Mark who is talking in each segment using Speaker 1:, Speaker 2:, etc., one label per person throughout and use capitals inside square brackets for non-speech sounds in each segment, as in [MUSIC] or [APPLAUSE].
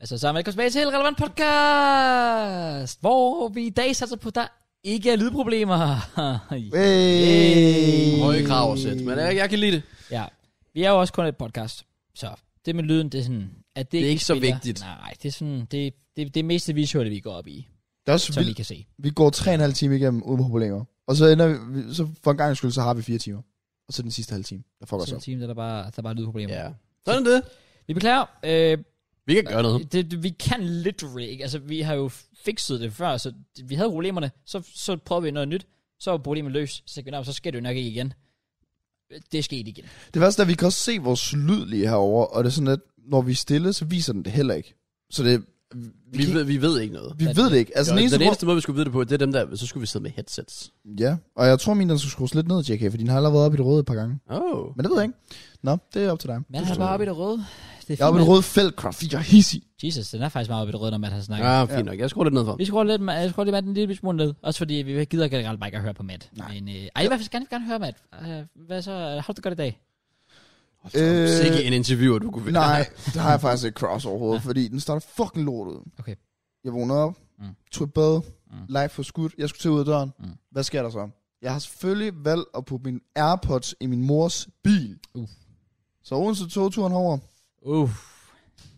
Speaker 1: Altså, så er man ikke tilbage til Relevant Podcast, hvor vi i dag satser på, at der ikke er lydproblemer.
Speaker 2: [LAUGHS]
Speaker 3: Hey.
Speaker 2: Høje krav at sætte, men jeg, jeg kan lide det.
Speaker 1: ja, vi er jo også kun et podcast, så det med lyden, det er sådan... At det,
Speaker 2: er ikke så
Speaker 1: spiller-
Speaker 2: vigtigt.
Speaker 1: Nej, det er sådan... Det, det, det er mest det visuelle, vi går op i,
Speaker 3: Det er også
Speaker 1: som I
Speaker 3: vildt.
Speaker 1: kan se.
Speaker 3: Vi går 3,5 timer igennem uden problemer. Og så ender vi, så for en gang skyld, så har vi 4 timer. Og så den sidste halve time. Der fucker
Speaker 1: Så
Speaker 3: så.
Speaker 1: en time, der er bare, der er bare lydproblemer.
Speaker 2: Ja. Sådan er det.
Speaker 1: Vi beklager, øh,
Speaker 2: Vi kan gøre noget.
Speaker 1: det, det- vi kan literally ikke. Altså, vi har jo fikset det før, så det- vi havde problemerne, så, så prøvede vi noget nyt, så var problemet løst, så sagde vi, "Nå, så sker det jo nok ikke igen. Det skete igen.
Speaker 3: Det værste er, at vi kan også se vores lyd lige herovre, og det er sådan, at når vi er stille, så viser den det heller ikke. Så det, vi,
Speaker 2: Vi ved, vi ved ikke noget.
Speaker 3: vi ved det ikke. Altså,
Speaker 2: Jo,
Speaker 3: den eneste,
Speaker 2: den eneste måde, vi skulle vide det på, det er dem der, så skulle vi sidde med headsets.
Speaker 3: Hvor, ja, og jeg tror, min den skulle skrues lidt ned, JK, for din har allerede været oppe i det røde et par gange.
Speaker 2: Oh.
Speaker 3: Men det ved jeg ikke. Nå, det er op til dig.
Speaker 1: Man er bare oppe i det røde. Det er
Speaker 3: Jeg er oppe i
Speaker 1: fint,
Speaker 3: det røde felt, fordi jeg er hissig.
Speaker 1: mand. Jesus, den er faktisk meget oppe i det røde, når man har snakket.
Speaker 2: Ja, Ah, fint nok. Jeg skruer lidt ned for.
Speaker 1: Vi skruer lidt, ma- jeg skruer lidt med den lille smule ned. Også fordi vi gider generelt bare ikke at høre på Matt.
Speaker 3: Nej.
Speaker 1: Men, øh, ej, i hvert fald skal jeg gerne høre Matt. Øh, hvad så? Har du det godt i dag?
Speaker 3: Øh,
Speaker 2: Øh, Sikke en interviewer, du kunne være.
Speaker 3: [LAUGHS]
Speaker 2: [LAUGHS]
Speaker 3: Nej, det har jeg faktisk ikke cross overhovedet, ja. fordi den starter fucking lort ud.
Speaker 1: Okay.
Speaker 3: Jeg vågner op,
Speaker 1: Mm.
Speaker 3: mm. tog et bad,
Speaker 1: Mm.
Speaker 3: mm. live for skudt, jeg skulle til ud af døren.
Speaker 1: Mm.
Speaker 3: Mm. Hvad sker der så? Jeg har selvfølgelig valgt at putte mine Airpods i min mors bil.
Speaker 1: Uh.
Speaker 3: Så Odense togturen over,
Speaker 1: Uh,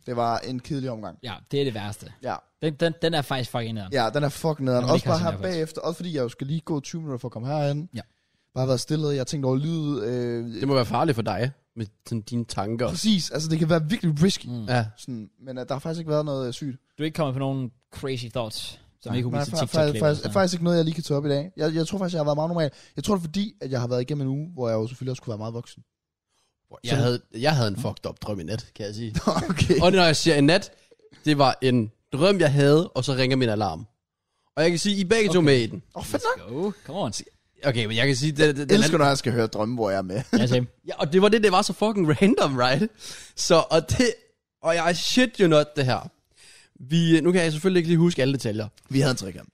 Speaker 3: det var en kedelig omgang.
Speaker 1: ja, det er det værste.
Speaker 3: Ja,
Speaker 1: Den, den, den er faktisk fucking nederen.
Speaker 3: ja den er fucking nederen.
Speaker 1: Når man
Speaker 3: Også
Speaker 1: ikke har
Speaker 3: bare
Speaker 1: sine
Speaker 3: her
Speaker 1: Airpods.
Speaker 3: bagefter, også fordi jeg jo skal lige gå 20 minutter for at komme herhen.
Speaker 1: Ja.
Speaker 3: Bare været stille, jeg har tænkt over lyd. Øh,
Speaker 2: Det må være farligt for dig, med sådan dine tanker.
Speaker 3: præcis, altså det kan være virkelig risky.
Speaker 1: Mm.
Speaker 2: Ja.
Speaker 3: Sådan, men øh, der har faktisk ikke været noget øh, sygt.
Speaker 1: Du er ikke kommet på nogen crazy thoughts, som
Speaker 3: Nej,
Speaker 1: ikke kunne
Speaker 3: nej,
Speaker 1: blive til
Speaker 3: fa-
Speaker 1: TikTok-klip.
Speaker 3: fa-
Speaker 1: eller
Speaker 3: faktisk,
Speaker 1: sådan noget?
Speaker 3: faktisk ikke noget, jeg lige kan tage op i dag. Jeg, jeg tror faktisk, jeg har været meget normal. Jeg tror det er fordi, at jeg har været igennem en uge, hvor jeg jo selvfølgelig også kunne være meget
Speaker 1: [LAUGHS]
Speaker 3: voksen.
Speaker 2: Jeg havde, jeg havde en fucked up drøm i nat, kan [LAUGHS] jeg sige.
Speaker 3: okay.
Speaker 2: Og når jeg siger en nat, det var en drøm, jeg havde, og så ringer min alarm. Og jeg kan sige, I er begge okay. to med i den.
Speaker 3: Åh, oh, fedt nok.
Speaker 1: Go, come on.
Speaker 2: Okay, men jeg kan sige, det, det,
Speaker 3: Jeg
Speaker 2: den
Speaker 3: elsker, når jeg skal høre drømme, hvor jeg er med.
Speaker 1: Ja, same.
Speaker 2: Ja, og det var det, det var så fucking random, right? Så, og det, og jeg shit you not, det her. Vi, nu kan jeg selvfølgelig ikke lige huske alle detaljer.
Speaker 3: Vi havde en trekant.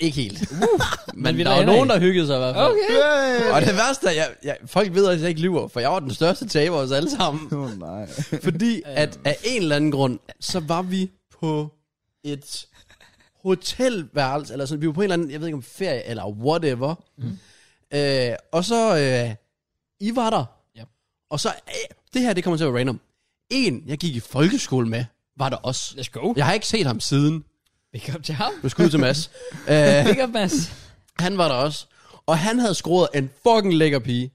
Speaker 2: Ikke helt. Uh, men, men
Speaker 1: vi er
Speaker 2: der var
Speaker 1: derinde
Speaker 2: nogen,
Speaker 1: af.
Speaker 2: der hyggede sig i hvert fald.
Speaker 1: Okay.
Speaker 3: Yeah.
Speaker 2: Og det værste er, jeg, jeg, folk ved, at jeg ikke lyver, for jeg var den største taber af os alle sammen.
Speaker 3: Oh, nej.
Speaker 2: Fordi at af en eller anden grund, så var vi på et hotelværelse, eller sådan, vi var på en eller anden, jeg ved ikke om ferie, eller whatever. Mm. Øh, og så, øh, I var der.
Speaker 1: Ja.
Speaker 2: Og så, øh, det her, det kommer til at være random. En, jeg gik i folkeskole med, var der også.
Speaker 1: Let's go.
Speaker 2: Jeg har ikke set ham siden.
Speaker 1: Big up til ham.
Speaker 2: Nu skud til Mads. øh,
Speaker 1: Big up, Mads.
Speaker 2: han var der også. Og han havde scoret en fucking lækker pige.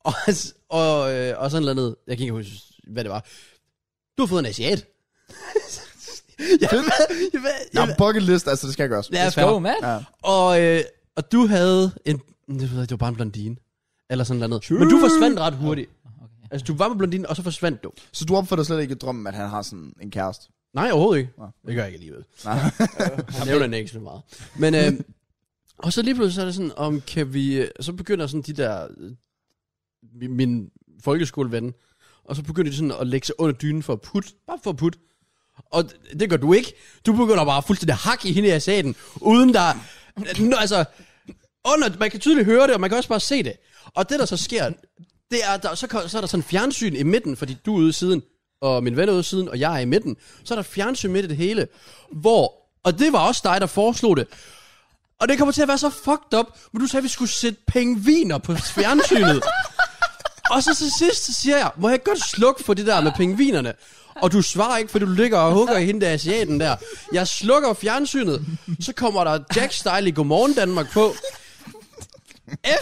Speaker 2: Og, [LAUGHS] og, øh, og sådan noget andet. Jeg kan ikke huske, hvad det var. Du har fået en asiat. [LAUGHS] jeg, jeg, jeg,
Speaker 3: Nå,
Speaker 2: jeg,
Speaker 3: bucket list, altså det skal gøres.
Speaker 2: jeg,
Speaker 1: Let's go, Matt.
Speaker 3: Ja.
Speaker 2: og, øh, og du havde en... Det, ved jeg, det var bare en blondine. Eller sådan noget. andet. Men du forsvandt ret hurtigt.
Speaker 1: Okay.
Speaker 2: Altså, du var med blondinen, og så forsvandt du.
Speaker 3: Så du opfatter slet ikke drømmen, at han har sådan en kæreste?
Speaker 2: Nej, overhovedet ikke.
Speaker 3: Nå.
Speaker 2: Det gør jeg ikke alligevel.
Speaker 3: Nej.
Speaker 2: Han nævner den ikke så meget. Men, øh, og så lige pludselig så er det sådan, om kan vi, øh, så begynder sådan de der, øh, mi- min folkeskoleven, og så begynder de sådan at lægge sig under dynen for at putte, bare for at putte. Og d- det gør du ikke. Du begynder bare fuldstændig at hakke i hende i asaten, uden der, Nå, altså, under, man kan tydeligt høre det, og man kan også bare se det. Og det, der så sker, det er, der, så, kom- så er der sådan fjernsyn i midten, fordi du er ude i siden, og min ven er ude i siden, og jeg er i midten. Så er der fjernsyn midt i det hele, hvor, og det var også dig, der foreslog det, og det kommer til at være så fucked up, men du sagde, at vi skulle sætte pengeviner på fjernsynet. og så til sidst så siger jeg, må jeg godt slukke for det der med pengvinerne? Og du svarer ikke, for du ligger og hugger i hende der asiaten der. Jeg slukker fjernsynet, så kommer der Jack Style i Godmorgen Danmark på.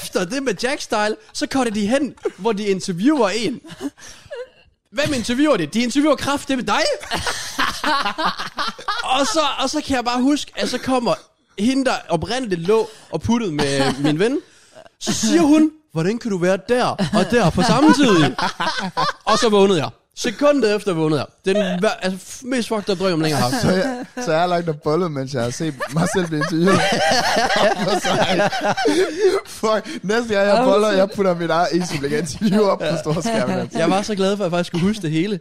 Speaker 2: Efter det med Jack Style, så kommer de hen, hvor de interviewer en. Hvem interviewer det? De interviewer kraft, det med dig. og, så, og så kan jeg bare huske, at så kommer hende, der oprindeligt lå og puttede med min ven. Så siger hun, hvordan kan du være der og der på samme tid? og så vågnede jeg. Sekundet efter vågnede jeg. Det er den vær- altså, f- mest fucked up drøm, jeg længe har
Speaker 3: [LAUGHS]
Speaker 2: haft.
Speaker 3: Så jeg, så jeg har lagt en bolle, mens jeg har set mig selv blive interviewet. Op på sejt. [LAUGHS] Fuck, næste gang jeg
Speaker 1: Ej, hvor
Speaker 3: boller,
Speaker 1: fedt.
Speaker 3: jeg putter mit eget e interview op
Speaker 1: [LAUGHS]
Speaker 3: på storskærmen. altså.
Speaker 2: Jeg var så glad for, at jeg faktisk kunne huske det hele.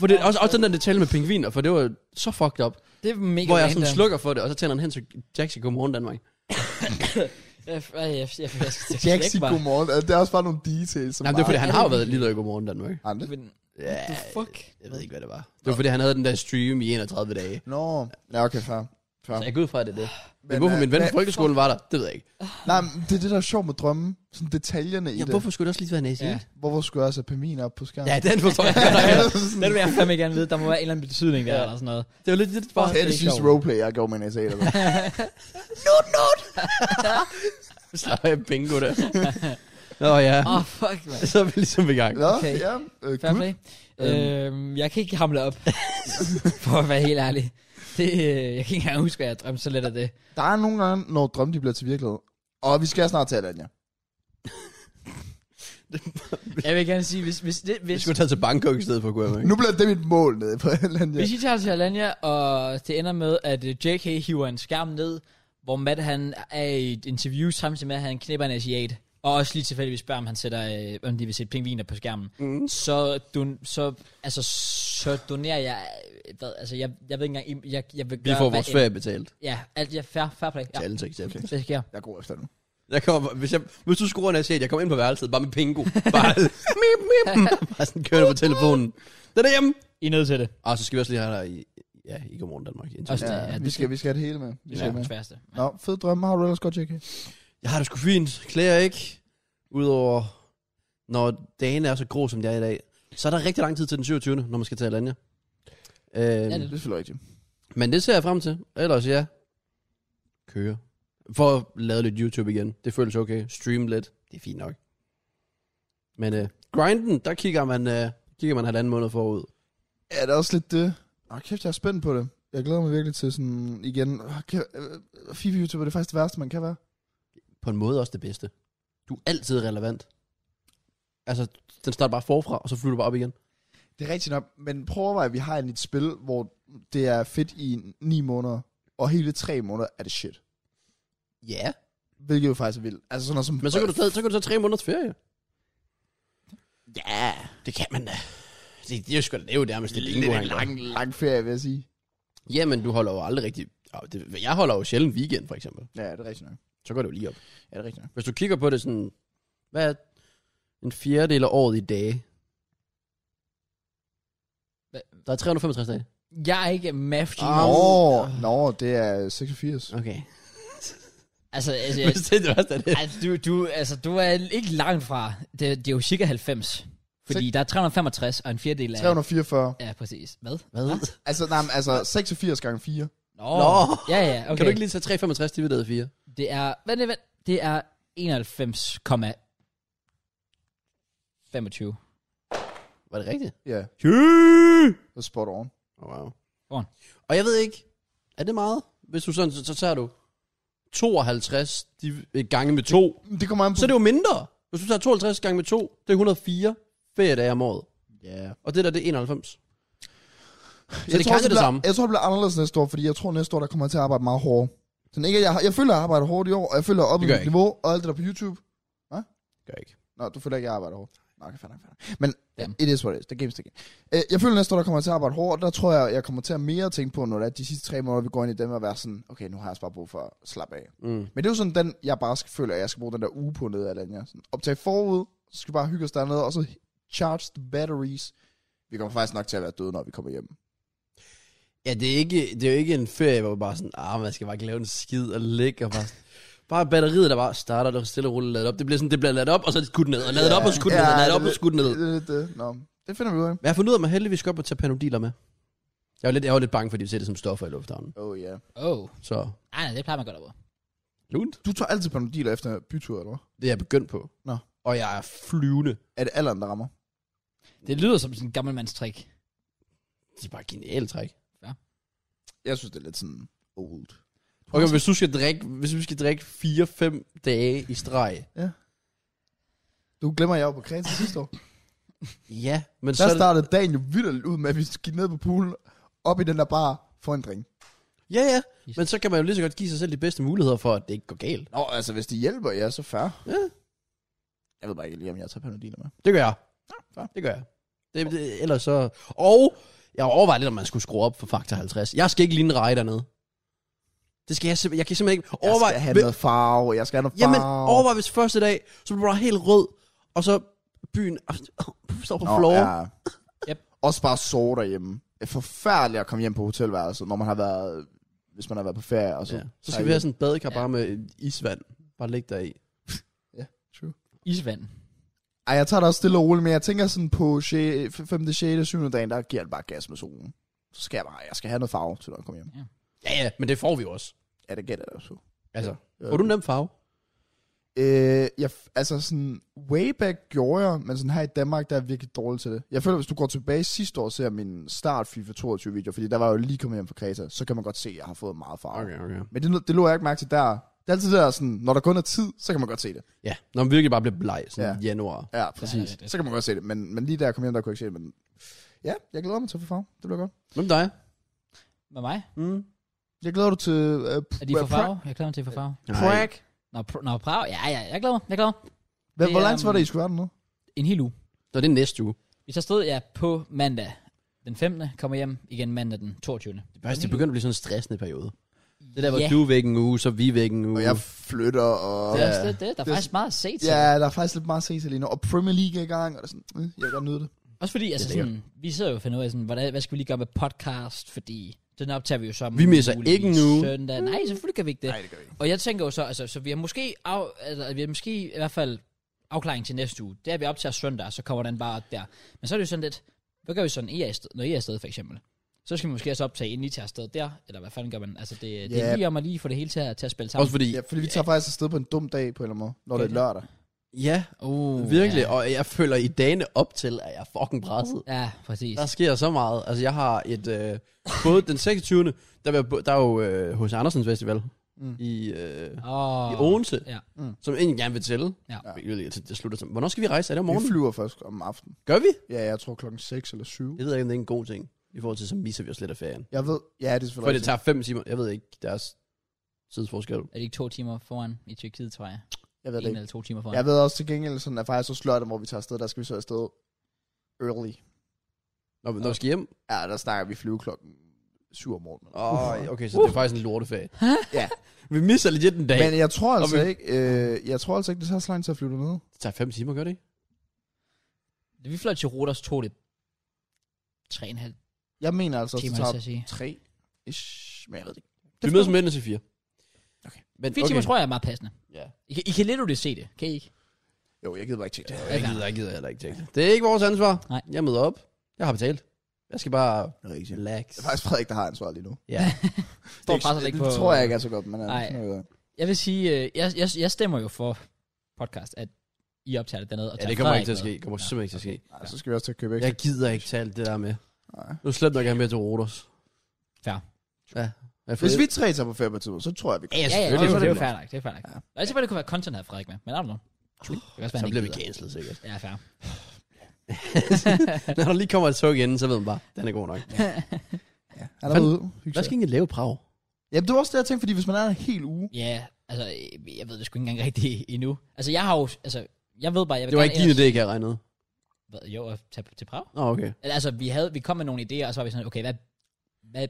Speaker 2: For det, også, også den der detalje med pingviner, for det var så fucked up.
Speaker 1: Det er mega
Speaker 2: Hvor jeg
Speaker 1: random.
Speaker 2: sådan slukker for det, og så tænder han hen til Jackson Godmorgen Danmark.
Speaker 1: Jeg, jeg, jeg, Øh, jeg, jeg, jeg, jeg, jeg,
Speaker 3: Jack siger godmorgen. Altså, det er også bare nogle details, som
Speaker 2: Nej, det er fordi,
Speaker 3: bare-
Speaker 2: han har jo været lille i Godmorgen Danmark.
Speaker 3: Anders?
Speaker 1: Men, øh, What the fuck?
Speaker 2: Jeg ved ikke, hvad det var. Det var, fordi han havde den der stream i 31 dage.
Speaker 3: Nå, ja, okay, fair. fair.
Speaker 2: Så jeg går ud fra, at det er det. Men, men
Speaker 3: Men,
Speaker 2: hvorfor
Speaker 3: øh,
Speaker 2: min ven
Speaker 3: hvad-
Speaker 2: fra folkeskolen var der, det ved jeg ikke.
Speaker 3: Nej, men det er det, der er sjovt med drømme. Sådan detaljerne i
Speaker 2: Ja,
Speaker 3: det.
Speaker 2: hvorfor skulle det også lige være næse?
Speaker 1: Ja.
Speaker 2: Ja.
Speaker 3: Hvorfor skulle jeg også have Pamina op på skærmen?
Speaker 2: ja, den
Speaker 1: [LAUGHS]
Speaker 2: forstår jeg godt. nok.
Speaker 1: Det vil jeg fandme gerne vide. Der må være en eller anden betydning der,
Speaker 2: Ja.
Speaker 1: eller sådan noget.
Speaker 2: Det var lidt lidt [LAUGHS] bare...
Speaker 3: det er det sidste
Speaker 1: sjovt.
Speaker 3: roleplay, jeg går med en SA. Eller hvad.
Speaker 2: Slap af bingo der. [LAUGHS] Nå ja,
Speaker 1: Åh, oh, fuck, man.
Speaker 2: så er vi ligesom i gang.
Speaker 3: Nå,
Speaker 1: Okay.
Speaker 3: ja. Øh,
Speaker 1: Fair
Speaker 3: cool.
Speaker 1: play. Øhm, jeg kan ikke hamle op, [LAUGHS] for at være helt ærlig. Det, øh, jeg kan ikke engang huske, at jeg drømte så lidt af det.
Speaker 3: Der er nogle gange, når drømme de bliver til virkelighed. Og vi skal snart tale, Anja.
Speaker 1: Jeg vil gerne sige, hvis, hvis, det,
Speaker 2: Vi
Speaker 1: hvis,
Speaker 2: skulle tage til Bangkok i stedet for, kunne jeg mærke.
Speaker 3: Nu bliver det mit mål nede på Anja.
Speaker 1: hvis I tager til Alanya, og det ender med, at øh, JK hiver en skærm ned, hvor Matt han er i et interview, samtidig med, at han knipper en asiat, og også lige tilfældigvis spørger, om han sætter, øh, om de vil sætte pingviner på skærmen.
Speaker 2: Mm.
Speaker 1: så, don, så, altså, så donerer jeg, øh, hvad, altså jeg, jeg ved ikke engang, jeg, jeg vil
Speaker 2: Vi
Speaker 1: gøre,
Speaker 2: får
Speaker 1: hvad
Speaker 2: vores
Speaker 1: end-
Speaker 2: ferie betalt.
Speaker 1: Ja, alt, ja, fair, fair play. Ja,
Speaker 2: Til alle til eksempel.
Speaker 1: det sker.
Speaker 3: Jeg går efter nu.
Speaker 2: Jeg kommer, hvis, jeg, hvis du skruer en asiat, jeg kommer ind på værelset, bare med [LAUGHS] pingo. Bare, mip, [LAUGHS] mip, bare sådan kører på telefonen. Den er hjemme.
Speaker 1: I er nødt til det.
Speaker 2: Og Ah, så skal vi også lige have dig i, ja, i Godmorgen Danmark.
Speaker 1: Også det,
Speaker 3: Ja,
Speaker 1: ja,
Speaker 3: vi,
Speaker 1: det
Speaker 3: skal, vi skal have det hele med. Vi
Speaker 1: Det
Speaker 3: skal
Speaker 1: er
Speaker 3: med.
Speaker 1: det sværeste.
Speaker 3: Nå, fed drømme har du ellers godt, JK.
Speaker 2: Jeg har det sgu fint. Klager ikke. Udover, når dagen er så grå, som det er i dag, så er der rigtig lang tid til den 27. når man skal til Alanya. Øhm,
Speaker 1: det
Speaker 3: Det er selvfølgelig rigtigt.
Speaker 2: Men det ser jeg frem til. Ellers ja, køre. For at lave lidt YouTube igen. Det føles okay. Stream lidt. Det er fint nok. Men øh, grinden, der kigger man, øh, kigger man halvanden måned forud.
Speaker 3: Ja, det er også lidt det. Åh, kæft, jeg er spændt på det. Jeg glæder mig virkelig til sådan igen. Åh, kæft, øh, FIFA YouTuber, det er faktisk det værste, man kan være.
Speaker 2: På en måde også det bedste. Du er altid relevant. Altså, den starter bare forfra, og så flytter du bare op igen.
Speaker 3: Det er rigtigt nok, men prøv at overveje, at vi har en et spil, hvor det er fedt i 9 måneder, og hele 3 måneder er det shit.
Speaker 2: Ja. Yeah.
Speaker 3: Hvilket jo faktisk er vildt. Altså sådan noget som...
Speaker 2: Men så kan, du tage, så kan du tage tre måneders ferie. Ja, det kan man da. Det, det er jo sgu da det er jo nærmest det bingo,
Speaker 3: det er
Speaker 2: han
Speaker 3: en
Speaker 2: gør.
Speaker 3: lang, lang ferie, vil jeg sige.
Speaker 2: Jamen, du holder jo aldrig rigtig... Åh, det- Jeg holder jo sjældent weekend, for eksempel.
Speaker 3: Ja, det er rigtigt nok.
Speaker 2: Så går det jo lige op.
Speaker 3: Ja, det er rigtigt nok.
Speaker 2: Hvis du kigger på det sådan... Hvad er en fjerdedel af året i dage?
Speaker 1: Hva-
Speaker 2: Der er 365 dage.
Speaker 1: Jeg er ikke math
Speaker 2: Ah.
Speaker 1: genius.
Speaker 3: Nå, nå, det er 86.
Speaker 2: [LAUGHS] Okay.
Speaker 1: Altså, altså,
Speaker 2: Yes. det er det værste af det.
Speaker 1: altså, du, du, altså, du er ikke langt fra. Det, det er jo cirka 90. Fordi der er 365, og en fjerdedel af...
Speaker 3: 344.
Speaker 1: Ja, præcis. Hvad?
Speaker 2: Hvad?
Speaker 3: Altså, nej, men altså 86 gange 4.
Speaker 1: Nå.
Speaker 2: Nå.
Speaker 1: Ja, ja, okay.
Speaker 2: Kan du ikke lige tage 365 divideret 4?
Speaker 1: Det er, vent, vent, det er 91,25.
Speaker 2: Var det rigtigt?
Speaker 3: Ja,
Speaker 2: Yeah.
Speaker 3: det er spot on.
Speaker 2: Oh, wow.
Speaker 1: Godmorgen.
Speaker 2: Og jeg ved ikke, er det meget? Hvis du sådan, så, så tager du 52 div- øh, gange med 2,
Speaker 3: Det kommer an på...
Speaker 2: så er det jo mindre. Hvis du tager 52 gange med 2, det er 104 feriedage om året.
Speaker 3: Ja.
Speaker 2: Og det der, det er 91. Så
Speaker 3: Jeg,
Speaker 2: det
Speaker 3: tror,
Speaker 2: kan
Speaker 3: det
Speaker 2: det
Speaker 3: bliver,
Speaker 2: samme.
Speaker 3: jeg tror, det bliver anderledes næste år, fordi jeg tror, næste år, der kommer jeg til at arbejde meget hårdere. Sådan ikke, at jeg, har- jeg føler, at jeg arbejder hårdt i år, og jeg føler op i
Speaker 2: Det gør
Speaker 3: mit
Speaker 2: jeg ikke.
Speaker 3: niveau, og alt det der på YouTube.
Speaker 2: Gør jeg ikke.
Speaker 3: Nå, du føler ikke, at jeg arbejder hårdt. Nå, okay, fair nok, fair nok. Men
Speaker 1: Damn.
Speaker 3: it is what it is. Det er games, det er games. Øh, Jeg føler, at næste år, der kommer jeg til at arbejde hårdt, og der tror jeg, jeg kommer til at mere tænke på, når det er de sidste tre måneder, vi går ind i dem, og være sådan, okay, nu har jeg altså bare brug for at slappe af.
Speaker 2: Mm.
Speaker 3: Men det er jo sådan den, jeg bare skal føle, at jeg skal bruge den der uge på nede af den, ja. Sådan, optage forud, så skal vi bare hygge os dernede, og så charge the batteries. Vi kommer faktisk nok til at være døde, når vi kommer hjem.
Speaker 2: Ja, det er, ikke, det er jo ikke en ferie, hvor man bare sådan, ah, man skal bare ikke lave en skid og ligge og bare... Bare batteriet, der bare starter, der stille og roligt ladet op. Det bliver sådan, det bliver ladet op, og så er det skudt ned, og ladet op, og skudt ned, og ladet op, og skudt ned.
Speaker 3: Det, det, det, Nå, det finder vi ud af.
Speaker 2: Men jeg har fundet ud af, at man heldigvis godt må tage panodiler med. Jeg var lidt, jeg var lidt bange, fordi vi ser det som stoffer i lufthavnen.
Speaker 3: Oh yeah.
Speaker 1: Oh.
Speaker 2: Så
Speaker 1: Ej, nej, det plejer man godt over.
Speaker 2: Lunt?
Speaker 3: Du tager altid panodiler efter bytur, eller hvad?
Speaker 2: Det er jeg begyndt på.
Speaker 3: Nå.
Speaker 2: Og jeg er flyvende.
Speaker 3: Er det alderen, der rammer?
Speaker 1: Det lyder som sådan en gammelmandstrik.
Speaker 2: Det er bare et genialt træk.
Speaker 3: Jeg synes, det er lidt sådan old.
Speaker 2: Okay, men hvis du skal drikke, hvis vi skal drikke 4-5 dage i streg.
Speaker 3: Du glemmer, at jeg var på Kreta sidste [LAUGHS] år.
Speaker 2: Ja, men så...
Speaker 3: Der
Speaker 2: er det-
Speaker 3: startede dagen jo vildt ud med, at vi gik ned på poolen, op i den der bar, for en drink.
Speaker 2: Ja, ja. Men så kan man jo lige så godt give sig selv de bedste muligheder for, at det ikke går galt.
Speaker 3: Nå, altså, hvis det hjælper jer, så fair.
Speaker 2: Ja.
Speaker 3: Jeg ved bare ikke lige, om jeg tager panodiler med.
Speaker 2: Det gør jeg.
Speaker 3: fair.
Speaker 2: Det gør jeg. Det, det, ellers så... Og jeg overvejer lidt, om man skulle skrue op for faktor 50. Jeg skal ikke ligne rej dernede. Det skal jeg simpelthen... Jeg kan simpelthen ikke...
Speaker 3: Jeg
Speaker 2: Overvej,
Speaker 3: skal have
Speaker 2: Hvem-
Speaker 3: noget farve, jeg skal have noget farve.
Speaker 2: Jamen, overvej hvis første dag, så bliver du bare helt rød, og så byen [LAUGHS] står på
Speaker 3: Nå,
Speaker 2: floor.
Speaker 3: ja.
Speaker 1: Yep.
Speaker 3: Også bare sove derhjemme. Det er forfærdeligt at komme hjem på hotelværelset, når man har været, hvis man har været på ferie. Og så,
Speaker 2: Ja. Så skal vi have sådan en badekar bare med et isvand. Bare læg dig i.
Speaker 3: True.
Speaker 1: Isvand.
Speaker 3: Ej, jeg tager det også stille og roligt, men jeg tænker sådan på 5. 6. 7. dagen, der giver det bare gas med solen. Så skal jeg bare, jeg skal have noget farve til, når jeg kommer hjem.
Speaker 2: Ja, ja, men det får vi jo også.
Speaker 3: Ja, det gætter jeg også.
Speaker 2: Altså,
Speaker 3: Ja.
Speaker 2: får du en nem farve?
Speaker 3: Øh, jeg, f- altså sådan, way back gjorde jeg, men sådan her i Danmark, der er jeg virkelig dårlig til det. Jeg føler, hvis du går tilbage sidste år og ser min start FIFA 22 video, fordi der var jeg jo lige kommet hjem fra Kreta, så kan man godt se, at jeg har fået meget farve. Okay.
Speaker 2: okay.
Speaker 3: Men det, det lå jeg ikke mærke til der. Det er altid der sådan, når der kun er tid, så kan man godt se det.
Speaker 2: Ja, når man virkelig bare bliver bleg, sådan ja. januar.
Speaker 3: Ja,
Speaker 1: det
Speaker 3: præcis.
Speaker 1: er
Speaker 3: Ja,
Speaker 1: det.
Speaker 3: så kan man godt se det. Men, men lige der jeg kom hjem, der kunne jeg ikke se det. Men ja, jeg glæder mig til at få farve. Det bliver godt.
Speaker 2: Hvem dig?
Speaker 1: Med mig?
Speaker 2: Mm.
Speaker 3: Jeg glæder du til... Uh,
Speaker 1: Er de for farve? Jeg glæder mig til at få farve.
Speaker 3: Prank.
Speaker 1: Nå, pr- nå farve. Ja, ja, jeg glæder mig. Jeg glæder mig.
Speaker 3: Hvad,
Speaker 1: Det
Speaker 3: hvor
Speaker 1: er,
Speaker 3: langt var
Speaker 1: um,
Speaker 3: det, I skulle være dernede?
Speaker 1: En hel uge.
Speaker 2: Nå, det er næste uge.
Speaker 1: Så stod jeg på mandag den 15. Kommer hjem igen mandag den 22.
Speaker 2: Det, faktisk, det begynder at blive sådan en stressende periode. Det der,
Speaker 1: der,
Speaker 2: hvor
Speaker 1: hvor
Speaker 2: yeah. du er væk en uge, så er vi væk en uge.
Speaker 3: Og jeg flytter, og...
Speaker 1: Det er, også, det, det, der er
Speaker 3: Det er
Speaker 1: faktisk meget at se til.
Speaker 3: Ja, der er faktisk lidt meget at se til lige nu. Og Premier League er i gang, og det er sådan, øh, jeg kan godt nyde det.
Speaker 1: Også fordi, altså
Speaker 2: Det er
Speaker 1: sådan, vi sidder jo og finder ud af, sådan, hvordan, hvad skal vi lige gøre med podcast, fordi den optager vi jo så
Speaker 2: Vi misser
Speaker 1: muligvis
Speaker 2: ikke nu.
Speaker 1: Søndag. Nej, selvfølgelig kan vi ikke det.
Speaker 3: det gør vi ikke.
Speaker 1: Og jeg tænker jo så, altså, så vi har måske, af, altså, vi har måske i hvert fald afklaring til næste uge. Det er vi op til søndag, så kommer den bare op der. Men så er det jo sådan lidt, hvad gør vi sådan, I er afsted, når I er afsted for eksempel? Så skal vi måske også optage, inden I tager afsted der, eller hvad fanden gør man? Altså, det, yeah. det
Speaker 3: Ja.
Speaker 1: er lige om at lige få det hele til at, til at spille sammen.
Speaker 2: Også fordi,
Speaker 3: Ja, fordi vi tager faktisk afsted på en dum dag på en eller anden måde, når det er
Speaker 1: Ja.
Speaker 3: lørdag.
Speaker 2: ja,
Speaker 1: Uh,
Speaker 2: virkelig.
Speaker 1: Ja,
Speaker 2: Og jeg føler i dagene op til, at jeg er fucking presset.
Speaker 1: ja præcis.
Speaker 2: Der sker så meget. Altså, jeg har et... Øh, både den 26. Der, var jeg bo- der er jo øh, hos Andersens Festival mm.
Speaker 3: Mm.
Speaker 2: i, øh,
Speaker 1: Oh.
Speaker 2: i Odense,
Speaker 1: Ja.
Speaker 3: Mm.
Speaker 2: som egentlig gerne vil tælle.
Speaker 1: Ja.
Speaker 2: Ja. Det slutter som... Hvornår skal vi rejse? Er det om
Speaker 3: Vi
Speaker 2: morgenen?
Speaker 3: flyver først om aftenen.
Speaker 2: Gør vi?
Speaker 3: Ja, jeg tror klokken 6 eller 7.
Speaker 2: Det ved jeg ikke, om det er en god ting. I forhold til, så misser vi os lidt af ferien.
Speaker 3: Jeg ved, ja, det er
Speaker 2: For
Speaker 3: selvfølgelig
Speaker 2: det tager fem timer. Jeg ved ikke deres tidsforskel.
Speaker 1: Er det ikke to timer foran i Tyrkiet, tror jeg?
Speaker 3: rigtigt. Jeg ved det
Speaker 1: En
Speaker 3: ikke.
Speaker 1: eller to timer foran.
Speaker 3: Jeg ved også til gengæld, sådan, at faktisk så lørdag, hvor vi tager afsted, der skal vi så afsted early.
Speaker 2: Når, når vi skal hjem?
Speaker 3: Ja, der snakker vi flyve klokken 7 om morgenen.
Speaker 2: Åh, oh, okay, så uh. det er faktisk en lorteferie.
Speaker 3: Ja.
Speaker 2: Vi misser legit en dag. Men...
Speaker 3: Men jeg tror altså
Speaker 2: Og vi-
Speaker 3: ikke, øh, jeg tror altså ikke, det tager så lang tid at flyve dernede.
Speaker 2: Det tager fem timer, gør det ikke?
Speaker 1: Vi fløj til Rodos, tog det tre og en halv
Speaker 3: Jeg mener altså, at det
Speaker 1: timer, så
Speaker 3: tager
Speaker 1: at sige.
Speaker 3: 3 ish, men jeg ved det ikke.
Speaker 2: Vi mødes om midten til fire.
Speaker 3: Okay.
Speaker 2: Men,
Speaker 1: Fire okay. timer tror jeg er meget passende.
Speaker 2: Ja.
Speaker 1: I kan, I kan lidt det se det, kan I ikke?
Speaker 3: Jo, jeg gider bare ikke tjekke det.
Speaker 2: Jeg gider, jeg gider heller ikke tænke det. Det er ikke vores ansvar.
Speaker 1: Nej.
Speaker 2: Jeg møder op. Jeg har betalt. Jeg skal bare
Speaker 3: Det er rigtigt.
Speaker 2: relax.
Speaker 3: Det er faktisk Frederik, der har ansvaret lige nu.
Speaker 2: Ja.
Speaker 1: Står bare så ikke
Speaker 3: det
Speaker 1: på...
Speaker 3: tror jeg ikke er så godt, men øh,
Speaker 1: Nej.
Speaker 3: Nej.
Speaker 1: Jeg vil sige, øh, jeg, jeg, jeg stemmer jo for podcast, at I optager det dernede. Og
Speaker 2: ja,
Speaker 1: tager
Speaker 2: det kommer
Speaker 1: Frederik
Speaker 2: ikke til at ske.
Speaker 1: med.
Speaker 2: Det
Speaker 1: Nå.
Speaker 2: kommer simpelthen ikke til at ske.
Speaker 3: Nej, så skal vi også til at købe ekstra.
Speaker 2: Jeg gider ikke tage alt det der med.
Speaker 3: Nej.
Speaker 2: Nu slet nok, jeg er med til Rodos.
Speaker 1: Fair.
Speaker 2: Ja. Jeg får-
Speaker 3: Hvis vi tre tager på ferie på et tidspunkt, så tror jeg, vi
Speaker 1: Ja,
Speaker 3: kan.
Speaker 1: ja, ja, det,
Speaker 2: selvfølgelig.
Speaker 1: er jo- det er jo
Speaker 2: Ja.
Speaker 1: fair nok. Det er fair nok. Ja. Jeg tænker, det kunne være content, havde Frederik med, men I don't know. Det kan også være,
Speaker 2: Så
Speaker 1: han
Speaker 2: bliver vi
Speaker 1: ikke gider.
Speaker 2: cancelet sikkert. [LAUGHS]
Speaker 1: Ja, fair.
Speaker 2: Når der lige kommer et suk inden, så ved man bare, den er god nok.
Speaker 3: Ja. Han er ude. Hygge
Speaker 2: Hvad
Speaker 3: sig.
Speaker 2: skal I egentlig lave i Prag?
Speaker 3: Jamen, det var også det, jeg tænkte, fordi hvis man er der en hel uge,
Speaker 1: Ja, altså, øh, jeg ved det sgu ikke engang rigtigt endnu. Altså, jeg har jo... Altså, jeg ved bare, jeg vil
Speaker 2: Det var
Speaker 1: gerne
Speaker 2: ikke din
Speaker 1: ellers-
Speaker 2: idé, kan jeg regne ud.
Speaker 1: Hvad, Jo, at tage til Prag.
Speaker 2: Nå, okay.
Speaker 1: Eller, Altså, vi, havde, vi kom med nogle idéer, og så var vi sådan, okay, hvad, hvad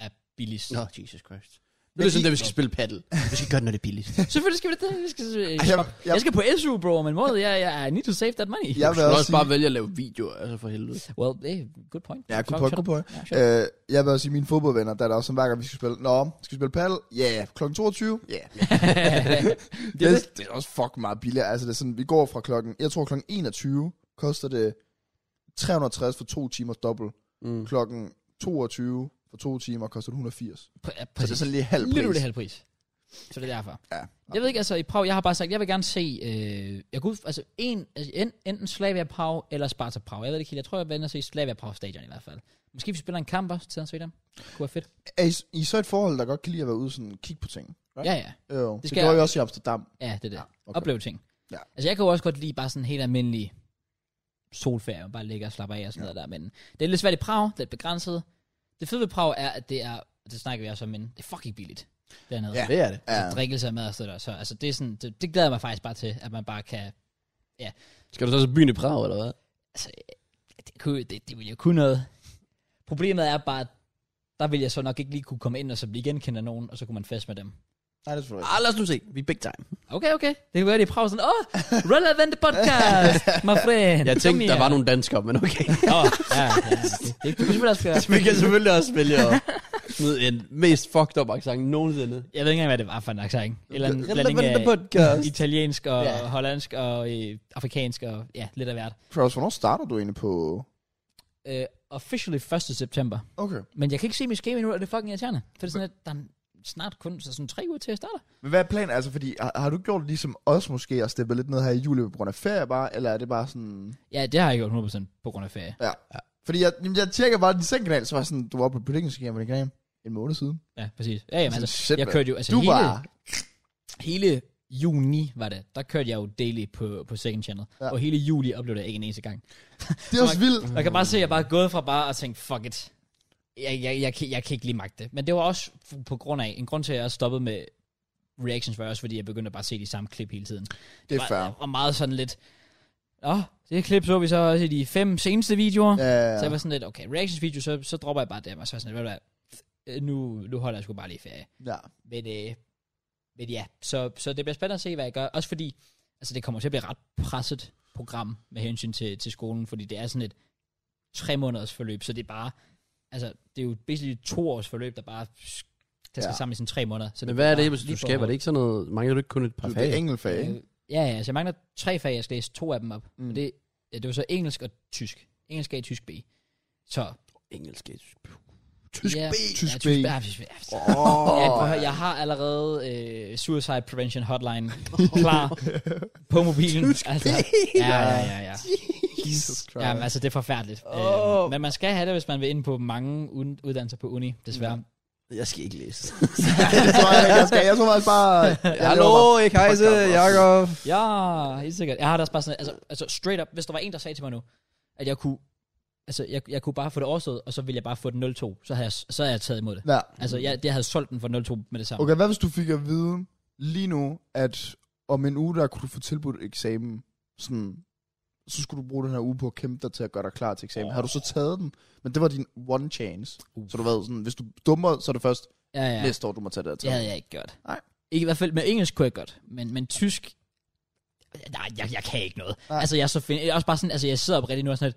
Speaker 1: er billigst?
Speaker 2: Nå, Jesus Christ. Det
Speaker 1: Men
Speaker 2: er sådan,
Speaker 1: I-
Speaker 2: at vi skal spille paddle. Vi skal gøre det, når det er billigt.
Speaker 1: Selvfølgelig skal vi det. Vi skal, øh,
Speaker 3: jeg-
Speaker 1: jeg,
Speaker 3: jeg-
Speaker 1: jeg, skal på SU, bro, om en måned. Jeg, jeg I need to save that money.
Speaker 3: jeg vil
Speaker 2: Du skal
Speaker 3: også
Speaker 2: også
Speaker 3: sige,
Speaker 2: bare vælge at lave videoer, altså for helvede.
Speaker 1: Well, hey, good point.
Speaker 3: Ja,
Speaker 1: Fuck,
Speaker 3: good point,
Speaker 1: shut
Speaker 3: good
Speaker 1: up.
Speaker 3: point.
Speaker 1: Ja, shut up. [LAUGHS]
Speaker 3: øh, jeg vil også sige, mine fodboldvenner, der er der også sådan, hver gang, vi skal spille, nå, skal vi spille paddle? Ja, yeah. klokken 22? Ja. Yeah. det, er, det er også fuck meget billigere. Altså, det er sådan, vi går fra klokken, jeg tror klokken 21, koster det 360 for to timer dobbelt.
Speaker 2: Mm.
Speaker 3: Klokken 22 for to timer koster det 180.
Speaker 1: Pr- ja,
Speaker 3: Så det er
Speaker 1: præcis.
Speaker 3: sådan lige halv pris.
Speaker 1: Lidt ud det halv pris. Så det er derfor.
Speaker 3: Ja.
Speaker 1: Jeg ved ikke, altså i Prag, jeg har bare sagt, jeg vil gerne se, øh, jeg kunne, altså, en, altså en, enten Slavia Prag eller Sparta Prag. Jeg ved det ikke helt, jeg tror, jeg vil ind og se Slavia Prag stadion i hvert fald. Måske vi spiller en kamp også til at se dem. Det kunne være fedt.
Speaker 3: Er I, I er så et forhold, der godt kan lide at være ude sådan kigge på ting?
Speaker 1: Ja, ja.
Speaker 3: Jo, det,
Speaker 1: skal
Speaker 3: det gjorde
Speaker 1: jeg-
Speaker 3: jeg også i Amsterdam.
Speaker 1: Ja, det er det.
Speaker 3: Ja,
Speaker 1: Ja,
Speaker 3: okay.
Speaker 1: okay. Opleve ting.
Speaker 3: Ja.
Speaker 1: Altså, jeg kan jo også godt lide bare sådan en helt almindelig solferie, man bare ligger og slapper af og sådan ja. noget der, men det er lidt svært i Prag, lidt begrænset. Det fede ved Prag er, at det er, det snakker vi også om, men det er fucking billigt dernede.
Speaker 3: Ja.
Speaker 2: Det er det.
Speaker 3: Ja,
Speaker 1: Ja. Drikkelse og mad og sådan noget. Så altså, det, er sådan, det, det glæder jeg mig faktisk bare til, at man bare kan...
Speaker 2: Skal du så til byen i Prag, eller hvad?
Speaker 1: Altså, det, kunne, det, det ville jo kunne noget. Problemet er bare, at der ville jeg så nok ikke lige kunne komme ind og så blive genkendt af nogen, og så kunne man fest med dem.
Speaker 3: Nej, det er selvfølgelig
Speaker 2: Ah, lad os nu se. Vi er big time.
Speaker 1: Okay, okay. Det kan være, de prøver sådan, åh, oh, relevant podcast, my friend.
Speaker 2: Jeg tænkte,
Speaker 1: Come
Speaker 2: der var
Speaker 1: here."
Speaker 2: nogle danskere, men okay. [LAUGHS]
Speaker 1: Nå,
Speaker 3: [LAUGHS]
Speaker 1: ja, ja, ja. Det, det, det, det, det, det,
Speaker 2: vi kan selvfølgelig også vælge at smide en mest fucked up accent nogensinde.
Speaker 1: Jeg ved ikke engang, hvad det var for en accent. Eller en blanding
Speaker 2: Relevant
Speaker 1: af
Speaker 2: podcast.
Speaker 1: italiensk og
Speaker 2: Ja.
Speaker 1: hollandsk og øh, afrikansk og ja, lidt af hvert.
Speaker 3: Kraus, hvornår starter du egentlig på...
Speaker 1: Øh, officially 1. september.
Speaker 3: Okay.
Speaker 1: Men jeg kan ikke se mit schema endnu, og det er fucking irriterende. For det er sådan, at der er snart kun så sådan tre uger til at starte.
Speaker 3: Men hvad er planen? Altså, fordi har, har du gjort ligesom os måske, at steppe lidt ned her i juli på grund af ferie bare, eller er det bare sådan...
Speaker 1: Ja, det har jeg gjort 100% på grund af ferie.
Speaker 3: Ja. ja. Fordi jeg, jamen, jeg tjekker bare din sengkanal, så var jeg sådan, du var på predictionskanal på din kanal en måned siden.
Speaker 1: Ja, præcis. Ja, jamen,
Speaker 3: Sådan,
Speaker 1: altså,
Speaker 3: shit,
Speaker 1: jeg
Speaker 3: mand.
Speaker 1: kørte jo, altså
Speaker 3: du
Speaker 1: hele,
Speaker 3: var...
Speaker 1: hele juni var det, der kørte jeg jo daily på, på second channel.
Speaker 3: Ja.
Speaker 1: Ja. Og hele juli oplevede jeg ikke en eneste gang.
Speaker 3: Det er også vildt.
Speaker 1: Og Jeg kan bare se, at jeg bare er gået fra bare at tænke, fuck it. Jeg, jeg, jeg, kan, jeg kan ikke lige magte det. Men det var også f- på grund af, en grund til, at jeg også stoppede med reactions, var også, fordi jeg begyndte bare at se de samme klip hele tiden.
Speaker 3: Det er fair.
Speaker 1: Var, var meget sådan lidt, åh, det her klip så vi så også i de fem seneste videoer.
Speaker 3: Ja, ja,
Speaker 1: Så jeg
Speaker 3: ja.
Speaker 1: var sådan lidt, okay, reactions video, så, så dropper jeg bare dem, og så var jeg sådan lidt, ved du hvad, nu, nu holder jeg sgu bare lige ferie.
Speaker 3: ja.
Speaker 1: Men, øh, men ja, så, så det bliver spændende at se, hvad jeg gør. Også fordi, altså det kommer til at blive et ret presset program med hensyn til, til skolen, fordi det er sådan et tre måneders forløb, så det er bare, altså det er jo basically et to års forløb, der bare der skal
Speaker 3: Ja.
Speaker 1: ja. sammen i sådan tre måneder. Så
Speaker 2: Men hvad er det,
Speaker 1: bare
Speaker 2: hvis du
Speaker 1: lige på
Speaker 2: skaber? Er
Speaker 1: hårdt.
Speaker 2: det ikke sådan noget? Mangler du ikke kun et par
Speaker 3: Du, det
Speaker 2: fag?
Speaker 3: er engelfag, ikke?
Speaker 1: Øh, Ja, ja, så jeg mangler tre fag, jeg skal læse to af dem op.
Speaker 3: Mm.
Speaker 1: Mm. Og det, ja, det var så engelsk og tysk. Engelsk A, tysk B. Så,
Speaker 2: Engelsk.
Speaker 3: Tysk
Speaker 1: ja,
Speaker 3: B.
Speaker 1: ja,
Speaker 3: Tysk B.
Speaker 1: tysk B. Ja, tysk B. Ja,
Speaker 3: Åh.
Speaker 1: Ja, prøv at høre, jeg har allerede øh, Suicide Prevention Hotline klar på mobilen. Altså, ja, ja, ja, ja.
Speaker 3: Jesus Christ.
Speaker 1: Jamen, altså, det er forfærdeligt.
Speaker 2: Åh.
Speaker 1: Øhm, men man skal have det, hvis man vil ind på mange un- uddannelser på uni, desværre.
Speaker 2: Jeg skal ikke
Speaker 3: [LAUGHS]
Speaker 2: læse.
Speaker 3: det tror jeg ikke, jeg skal. Jeg tror faktisk bare... jeg
Speaker 2: Hallo,
Speaker 3: laver
Speaker 2: ikke Heise,
Speaker 3: podcast også.
Speaker 2: Jakob.
Speaker 1: [LAUGHS] Ja, helt sikkert. Jeg har da også bare sådan, altså, altså straight up, hvis der var en, der sagde til mig nu, at jeg kunne, altså, jeg, jeg kunne bare få det overstået, og så ville jeg bare få den 02, så havde jeg, så havde jeg taget imod det.
Speaker 3: bare- Ja.
Speaker 1: Altså, jeg, jeg havde solgt den for 02 med det samme.
Speaker 3: Okay, hvad hvis du fik at vide lige nu, at om en uge, der kunne du få tilbudt eksamen, sådan, så skulle du bruge den her uge på at kæmpe dig til at gøre dig klar til eksamen. Oh. Har du så taget den? Men det var din one chance. Uh.
Speaker 1: Uh.
Speaker 3: Så du ved, sådan, hvis du dummer, så er det først
Speaker 1: Ja, ja.
Speaker 3: ja. næste år, du må tage det her
Speaker 1: Det havde
Speaker 3: til.
Speaker 1: jeg ikke gjort.
Speaker 3: Nej.
Speaker 1: Ikke, I hvert fald med engelsk kunne jeg godt, men, men tysk, nej, jeg, jeg kan ikke noget.
Speaker 3: Nej.
Speaker 1: Nej. Altså, jeg er så fin, jeg er også bare sådan, altså, jeg sidder op rigtig nu og sådan lidt,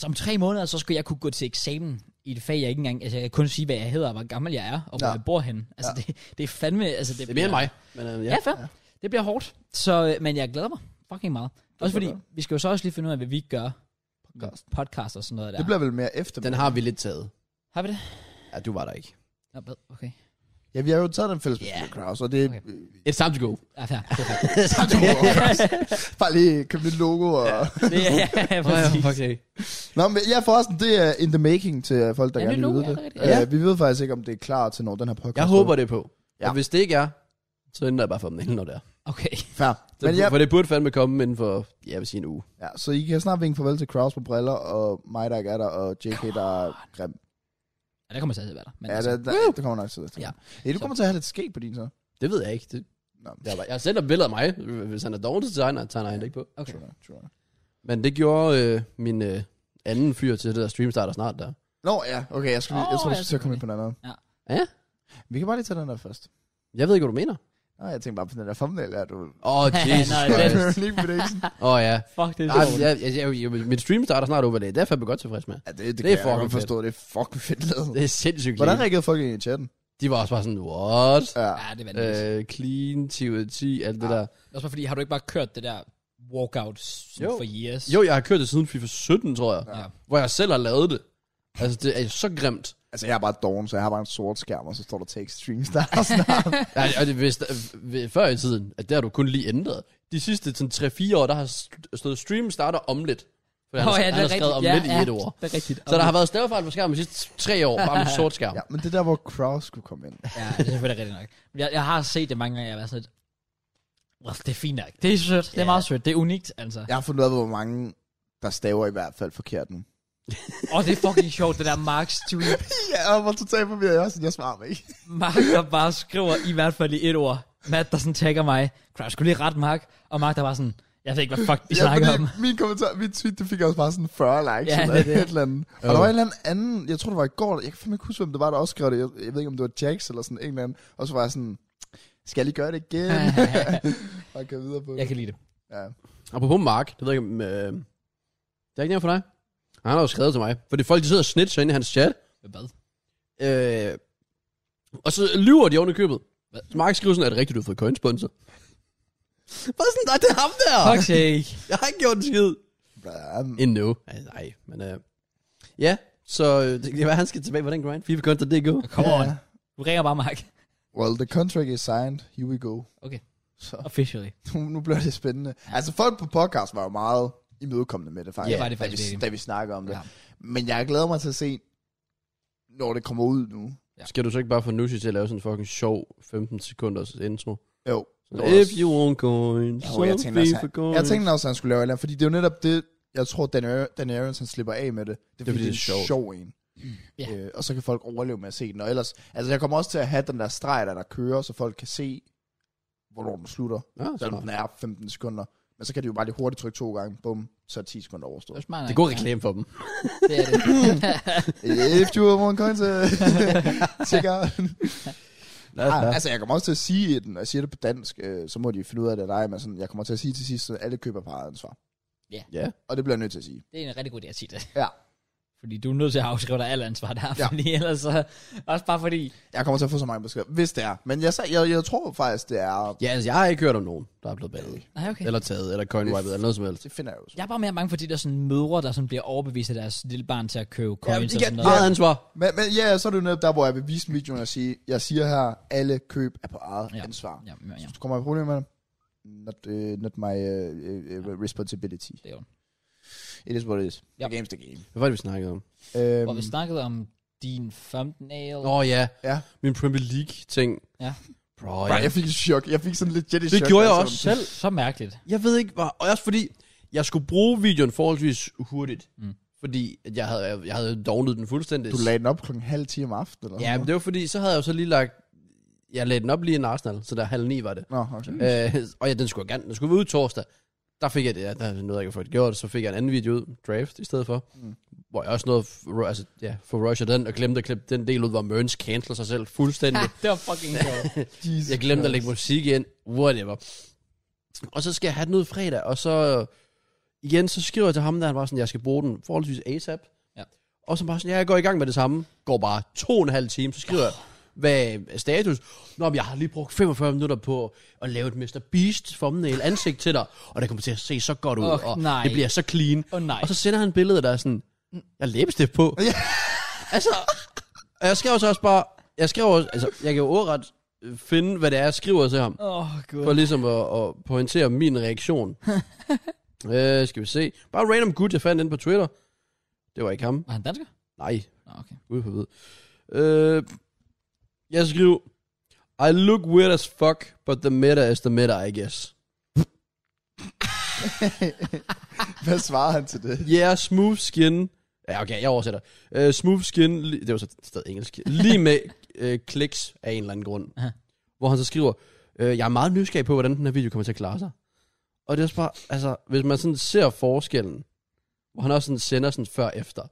Speaker 1: så om tre måneder, så skulle jeg kunne gå til eksamen i et fag, jeg ikke engang, altså, jeg kan kun sige, hvad jeg hedder, og hvor gammel jeg er, og hvor
Speaker 3: Ja.
Speaker 1: ja. jeg bor henne. Altså, ja. det, det er fandme, altså, det,
Speaker 2: Det er mere end mig. Men, øh,
Speaker 1: Ja,
Speaker 2: ja.
Speaker 1: fair. Ja. Det bliver hårdt, så, øh, men jeg glæder mig fucking meget. Også fordi, vi skal jo så også lige finde ud af, hvad vi gør.
Speaker 3: Podcast.
Speaker 1: Podcast og sådan noget der.
Speaker 3: Det bliver vel mere efter.
Speaker 2: Den har vi lidt taget.
Speaker 1: Har vi det?
Speaker 2: Ja, du var der ikke.
Speaker 1: Nå, hvad? Okay.
Speaker 3: Ja, vi har jo taget den fælles
Speaker 1: Ja.
Speaker 3: beslutning, Kraus, og det er
Speaker 1: Okay.
Speaker 2: It's time to go.
Speaker 1: Ja, [LAUGHS] fair. Det er fair.
Speaker 3: bare lige købe lidt logo. Og... Ja.
Speaker 1: [LAUGHS] Det er, ja, præcis.
Speaker 2: okay.
Speaker 3: Nå, men ja, forresten, det er in the making til øh, folk, der
Speaker 1: Ja,
Speaker 3: gerne
Speaker 1: nyt
Speaker 3: vil
Speaker 1: logo,
Speaker 3: vide
Speaker 1: ja,
Speaker 3: det.
Speaker 1: det er rigtigt.
Speaker 3: Øh,
Speaker 2: Ja.
Speaker 3: Vi ved faktisk ikke, om det er klar til, når den her podcast
Speaker 2: Jeg håber det er på.
Speaker 3: Ja.
Speaker 2: Ja. Og hvis det ikke er, så ændrer jeg bare for dem inden når det er.
Speaker 1: Okay.
Speaker 3: Fair.
Speaker 2: Så,
Speaker 3: Men jeg,
Speaker 2: For det burde fandme komme inden for, ja, vil sige en uge.
Speaker 3: Ja, så I kan snart vinke farvel til Kraus på briller, og mig, der ikke er der, og JK, der er grim.
Speaker 1: Ja, der kommer stadig til at være der. Men
Speaker 3: Ja,
Speaker 1: altså,
Speaker 3: der, der, det kommer nok til det.
Speaker 1: Ja.
Speaker 3: Hey, du
Speaker 1: Så-
Speaker 3: kommer til at have lidt skæg på din så.
Speaker 2: Det ved jeg ikke. Det,
Speaker 3: Nå,
Speaker 2: jeg, har bare- jeg har sendt et billede af mig. Hvis han er dårlig designer, tegner han det ikke på.
Speaker 1: okay.
Speaker 3: tror jeg, tror jeg.
Speaker 2: Men det gjorde øh, min øh, anden fyr til det der streamstarter snart der.
Speaker 3: Nå, ja, okay, jeg, skal lige, jeg
Speaker 1: Åh,
Speaker 3: tror, du
Speaker 1: ja,
Speaker 3: skal til at komme ind på den anden.
Speaker 1: Ja.
Speaker 2: Ja?
Speaker 3: Vi kan bare lige tage den der først.
Speaker 2: Jeg ved ikke, hvad du mener.
Speaker 3: Nå, jeg tænkte bare på den der thumbnail, der du...
Speaker 2: Åh, oh, Jesus
Speaker 1: [LAUGHS] Nej,
Speaker 2: Christ.
Speaker 1: den-
Speaker 3: [LAUGHS] League prediction.
Speaker 2: Åh, oh, ja.
Speaker 1: Fuck, [LAUGHS] det er
Speaker 2: Ej, jeg, jeg, jeg, jeg, min stream starter snart over det. Det er jeg fandme godt tilfreds med.
Speaker 3: Ja, det, det, det
Speaker 2: Det er
Speaker 3: kan jeg
Speaker 2: fucking
Speaker 3: godt forstå, det er fucking fedt lavet.
Speaker 2: Det er sindssygt
Speaker 3: Hvordan
Speaker 2: clean.
Speaker 3: reagerede folk egentlig i chatten?
Speaker 2: De var også bare sådan, what?
Speaker 3: Ja,
Speaker 1: Ja, det er vanvittigt. Øh.
Speaker 2: Øh, clean, 10 ud af 10, alt det der.
Speaker 1: Også bare fordi, har du ikke bare kørt det der walkout
Speaker 2: Jo.
Speaker 1: jo. for years?
Speaker 2: Jo, jeg har kørt det siden FIFA 17, tror jeg.
Speaker 1: Ja.
Speaker 2: Hvor jeg selv har lavet det. Altså, det er så grimt.
Speaker 3: altså jeg er bare doven, så jeg har bare en sort skærm, og så står der take stream start snart.
Speaker 2: Ja, og det, hvis, der- før i tiden, at det har du kun lige ændret. De sidste sådan, 3-4 år, der har st- stået stream starter omlet. For han,
Speaker 1: Åh,
Speaker 2: oh,
Speaker 1: ja,
Speaker 2: ja, han
Speaker 1: det
Speaker 2: har
Speaker 1: er
Speaker 2: skrevet
Speaker 1: rigtigt.
Speaker 2: omlet
Speaker 1: Ja,
Speaker 2: i
Speaker 1: ja.
Speaker 2: et år.
Speaker 1: Det er rigtigt.
Speaker 2: Så der har været stavefejl på skærmen de sidste tre år, bare med sort
Speaker 1: [LAUGHS]
Speaker 2: skærm.
Speaker 3: ja, men det er der, hvor Kraus skulle komme ind.
Speaker 1: Ja, det er selvfølgelig rigtigt nok. Men Jeg, jeg har set det mange gange, jeg har været sådan lidt... Well, det er fint nok. Det er sødt. Det er
Speaker 2: Ja.
Speaker 1: meget sødt. Det er unikt, altså.
Speaker 3: Jeg har fundet ud af, hvor mange der staver i hvert fald forkert nu.
Speaker 1: Åh, oh, det er fucking sjovt, det der Marks tweet.
Speaker 3: [LAUGHS] Ja, jeg var totalt forvirret. Jeg, var sådan, jeg svarer mig ikke.
Speaker 1: Mark, der bare skriver i hvert fald i et ord. Matt, der sådan tagger mig. Crash, skulle lige ret, Mark. Og Mark, der var sådan... Jeg ved ikke, hvad fuck vi
Speaker 3: Ja,
Speaker 1: snakker om.
Speaker 3: fordi min kommentar, min tweet, det fik også bare sådan 40 likes
Speaker 1: Ja,
Speaker 3: ja, eller
Speaker 1: det er det.
Speaker 3: et eller andet. Og
Speaker 2: Jo.
Speaker 3: der var en eller anden anden, jeg tror det var i går, jeg kan fandme ikke huske, hvem det var, der også skrev det. Jeg, jeg ved ikke, om det var Jax eller sådan en eller anden. Og så var jeg sådan, Skal jeg lige gøre det
Speaker 1: [LAUGHS]
Speaker 3: igen?
Speaker 2: [LAUGHS]
Speaker 3: og køre videre på det.
Speaker 1: jeg kan lide det.
Speaker 3: Ja.
Speaker 2: Apropos Mark, det ved jeg ikke, om, øh, det er ikke nævnt for dig. Han har jo skrevet til mig, fordi folk de sidder og snitcher ind i hans chat,
Speaker 1: Hvad?
Speaker 2: øh, og så lyver de oven i købet.
Speaker 1: Hvad?
Speaker 2: Mark skriver sådan, er det rigtigt, du har fået coinsponsor? [LAUGHS] Bare sådan, nej, det er ham der!
Speaker 1: Fuck sake.
Speaker 2: Jeg har ikke gjort en skid.
Speaker 3: Bra, mm.
Speaker 2: Endnu. Ej, Nej, men øh, ja, så øh, det kan være, han skal tilbage på den grind. FIFA Counter DK.
Speaker 1: Come on.
Speaker 3: Ja.
Speaker 1: Du ringer bare Mark.
Speaker 3: Well, the contract is signed. Here we go.
Speaker 1: Okay.
Speaker 3: Så [LAUGHS]
Speaker 1: Officially.
Speaker 3: nu, nu bliver det spændende. Altså, folk på podcast var jo meget imødekommende med det, faktisk.
Speaker 1: Ja, var det faktisk
Speaker 3: da vi,
Speaker 1: virkelig.
Speaker 3: da vi snakker om det.
Speaker 1: Ja.
Speaker 3: Ja. Men jeg glæder mig til at se, når det kommer ud nu.
Speaker 2: Skal du så ikke bare få Nushi til at lave sådan en fucking sjov 15 sekunders intro?
Speaker 3: Jo.
Speaker 2: Sådan, If you want coins,
Speaker 3: Jo,
Speaker 2: so
Speaker 3: jeg tænkte også,
Speaker 2: FIFA
Speaker 3: han-
Speaker 2: coins.
Speaker 3: Jeg tænkte også, at han skulle lave et eller andet, fordi det er jo netop det, jeg tror, Dan Ar- Dan Arians, han slipper af med det. Det er, fordi det er
Speaker 2: sjovt.
Speaker 3: en sjov en.
Speaker 1: Ja.
Speaker 3: Øh, og så kan folk overleve med at se den. Og ellers, altså jeg kommer også til at have den der streg, der, der kører, så folk kan se, hvornår den slutter.
Speaker 2: Ja,
Speaker 3: Selvom den
Speaker 2: smart.
Speaker 3: er 15 sekunder. Men så kan de jo bare lige hurtigt trykke to gange. Bum, så er 10 sekunder overstået.
Speaker 2: [LAUGHS]
Speaker 1: Det er smart.
Speaker 2: det er
Speaker 1: nok.
Speaker 2: god reklame for dem.
Speaker 1: Ja, Det er det.
Speaker 3: If you want coins,
Speaker 2: [LAUGHS]
Speaker 3: uh, check out.
Speaker 2: Ja,
Speaker 3: Ah, altså, jeg kommer også til at sige den, og jeg siger det på dansk, øh, så må de finde ud af det dig, men sådan, jeg kommer til at sige til sidst, at alle køber på eget ansvar.
Speaker 2: ja.
Speaker 3: Og det bliver jeg nødt til at sige.
Speaker 1: det er en rigtig god idé at sige det.
Speaker 3: Ja.
Speaker 1: Fordi du er nødt til at afskrive dig alt ansvar der,
Speaker 3: Ja.
Speaker 1: ja. fordi ellers så... Også bare fordi...
Speaker 3: Jeg kommer til at få så mange beskeder, hvis det er. Men jeg, sag- jeg, jeg tror faktisk, det er...
Speaker 2: ja altså, jeg har ikke hørt om nogen, der er blevet
Speaker 3: [LAUGHS]
Speaker 2: bandet.
Speaker 1: Nej, okay.
Speaker 2: Eller taget, eller coinwiped, eller noget som helst.
Speaker 3: Det finder jeg jo. så.
Speaker 1: Jeg er bare mere mange for de der sådan mødre, der sådan bliver overbevist af deres lille barn til at købe coins
Speaker 3: de
Speaker 1: og
Speaker 3: kan-
Speaker 1: sådan noget.
Speaker 2: Eget ansvar.
Speaker 3: Men, men ja, så er det jo netop der, hvor jeg vil vise videoen og sige, jeg siger her, alle køb er på eget
Speaker 1: Ja.
Speaker 3: ja. ansvar.
Speaker 1: Ja, ja, ja.
Speaker 3: Hvis du kommer i problemer med det, not, uh, not my uh, uh, responsibility.
Speaker 1: Det er jo.
Speaker 3: It is what it is.
Speaker 1: Ja.
Speaker 3: The game's the game.
Speaker 2: Hvad var det, vi snakkede om?
Speaker 1: Hvor
Speaker 3: Øhm,
Speaker 1: vi snakkede om din thumbnail.
Speaker 2: Åh oh, ja,
Speaker 3: ja.
Speaker 2: min Premier League-ting.
Speaker 1: Ja.
Speaker 2: Bro,
Speaker 3: Bro,
Speaker 2: ja.
Speaker 3: jeg fik et chok. Jeg fik sådan lidt jetty
Speaker 2: Det
Speaker 3: chok,
Speaker 2: gjorde jeg
Speaker 3: altså.
Speaker 2: også selv.
Speaker 1: Så mærkeligt.
Speaker 2: Jeg ved ikke, hvor, og også fordi, jeg skulle bruge videoen forholdsvis hurtigt. Mm. Fordi at jeg havde, jeg, jeg havde dognet den fuldstændig.
Speaker 3: Du lagde den op klokken halv 10 om aftenen, eller
Speaker 2: Ja, men det var fordi, så havde jeg jo så lige lagt, jeg lagde den op lige inden Arsenal, så der halv ni var det.
Speaker 3: Nå, okay.
Speaker 2: Øh, og ja, den skulle jeg gerne, den skulle være ud torsdag. Der fik jeg det, ja, der nåede jeg ikke at få det gjort, så fik jeg en anden video ud, draft i stedet for. Mm. Hvor jeg også nåede, at f- altså, ja, for Russia den, og glemte at klippe den del ud, hvor Mørns canceler sig selv fuldstændig. [LAUGHS]
Speaker 1: Det var fucking sjovt.
Speaker 3: Jesus
Speaker 2: Jeg glemte at lægge
Speaker 3: Christ.
Speaker 2: musik ind. Whatever. Og så skal jeg have den ud fredag, og så igen, så skriver jeg til ham, der han var sådan, jeg skal bruge den forholdsvis ASAP.
Speaker 1: Ja.
Speaker 2: Og så bare sådan, ja, jeg går i gang med det samme. Går bare to og en halv time, så skriver jeg, hvad er status? Nå, men jeg har lige brugt 45 minutter på at lave et Mr. Beast thumbnail ansigt til dig, og det kommer til at se så godt ud,
Speaker 1: Åh,
Speaker 2: og
Speaker 1: nej.
Speaker 2: det bliver så clean.
Speaker 1: Åh, nej.
Speaker 2: Og så sender han billedet, der er sådan, jeg har læbestift på.
Speaker 3: Ja.
Speaker 2: altså, og jeg skrev så også bare, jeg skrev også, altså, jeg kan jo ordret øh, finde, hvad det er, jeg skriver til ham,
Speaker 1: Åh, oh, gud.
Speaker 2: for ligesom at, at pointere min reaktion. øh, skal vi se. Bare random gut, jeg fandt inde på Twitter. Det var ikke ham.
Speaker 1: Var han dansker?
Speaker 2: Nej,
Speaker 1: Nå, okay.
Speaker 2: ude på ved. Øh, jeg skrev, I look weird as fuck, but the meta is the meta, I guess.
Speaker 3: Hvad svarer han
Speaker 1: [LAUGHS]
Speaker 3: til det?
Speaker 2: Yeah, smooth skin. Ja, okay, jeg oversætter. Uh, smooth skin, li- det var så stadig engelsk. Lige med [LAUGHS] uh, kliks af en eller anden grund.
Speaker 1: Aha.
Speaker 2: Hvor han så skriver, uh, jeg er meget nysgerrig på, hvordan den her video kommer til at klare sig. Og det er også bare, altså, hvis man sådan ser forskellen, hvor han også sådan sender sådan før og efter.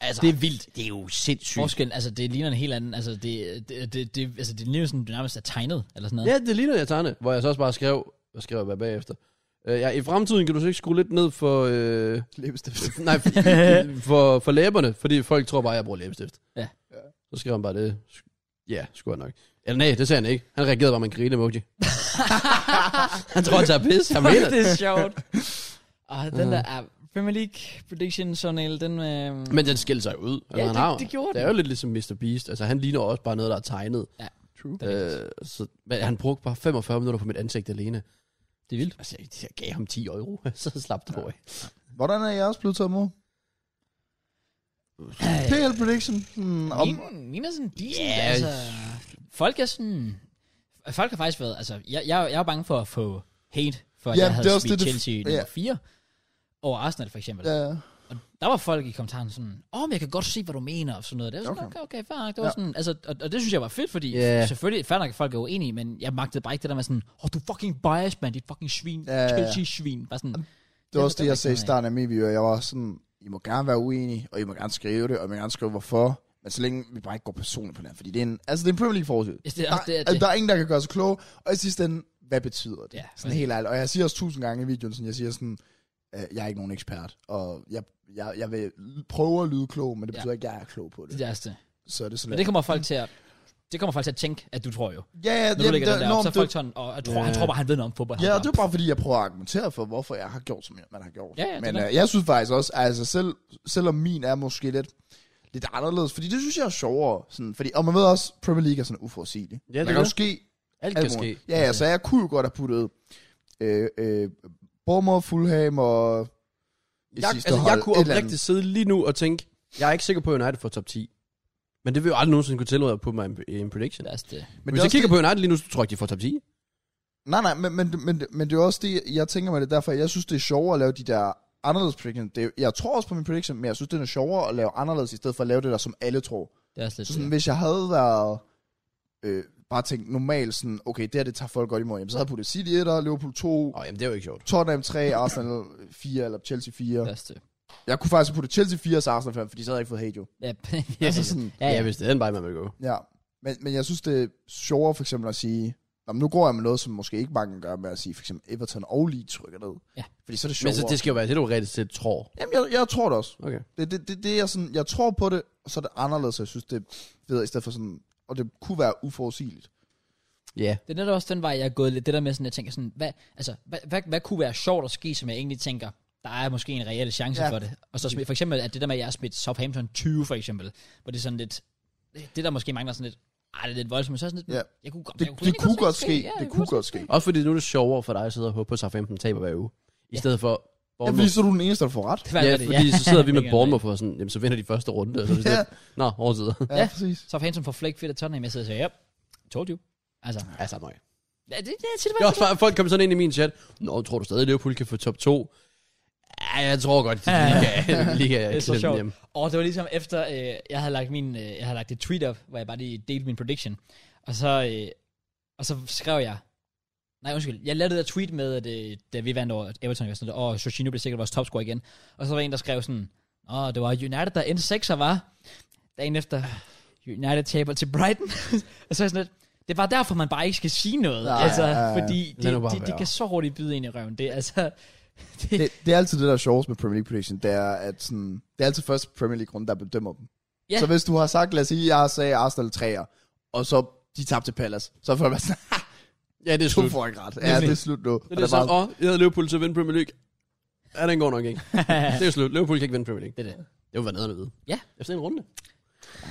Speaker 2: Altså,
Speaker 1: Det er vildt.
Speaker 2: det er jo sindssygt.
Speaker 1: Forskellen, altså det ligner en helt anden, altså det, det, det, det, altså, det ligner sådan, det nærmest er tegnet, eller sådan noget.
Speaker 2: Ja, det ligner jeg tegne, hvor jeg så også bare skrev, hvad skrev jeg bare bagefter? Øh, ja, i fremtiden kan du så ikke skrue lidt ned for, øh,
Speaker 3: Læbestift.
Speaker 2: nej, for, for, for læberne, fordi folk tror bare, jeg bruger læbestift.
Speaker 1: Ja.
Speaker 3: Ja.
Speaker 2: Så skrev han bare det. Ja, skulle jeg nok. Eller nej, det sagde han ikke. Han reagerede bare med en grine emoji. [LAUGHS] han tror, han tager pis. Han mener
Speaker 1: [LAUGHS] det
Speaker 2: det.
Speaker 1: er sjovt. Og den der er Premier League prediction sådan den... Øh,
Speaker 2: Men den skilte sig ud. Altså,
Speaker 1: Ja,
Speaker 2: han
Speaker 1: det-
Speaker 2: har, jo-
Speaker 1: det gjorde
Speaker 2: Det er
Speaker 1: den.
Speaker 2: jo lidt ligesom Mr. Beast. Altså, han ligner også bare noget, der er tegnet.
Speaker 3: True.
Speaker 2: Øh, så, men han brugte bare 45 minutter på mit ansigt alene.
Speaker 1: det er vildt.
Speaker 2: Altså, jeg, jeg gav ham 10 euro, [LAUGHS] så slap det på.
Speaker 3: Hvordan er jeg også blevet taget imod? PL prediction. Hmm, om,
Speaker 1: Min, min er Øh, sådan decent,
Speaker 2: Ja.
Speaker 1: yeah. altså. Folk er sådan... Folk har faktisk været... Altså, jeg, jeg, jeg er bange for at få hate, for at
Speaker 3: Ja,
Speaker 1: jeg
Speaker 3: det er
Speaker 1: havde
Speaker 3: også
Speaker 1: smidt
Speaker 3: det, det-
Speaker 1: Chelsea
Speaker 3: ja.
Speaker 1: nummer 4 over Arsenal for eksempel.
Speaker 3: ja,
Speaker 1: Og der var folk i kommentaren sådan, åh, oh, men jeg kan godt se, hvad du mener, og sådan noget. Det var sådan, okay, okay, okay fair nok. Det var
Speaker 3: Ja.
Speaker 1: sådan, altså, og, og, det synes jeg var fedt, fordi
Speaker 2: Ja.
Speaker 1: yeah. selvfølgelig, fair nok, at folk er uenige, men jeg magtede bare ikke det der med sådan, åh, oh, du er fucking biased, mand, dit fucking svin,
Speaker 3: Ja, ja, ja.
Speaker 1: Chelsea-svin. Bare sådan,
Speaker 3: det var også det, jeg sagde i
Speaker 1: noget af.
Speaker 3: starten af min video. Jeg var sådan, I må gerne være uenige, og I må gerne skrive det, og I må gerne skrive hvorfor. Men så længe vi bare ikke går personligt på den her, fordi det er en, altså det er en Premier League forsøg.
Speaker 1: Det er også det,
Speaker 3: der,
Speaker 1: at
Speaker 3: altså,
Speaker 1: det-
Speaker 3: der er ingen, der kan gøre sig kloge, og i sidste ende, hvad betyder det?
Speaker 1: Ja,
Speaker 3: sådan helt ærligt. Og jeg siger også tusind gange i videoen, sådan, jeg siger sådan, øh, jeg er ikke nogen ekspert, og jeg, jeg, jeg vil prøve at lyde klog, men det
Speaker 1: Ja.
Speaker 3: betyder ikke, at jeg er klog på det.
Speaker 1: det er også det.
Speaker 3: Så er det sådan
Speaker 1: Men det kommer folk til at, det kommer folk til at tænke, at du tror jo.
Speaker 3: Ja, ja,
Speaker 1: Når du
Speaker 3: jamen,
Speaker 1: lægger den
Speaker 3: der,
Speaker 1: der op,
Speaker 3: norm,
Speaker 1: så er folk
Speaker 3: det,
Speaker 1: sådan, og jeg tror,
Speaker 2: Ja.
Speaker 1: han tror bare, han ved noget om fodbold.
Speaker 3: ja,
Speaker 1: Han
Speaker 3: og det er bare fordi, jeg prøver at argumentere for, hvorfor jeg har gjort, som jeg- man har gjort.
Speaker 1: Ja, ja, det er
Speaker 3: Men
Speaker 1: klart.
Speaker 3: øh, jeg synes faktisk også, altså selv, selvom min er måske lidt, lidt anderledes, fordi det synes jeg er sjovere. Sådan, fordi, og man ved også, Premier League er sådan uforudsigelig.
Speaker 2: det er
Speaker 3: der kan
Speaker 2: det.
Speaker 3: jo ske
Speaker 2: Alt
Speaker 3: alt
Speaker 2: kan ske.
Speaker 3: muligt. Ja, ja, så jeg kunne jo godt have puttet øh, øh, Bournemouth, Fulham og... i
Speaker 2: Jeg,
Speaker 3: sidste
Speaker 2: altså,
Speaker 3: hold,
Speaker 2: jeg kunne
Speaker 3: et eller andet.
Speaker 2: oprigtigt sidde lige nu og tænke, jeg er ikke sikker på, at United får top 10. Men det vil jo aldrig nogensinde kunne tillade på mig en, en prediction.
Speaker 1: Det er også det.
Speaker 3: Men
Speaker 2: Hvis
Speaker 3: det er
Speaker 2: jeg
Speaker 3: også
Speaker 2: kigger på United lige nu, så tror jeg ikke, de får top 10.
Speaker 3: Nej, nej, men, men, men, men det er jo også det, jeg tænker mig det, er derfor jeg synes, det er sjovere at lave de der anderledes prediction. Det er, jeg tror også på min prediction, men jeg synes, det er sjovere at lave anderledes, i stedet for at lave det der, som alle tror.
Speaker 1: Det er også lidt
Speaker 3: Så sådan,
Speaker 1: det.
Speaker 3: hvis jeg havde været, øh, bare tænkt normalt sådan, okay, det her, det tager folk godt imod, jamen, så havde jeg puttet City 1, Liverpool 2,
Speaker 2: Åh, jamen det er jo ikke sjovt.
Speaker 3: Tottenham 3, Arsenal 4, eller Chelsea 4.
Speaker 1: Det er også det.
Speaker 3: Jeg kunne faktisk have puttet Chelsea 4 og så Arsenal 5, fordi så havde jeg ikke fået hate jo.
Speaker 1: Ja, [LAUGHS]
Speaker 3: Altså sådan,
Speaker 1: ja,
Speaker 2: Ja,
Speaker 1: ja.
Speaker 2: ja hvis det er den vej, man vil gå.
Speaker 3: Ja, men, men jeg synes, det er sjovere for eksempel at sige, Nå, men nu går jeg med noget, som måske ikke mange gør med at sige, for eksempel Everton og Leeds rykker ned.
Speaker 1: Ja.
Speaker 3: Fordi så er det
Speaker 2: Men
Speaker 3: sjovere.
Speaker 2: så, det skal jo være det, du reelt set tror.
Speaker 3: Jamen, jeg, jeg tror det også.
Speaker 2: Okay.
Speaker 3: Det, det, det, det er sådan, jeg tror på det, og så er det anderledes, og jeg synes, det er federe, i stedet for sådan, og det kunne være uforudsigeligt.
Speaker 2: Ja.
Speaker 1: Det er netop også den vej, jeg er gået lidt. Det der med sådan, jeg tænker sådan, hvad, altså, hvad, hvad, hvad kunne være sjovt at ske, som jeg egentlig tænker, der er måske en reel chance ja.
Speaker 3: Ja.
Speaker 1: for det. Og så smidt, for eksempel, at det der med, at jeg har smidt Southampton 20, for eksempel, hvor det er sådan lidt, det det der måske mangler sådan lidt, ej, det er lidt voldsomt, men så er sådan lidt,
Speaker 3: Ja.
Speaker 1: jeg kunne godt,
Speaker 3: Det,
Speaker 1: jeg
Speaker 3: det, det kunne godt ske.
Speaker 1: Ja,
Speaker 3: Det kunne godt ske.
Speaker 2: Også fordi nu er det sjovere for dig at sidde og håbe på, at Southampton taber hver uge. I stedet for...
Speaker 3: Ja, fordi så er du den eneste, der får ret.
Speaker 1: Det var
Speaker 2: ja,
Speaker 1: det,
Speaker 2: fordi
Speaker 3: [LAUGHS]
Speaker 2: så sidder
Speaker 1: [LAUGHS]
Speaker 2: vi
Speaker 1: Det
Speaker 2: med
Speaker 1: kan
Speaker 2: Bournemouth og sådan, jamen så vinder de første runde. Og så er det sådan,
Speaker 3: Ja.
Speaker 2: lidt, Nå, overtider.
Speaker 3: Ja,
Speaker 1: Ja.
Speaker 3: ja. præcis.
Speaker 1: Southampton får flæk fedt af Tottenham, jeg sidder og siger, ja, told you. Altså,
Speaker 2: Ja, samme øje.
Speaker 1: ja, det, det, det, det,
Speaker 2: Det er også bare, folk kommer sådan ind i min chat. Nå, tror du stadig, Liverpool kan få top 2? Ja, jeg tror godt, de lige kan, [LAUGHS] lige kan
Speaker 1: Det er så
Speaker 2: klemme den
Speaker 1: sjovt.
Speaker 2: hjem.
Speaker 1: Og det var ligesom efter, øh, jeg havde lagt min, øh, jeg havde lagt et tweet op, hvor jeg bare lige delte min prediction. Og så, øh, og så skrev jeg, nej undskyld, jeg lavede det der tweet med, at øh, da vi vandt over Everton, jeg var sådan, lidt, åh, Jorginho blev sikkert vores topscorer igen. Og så var der en, der skrev sådan, åh, det var United, der endte 6'er, var. Dagen efter, United taber til Brighton. [LAUGHS] og så er jeg sådan lidt, det var derfor, man bare ikke skal sige noget.
Speaker 3: Nej,
Speaker 1: altså,
Speaker 3: ja, ja, ja.
Speaker 1: fordi de,
Speaker 2: Lad nu bare
Speaker 1: de, de,
Speaker 2: være.
Speaker 1: kan så hurtigt byde ind i røven. Det er altså... Det,
Speaker 3: Det, det er altid det, der er sjovest med Premier League prediction, det er, at sådan, det er altid først Premier League-runden, der bedømmer dem.
Speaker 1: Ja.
Speaker 3: Ja. Så hvis du har sagt, lad os sige, jeg sagde Arsenal 3'er, og så de tabte til Palace, så får jeg bare sådan,
Speaker 2: Ja, det er
Speaker 3: du
Speaker 2: slut.
Speaker 3: får ikke ret. Ja,
Speaker 1: Nemlig.
Speaker 3: det er slut nu.
Speaker 2: Det er det så, åh, jeg havde Liverpool til at vinde Premier League. Ja, den går nok
Speaker 1: [LAUGHS]
Speaker 2: ikke. det er slut. Liverpool kan ikke vinde Premier League.
Speaker 1: det, er det.
Speaker 2: Det var noget at vide.
Speaker 1: Ja.
Speaker 2: Efter en runde.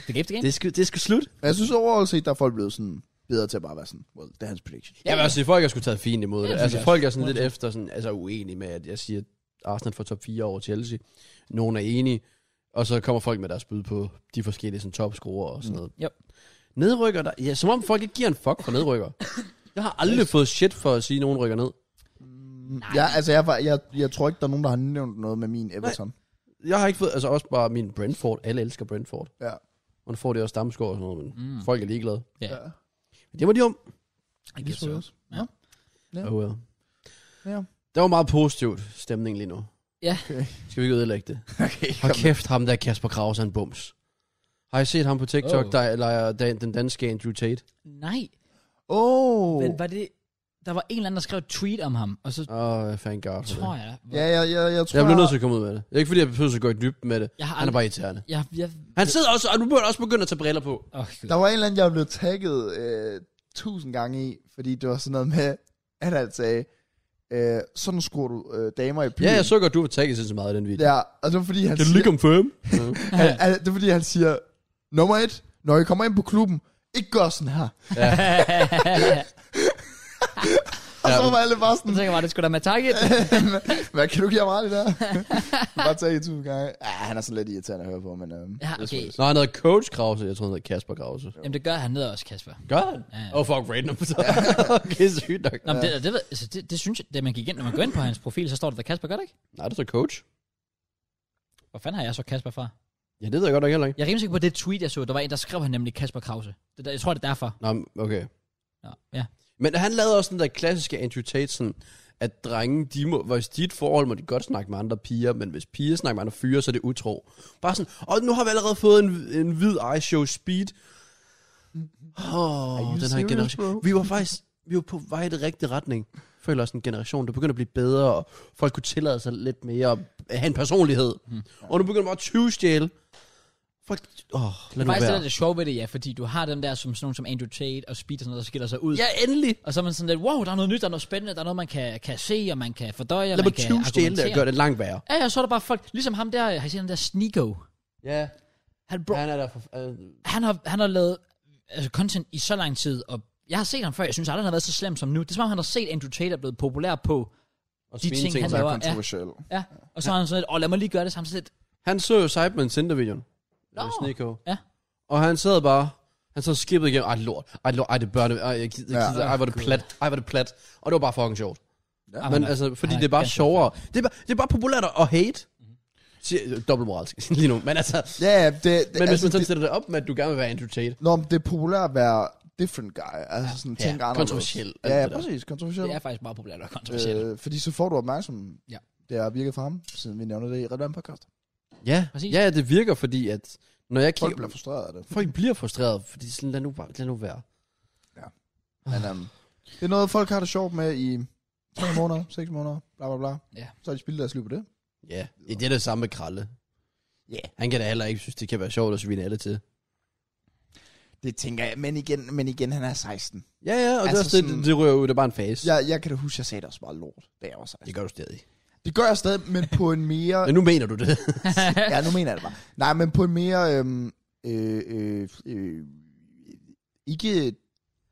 Speaker 1: Det gik det game.
Speaker 2: Det skal, det skal slut.
Speaker 3: Men jeg synes overall set, der er folk blevet sådan bedre til at bare være sådan, well, det er hans prediction.
Speaker 2: Jeg vil også sige, at folk har sgu taget fint imod det.
Speaker 1: synes
Speaker 2: Altså,
Speaker 1: jeg
Speaker 2: folk er sådan lidt efter, sådan, altså uenige med, at jeg siger, at Arsenal får top 4 over Chelsea. Nogen er enige. Og så kommer folk med deres bud på de forskellige sådan, topscorer og sådan noget.
Speaker 1: Yep.
Speaker 2: Nedrykker der? Ja, som om folk ikke giver en fuck for nedrykker. Jeg har aldrig fået shit for at sige, at nogen rykker ned.
Speaker 3: Mm, Nej. Jeg, altså, jeg, var, jeg, jeg tror ikke, der er nogen, der har nævnt noget med min Everton.
Speaker 2: Jeg har ikke fået, altså også bare min Brentford. Alle elsker Brentford.
Speaker 3: Ja.
Speaker 2: Og nu får de også stamskår og sådan noget, men mm. folk er ligeglade.
Speaker 1: Ja.
Speaker 3: Ja.
Speaker 2: Men det var de om.
Speaker 1: I
Speaker 3: Det
Speaker 1: guess so.
Speaker 3: tror jeg også. Ja. Ja.
Speaker 2: Oh well.
Speaker 3: Ja.
Speaker 2: Der var meget positivt stemning lige nu.
Speaker 1: Ja.
Speaker 3: Okay.
Speaker 2: Skal vi ikke ødelægge det?
Speaker 3: Okay,
Speaker 2: Har kæft ham der Kasper Kraus er en bums. Har I set ham på TikTok,
Speaker 1: Oh.
Speaker 2: oh. der leger dan- den danske Andrew Tate?
Speaker 1: Nej,
Speaker 3: Oh.
Speaker 1: men var det... Der var en eller anden, der skrev et tweet om ham, og så
Speaker 2: Åh, oh, thank god for
Speaker 1: tror
Speaker 2: det.
Speaker 1: jeg...
Speaker 3: Ja, ja, ja, jeg tror...
Speaker 2: Jeg bliver nødt til at komme ud med det. Det er ikke fordi, jeg behøver at gå i dybden med det.
Speaker 1: Jeg har
Speaker 2: Han er bare irriterende.
Speaker 1: Jeg, jeg,
Speaker 2: Han sidder også, og du burde også begynde at tage briller på.
Speaker 1: oh,
Speaker 3: Der var en eller anden, jeg blev tagget øh, tusind gange i, fordi det var sådan noget med, at han sagde, øh, sådan skruer du øh, damer i byen.
Speaker 2: Ja, jeg så godt, du var tagget så meget i den video.
Speaker 3: Ja, og det var fordi, han
Speaker 2: Kan du
Speaker 3: siger,
Speaker 2: lige confirm? Ja.
Speaker 3: han, han, det var, fordi, han siger, nummer et, når I kommer ind på klubben, ikke gør sådan her. Og så var alle bare sådan,
Speaker 1: så tænker [LAUGHS] jeg bare, det skulle da med target.
Speaker 3: Hvad kan du give mig det
Speaker 2: [LAUGHS]
Speaker 3: der? Bare tage i tusind gange. Ja, han er sådan lidt irriterende at høre på, men... Øhm,
Speaker 1: Ja, okay.
Speaker 2: Nå, han hedder Coach Krause. Jeg tror, han hedder Kasper Krause.
Speaker 1: Jamen, det gør han ned også, Kasper.
Speaker 2: Gør han?
Speaker 1: Ja.
Speaker 2: Åh, oh, fuck, random. [LAUGHS] okay, sygt nok.
Speaker 1: Nå, men det, det, ved- altså, det, det, synes jeg, da man gik ind, når man går ind på hans profil, så står der, der Kasper gør det ikke?
Speaker 2: Nej, det er så coach.
Speaker 1: Hvor fanden har jeg så Kasper fra?
Speaker 2: Ja, det ved jeg godt nok heller ikke.
Speaker 1: Jeg er rimelig sikker på, at det tweet, jeg så, der var en, der skrev han nemlig Kasper Krause. Det der, jeg tror, det er derfor.
Speaker 2: Nå, men okay.
Speaker 1: Nå, ja.
Speaker 2: Men han lavede også den der klassiske Andrew Tate, sådan, at drenge, de må, hvis dit forhold må de godt snakke med andre piger, men hvis piger snakker med andre fyre, så er det utro. Bare sådan, og nu har vi allerede fået en, en hvid eye show speed. Åh, oh, den her
Speaker 3: serious, bro?
Speaker 2: generation. Vi var faktisk vi var på vej i den rigtige retning. Jeg føler også en generation, der begynder at blive bedre, og folk kunne tillade sig lidt mere at have en personlighed.
Speaker 1: Hmm.
Speaker 2: Mm. Og nu begynder man at tyvstjæle. Folk, åh, oh, lad nu
Speaker 1: Faktisk det er
Speaker 2: være.
Speaker 1: det sjove ved det, ja, fordi du har dem der, som sådan nogle som Andrew Tate og Speed og sådan noget, der skiller sig ud.
Speaker 2: Ja, endelig.
Speaker 1: Og så er man sådan lidt, wow, der er noget nyt, der er noget spændende, der er noget, man kan, kan se, og man kan fordøje, og
Speaker 2: Lad
Speaker 1: man
Speaker 2: mig
Speaker 1: kan
Speaker 2: tyvstjæle det og gøre det langt værre.
Speaker 1: Ja, ja, så er der bare folk, ligesom ham der, har I set ham der Sneeko?
Speaker 2: Ja,
Speaker 1: Han, bro,
Speaker 2: han er der for... Øh,
Speaker 1: han, har, han har lavet altså, content i så lang tid, og jeg har set ham før, jeg synes aldrig, han har været så slem som nu. Det er som om, han har set Andrew Tate er blevet populær på,
Speaker 2: og
Speaker 1: De
Speaker 2: de
Speaker 1: ting,
Speaker 2: ting,
Speaker 1: han
Speaker 2: han,
Speaker 3: Så er
Speaker 1: laver-
Speaker 3: kontroversiel.
Speaker 1: ja, og så har han sådan lidt, åh, lad mig lige gøre det samme lidt.
Speaker 2: han så jo Sidemen Cinder-videoen.
Speaker 1: Nå.
Speaker 2: No. Øh, Sneeko.
Speaker 1: Ja.
Speaker 2: Og han sad bare... Han sad skippet igennem. Ej, lort. Ej, lort. Ej, det børne. Ej, jeg gider, jeg
Speaker 3: Ja.
Speaker 2: gider. Ej, var det plat. Ej, var det plat. Og det var bare fucking sjovt.
Speaker 1: Ja,
Speaker 2: Men
Speaker 1: han er-
Speaker 2: altså, fordi
Speaker 1: han er
Speaker 2: det er bare
Speaker 1: ganske Mhm.
Speaker 2: sjovere. Det er bare, det er bare populært at- at hate. Siger- øh, Dobbelt moralsk lige nu. Men altså...
Speaker 3: Ja, ja, det, det,
Speaker 2: Men hvis
Speaker 3: altså,
Speaker 2: man sådan
Speaker 3: det,
Speaker 2: sætter det op med, at du gerne vil være Andrew Tate.
Speaker 3: nå, men det er populært at være different guy. Altså sådan,
Speaker 2: Ja,
Speaker 3: tænke anderledes.
Speaker 2: kontroversiel, alt
Speaker 3: Ja, ja,
Speaker 2: det der.
Speaker 3: præcis. Kontroversiel.
Speaker 1: Det er faktisk bare populært og kontroversielt. Øh,
Speaker 3: Øh, fordi så får du opmærksomheden.
Speaker 1: Ja.
Speaker 3: Det har virket for ham, siden vi nævner det i Red Band Podcast.
Speaker 2: Ja,
Speaker 1: Præcis.
Speaker 2: ja, det virker, fordi at... Når jeg
Speaker 3: Folk
Speaker 2: kigger...
Speaker 3: bliver frustreret af det.
Speaker 2: Folk bliver frustreret, fordi sådan, lad nu, bare, lad nu være.
Speaker 3: Men um, det er noget, folk har det sjovt med i 3 måneder, 6 måneder, bla bla bla.
Speaker 1: Ja.
Speaker 3: Så har de spillet deres liv på det.
Speaker 2: Ja, det er det samme med Kralle.
Speaker 3: Ja.
Speaker 2: Han kan da heller ikke synes, det kan være sjovt at svine alle til.
Speaker 3: Det tænker jeg, men igen, men igen, han er 16.
Speaker 2: Ja, ja, og
Speaker 3: Altså
Speaker 2: altså det, sådan,
Speaker 3: sådan-
Speaker 2: det, det rører ud, det er bare en fase.
Speaker 3: Jeg, jeg kan da huske, jeg sagde det også bare lort, da jeg var 16.
Speaker 2: Det gør du stadig.
Speaker 3: Det gør jeg stadig, men på en mere...
Speaker 2: Men nu mener du det.
Speaker 3: [LAUGHS] ja, nu mener jeg det bare. Nej, men på en mere... Øhm, øh, øh, øh, ikke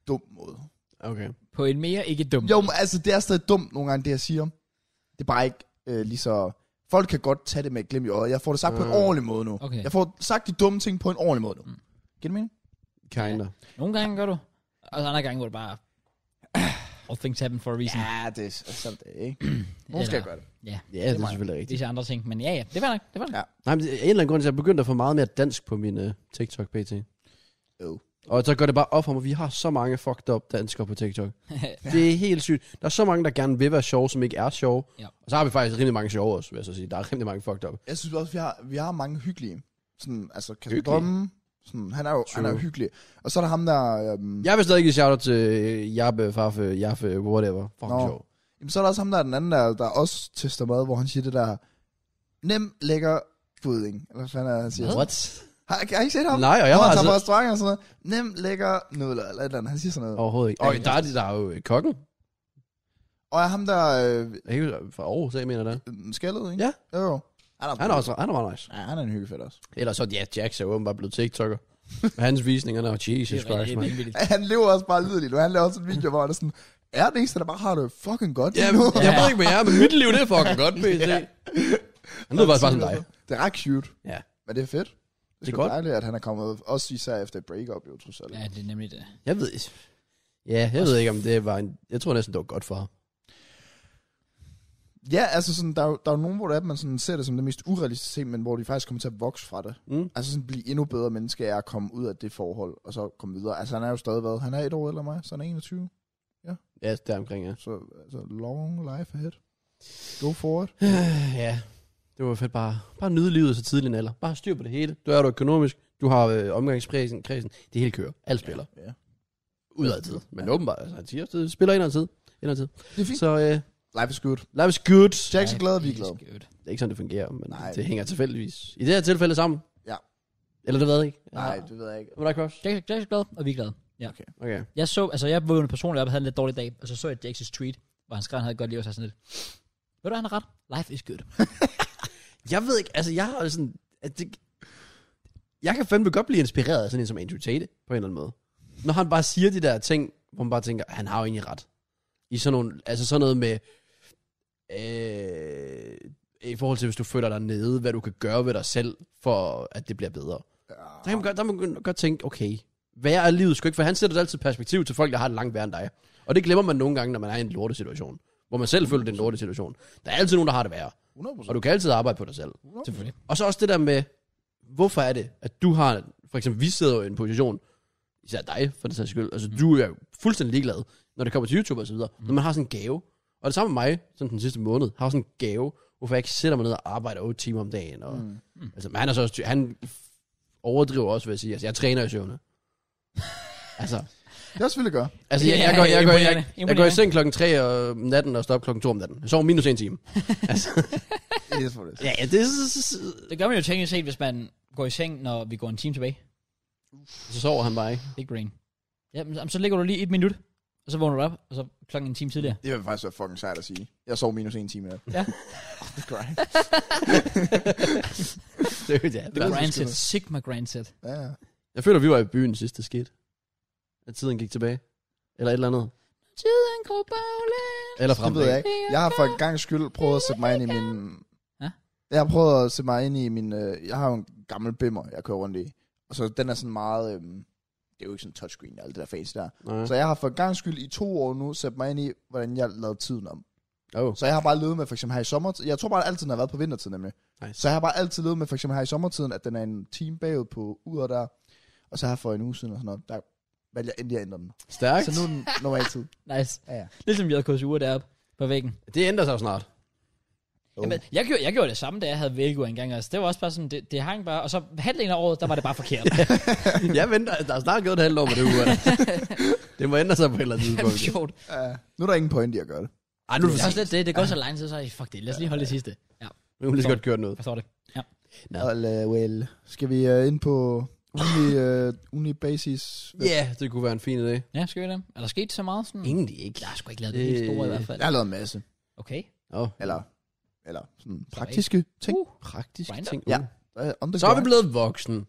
Speaker 3: dum måde.
Speaker 2: [LAUGHS] Okay.
Speaker 1: på en mere ikke dum.
Speaker 3: Jo, men altså, det er stadig dumt nogle gange, det jeg siger. Det er bare ikke øh, lige så... Folk kan godt tage det med et glimt i øjet. Jeg får det sagt på en
Speaker 2: Mm.
Speaker 3: ordentlig måde nu.
Speaker 1: Okay.
Speaker 3: Jeg får sagt de dumme ting på en ordentlig måde nu. Øh. Mm. Giver det mening?
Speaker 2: Kinder.
Speaker 1: Nogle gange gør du, og så andre gange, hvor det bare... [CLEARS THROAT] All things happen for a reason.
Speaker 3: Ja, det er sådan det, [CLEARS THROAT] ikke? Nogen skal
Speaker 1: Eller-
Speaker 3: gøre det.
Speaker 2: Ja, ja det er
Speaker 3: mig.
Speaker 2: selvfølgelig rigtigt.
Speaker 1: Disse andre ting, men ja, ja, det var nok, det var nok.
Speaker 3: Ja.
Speaker 2: Nej, men det- af en eller anden grund til, at jeg begyndte at få meget mere dansk på min uh, TikTok pt.
Speaker 3: Jo.
Speaker 2: Og så går det bare op for mig, vi har så mange fucked up danskere på [LAUGHS] TikTok. det er helt sygt. Der er så mange, der gerne vil være sjove, som ikke er sjove.
Speaker 1: Ja.
Speaker 2: Og så har vi faktisk rimelig mange sjove også, vil jeg så sige. Der er rimelig mange fucked up.
Speaker 3: Jeg synes også, vi har, vi har mange hyggelige. Sådan, altså, Kasper
Speaker 2: Hyggelige?
Speaker 3: Drømme. Sådan, han er jo han er jo
Speaker 2: True.
Speaker 3: hyggelig. Og så er der ham der... Øhm,
Speaker 2: Jeg vil stadig give shout-out til øh, Jabbe, Faffe, Jaffe, whatever. Fucking
Speaker 3: Nå.
Speaker 2: sjov.
Speaker 3: Jamen, så er der også ham, der er den anden, der, der også tester mad, hvor han siger det der, nem, lækker pudding. Eller hvad fanden er det, han siger?
Speaker 2: What?
Speaker 3: Har, har I ikke set ham?
Speaker 2: Nej, og jeg
Speaker 3: Hvor
Speaker 2: har
Speaker 3: han tager på
Speaker 2: altså...
Speaker 3: restaurant og sådan noget. Nem, lækker nudler, eller et eller andet. Han siger sådan noget. Oh.
Speaker 2: Overhovedet ikke. Og der er, de- der er jo øh, kokken.
Speaker 3: Og er ham der øh,
Speaker 2: Jeg kan ikke- fra Aarhus, jeg mener det.
Speaker 3: øh, skaldet, ikke?
Speaker 2: Ja.
Speaker 3: Jo, jo.
Speaker 2: Han er også han er meget nice.
Speaker 3: Ja, han er en hyggefæt også. [LAUGHS]
Speaker 2: Ellers så, ja, Jax er jo åbenbart blevet [LAUGHS] TikToker. Hans visninger, der Jesus
Speaker 1: Det er
Speaker 2: Christ,
Speaker 1: rigtig
Speaker 2: man.
Speaker 1: vanvittigt.
Speaker 3: Han lever også bare lydeligt nu. Han laver også en video, hvor han er sådan, er det eneste, der bare har det fucking godt
Speaker 2: Ja,
Speaker 3: lige nu?
Speaker 2: jeg ved ikke, hvad jeg er, men mit liv, det er fucking godt, [LAUGHS] PT. Han lyder faktisk bare som dig.
Speaker 3: Det er ret cute,
Speaker 2: Ja.
Speaker 3: men det er fedt. Det er,
Speaker 2: Det er
Speaker 3: sgu
Speaker 2: godt.
Speaker 3: dejligt, at han er kommet, også især efter et breakup, jo, trods alt.
Speaker 1: Ja, det er nemlig det.
Speaker 2: Jeg ved Ja, jeg ved ikke, om det var en... Jeg tror næsten, det var godt for ham.
Speaker 3: Ja, altså sådan, der, er jo- der er jo nogen, hvor det er, at man sådan ser det som det mest urealistiske ting, men hvor de faktisk kommer til at vokse fra det.
Speaker 2: Mm.
Speaker 3: Altså sådan blive endnu bedre menneske af at komme ud af det forhold, og så komme videre. Altså han er jo stadig været, han er et år ældre end mig, så han er 21,
Speaker 2: Ja, deromkring, ja. [SIGHS]
Speaker 3: så altså, long life ahead. Go for it.
Speaker 2: Ja, det var fedt bare, bare nyde livet så tidlig en alder. Bare have styr på det hele. Du er du økonomisk, du har øh, omgangskredsen, kredsen. det hele kører. Alt spiller.
Speaker 3: Ja.
Speaker 2: Ud af tid. Men åbenbart, altså, han siger, det spiller ind af tid. Ind af tid.
Speaker 3: Det er fint. Så.
Speaker 2: Så øh,
Speaker 3: Life is good.
Speaker 2: life is good.
Speaker 3: Jack er glad, vi er glad.
Speaker 2: Det er ikke sådan, det fungerer, men
Speaker 3: Nej.
Speaker 2: Nej. det hænger tilfældigvis. I det her tilfælde sammen.
Speaker 3: Ja.
Speaker 2: Eller det ved jeg ikke.
Speaker 3: Nej, det ved jeg ikke.
Speaker 2: Hvad er der, Cross?
Speaker 1: Jack, Jack er glad, og vi er glade. Ja.
Speaker 3: Okay.
Speaker 2: Okay.
Speaker 1: Jeg så, altså jeg vågnede personligt op og havde en lidt dårlig dag, og så så jeg Jacks tweet, hvor han skrev, at han havde et godt liv og så sådan lidt. Ved du, han har ret? Life is good.
Speaker 2: Jeg ved ikke, altså jeg har sådan... At det, jeg kan fandme godt blive inspireret af sådan en som Andrew Tate, på en eller anden måde. Når han bare siger de der ting, hvor man bare tænker, han har jo egentlig ret. I sådan nogle, altså sådan noget med... Øh, I forhold til, hvis du føler dig nede, hvad du kan gøre ved dig selv, for at det bliver bedre. Der kan man godt, der kan man godt tænke, okay, hvad er livet sgu ikke? For han sætter det altid i perspektiv til folk, der har det langt værre end dig. Og det glemmer man nogle gange, når man er i en lortesituation. Hvor man selv føler, det er en lortesituation. Der er altid nogen, der har det værre.
Speaker 3: 100%.
Speaker 2: Og du kan altid arbejde på dig selv.
Speaker 1: Selvfølgelig.
Speaker 2: Og så også det der med, hvorfor er det, at du har, for eksempel, vi sidder jo i en position, især dig, for den sags skyld, altså du er jo fuldstændig ligeglad, når det kommer til YouTube og så videre, når man har sådan en gave, og Og det samme med mig, sådan den sidste måned, har sådan en gave, hvorfor jeg ikke sætter mig ned og arbejder 8 timer om dagen. Og, mm. altså, men han, er så også, ty- han overdriver også, vil jeg sige. Altså, jeg træner i søvne. altså,
Speaker 3: Det er også vildt gøre.
Speaker 2: altså jeg, jeg,
Speaker 1: Ja,
Speaker 2: går, jeg, går, jeg,
Speaker 1: imponerende,
Speaker 2: jeg, jeg går i
Speaker 1: imponerende.
Speaker 2: seng klokken 3 om natten og står op klokken 2 om natten. Jeg sover minus en time.
Speaker 3: Det er for det.
Speaker 2: [LAUGHS] Ja, ja, det er... så- så- så-
Speaker 1: Det gør man jo teknisk set, hvis man går i seng, når vi går en time tilbage.
Speaker 2: Så sover han bare, ikke?
Speaker 1: Big brain. Jamen, så- så ligger du lige et minut, og så vågner du op, og så klokken en time tidligere.
Speaker 3: Det vil faktisk være fucking sejt at sige. Jeg sov minus en time i nat. [LAUGHS]
Speaker 1: Ja.
Speaker 3: Jesus Christ.
Speaker 2: [LAUGHS] Det, er- ja, det er
Speaker 1: Grand set.
Speaker 3: sgu
Speaker 1: Sigma Grand set.
Speaker 3: Ja, ja.
Speaker 2: Jeg føler, vi var i byen sidst, det skete. At tiden gik tilbage. Eller et eller andet.
Speaker 1: Tiden går baglæns.
Speaker 2: Eller
Speaker 3: Det ved jeg
Speaker 2: fremad.
Speaker 3: ikke. Jeg har for en gang skyld prøvet at sætte mig ind i min...
Speaker 1: Ja?
Speaker 3: Jeg har prøvet at sætte mig ind i min... Øh, jeg har jo en gammel bimmer, jeg kører rundt i. Og så den er sådan meget... Øh, det er jo ikke sådan touchscreen og alt det der face der.
Speaker 2: Nej.
Speaker 3: Så jeg har for en gang skyld i to år nu sat mig ind i, hvordan jeg lavede tiden om.
Speaker 2: Oh.
Speaker 3: Så jeg har bare levet med, for eksempel her i sommertiden. Jeg tror bare, at altid den har været på vintertiden nemlig.
Speaker 2: Nice.
Speaker 3: Så jeg har bare altid levet med, for eksempel her i sommertiden, at den er en time bagud på uret der. Og så her for en uge siden og sådan noget, der valgte jeg endelig at ændre den.
Speaker 2: Stærkt.
Speaker 3: Så nu er den normal tid.
Speaker 1: Nice.
Speaker 3: Ja, ja.
Speaker 1: Ligesom JK's uger deroppe på væggen.
Speaker 2: Det ændrer sig jo snart.
Speaker 3: Oh.
Speaker 1: Jamen, jeg, gjorde, jeg gjorde det samme, da jeg havde Velgo engang også. Det var også bare sådan, det, det hang bare, og så halvdelen af året, der var det bare forkert.
Speaker 2: jeg venter. Der er snart gået et halvt år med det [LAUGHS] uger. det må ændre sig på et eller andet
Speaker 1: det var
Speaker 2: tidspunkt.
Speaker 1: [LAUGHS] sjovt.
Speaker 3: uh, nu er der ingen point i at gøre det.
Speaker 2: Ej, nu er det
Speaker 1: Det
Speaker 2: for
Speaker 1: er
Speaker 2: sent.
Speaker 1: også lidt det, det går så lang tid, så er jeg, fuck det, lad os lige holde det sidste. Ja,
Speaker 2: Nu kan vi lige så godt køre noget.
Speaker 1: forstår det.
Speaker 2: Ja.
Speaker 3: Well, uh, well. Skal vi uh, ind på
Speaker 2: [LAUGHS]
Speaker 3: ugenlig, uh, ugenlig basis?
Speaker 2: Ja, yeah, det kunne være en fin idé.
Speaker 1: Ja, skal vi det? Er der sket så meget sådan?
Speaker 2: Egentlig ikke.
Speaker 1: Der er sgu ikke lavet det helt store i hvert fald.
Speaker 3: Jeg har lavet en masse.
Speaker 1: Okay.
Speaker 2: Oh.
Speaker 3: Eller, eller sådan praktiske ting.
Speaker 1: Uh,
Speaker 2: Praktisk
Speaker 1: Grinder.
Speaker 2: ting.
Speaker 3: Ja.
Speaker 2: Uh.
Speaker 3: Uh, on the
Speaker 2: Så er
Speaker 3: go.
Speaker 2: vi blevet voksen.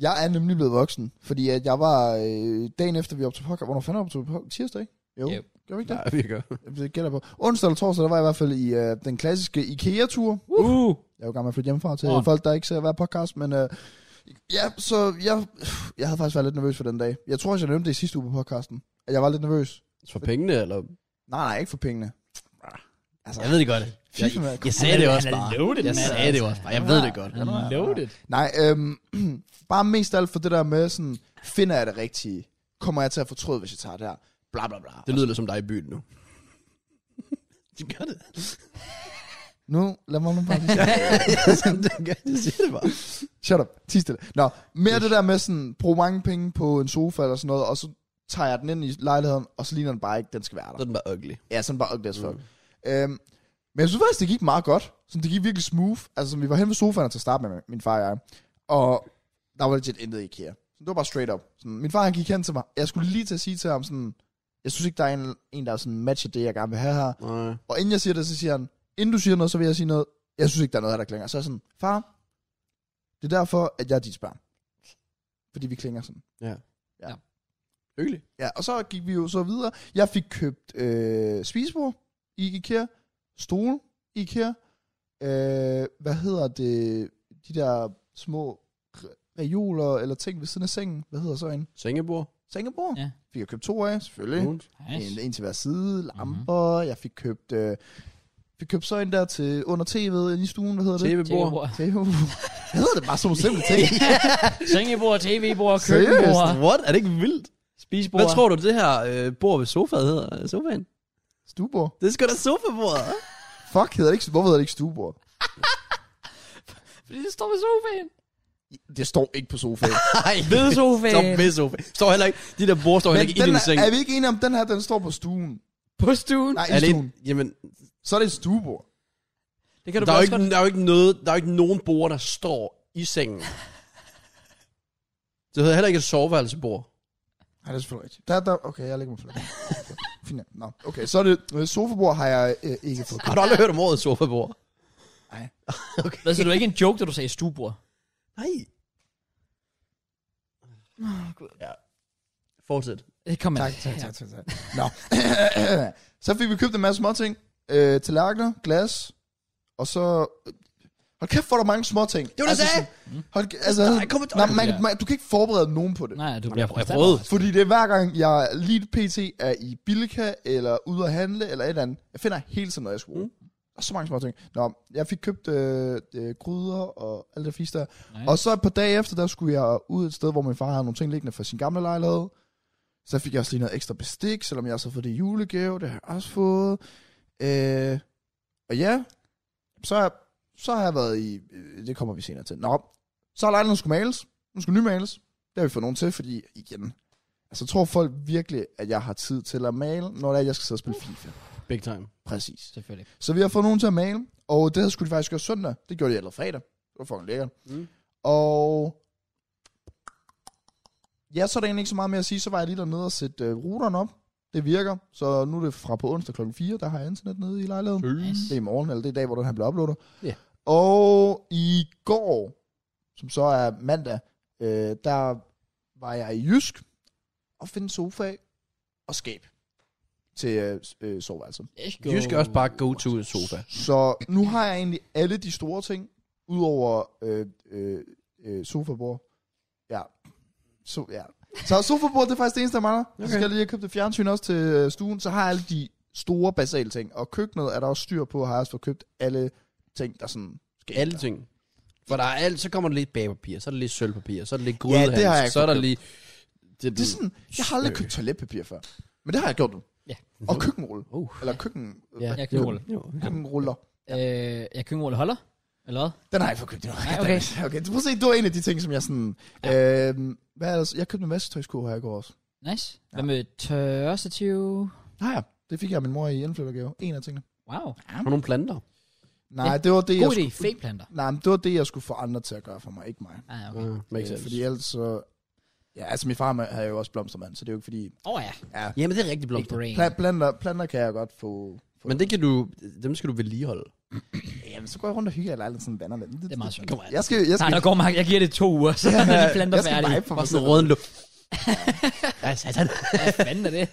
Speaker 3: Jeg er nemlig blevet voksen, fordi at jeg var øh, dagen efter, vi optog podcast. Hvornår fanden optog vi podcast? Tirsdag, ikke? Jo.
Speaker 1: Jo.
Speaker 3: Yep. Gør vi ikke det?
Speaker 2: Nej, vi gør.
Speaker 3: Det gælder på. Onsdag eller torsdag, der var jeg i hvert fald i øh, den klassiske IKEA-tur.
Speaker 2: Uh.
Speaker 3: Jeg er jo gammel at flytte hjemmefra til
Speaker 1: Åh.
Speaker 3: oh. folk, der ikke ser hver podcast, men øh, ja, så jeg, jeg havde faktisk været lidt nervøs for den dag. Jeg tror også, jeg nævnte det i sidste uge på podcasten, at jeg var lidt nervøs.
Speaker 2: For pengene, eller?
Speaker 3: Nej, nej, ikke for pengene. Altså,
Speaker 2: Jeg ved det godt. Jeg,
Speaker 3: FIFA, mand.
Speaker 2: jeg sagde det
Speaker 1: Han er-
Speaker 2: også
Speaker 1: han er
Speaker 2: bare.
Speaker 1: loaded,
Speaker 2: Jeg
Speaker 1: mand,
Speaker 2: sagde det
Speaker 1: altså.
Speaker 2: også bare. Jeg ved det godt.
Speaker 1: Han er loaded.
Speaker 3: Nej, øhm, [CLEARS THROAT] bare mest af alt for det der med sådan, finder jeg det rigtige? Kommer jeg til at fortryde, hvis jeg tager det her? Bla bla bla.
Speaker 2: Det lyder lidt som dig i byen nu. [LAUGHS] De gør [LAUGHS] det.
Speaker 3: Nu, lad mig nu bare lige
Speaker 2: det gør det. De siger det bare.
Speaker 3: Shut up. Ti stille. Nå, mere det der med sådan, bruge mange penge på en sofa eller sådan noget, og så tager jeg den ind i lejligheden, og så ligner den bare ikke, den skal være
Speaker 2: Så
Speaker 3: der.
Speaker 2: er den bare ugly.
Speaker 3: Ja, sådan bare ugly as fuck. Øhm, men jeg synes faktisk, det gik meget godt. Sådan, det gik virkelig smooth. Altså, vi var hen ved sofaen til at starte med, min far og jeg. Og der var legit intet i IKEA. Så det var bare straight up. Sådan, min far, han gik hen til mig. Jeg skulle lige til at sige til ham sådan, jeg synes ikke, der er en, en der er sådan matcher det, jeg gerne vil have her.
Speaker 2: Nej.
Speaker 3: Og inden jeg siger det, så siger han, inden du siger noget, så vil jeg sige noget. Jeg synes ikke, der er noget her, der klinger. Så er jeg sådan, far, det er derfor, at jeg er dit barn. Fordi vi klinger sådan.
Speaker 2: Ugly.
Speaker 3: Ja, og så gik vi jo så videre. Jeg fik købt øh, spisebord i IKEA, stol i IKEA, øh, hvad hedder det, de der små re- reoler eller ting ved siden af sengen. Hvad hedder så en?
Speaker 2: Sengebord.
Speaker 3: Sengebord?
Speaker 1: Ja.
Speaker 3: Fik jeg købt to af, selvfølgelig.
Speaker 2: Moons.
Speaker 1: Nice. Mhm.
Speaker 3: En, en til hver side, lamper, mm-hmm. jeg fik købt, øh, fik købt så en der til under tv'et inde i stuen, hvad hedder det?
Speaker 2: TV-bord.
Speaker 1: TV-bord.
Speaker 3: TV. [LAUGHS] Hvad hedder det bare sådan nogle simple
Speaker 1: [LAUGHS]
Speaker 3: ting?
Speaker 1: Sengebord, tv-bord,
Speaker 3: Seriøst?
Speaker 1: køkkenbord,
Speaker 2: What? Er det ikke vildt?
Speaker 1: spisebord.
Speaker 2: Hvad tror du, det her øh, bord ved sofaet hedder? Sofaen?
Speaker 3: Stuebord?
Speaker 2: Det er sgu da sofabordet.
Speaker 3: Fuck, hedder det ikke, hvorfor hedder det ikke stuebord?
Speaker 1: Fordi det står ved sofaen.
Speaker 3: Det står ikke på sofaen.
Speaker 2: [LAUGHS] Nej,
Speaker 1: Ved sofaen.
Speaker 2: Står ved sofaen. Står heller ikke, de der bord står heller ikke i
Speaker 3: den
Speaker 2: din
Speaker 3: er,
Speaker 2: seng.
Speaker 3: er vi ikke enige om, den her, den står på stuen?
Speaker 1: På stuen.
Speaker 3: Nej,
Speaker 2: Er
Speaker 3: i
Speaker 2: det,
Speaker 3: stuen.
Speaker 2: jamen,
Speaker 3: Så er det et stuebord.
Speaker 1: Det kan du
Speaker 2: der er, jo
Speaker 1: bare
Speaker 2: ikke,
Speaker 1: godt.
Speaker 2: der er jo ikke noget, der er jo ikke nogen bord, der står i sengen. Det hedder heller ikke et soveværelsebord.
Speaker 3: Nej, det er selvfølgelig rigtigt. Der, der, okay, jeg lægger mig for det. Fint. Nå, okay, så er det øh, sofabord har jeg øh, ikke fået
Speaker 2: Har
Speaker 3: købt.
Speaker 2: du aldrig hørt om ordet sofabord?
Speaker 1: Hvad, så det var ikke en joke, da du sagde stuebord?
Speaker 2: Nej. Ja. Fortsæt.
Speaker 1: Det Eh, kom
Speaker 3: Tak, tak, tak, tak, tak. Nå. [CLEARS THROAT] så fik vi købt en masse småting. Øh, tallerkener, glas, og så... øh, Hold kæft, hvor er der mange småting. Det
Speaker 2: var det, jeg sagde.
Speaker 3: Hold, kæ- altså,
Speaker 2: Der er ikke kommet-
Speaker 3: nej, man, man, du kan ikke forberede nogen på det.
Speaker 1: Nej, du
Speaker 2: Jeg,
Speaker 1: bliver
Speaker 2: jeg prøvede.
Speaker 3: Fordi det er hver gang, jeg lige pt. er i Bilka, eller ude at handle, eller et eller andet. Jeg finder hele tiden noget, jeg skal bruge. Mm. Og så mange små ting. Nå, jeg fik købt øh, øh, gryder og alt det fisk der.
Speaker 1: Nice.
Speaker 3: Og så et par dage efter, der skulle jeg ud et sted, hvor min far havde nogle ting liggende fra sin gamle lejlighed. Så fik jeg også lige noget ekstra bestik, selvom jeg også har fået det i julegave. Det har jeg også fået. Øh, og ja, så, har- så har jeg været i... øh, Det kommer vi senere til. Nå, så har lejligheden skulle males. Nu skulle nymales. Det har vi fået nogen til, fordi igen... Altså, tror folk virkelig, at jeg har tid til at male, når det er, jeg skal sidde og spille FIFA?
Speaker 2: Big time.
Speaker 3: Præcis.
Speaker 1: Selvfølgelig.
Speaker 3: Så vi har fået nogen til at male, og det her skulle de faktisk gøre søndag. Det gjorde de allerede fredag. Det var fucking lækkert.
Speaker 2: Mm.
Speaker 3: Og... Ja, så er der egentlig ikke så meget mere at sige. Så var jeg lige dernede og sætte øh, ruteren op. Det virker. Så nu er det fra på onsdag klokken 4, der har jeg internet nede i lejligheden.
Speaker 1: Nice.
Speaker 3: Det er i morgen, eller det er i dag, hvor den her bliver uploadet.
Speaker 2: Ja.
Speaker 3: Og i går, som så er mandag, øh, der var jeg i Jysk og finde sofa og skab til øh, s- øh, soveværelset.
Speaker 1: Let's go.
Speaker 2: Du skal også bare go to a sofa.
Speaker 3: Så nu har jeg egentlig alle de store ting, udover øh, øh, øh, sofabord. Ja. So, ja. Så sofabord, det er faktisk det eneste, der mangler. Okay. Så skal jeg lige have købt et fjernsyn også til øh, stuen. Så har jeg alle de store basale ting. Og køkkenet er der også styr på, har jeg også fået købt alle ting, der sådan skal ind
Speaker 2: Alle
Speaker 3: der.
Speaker 2: ting. For der er alt, så kommer der lidt bagpapir, så er der lidt sølvpapir, så er der lidt
Speaker 3: har jeg
Speaker 2: grydehals, ja,
Speaker 3: ikke
Speaker 2: så er der
Speaker 3: fået
Speaker 2: lige...
Speaker 3: Det er sådan, jeg har
Speaker 2: Øh.
Speaker 3: aldrig købt toiletpapir før. Men det har jeg gjort nu.
Speaker 1: Ja.
Speaker 3: Og køkkenrulle.
Speaker 2: Uh.
Speaker 3: Eller køkken,
Speaker 2: Ja,
Speaker 1: Jeg kan rulle.
Speaker 2: Jo.
Speaker 3: køkkenruller.
Speaker 1: Øh, jeg kan rulle holder. Eller hvad?
Speaker 3: Den har jeg fået købt endnu.
Speaker 1: Nej, okay.
Speaker 3: [LAUGHS] okay. Du må se, du er en af de ting, som jeg sådan... Ja. Øhm, hvad ellers? Jeg købte en vasketøjskur her i går også.
Speaker 1: Nice. Hvad med tørstativ?
Speaker 3: Nej, ja. Det fik jeg af min mor i indflyttergave. En af tingene.
Speaker 1: Wow.
Speaker 2: Har nogle planter?
Speaker 3: Nej, det var det,
Speaker 1: God
Speaker 3: jeg
Speaker 1: idé.
Speaker 3: skulle...
Speaker 1: Fake planter.
Speaker 3: Nej, men det var det, jeg skulle få andre til at gøre for mig, ikke mig. Øh,
Speaker 1: Ah, okay.
Speaker 2: Uh, makes sense.
Speaker 3: fordi ellers så... Ja, altså min far havde jo også blomstermand, så det er jo ikke fordi...
Speaker 1: Åh oh, ja.
Speaker 3: Ja,
Speaker 2: Jamen, det er rigtig
Speaker 1: Big
Speaker 2: blomster.
Speaker 1: brain.
Speaker 3: pla- planter, planter kan jeg godt få... få
Speaker 2: Men det kan du, dem skal du vedligeholde.
Speaker 3: Jamen, så går jeg rundt og hygger i lejligheden sådan vander lidt.
Speaker 1: Det er meget sjovt.
Speaker 3: Jeg skal... Jeg
Speaker 1: Nej,
Speaker 3: skal,
Speaker 1: der går mange. Jeg giver det to uger, så er
Speaker 3: [LAUGHS]
Speaker 1: de planter
Speaker 3: jeg skal
Speaker 1: færdige.
Speaker 3: vibe for mig
Speaker 2: Bare
Speaker 3: selv.
Speaker 2: sådan rød luft. ja, satan.
Speaker 1: Hvad fanden er det?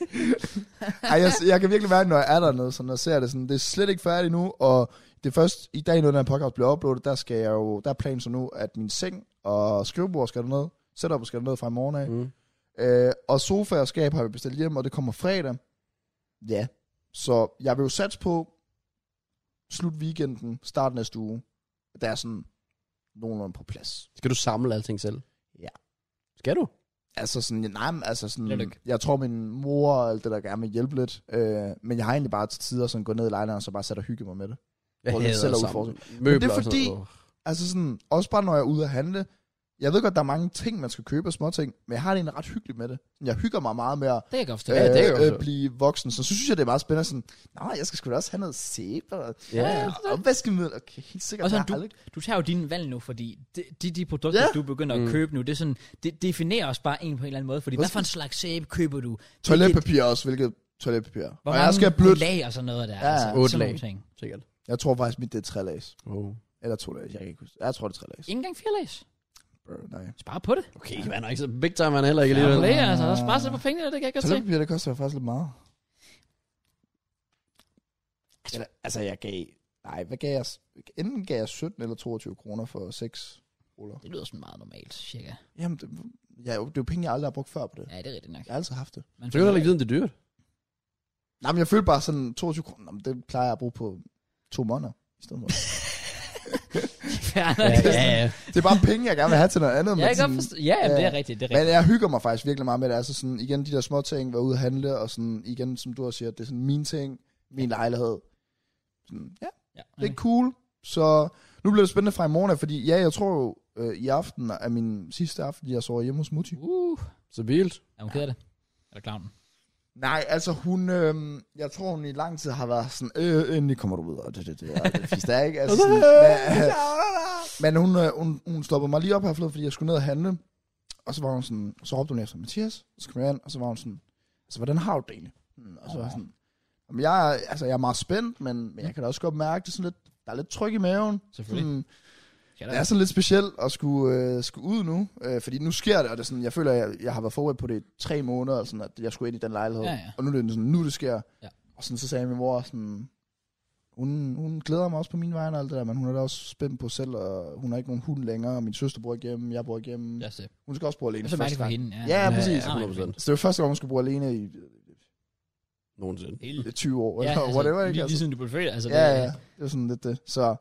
Speaker 3: Ej, jeg, jeg kan virkelig mærke, når jeg er dernede, sådan, og ser det sådan, det er slet ikke færdigt nu, og det er først i dag, når den her podcast bliver uploadet, der skal jeg jo, der er planen så nu, at min seng og skrivebord skal derned, setup skal derned fra i morgen af,
Speaker 2: Mm.
Speaker 3: øh, og sofa og skab har vi bestilt hjem, og det kommer fredag. Ja. Så jeg vil jo satse på slut weekenden, start næste uge, at der er sådan nogenlunde på plads.
Speaker 2: Skal du samle alting selv?
Speaker 3: Ja.
Speaker 2: Skal du?
Speaker 3: Altså sådan, nej, men altså
Speaker 1: Lidt
Speaker 3: sådan,
Speaker 1: ikke.
Speaker 3: jeg tror min mor og alt det der gerne vil hjælpe lidt, øh, men jeg har egentlig bare til tider sådan gået ned i lejligheden, og så bare sat og hygge mig med det.
Speaker 2: Jeg
Speaker 3: Hvor det
Speaker 2: hader
Speaker 3: selv er
Speaker 2: samle.
Speaker 3: udfordring.
Speaker 2: Møbler
Speaker 3: det er
Speaker 2: og sådan
Speaker 3: fordi-
Speaker 2: noget. Åh.
Speaker 3: Altså sådan, også bare når jeg er ude at handle, jeg ved godt, der er mange ting, man skal købe og små ting, men jeg har det egentlig ret hyggeligt med det. Jeg hygger mig meget med at
Speaker 1: Det kan jeg godt forstå.
Speaker 3: øh,
Speaker 2: Ja, det kan jeg
Speaker 3: øh,
Speaker 2: også.
Speaker 3: blive voksen, så synes jeg, det er meget spændende sådan, nej, jeg skal sgu da også have noget sæbe og
Speaker 2: Ja.
Speaker 3: og opvaskemiddel, okay, helt sikkert.
Speaker 1: Og sådan,
Speaker 3: jeg har aldrig-
Speaker 1: Du tager jo dine valg nu, fordi de, de, de produkter,
Speaker 3: Ja. Mm.
Speaker 1: du begynder at købe nu, det, er sådan, det definerer os bare en på en eller anden måde. Fordi hvad for en slags sæbe køber du?
Speaker 3: Toiletpapir også, hvilket toiletpapir.
Speaker 1: Hvor
Speaker 3: og
Speaker 1: mange
Speaker 3: jeg skal have blødt.
Speaker 1: lag og sådan noget der.
Speaker 3: Ja,
Speaker 1: altså,
Speaker 2: otte
Speaker 1: sådan nogle
Speaker 2: lag.
Speaker 1: ting.
Speaker 2: Sikkert.
Speaker 3: Jeg tror faktisk, mit det er tre lags.
Speaker 2: Oh.
Speaker 3: Eller to lags, jeg kan ikke huske. Jeg tror, det er tre lags.
Speaker 1: Ikke engang fire lags.
Speaker 3: Bro, nej.
Speaker 1: Spar på det.
Speaker 2: Okay, man er ikke så big time, man er heller ikke
Speaker 1: Ja,
Speaker 2: lige.
Speaker 1: det er altså. Spar sig på
Speaker 3: Ah.
Speaker 1: pengene, det kan jeg godt se.
Speaker 3: Toiletpapir, det koster jo faktisk lidt meget. Eller, altså, jeg gav... Nej, hvad gav jeg? Enten gav jeg 17 eller 22 kroner for 6 ruller.
Speaker 1: Det lyder sådan meget normalt, cirka.
Speaker 3: Jamen, det, ja, det er jo penge, jeg aldrig har brugt før på det.
Speaker 1: Ja, det er rigtigt nok.
Speaker 3: Jeg har altid haft det.
Speaker 1: Man
Speaker 2: Så kan du heller ikke vide, om det er dyrt.
Speaker 3: Nej, men jeg følte bare sådan 22 kroner. Jamen, det plejer jeg at bruge på to måneder i stedet for.
Speaker 1: fjerner det. [LAUGHS]
Speaker 2: ja.
Speaker 3: det er bare penge, jeg gerne vil have til noget andet.
Speaker 1: Ja,
Speaker 3: men
Speaker 1: jeg kan godt
Speaker 3: [LAUGHS] sådan-
Speaker 1: forstå. Ja, jamen, det er rigtigt, det er rigtigt.
Speaker 3: Men jeg hygger mig faktisk virkelig meget med det. Altså sådan, igen, de der små ting, være ude at handle, og sådan, igen, som du også siger, det er sådan mine ting, min lejlighed. Sådan, ja,
Speaker 1: Ja,
Speaker 3: det er cool. Så nu bliver det spændende fra i morgen, af, fordi ja, jeg tror jo, øh, i aften er min sidste aften, jeg sover hjemme hos Mutti.
Speaker 1: Uh,
Speaker 2: Så vildt.
Speaker 1: er hun ked af det? Eller klavnen?
Speaker 3: Nej, altså hun, øh, jeg tror hun i lang tid har været sådan, øh, endelig kommer du ud, og det, det, det, og det fisk der, ikke?
Speaker 1: [LAUGHS]
Speaker 3: Altså, sådan, men, men hun, øh, hun, hun stoppede mig lige op her forleden, fordi jeg skulle ned og handle, og så var hun sådan, så råbte hun efter Mathias, og så kom jeg ind, og så var hun sådan, altså hvordan har du det egentlig? Mm, Og så var jeg sådan, Jamen, jeg, er- altså, jeg er meget spændt, men, men jeg kan da også godt mærke, det er sådan lidt, der er lidt tryk i maven.
Speaker 1: Selvfølgelig.
Speaker 3: Sådan,
Speaker 1: Skal
Speaker 3: det er sådan lidt specielt at skulle, øh, skulle ud nu, øh, fordi nu sker det, og det er sådan, jeg føler, at jeg, jeg har været forberedt på det i tre måneder, og sådan, at jeg skulle ind i den lejlighed.
Speaker 1: Ja, ja.
Speaker 3: Og nu er det sådan, nu det sker.
Speaker 1: Ja.
Speaker 3: Og sådan, så sagde min mor sådan, hun, hun glæder mig også på min vej og alt det der, men hun er da også spændt på selv, og hun har ikke nogen hund længere, og min søster bor igennem, jeg bor igennem.
Speaker 1: Lad
Speaker 3: Ja.
Speaker 1: os se.
Speaker 3: Hun skal også bo
Speaker 1: øh, Det
Speaker 3: alene
Speaker 1: er så mærkeligt
Speaker 3: første
Speaker 1: for
Speaker 3: gang.
Speaker 1: hende.
Speaker 3: Ja, præcis.
Speaker 1: nej,
Speaker 2: 100%.
Speaker 3: Så det var første gang, hun skulle bo alene i
Speaker 2: Nogensinde.
Speaker 1: Helt-
Speaker 3: øh, 20 år,
Speaker 1: Ja,
Speaker 3: eller
Speaker 1: altså,
Speaker 3: whatever, ikke?
Speaker 1: lige, lige
Speaker 3: Altså,
Speaker 1: siden du blev født, altså.
Speaker 3: ja, ja, det var sådan lidt det. Så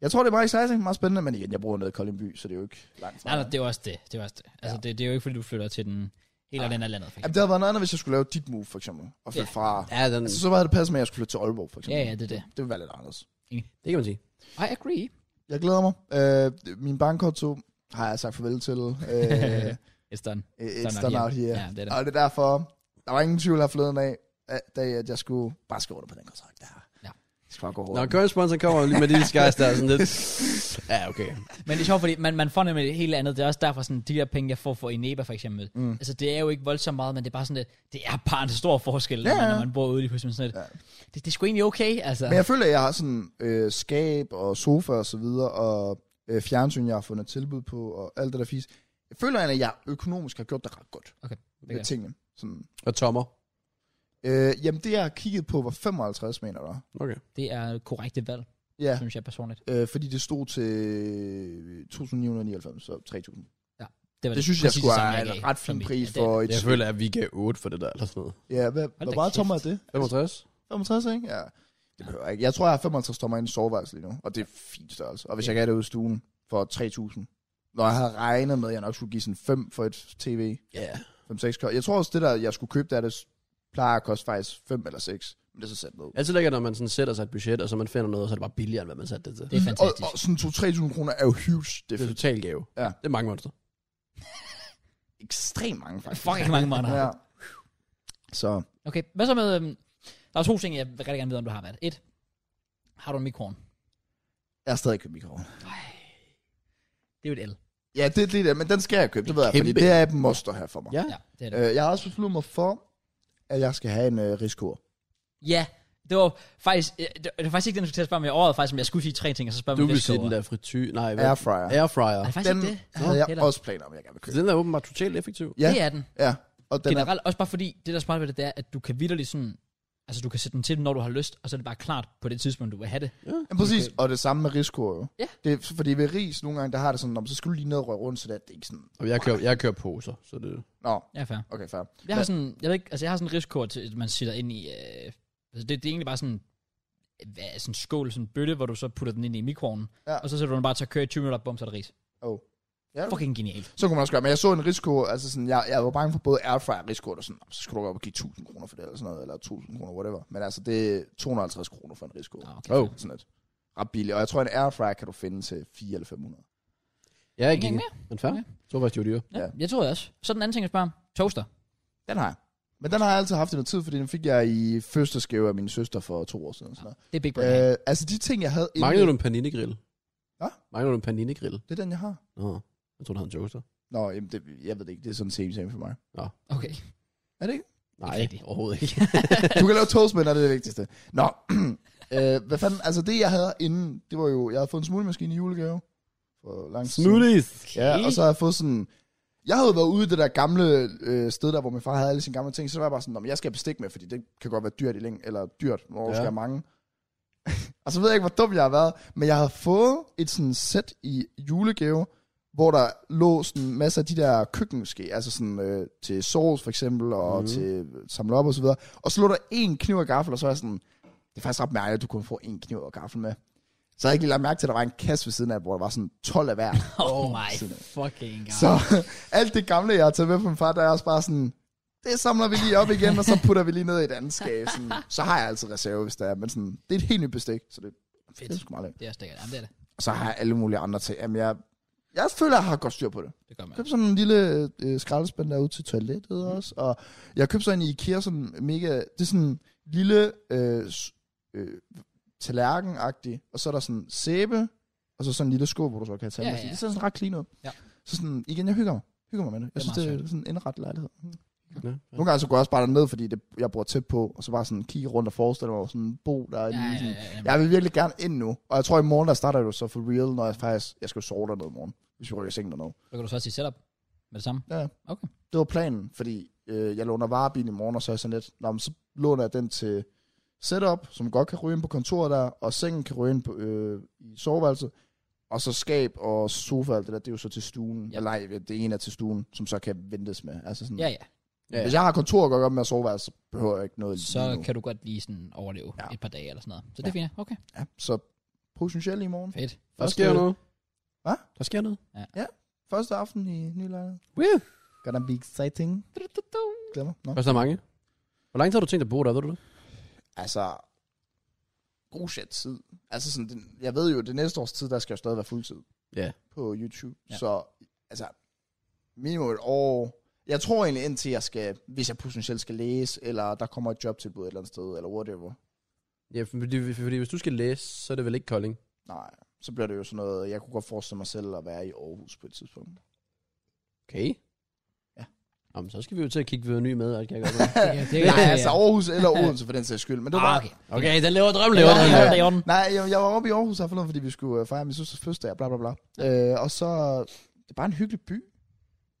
Speaker 3: jeg tror, det er meget exciting, meget spændende, men igen, jeg bor nede i Kolding by, så det er jo ikke langt fra.
Speaker 1: Nej, nej, det er jo også det. Det er, også det. Altså, det, det er jo ikke, fordi du flytter til den
Speaker 3: Ah.
Speaker 1: Hele den her landet, for
Speaker 3: Jamen,
Speaker 1: eksempel.
Speaker 3: det havde været noget andet, hvis jeg skulle lave dit move, for eksempel. Og flytte fra...
Speaker 2: Ja, den,
Speaker 3: Altså, så var det passet med, at jeg skulle flytte til Aalborg, for
Speaker 1: Ja,
Speaker 3: eksempel.
Speaker 1: ja, det er det.
Speaker 3: Det ville være lidt anderledes.
Speaker 2: det kan man sige.
Speaker 1: I agree.
Speaker 3: Jeg glæder mig. Øh, min bankkonto har jeg sagt farvel til.
Speaker 1: [LAUGHS]
Speaker 3: [LAUGHS] Øh,
Speaker 1: It's done.
Speaker 3: it's
Speaker 1: Done out
Speaker 3: done
Speaker 1: here.
Speaker 3: out here. Ah.
Speaker 1: Ja, det er det.
Speaker 3: Og det er derfor, der var ingen tvivl her forleden af, at- da jeg- at jeg skulle bare skrive under på den kontrakt der.
Speaker 1: Ja.
Speaker 3: Det skal bare gå
Speaker 2: Når
Speaker 3: hårdt.
Speaker 2: Current kommer lige med [LAUGHS] lille skies der, sådan lidt. Ja, okay.
Speaker 1: Men det er sjovt, fordi man, man får nemlig et helt andet. Det er også derfor, sådan, de der penge, jeg får for Eneba for eksempel. Mm. Altså, det er jo ikke voldsomt meget, men det er bare sådan lidt, det er bare en stor forskel,
Speaker 3: Ja,
Speaker 1: ja, ja.
Speaker 3: ja.
Speaker 1: når man bor ude i huset. Sådan lidt. Ja. Det, det er sgu egentlig okay, altså.
Speaker 3: Men jeg føler, at jeg har sådan øh, skab og sofa og så videre, og øh, fjernsyn, jeg har fundet tilbud på, og alt det der fisk. Jeg føler egentlig, at jeg økonomisk har gjort det ret godt
Speaker 1: Okay, det
Speaker 3: med
Speaker 1: kan.
Speaker 3: tingene. Sådan.
Speaker 2: Og tommer.
Speaker 3: Øh, jamen, det jeg har kigget på var 55, mener du?
Speaker 2: Okay.
Speaker 1: det er et korrekte valg,
Speaker 3: Ja,
Speaker 1: synes jeg personligt.
Speaker 3: øh, fordi det stod øh, til 2.999, så 3.000.
Speaker 1: Det, var
Speaker 3: Det synes jeg
Speaker 1: præcis
Speaker 3: skulle
Speaker 1: det samme,
Speaker 3: er
Speaker 1: jeg
Speaker 3: en
Speaker 1: gav.
Speaker 3: ret fin
Speaker 1: Som-
Speaker 3: pris
Speaker 1: ja, det er
Speaker 3: for
Speaker 1: det.
Speaker 3: et...
Speaker 2: Jeg føler, at vi gav 8 for det der, eller sådan noget.
Speaker 3: Ja, hvad, hvor
Speaker 1: da
Speaker 3: meget
Speaker 1: kæft.
Speaker 3: tommer er det?
Speaker 2: 65?
Speaker 3: Altså, 65, ikke? Ja. Det behøver jeg ikke. Jeg tror, jeg har 55 tommer i en soveværelse lige nu, og det er fint størrelse. Og hvis jeg gav det ud i stuen for 3.000, når jeg havde regnet med, at jeg nok skulle give sådan 5 for et tv,
Speaker 2: Ja.
Speaker 3: 5-6 kost. Jeg tror også, det der, jeg skulle købe, der det s- plejer at koste faktisk 5 eller 6, men det er så sat ned.
Speaker 2: Altid lækkert, når man sådan sætter sig et budget, og så man finder noget, og så er det bare billigere, end hvad man satte det til.
Speaker 1: Det er
Speaker 3: Og,
Speaker 1: fantastisk.
Speaker 3: og sådan 2-3.000 kroner er jo huge. Det
Speaker 2: Det
Speaker 3: er f-
Speaker 2: er total gave.
Speaker 3: Ja.
Speaker 2: Det er mange monster.
Speaker 3: ekstremt mange, faktisk.
Speaker 1: Fucking mange måneder.
Speaker 3: Ja. Så
Speaker 1: Okay, hvad så med... Øhm, der er to ting, jeg rigtig gerne vil vide, om du har været. Et, har du en mikroovn?
Speaker 3: jeg har stadig købt mikroovn.
Speaker 1: Det er jo et L.
Speaker 3: Ja, det er lige det, men den skal jeg købe, det ved jeg, fordi
Speaker 2: Kæmpe.
Speaker 3: det er et monster her for mig.
Speaker 2: Ja.
Speaker 1: Ja, det er det.
Speaker 3: Øh, jeg har også besluttet mig for, at jeg skal have en øh, riskur.
Speaker 1: Ja, det var faktisk... øh, Det det var faktisk ikke den, du skulle til at spørge mig i året, faktisk, men jeg skulle sige tre ting, og så spørge
Speaker 2: Du
Speaker 1: mig
Speaker 2: vil sige den der frityr. Nej, hvad?
Speaker 3: Airfryer.
Speaker 2: Airfryer.
Speaker 1: Er det faktisk
Speaker 3: Den
Speaker 1: ikke det?
Speaker 3: havde jeg
Speaker 1: heller.
Speaker 3: også planer om, jeg gerne vil købe.
Speaker 2: Den er åbenbart totalt effektiv.
Speaker 3: Ja.
Speaker 1: Det er den.
Speaker 3: Ja, og den er,
Speaker 1: Generelt, også bare fordi, det der er smart ved det, det er, at du kan vidderligt sådan... Altså, du kan sætte den til, når du har lyst, og så er det bare klart på det tidspunkt, du vil have det.
Speaker 3: ja, præcis, og det samme med riskur jo.
Speaker 1: Ja.
Speaker 3: Det er, fordi ved ris nogle gange, der har det sådan, om så skal du lige ned og røre rundt, så det er, det er ikke sådan,
Speaker 2: Og jeg kører, jeg kører poser, så det...
Speaker 3: nå,
Speaker 1: Ja, fair.
Speaker 3: okay, fair.
Speaker 1: Jeg har sådan, jeg ved ikke, altså jeg har sådan en risiko, til, at man sætter ind i, øh, altså det, det er egentlig bare sådan, hvad, sådan en skål, sådan en bøtte, hvor du så putter den ind i mikroovnen,
Speaker 3: Ja.
Speaker 1: ja. og så sætter du den bare til at køre i 20 minutter, bum, så er det ris.
Speaker 3: Oh. Ja,
Speaker 1: Fucking genialt.
Speaker 3: Så kunne man også gøre, men jeg så en risiko, altså sådan, jeg, jeg var bange for både airfryer og risiko, og sådan, "Nå, så skulle du op og give 1000 kroner for det, eller sådan noget, eller 1000 kroner, whatever. Men altså, det er 250 kroner for en risiko.
Speaker 1: Nå, okay.
Speaker 2: Oh.
Speaker 3: Sådan et ret billigt, og jeg tror, en airfryer kan du finde til 4 eller 500.
Speaker 2: Ja, jeg gik.
Speaker 1: Ingen
Speaker 2: Men fair.
Speaker 1: Ja.
Speaker 2: Så var det jo dyre.
Speaker 1: Ja,
Speaker 3: Ja.
Speaker 1: ja. Jeg tror det også. Så den anden ting, jeg spørger om. Toaster.
Speaker 3: Den har jeg. Men den har jeg altid haft i noget tid, fordi den fik jeg i første skæve af min søster for to år siden. Sådan noget.
Speaker 1: Det er big brain. Øh.
Speaker 3: Øh, altså de ting, jeg havde inden-
Speaker 2: Manglede du en paninegrill?
Speaker 3: Hva?
Speaker 2: Manglede du en paninegrill?
Speaker 3: Det er den, jeg har.
Speaker 2: Nå, jeg tror du havde en toaster.
Speaker 3: Nå, jamen, det, jeg ved det ikke. Det er sådan same same for mig.
Speaker 1: Okay.
Speaker 3: Er det ikke?
Speaker 2: Nej,
Speaker 1: Ikke rigtigt.
Speaker 2: overhovedet ikke.
Speaker 3: Du kan lave toast med, når det er det vigtigste. Nå, [CLEARS THROAT] øh, hvad fanden? Altså det, jeg havde inden, det var jo, jeg havde fået en smulemaskine i julegave. For lang tid siden.
Speaker 2: Smoothies!
Speaker 3: Ja, og så har jeg fået sådan... Jeg havde været ude i det der gamle øh, sted der, hvor min far havde alle sine gamle ting, så var jeg bare sådan, "Nå, men jeg skal have bestik med, fordi det kan godt være dyrt i længe, eller dyrt, hvor ja.
Speaker 2: Ja.
Speaker 3: skal jeg mange. [LAUGHS] og så ved jeg ikke, hvor dum jeg har været, men jeg havde fået et sådan sæt i julegave, hvor der lå sådan masser af de der køkkenske, altså sådan øh, til sovs for eksempel, og mm. til samle op og så videre. Og så lå der en kniv og gaffel, og så var jeg sådan, det er faktisk ret mærkeligt, at du kun får en kniv og gaffel med. Så havde jeg ikke lige lagt mærke til, at der var en kasse ved siden af, hvor der var sådan 12 af hver.
Speaker 1: [LAUGHS] Oh my
Speaker 3: sådan.
Speaker 1: fucking god.
Speaker 3: Så [LAUGHS] alt det gamle, jeg har taget med fra min far, der er også bare sådan, det samler vi lige op igen, og så putter vi lige ned i et andet skab. Sådan, så har jeg altid reserve, hvis der er, men sådan, det er et helt nyt bestik, så det,
Speaker 1: Fedt.
Speaker 3: det er sgu meget lækkert.
Speaker 1: Det er også lækkert. Jamen, det er det.
Speaker 3: Og så har jeg alle mulige andre ting. Jamen, jeg, jeg føler, jeg har godt styr på det.
Speaker 1: Det gør man.
Speaker 3: Jeg købte sådan en lille øh, skraldespand derude til
Speaker 1: Mm.
Speaker 3: toilettet også, og jeg købte sådan en i IKEA, sådan mega, det er sådan en lille øh, s- øh, tallerken og så er der sådan sæbe, og så sådan en lille skål, hvor du så kan tage
Speaker 1: Ja,
Speaker 3: ja,
Speaker 1: ja,
Speaker 3: ja.
Speaker 1: ja.
Speaker 3: Det ser sådan ret clean ud.
Speaker 1: Ja.
Speaker 3: Så sådan, igen, jeg hygger mig. Hygger mig med det. Jeg
Speaker 1: Det er
Speaker 3: synes,
Speaker 1: meget
Speaker 3: det er sådan en indret lejlighed.
Speaker 2: Ja.
Speaker 3: Nogle gange så går jeg også bare derned, fordi det, jeg bor tæt på, og så bare sådan kigge rundt og forestille mig sådan en bo, der er
Speaker 1: Ja,
Speaker 3: lige
Speaker 1: ja,
Speaker 3: sådan,
Speaker 1: ja, ja.
Speaker 3: jeg vil virkelig gerne ind nu. Og jeg tror, i morgen, der starter du så for real, når jeg faktisk... Jeg skal jo sove dernede i morgen, hvis vi rykker i sengen dernede.
Speaker 1: Så kan du så også sige setup med det samme.
Speaker 3: Ja.
Speaker 1: Okay.
Speaker 3: Det var planen, fordi øh, jeg låner varebilen i morgen, og så er jeg sådan lidt... Nå, men så låner jeg den til setup, som godt kan ryge ind på kontoret der, og sengen kan ryge ind på, øh, i soveværelset. Og så skab og sofa og alt det der, det er jo så til stuen.
Speaker 1: Ja.
Speaker 3: Ja. Eller nej, det ene er til stuen, som så kan ventes med. Altså sådan,
Speaker 1: Ja, ja.
Speaker 2: ja.
Speaker 3: Hvis jeg har kontor at gøre op med at soveværelse, så behøver jeg ikke noget
Speaker 1: Så
Speaker 3: lige nu.
Speaker 1: kan du godt lige sådan overleve
Speaker 3: Ja.
Speaker 1: ja. et par dage eller sådan noget. Så det er fint. ja. Okay.
Speaker 3: Ja, så potentielt i morgen.
Speaker 1: Fedt.
Speaker 2: Der
Speaker 3: Første-
Speaker 2: sker noget.
Speaker 3: Hva?
Speaker 2: Der sker noget.
Speaker 3: Første aften i ny lejlighed.
Speaker 2: Woo!
Speaker 3: Gonna be exciting. Glemmer. Nå.
Speaker 2: Koster mange. Hvor lang tid har du tænkt at bo der, ved du det?
Speaker 3: Altså, god shit tid. Altså sådan, den, jeg ved jo, det næste års tid, der skal jeg stadig være fuldtid
Speaker 2: Ja.
Speaker 3: på YouTube.
Speaker 1: Ja.
Speaker 3: Ja. Så, altså, minimum et år. Jeg tror egentlig indtil jeg skal, hvis jeg potentielt skal læse, eller der kommer et jobtilbud et eller andet sted, eller whatever.
Speaker 2: Ja, fordi, fordi hvis du skal læse, så er det vel ikke Kolding.
Speaker 3: Nej, så bliver det jo sådan noget, jeg kunne godt forestille mig selv at være i Aarhus på et tidspunkt.
Speaker 2: Okay.
Speaker 3: Ja.
Speaker 2: Jamen, så skal vi jo til at kigge videre ny med, kan jeg godt
Speaker 1: Ja, det kan-
Speaker 3: [LAUGHS] Nej,
Speaker 1: ja, ja.
Speaker 3: altså Aarhus
Speaker 1: [LAUGHS]
Speaker 3: eller Odense for den sags skyld. Men det var
Speaker 1: Ah,
Speaker 3: bare,
Speaker 1: okay.
Speaker 2: Okay, den laver drøm,
Speaker 1: Det
Speaker 2: laver
Speaker 1: var
Speaker 2: drøm.
Speaker 1: den,
Speaker 3: ja.
Speaker 1: det var i orden.
Speaker 3: Nej, jeg, jeg var oppe i Aarhus her forleden, fordi vi skulle øh, fejre min søsters fødselsdag, bla bla bla. Øh, og så, det er bare en hyggelig by.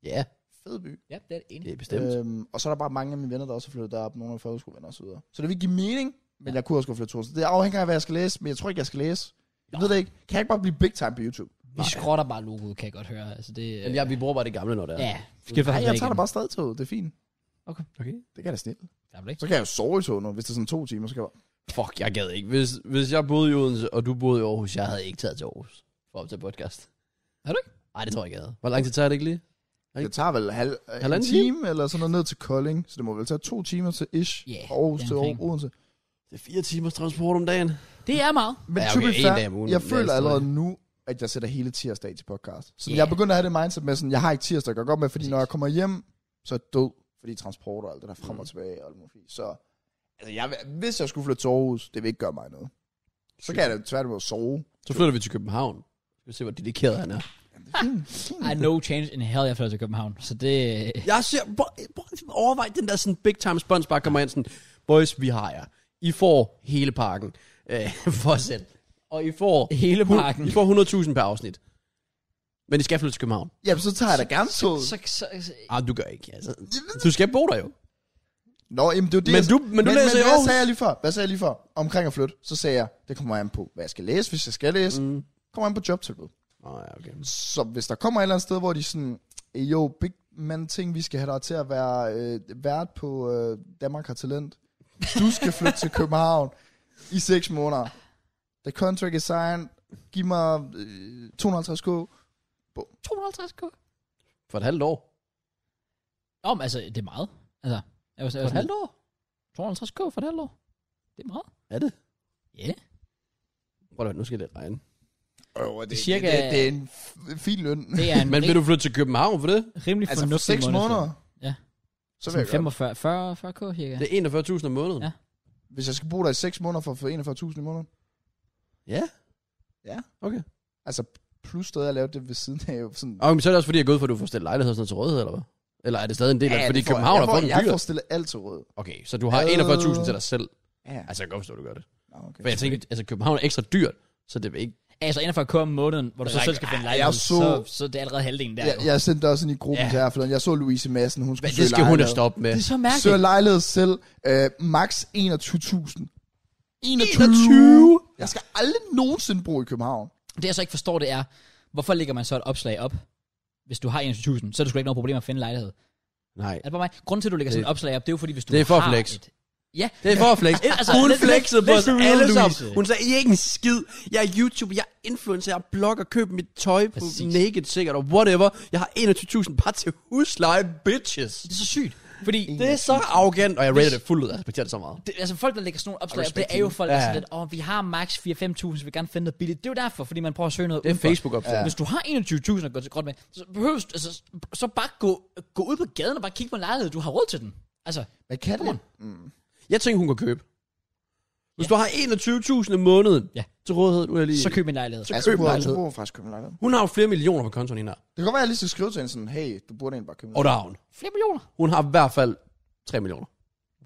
Speaker 2: Ja,
Speaker 3: Fed by.
Speaker 1: Ja, det er det
Speaker 2: det
Speaker 1: ene.
Speaker 2: er bestemt.
Speaker 3: Øhm, og så er der bare mange af mine venner, der også er flyttet derop, nogle af folkeskolevenner og så videre. Så det vil give mening, men jeg kunne også gå flytte til Odense. Det afhænger af, hvad jeg skal læse, men jeg tror ikke, jeg skal læse. Jeg ved det ikke. Kan jeg ikke bare blive big time på YouTube?
Speaker 1: Vi skrotter bare logoet, kan jeg godt høre. Altså, det,
Speaker 2: Eller ja, vi bruger bare det gamle, når det er.
Speaker 1: ja. Skal
Speaker 3: Nej, jeg tager da bare stadig toget. Det er fint.
Speaker 2: Okay.
Speaker 3: Det kan jeg da snille.
Speaker 1: bare.
Speaker 3: Så kan jeg jo sove i toget nu, hvis det er sådan to timer. Så kan jeg bare...
Speaker 2: Fuck, jeg gad ikke. Hvis, hvis jeg boede i Odense, og du boede i Aarhus, jeg havde ikke taget til Aarhus for at optage podcast.
Speaker 1: Har du
Speaker 2: ikke? Nej, det tror jeg ikke, jeg havde. Hvor lang tid tager det ikke lige?
Speaker 3: Det tager vel halv, øh, en
Speaker 2: Halvanden
Speaker 3: time, eller sådan noget ned til Kolding, så det må vel tage to timer til ish,
Speaker 1: Ja,
Speaker 3: fra Aarhus
Speaker 1: det er
Speaker 3: til
Speaker 1: omkring.
Speaker 3: Odense.
Speaker 2: Det er fire timers transport om dagen.
Speaker 1: Det er meget.
Speaker 3: Men
Speaker 2: Ja,
Speaker 3: to
Speaker 2: okay,
Speaker 3: be
Speaker 2: en
Speaker 3: fair,
Speaker 2: dag om ugen,
Speaker 3: jeg
Speaker 2: men
Speaker 3: føler
Speaker 2: ellers
Speaker 3: allerede
Speaker 2: så-
Speaker 3: nu, at jeg sætter hele tirsdag af til podcast. Så
Speaker 1: Ja.
Speaker 3: yeah. jeg begynder at have det mindset med sådan, jeg har ikke tirsdag at gøre godt med, fordi når
Speaker 1: Præcis.
Speaker 3: jeg kommer hjem, så er jeg død, fordi transport og alt det der
Speaker 2: Mm.
Speaker 3: frem og tilbage og alt muligt. Så altså, jeg, vil- hvis jeg skulle flytte til Aarhus, det vil ikke gøre mig noget. Så kan jeg da tværtimod sove.
Speaker 2: Så flytter vi til København. Så Skal vi se, hvor dedikeret han er.
Speaker 1: I no change in hell, jeg flytter til København. Så det...
Speaker 2: Jeg ser, hvor- hvor- overvej den der sådan big time spons, bare kommer ind sådan, boys, vi har jer. I får hele pakken øh, [LAUGHS] for selv. Og I får,
Speaker 1: Hele
Speaker 2: hun-
Speaker 1: pakken.
Speaker 2: I får 100.000 per afsnit. Men I skal flytte til København.
Speaker 3: Jamen, så tager jeg da gerne toget.
Speaker 1: Så, så, så,
Speaker 2: Ah, du gør ikke, altså. Du skal bo der jo.
Speaker 3: Nå, jamen, det er jo det,
Speaker 2: Men
Speaker 3: jeg-
Speaker 2: du- men du
Speaker 3: men,
Speaker 2: læser i
Speaker 3: men, hvad
Speaker 2: Aarhus.
Speaker 3: sagde jeg lige før? Hvad sagde jeg lige før? Omkring at flytte, så sagde jeg, det kommer an på, hvad jeg skal læse, hvis jeg skal læse. Mm. Kommer an på jobtilbud.
Speaker 2: Åh, ja, okay.
Speaker 3: Så hvis der kommer et eller andet sted, hvor de sådan, "Ey, jo, big man ting, vi skal have dig til at være øh, vært på øh, Danmark har talent. Du skal flytte til København i 6 måneder. The contract is signed. Giv mig øh, 250k.
Speaker 1: 250k?
Speaker 2: For et halvt år.
Speaker 1: Om, altså, det er meget. Altså, jeg var, jeg
Speaker 2: For
Speaker 1: var
Speaker 2: et halvt år?
Speaker 1: 250k for et halvt år. Det er meget.
Speaker 2: Er det?
Speaker 1: Ja. Yeah.
Speaker 2: Prøv at nu skal jeg lidt regne.
Speaker 3: Øh, det,
Speaker 1: Cirka-
Speaker 3: det, det, det er en f- fin løn.
Speaker 1: Det er en
Speaker 2: Men vil
Speaker 1: rig-
Speaker 2: du flytte til København for det?
Speaker 1: rimelig
Speaker 3: [LAUGHS] Altså for
Speaker 1: fornuftig
Speaker 3: 6
Speaker 1: månedsløn.
Speaker 3: måneder.
Speaker 1: Ja.
Speaker 3: Så vil
Speaker 1: Sådan
Speaker 3: jeg gøre.
Speaker 1: 45, 40, 40k cirka.
Speaker 2: Det er 41.000 om måneden.
Speaker 1: Ja.
Speaker 2: Ja.
Speaker 3: det. Hvis jeg skal bo der i 6 måneder for at få 41.000 i måneden.
Speaker 2: ja.
Speaker 3: Altså plus stadig at lave det ved siden af. jo Sådan,
Speaker 2: Og men så er det også fordi, jeg er gået for, at du får stillet lejlighed og sådan noget til rådighed, eller hvad? Eller er det stadig en del af det?
Speaker 3: Ja,
Speaker 2: Fordi
Speaker 3: det får jeg.
Speaker 2: København
Speaker 3: jeg
Speaker 2: er
Speaker 3: får,
Speaker 2: fucking
Speaker 3: Jeg
Speaker 2: dyr.
Speaker 3: får stillet alt til råd.
Speaker 2: Okay, så du har 41.000 til dig selv.
Speaker 3: Ja.
Speaker 2: Altså, jeg kan godt forstå, at du gør det.
Speaker 3: Nå, okay.
Speaker 2: For jeg tænker, altså København er ekstra dyrt, så det vil ikke...
Speaker 1: Altså inden for at køre om måneden, hvor du så
Speaker 2: Rækker-
Speaker 1: selv skal finde
Speaker 3: Ej,
Speaker 1: lejlighed,
Speaker 3: jeg
Speaker 1: så,
Speaker 3: så-
Speaker 1: så det er allerede halvdelen der.
Speaker 3: Jeg, jeg sendte også ind i gruppen
Speaker 2: Ja.
Speaker 3: ja. til her forleden. Jeg så Louise Madsen, hun
Speaker 2: Men
Speaker 3: skulle
Speaker 2: det
Speaker 3: søge
Speaker 2: skal hun da
Speaker 3: lejlighed.
Speaker 2: stoppe med.
Speaker 1: det er så
Speaker 3: Søger
Speaker 1: mærkeligt.
Speaker 3: lejlighed selv. Øh, max 21.000.
Speaker 2: 21?
Speaker 3: Jeg skal aldrig nogensinde bo i København.
Speaker 1: Det jeg så ikke forstår, det er, hvorfor lægger man så et opslag op? Hvis du har 21.000, så er det sgu ikke noget problem at finde lejlighed.
Speaker 2: Nej.
Speaker 1: Er det bare mig? Grunden til, at du lægger sådan et opslag op, det er jo fordi, hvis du
Speaker 2: Det er for at
Speaker 1: har
Speaker 2: flex.
Speaker 1: Et, ja,
Speaker 2: Det er for at flex.
Speaker 1: Altså,
Speaker 2: altså, hun
Speaker 1: let-
Speaker 2: flexede
Speaker 1: let-
Speaker 2: på
Speaker 1: let's
Speaker 2: os
Speaker 1: be real,
Speaker 2: alle sammen.
Speaker 1: Louise.
Speaker 2: Hun sagde, I er ikke en skid. Jeg er YouTube, jeg er influencer, jeg er blogger, køb mit tøj på
Speaker 1: Præcis.
Speaker 2: Naked sikkert, og whatever. Jeg har 21.000 par til husleje, bitches.
Speaker 1: det er så sygt. Fordi
Speaker 2: Det er så arrogant, og jeg rater det fuldt ud. Jeg respekterer det så meget.
Speaker 1: det, altså folk, der lægger sådan nogle opslag op, det er jo folk, der
Speaker 2: Ja.
Speaker 1: er sådan lidt, åh, vi har max 4-5.000, så vi vil gerne finde noget billigt. Det er jo derfor, fordi man prøver at søge noget
Speaker 2: Det er
Speaker 1: udenfor.
Speaker 2: Facebook-opslag.
Speaker 1: Hvis du har 21.000 at gå til godt med, så behøver du, altså, så bare gå, gå ud på gaden og bare kigge på en lejlighed. Du har råd til den. Altså,
Speaker 3: Hvad kan
Speaker 1: Come
Speaker 3: det?
Speaker 1: on.
Speaker 2: Jeg tænker, hun kan købe. Hvis du har 21.000 om måneden
Speaker 1: Ja.
Speaker 2: til rådighed, nu er jeg lige...
Speaker 1: så køb en lejlighed.
Speaker 2: Så
Speaker 3: Altså,
Speaker 2: køb en
Speaker 3: burde
Speaker 2: lejlighed.
Speaker 3: du bor faktisk købe en lejlighed.
Speaker 2: Hun har jo flere millioner på kontoen hende her.
Speaker 3: Det kan godt være, at jeg lige skal skrive til hende sådan, hey, du burde egentlig bare købe en
Speaker 2: Og der har hun.
Speaker 1: Flere millioner.
Speaker 2: Hun har i hvert fald 3 millioner.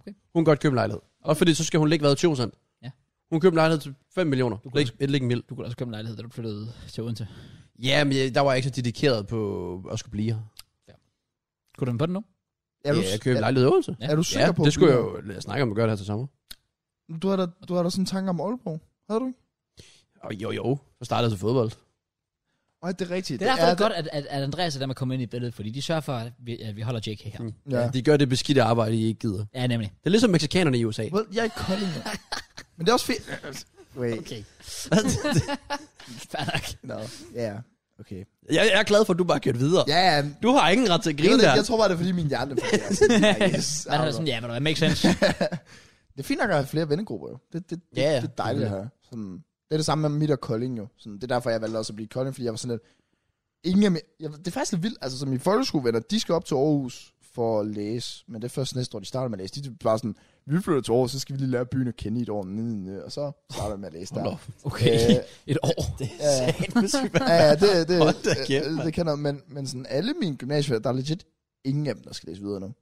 Speaker 1: Okay.
Speaker 2: Hun kan godt købe en lejlighed. Og fordi så skal hun ligge hvad, 20 cent.
Speaker 1: Ja.
Speaker 2: Hun købte en lejlighed til 5 millioner.
Speaker 1: kunne
Speaker 2: Læg, et, læg en mil.
Speaker 1: Du kunne da også købe en lejlighed, da du flyttede til Odense.
Speaker 2: Ja, men jeg, der var jeg ikke så dedikeret på at skulle blive her.
Speaker 1: Kunne du den på den nu?
Speaker 3: Er du,
Speaker 2: ja, jeg købte en
Speaker 3: er,
Speaker 2: lejlighed i Odense.
Speaker 1: Ja.
Speaker 3: er du sikker
Speaker 2: Ja,
Speaker 3: på,
Speaker 2: det
Speaker 3: at
Speaker 2: skulle jeg
Speaker 3: du-
Speaker 2: jo lad os snakke om at gøre det her til sommer.
Speaker 3: Du har da, du har da sådan en tanke om Aalborg. Havde du ikke?
Speaker 2: Og jo, jo. Så startede jeg til fodbold.
Speaker 3: Nej, det er rigtigt.
Speaker 1: Det er derfor, det er godt, at, at, at Andreas er dem er kommet ind i billedet, fordi de sørger for, at vi, at vi holder JK her.
Speaker 2: Mm.
Speaker 3: Ja.
Speaker 2: Ja. De gør det beskidte arbejde, I ikke gider.
Speaker 1: Ja, nemlig.
Speaker 2: Det er ligesom mexikanerne i USA.
Speaker 3: Well, jeg er i Kolding. jo. Men [LAUGHS] det er også fedt. Wait.
Speaker 1: Okay. [LAUGHS] Fair nok.
Speaker 3: No. Ja. Okay.
Speaker 2: Jeg, jeg er glad for, at du bare kørte videre.
Speaker 3: Ja, ja,
Speaker 2: Du har ingen ret til at
Speaker 3: jeg, ved
Speaker 2: grine
Speaker 3: det,
Speaker 2: der.
Speaker 3: ikke, jeg tror bare, det er fordi min hjerne fungerer
Speaker 2: [LAUGHS]
Speaker 3: sådan. Ja, yes.
Speaker 1: Man er sådan, ja, men det makes sense.
Speaker 3: Det er fint nok at have flere vennegrupper, jo. Det, det, det,
Speaker 2: Ja, ja.
Speaker 3: det er dejligt at have. Sådan, det er det samme med mit og Kolding, jo. Sådan, det er derfor, jeg valgte også at blive i Kolding, fordi jeg var sådan lidt... Ingen af mi- jeg, det er faktisk lidt vildt. Altså, som mine folkeskolevenner, de skal op til Aarhus for at læse. Men det er først næste år, de starter med at læse. De er bare sådan, vi flytter til Aarhus, så skal vi lige lære byen at kende i et år. nede, Og så starter vi med at læse
Speaker 2: Hold
Speaker 3: der.
Speaker 2: op.
Speaker 1: Okay,
Speaker 3: Øh,
Speaker 1: et år.
Speaker 2: Det
Speaker 3: [LAUGHS] Ja, ja.
Speaker 2: er satme
Speaker 3: Ja, ja,
Speaker 2: [LAUGHS]
Speaker 3: det, det,
Speaker 2: Hold da
Speaker 3: øh,
Speaker 2: kæft,
Speaker 3: øh,
Speaker 2: mand.
Speaker 3: det kan noget. Men, men sådan, alle mine gymnasievenner, der er legit ingen af dem, der skal læse videre nu.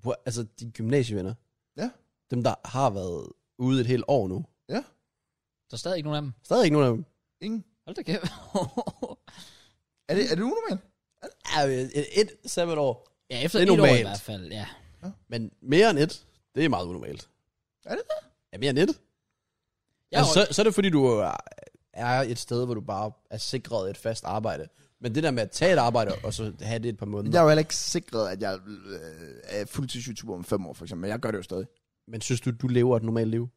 Speaker 2: Hvor- Altså, de gymnasievenner.
Speaker 3: Ja.
Speaker 2: Dem, der har været ude et helt år nu.
Speaker 1: Der er stadig ikke nogen af dem.
Speaker 2: Stadig ikke nogen af dem.
Speaker 3: Ingen.
Speaker 1: Hold da kæft. [LAUGHS]
Speaker 3: Er det, er det unormalt?
Speaker 2: Ja, et, et sabbatår.
Speaker 1: ja, efter
Speaker 2: Det er
Speaker 1: et år i
Speaker 2: normalt.
Speaker 1: hvert fald, ja.
Speaker 2: Men mere end et, det er meget unormalt.
Speaker 3: Er det
Speaker 2: det? Ja, mere end et.
Speaker 1: Jeg
Speaker 2: Ja,
Speaker 1: er
Speaker 2: altså, så, så er det fordi, du er- er et sted, hvor du bare er sikret et fast arbejde. Men det der med at tage et arbejde, og så have det et par måneder.
Speaker 3: Jeg er jo heller ikke sikret, at jeg øh, er fuldtids YouTuber om fem år, for eksempel. Men jeg gør det jo stadig.
Speaker 2: Men synes du, du lever et normalt liv?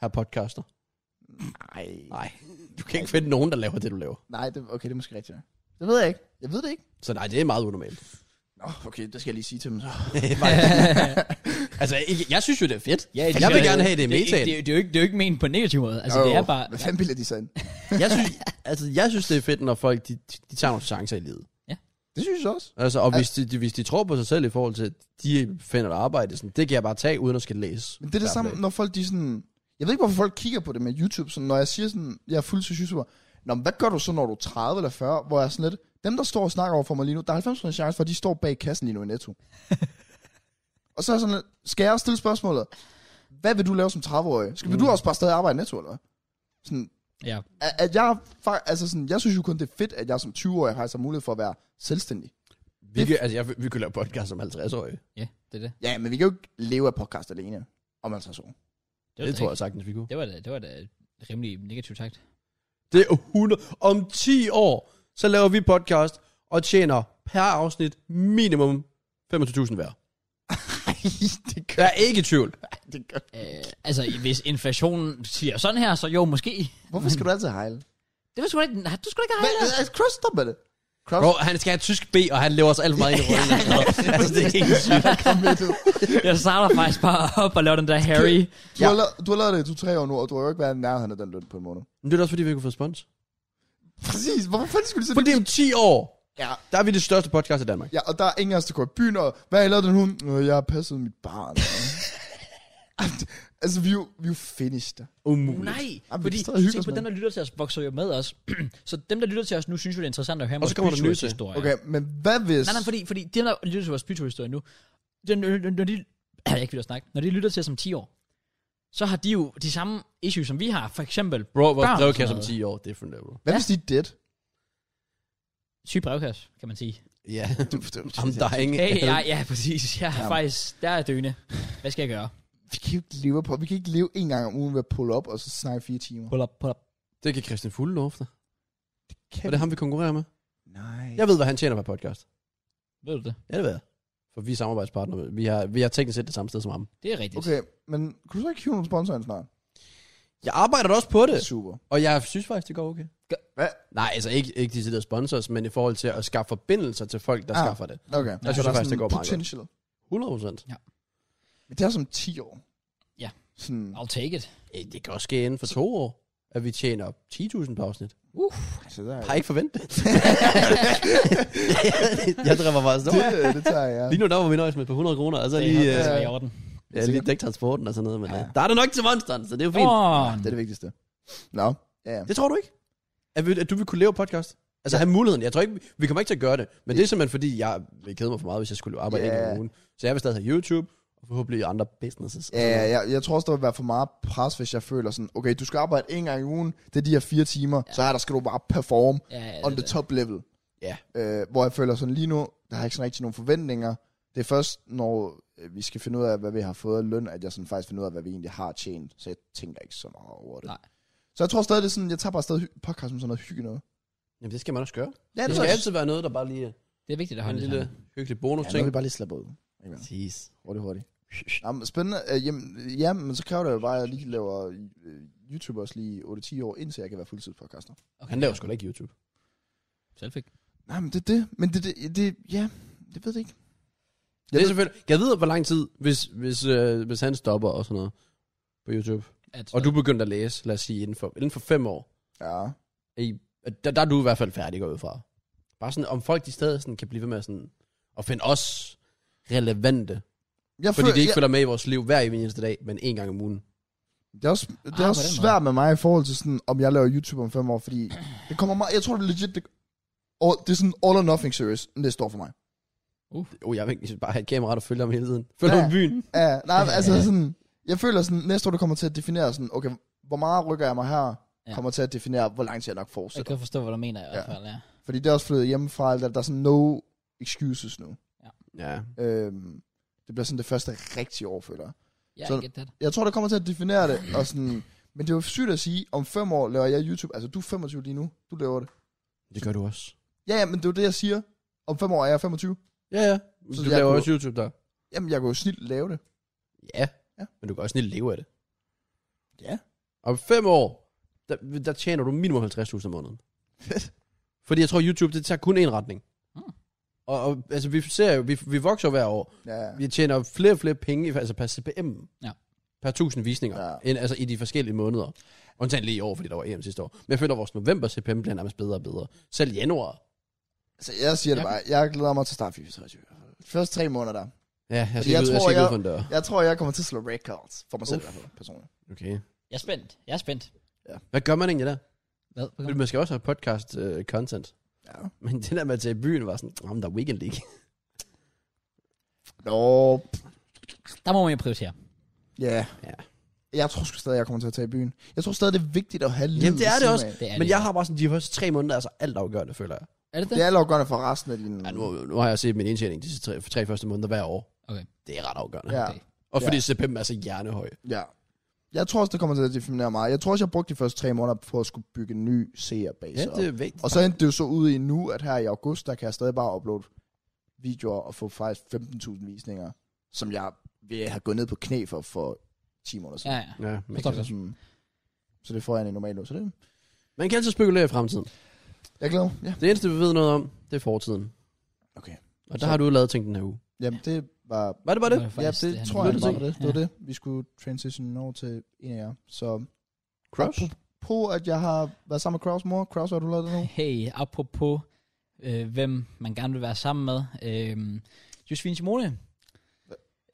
Speaker 2: Her podcaster?
Speaker 3: Nej.
Speaker 2: Nej. Du kan ikke finde nogen, der laver det, du laver.
Speaker 3: Nej, det, okay, det er måske rigtigt. nok. Det ved jeg ikke. Jeg ved det ikke.
Speaker 2: Så nej, det er meget unormalt.
Speaker 3: Nå, okay, det skal jeg lige sige til dem. så.
Speaker 2: [LAUGHS] altså, ikke, jeg synes jo, det er fedt.
Speaker 1: Ja,
Speaker 2: jeg vil gerne have det i
Speaker 1: er ikke-
Speaker 2: metaen.
Speaker 1: Det, er- det, er jo ikke, det er jo ikke ment på en negativ måde. Altså, det
Speaker 3: Åh,
Speaker 1: er bare...
Speaker 3: Hvad fanden bilder de så ind?
Speaker 2: Jeg synes, altså, jeg synes, det er fedt, når folk de, de tager nogle chancer i livet.
Speaker 3: Det synes jeg også.
Speaker 2: Altså, og hvis de, de, hvis de tror på sig selv i forhold til, at de finder et arbejde, sådan, det kan jeg bare tage, uden at skal læse.
Speaker 3: Men det er det
Speaker 2: hver
Speaker 3: samme,
Speaker 2: dag.
Speaker 3: når folk de sådan... Jeg ved ikke, hvorfor folk kigger på det med YouTube. Sådan, når jeg siger sådan, jeg er fuldtids YouTuber. Nå, men hvad gør du så, når du er 30 eller 40? Hvor jeg er sådan lidt... Dem, der står og snakker over for mig lige nu, der er 90% chance for, at de står bag kassen lige nu i [LAUGHS] Netto. og så er jeg sådan lidt, skal jeg også stille spørgsmålet? Hvad vil du lave som 30-årig? Skal vil du også bare stadig arbejde i Netto, eller hvad? Sådan,
Speaker 1: Ja.
Speaker 3: at, at jeg, fa- altså sådan, jeg synes jo kun, det er fedt, at jeg som 20-årig har så mulighed for at være selvstændig.
Speaker 2: Vi, kan, altså, jeg, vi kunne lave podcast som 50-årige.
Speaker 1: ja, det er det.
Speaker 3: Ja, men vi kan jo ikke leve af podcast alene om 50 år.
Speaker 1: var
Speaker 2: Det, det tror
Speaker 1: ikke-
Speaker 2: jeg sagtens, vi kunne.
Speaker 1: Det var da, det var da rimelig negativ takt.
Speaker 2: Det er 100. Om 10 år, så laver vi podcast og tjener per afsnit minimum 25.000 hver.
Speaker 3: Nej, det gør,
Speaker 2: Jeg er ikke i tvivl.
Speaker 3: det gør.
Speaker 1: Øh, altså, hvis inflationen siger sådan her, så jo, måske.
Speaker 3: Hvorfor skal du altid hejle?
Speaker 1: Det var sgu da ikke... nej, Du skulle da ikke have
Speaker 3: Hvad, er Cross stop med det? Cross,
Speaker 2: Bro, han skal have tysk B, og han lever så alt for meget ind
Speaker 3: [LAUGHS]
Speaker 2: i røven. altså, det er ikke sygt.
Speaker 3: kom lidt [LAUGHS] ud.
Speaker 1: det. Jeg starter faktisk bare op og laver den der Harry.
Speaker 3: Du, ja. har, la- du har lavet det i to-tre år nu, og du har jo ikke været i nærheden af den løn på en måned.
Speaker 2: Men det er da også, fordi vi ikke har fået spons.
Speaker 3: Præcis, hvorfor fanden skulle du så...
Speaker 2: Fordi om 10 år,
Speaker 3: Ja.
Speaker 2: der er vi det største podcast i Danmark.
Speaker 3: ja, og der er ingen af os, der går i byen, og hvad har I lavet den hund? Nå, jeg har passet mit barn. altså, vi er jo, vi er jo finished.
Speaker 2: Umuligt.
Speaker 1: Nej,
Speaker 3: Jamen,
Speaker 1: fordi
Speaker 3: vi sidder og hygger
Speaker 1: tænk på
Speaker 3: os med
Speaker 1: dem, der lytter til os, vokser jo med os. [CLEARS THROAT] så dem, der lytter til os nu, synes jo, det er interessant at høre
Speaker 2: Og så kommer der nye til.
Speaker 1: historie.
Speaker 3: Okay, men hvad hvis...
Speaker 1: Nej, nej, fordi, fordi dem, der lytter til vores byturhistorie nu, den- når de, [CLEARS THROAT] jeg ikke vil at snakke, når de lytter til os om 10 år, så har de jo de samme issues, som vi har. For eksempel
Speaker 2: Bro, vores
Speaker 1: Børn og
Speaker 2: brevkasse om
Speaker 1: sådan
Speaker 2: 10 år, different level.
Speaker 3: Hvad hvis de er dead?
Speaker 1: syg brevkasse, kan man sige.
Speaker 2: [LAUGHS] Ja.
Speaker 3: Du, du, du,
Speaker 2: Om der er ingen...
Speaker 1: Hey, ja, ja, præcis. Jeg er
Speaker 3: Ja.
Speaker 1: faktisk, der er døende. Hvad skal jeg gøre?
Speaker 3: vi kan jo ikke leve på. Vi kan ikke leve en gang om ugen ved at pulle op, og så snakke i fire timer.
Speaker 1: Pull up, pull up.
Speaker 2: Det kan Christian Fugle love dig.
Speaker 3: Kan
Speaker 2: Og det er ham, vi konkurrerer med.
Speaker 3: Nej.
Speaker 2: Jeg ved, hvad han tjener per podcast.
Speaker 1: Ved du det?
Speaker 2: Ja, det ved jeg. For vi er samarbejdspartnere. Vi har, vi har teknisk set det samme sted som ham.
Speaker 1: Det er rigtigt.
Speaker 3: Okay, men kunne du så ikke hive nogle sponsorer ind snart?
Speaker 2: Jeg arbejder da også på det.
Speaker 3: Super.
Speaker 2: Og jeg synes faktisk, det går okay.
Speaker 3: Hvad?
Speaker 2: Nej, altså ikke, ikke de sidder sponsors, men i forhold til at skaffe forbindelser til folk, der
Speaker 3: Ah.
Speaker 2: ah. skaffer det.
Speaker 3: Okay.
Speaker 1: Jeg
Speaker 3: så
Speaker 2: synes
Speaker 3: der er
Speaker 2: faktisk, det
Speaker 3: sådan
Speaker 2: går meget godt.
Speaker 3: potential.
Speaker 2: 100 procent.
Speaker 3: Men det er som 10 år.
Speaker 1: Ja.
Speaker 3: Sådan,
Speaker 1: I'll take it.
Speaker 2: Det kan også ske inden for to år, at vi tjener 10.000 per afsnit.
Speaker 3: altså, der er,
Speaker 2: Har jeg ikke
Speaker 3: [LAUGHS]
Speaker 2: forventet det? jeg drømmer bare så.
Speaker 3: det, det tager jeg.
Speaker 2: Lige nu der var vi nøjes med på 100 kroner, og så
Speaker 1: Det
Speaker 2: lige,
Speaker 1: er
Speaker 2: øh,
Speaker 1: faktisk i orden.
Speaker 2: ja, lige dæk transporten og sådan noget. Men,
Speaker 3: Ja.
Speaker 2: ja. Der er der nok til monsteren, så det er jo
Speaker 1: Fint.
Speaker 2: fint.
Speaker 3: Det er det vigtigste. Nå, ja. ja.
Speaker 2: Det tror du ikke? At, vi- at du vil kunne leve podcast? Altså have muligheden. Jeg tror ikke, vi kommer ikke til at gøre det. Men det er simpelthen fordi, jeg vil kede mig for meget, hvis jeg skulle arbejde
Speaker 3: Ja.
Speaker 2: yeah. en ugen. Så jeg vil stadig have YouTube, og forhåbentlig andre businesses. og
Speaker 3: Ja,
Speaker 2: sådan
Speaker 3: ja,
Speaker 2: noget.
Speaker 3: jeg, jeg tror også, der vil være for meget pres, hvis jeg føler sådan, okay, du skal arbejde en gang i ugen, det er de her fire timer, ja. så er der skal du bare performe
Speaker 1: Ja, ja,
Speaker 3: on
Speaker 1: det
Speaker 3: the
Speaker 1: er
Speaker 3: top level.
Speaker 2: Ja.
Speaker 3: Øh, hvor jeg føler sådan lige nu, der har jeg ikke sådan rigtig nogen forventninger. Det er først, når øh, vi skal finde ud af, hvad vi har fået af løn, at jeg sådan faktisk finder ud af, hvad vi egentlig har tjent. Så jeg tænker ikke så meget over det.
Speaker 1: Nej.
Speaker 3: Så jeg tror stadig, det er sådan, jeg tager bare stadig hy- podcast som sådan noget hygge noget.
Speaker 2: Jamen det skal man også gøre.
Speaker 3: Ja,
Speaker 2: Det
Speaker 3: tror
Speaker 2: skal
Speaker 3: jeg.
Speaker 2: altid være noget, der bare lige er
Speaker 1: Det er vigtigt at
Speaker 2: en
Speaker 1: holde det
Speaker 2: lille
Speaker 1: sammen.
Speaker 2: hyggelig
Speaker 3: Ja, nu
Speaker 2: bonus-ting.
Speaker 3: kan vi bare lige slappe ud. Ikke?
Speaker 2: Præcis.
Speaker 3: Hurtigt, hurtigt. Jamen, spændende. Øh, jamen, ja, men så kræver det jo bare, at jeg lige laver øh, YouTube også lige 8-10 år, indtil jeg kan være fuldtidspodcaster.
Speaker 1: Okay.
Speaker 2: Han laver sgu da ikke YouTube.
Speaker 1: Selvfik.
Speaker 3: Nej, men det er det. Men det, det, det ja, det ved jeg ikke. Jeg
Speaker 2: Jeg det er
Speaker 3: ved-
Speaker 2: selvfølgelig... Jeg ved, hvor lang tid, hvis, hvis, øh, hvis han stopper og sådan noget på YouTube.
Speaker 1: At,
Speaker 2: Og du begyndte at læse, lad os sige, inden for, inden for fem år.
Speaker 3: Ja.
Speaker 2: Er I, der, der er du i hvert fald færdig går jeg ud fra. Bare sådan, om folk de stadig sådan, kan blive ved med sådan, at finde os relevante.
Speaker 3: Jeg
Speaker 2: Fordi
Speaker 3: føler-
Speaker 2: det ikke
Speaker 3: jeg,
Speaker 2: følger med i vores liv hver eneste dag, men en gang om ugen.
Speaker 3: det er også, det er
Speaker 1: Ah,
Speaker 3: også
Speaker 1: på den måde.
Speaker 3: svært med mig i forhold til sådan, om jeg laver YouTube om fem år, fordi det kommer meget, jeg tror det er legit, det, all, det er sådan all or nothing series, det står for [LAUGHS] mig.
Speaker 2: Jo, Oh, jeg vil egentlig bare have et kamera, der følger ham hele tiden. Følger
Speaker 3: Ja.
Speaker 2: ja. ham i byen.
Speaker 3: Ja, nej, men altså sådan, jeg føler sådan, næste år det kommer til at definere sådan, okay, hvor meget rykker jeg mig her,
Speaker 1: Ja.
Speaker 3: ja. kommer til at definere, hvor lang tid jeg nok fortsætter.
Speaker 1: jeg kan forstå, hvad du mener i hvert
Speaker 3: Ja.
Speaker 1: fald, ja.
Speaker 3: Fordi det er også flyttet hjemmefra, alt det der, der er sådan no excuses nu.
Speaker 2: Ja.
Speaker 3: Øhm, det bliver sådan det første rigtige år, føler jeg.
Speaker 1: Ja,
Speaker 3: Så-
Speaker 1: I get that.
Speaker 3: Jeg tror, det kommer til at definere det, og sådan, men det er jo sygt at sige, om fem år laver jeg YouTube, altså du er 25 lige nu, du laver det.
Speaker 2: Det gør du også.
Speaker 3: Ja, ja, men det er jo det, jeg siger. Om fem år er jeg 25.
Speaker 2: Ja, ja. Så
Speaker 3: Så
Speaker 2: du
Speaker 3: jeg
Speaker 2: laver
Speaker 3: kunne-
Speaker 2: også YouTube der.
Speaker 3: Jamen, jeg kunne jo snilt lave det.
Speaker 2: Ja. ja.
Speaker 3: Ja.
Speaker 2: Men du kan også snille leve af det.
Speaker 3: Ja.
Speaker 2: Om fem år, der, der tjener du minimum 50.000 om måneden. Fordi jeg tror, YouTube, det tager kun én retning.
Speaker 1: Mm.
Speaker 3: Hmm.
Speaker 2: Og, og altså, vi ser jo, vi, vi vokser jo hver år.
Speaker 3: Ja, ja.
Speaker 2: Vi tjener flere og flere penge, altså per CPM.
Speaker 1: Ja.
Speaker 2: Per tusind visninger.
Speaker 3: Ja.
Speaker 2: End, altså i de forskellige måneder. Undtagen lige i år, fordi der var EM sidste år. Men jeg føler, at vores november CPM bliver nærmest bedre og bedre. Selv januar.
Speaker 3: Så Altså, jeg siger det
Speaker 1: Ja.
Speaker 3: bare. Jeg glæder mig til start 24. Første tre måneder der.
Speaker 2: Ja, jeg
Speaker 3: Fordi
Speaker 2: skal,
Speaker 3: jeg
Speaker 2: ikke ud, jeg
Speaker 3: tror,
Speaker 2: skal ikke ud
Speaker 3: jeg-
Speaker 2: for en dør.
Speaker 3: Jeg tror, jeg kommer til at slå records for mig selv,
Speaker 2: Uf.
Speaker 3: i hvert fald, personligt.
Speaker 2: Okay.
Speaker 1: Jeg er spændt. Jeg er spændt.
Speaker 2: Hvad gør man egentlig der?
Speaker 1: Hvad?
Speaker 2: Fordi Man skal også have podcast øh, content.
Speaker 3: Ja.
Speaker 2: Men det der med at tage i byen var sådan, om der er weekend league.
Speaker 3: Nå,
Speaker 1: Der må man jo prioritere.
Speaker 3: ja.
Speaker 2: Ja.
Speaker 3: Jeg tror sgu stadig, jeg kommer til at tage i byen. Jeg tror stadig, det er vigtigt at have livet
Speaker 2: Jamen,
Speaker 3: ved
Speaker 2: det er det
Speaker 3: siden
Speaker 2: også.
Speaker 3: af.
Speaker 1: Det er
Speaker 2: Men
Speaker 1: det.
Speaker 2: jeg har bare sådan, de første tre måneder er så alt afgørende, føler jeg.
Speaker 1: Er det det?
Speaker 3: Det er lovgørende for resten af din...
Speaker 2: Ja, nu, nu har jeg set min indtjening de sidste tre, tre første måneder hver år.
Speaker 1: Okay.
Speaker 2: Det er ret afgørende.
Speaker 3: ja.
Speaker 1: okay.
Speaker 2: Og fordi CPM er så hjernehøj.
Speaker 3: ja. Jeg tror også, det kommer til at definere mig. Jeg tror også, jeg brugte de første tre måneder på at skulle bygge en ny seerbase
Speaker 2: Ja,
Speaker 3: op.
Speaker 2: det er vigtigt.
Speaker 3: Og så endte det jo så ude i nu, at her i august, der kan jeg stadig bare uploade videoer og få faktisk 15.000 visninger, som jeg vil have gået ned på knæ for for 10 måneder siden.
Speaker 1: Ja, ja.
Speaker 2: Ja,
Speaker 1: Forstår
Speaker 2: men-
Speaker 1: det.
Speaker 3: Sådan, så det får jeg en normalt nu. Så det,
Speaker 2: man kan altid spekulere i fremtiden.
Speaker 3: jeg glæder mig. Ja.
Speaker 2: Det eneste, vi ved noget om, det er fortiden.
Speaker 3: Okay.
Speaker 2: Og der har du lavet ting den her uge.
Speaker 3: Jamen, det var...
Speaker 2: Var det bare det?
Speaker 1: var
Speaker 3: ja,
Speaker 1: faktisk
Speaker 3: det,
Speaker 1: han
Speaker 3: tror jeg,
Speaker 1: ville
Speaker 3: det var
Speaker 1: sige.
Speaker 3: det. Det var det. Vi skulle transition over til en af jer. Så
Speaker 2: Crush?
Speaker 3: på, at jeg har været sammen med Kraus mor. Kraus, har du lavet det nu?
Speaker 1: Hey, apropos, øh, hvem man gerne vil være sammen med. Øh, Josefine Simone.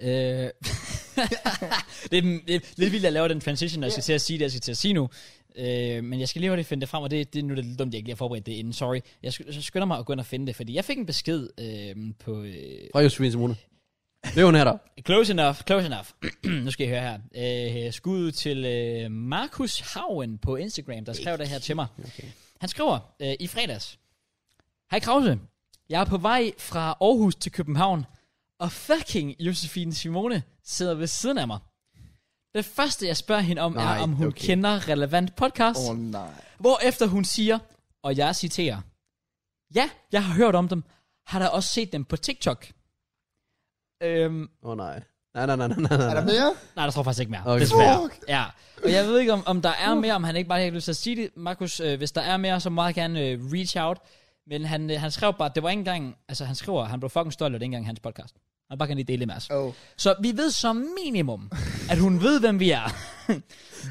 Speaker 1: Øh, [LAUGHS] det, er, den- det er lidt vildt at lave den transition, når jeg skal til at sige det, jeg skal til at sige nu. Øh, men jeg skal lige hurtigt finde det frem, og det, det er nu det er lidt dumt, jeg ikke lige har forberedt det inden. Sorry. Jeg sk- så skynder mig at gå ind og finde det, fordi jeg fik en besked øh, på... Øh,
Speaker 2: Fra Josefine Simone. Det er hun her der.
Speaker 1: close enough, close enough. [CLEARS THROAT] nu skal I høre her. Øh, skud til øh, Markus Hauen på Instagram, der skrev det her til mig.
Speaker 2: Okay.
Speaker 1: Han skriver øh, i fredags. Hej Krause, jeg er på vej fra Aarhus til København, og fucking Josefine Simone sidder ved siden af mig. Det første, jeg spørger hende om,
Speaker 2: Nej,
Speaker 1: er, om hun
Speaker 2: okay.
Speaker 1: kender relevant podcast,
Speaker 3: Åh,
Speaker 1: oh.
Speaker 3: oh, nej.
Speaker 1: hvor efter hun siger, og jeg citerer, Ja, jeg har hørt om dem. Har da også set dem på TikTok. Øhm,
Speaker 2: Åh oh, nej. Nej, nej, nej, nej, nej,
Speaker 3: Er
Speaker 2: nej.
Speaker 3: der mere?
Speaker 1: nej, der tror jeg faktisk ikke mere.
Speaker 2: Okay.
Speaker 1: Okay. Desværre.
Speaker 3: Fuck.
Speaker 1: Ja, og jeg ved ikke, om, om der er mere, om han ikke bare har lyst til at sige det. Markus, øh, hvis der er mere, så meget gerne øh, reach out. Men han, øh, han skrev bare, det var ikke engang, altså han skriver, han blev fucking stolt af det ikke engang hans podcast. Han bare kan lige dele det med os.
Speaker 3: Oh.
Speaker 1: Så vi ved som minimum, at hun ved, hvem vi er.
Speaker 3: Det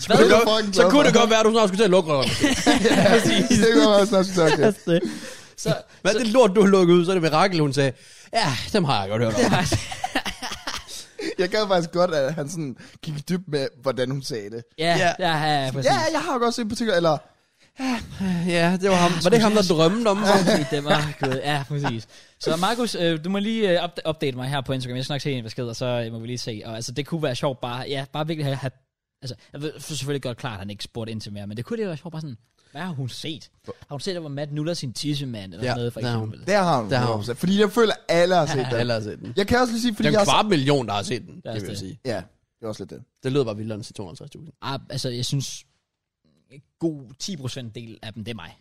Speaker 1: Hvad?
Speaker 3: er jeg fucking
Speaker 2: Så
Speaker 3: glad
Speaker 2: kunne
Speaker 3: for.
Speaker 2: det godt være, at du snart skulle til at lukke røven.
Speaker 3: det kunne være snart, så okay.
Speaker 1: Så,
Speaker 2: Hvad er det lort, du har lukket ud? Så er det mirakel, hun sagde. Ja, dem har jeg godt hørt om.
Speaker 3: Jeg gad faktisk godt, at han sådan gik i dyb med, hvordan hun sagde det.
Speaker 1: ja, ja, ja, ja, præcis.
Speaker 3: Ja, jeg har godt set på TikTok, eller...
Speaker 2: Ja, det var ham. Var det ikke ham, der drømte om mig?
Speaker 1: Præcis, [LAUGHS] det var gået. Ja, præcis. Så Markus, øh, du må lige øh, opda- update mig her på Instagram. Jeg skal nok se en besked, og så øh, må vi lige se. Og altså, det kunne være sjovt bare, ja, bare virkelig have, have altså, jeg ved for selvfølgelig godt klart, at han ikke spurgte ind til mere, men det kunne det være sjovt bare sådan, hvad har hun set? Har hun set, at hvor Matt nuller sin tissemand, eller
Speaker 2: Ja,
Speaker 1: ja, noget, for
Speaker 2: det har hun.
Speaker 1: eksempel?
Speaker 3: Der har hun.
Speaker 2: Der har hun.
Speaker 3: 100%. Fordi jeg føler, at alle har set
Speaker 2: Alle
Speaker 3: det.
Speaker 2: har set den.
Speaker 3: Jeg kan også lige sige,
Speaker 2: Det
Speaker 3: fordi
Speaker 2: er
Speaker 3: jeg...
Speaker 2: en kvart million, der har set den,
Speaker 1: er
Speaker 2: det vil jeg
Speaker 1: det.
Speaker 2: sige.
Speaker 3: Ja, det er også lidt det.
Speaker 2: Det lød bare vildere end til 250.000.
Speaker 1: Ah, altså, jeg synes, en god 10% del af dem, det er
Speaker 2: [LAUGHS]
Speaker 1: mig.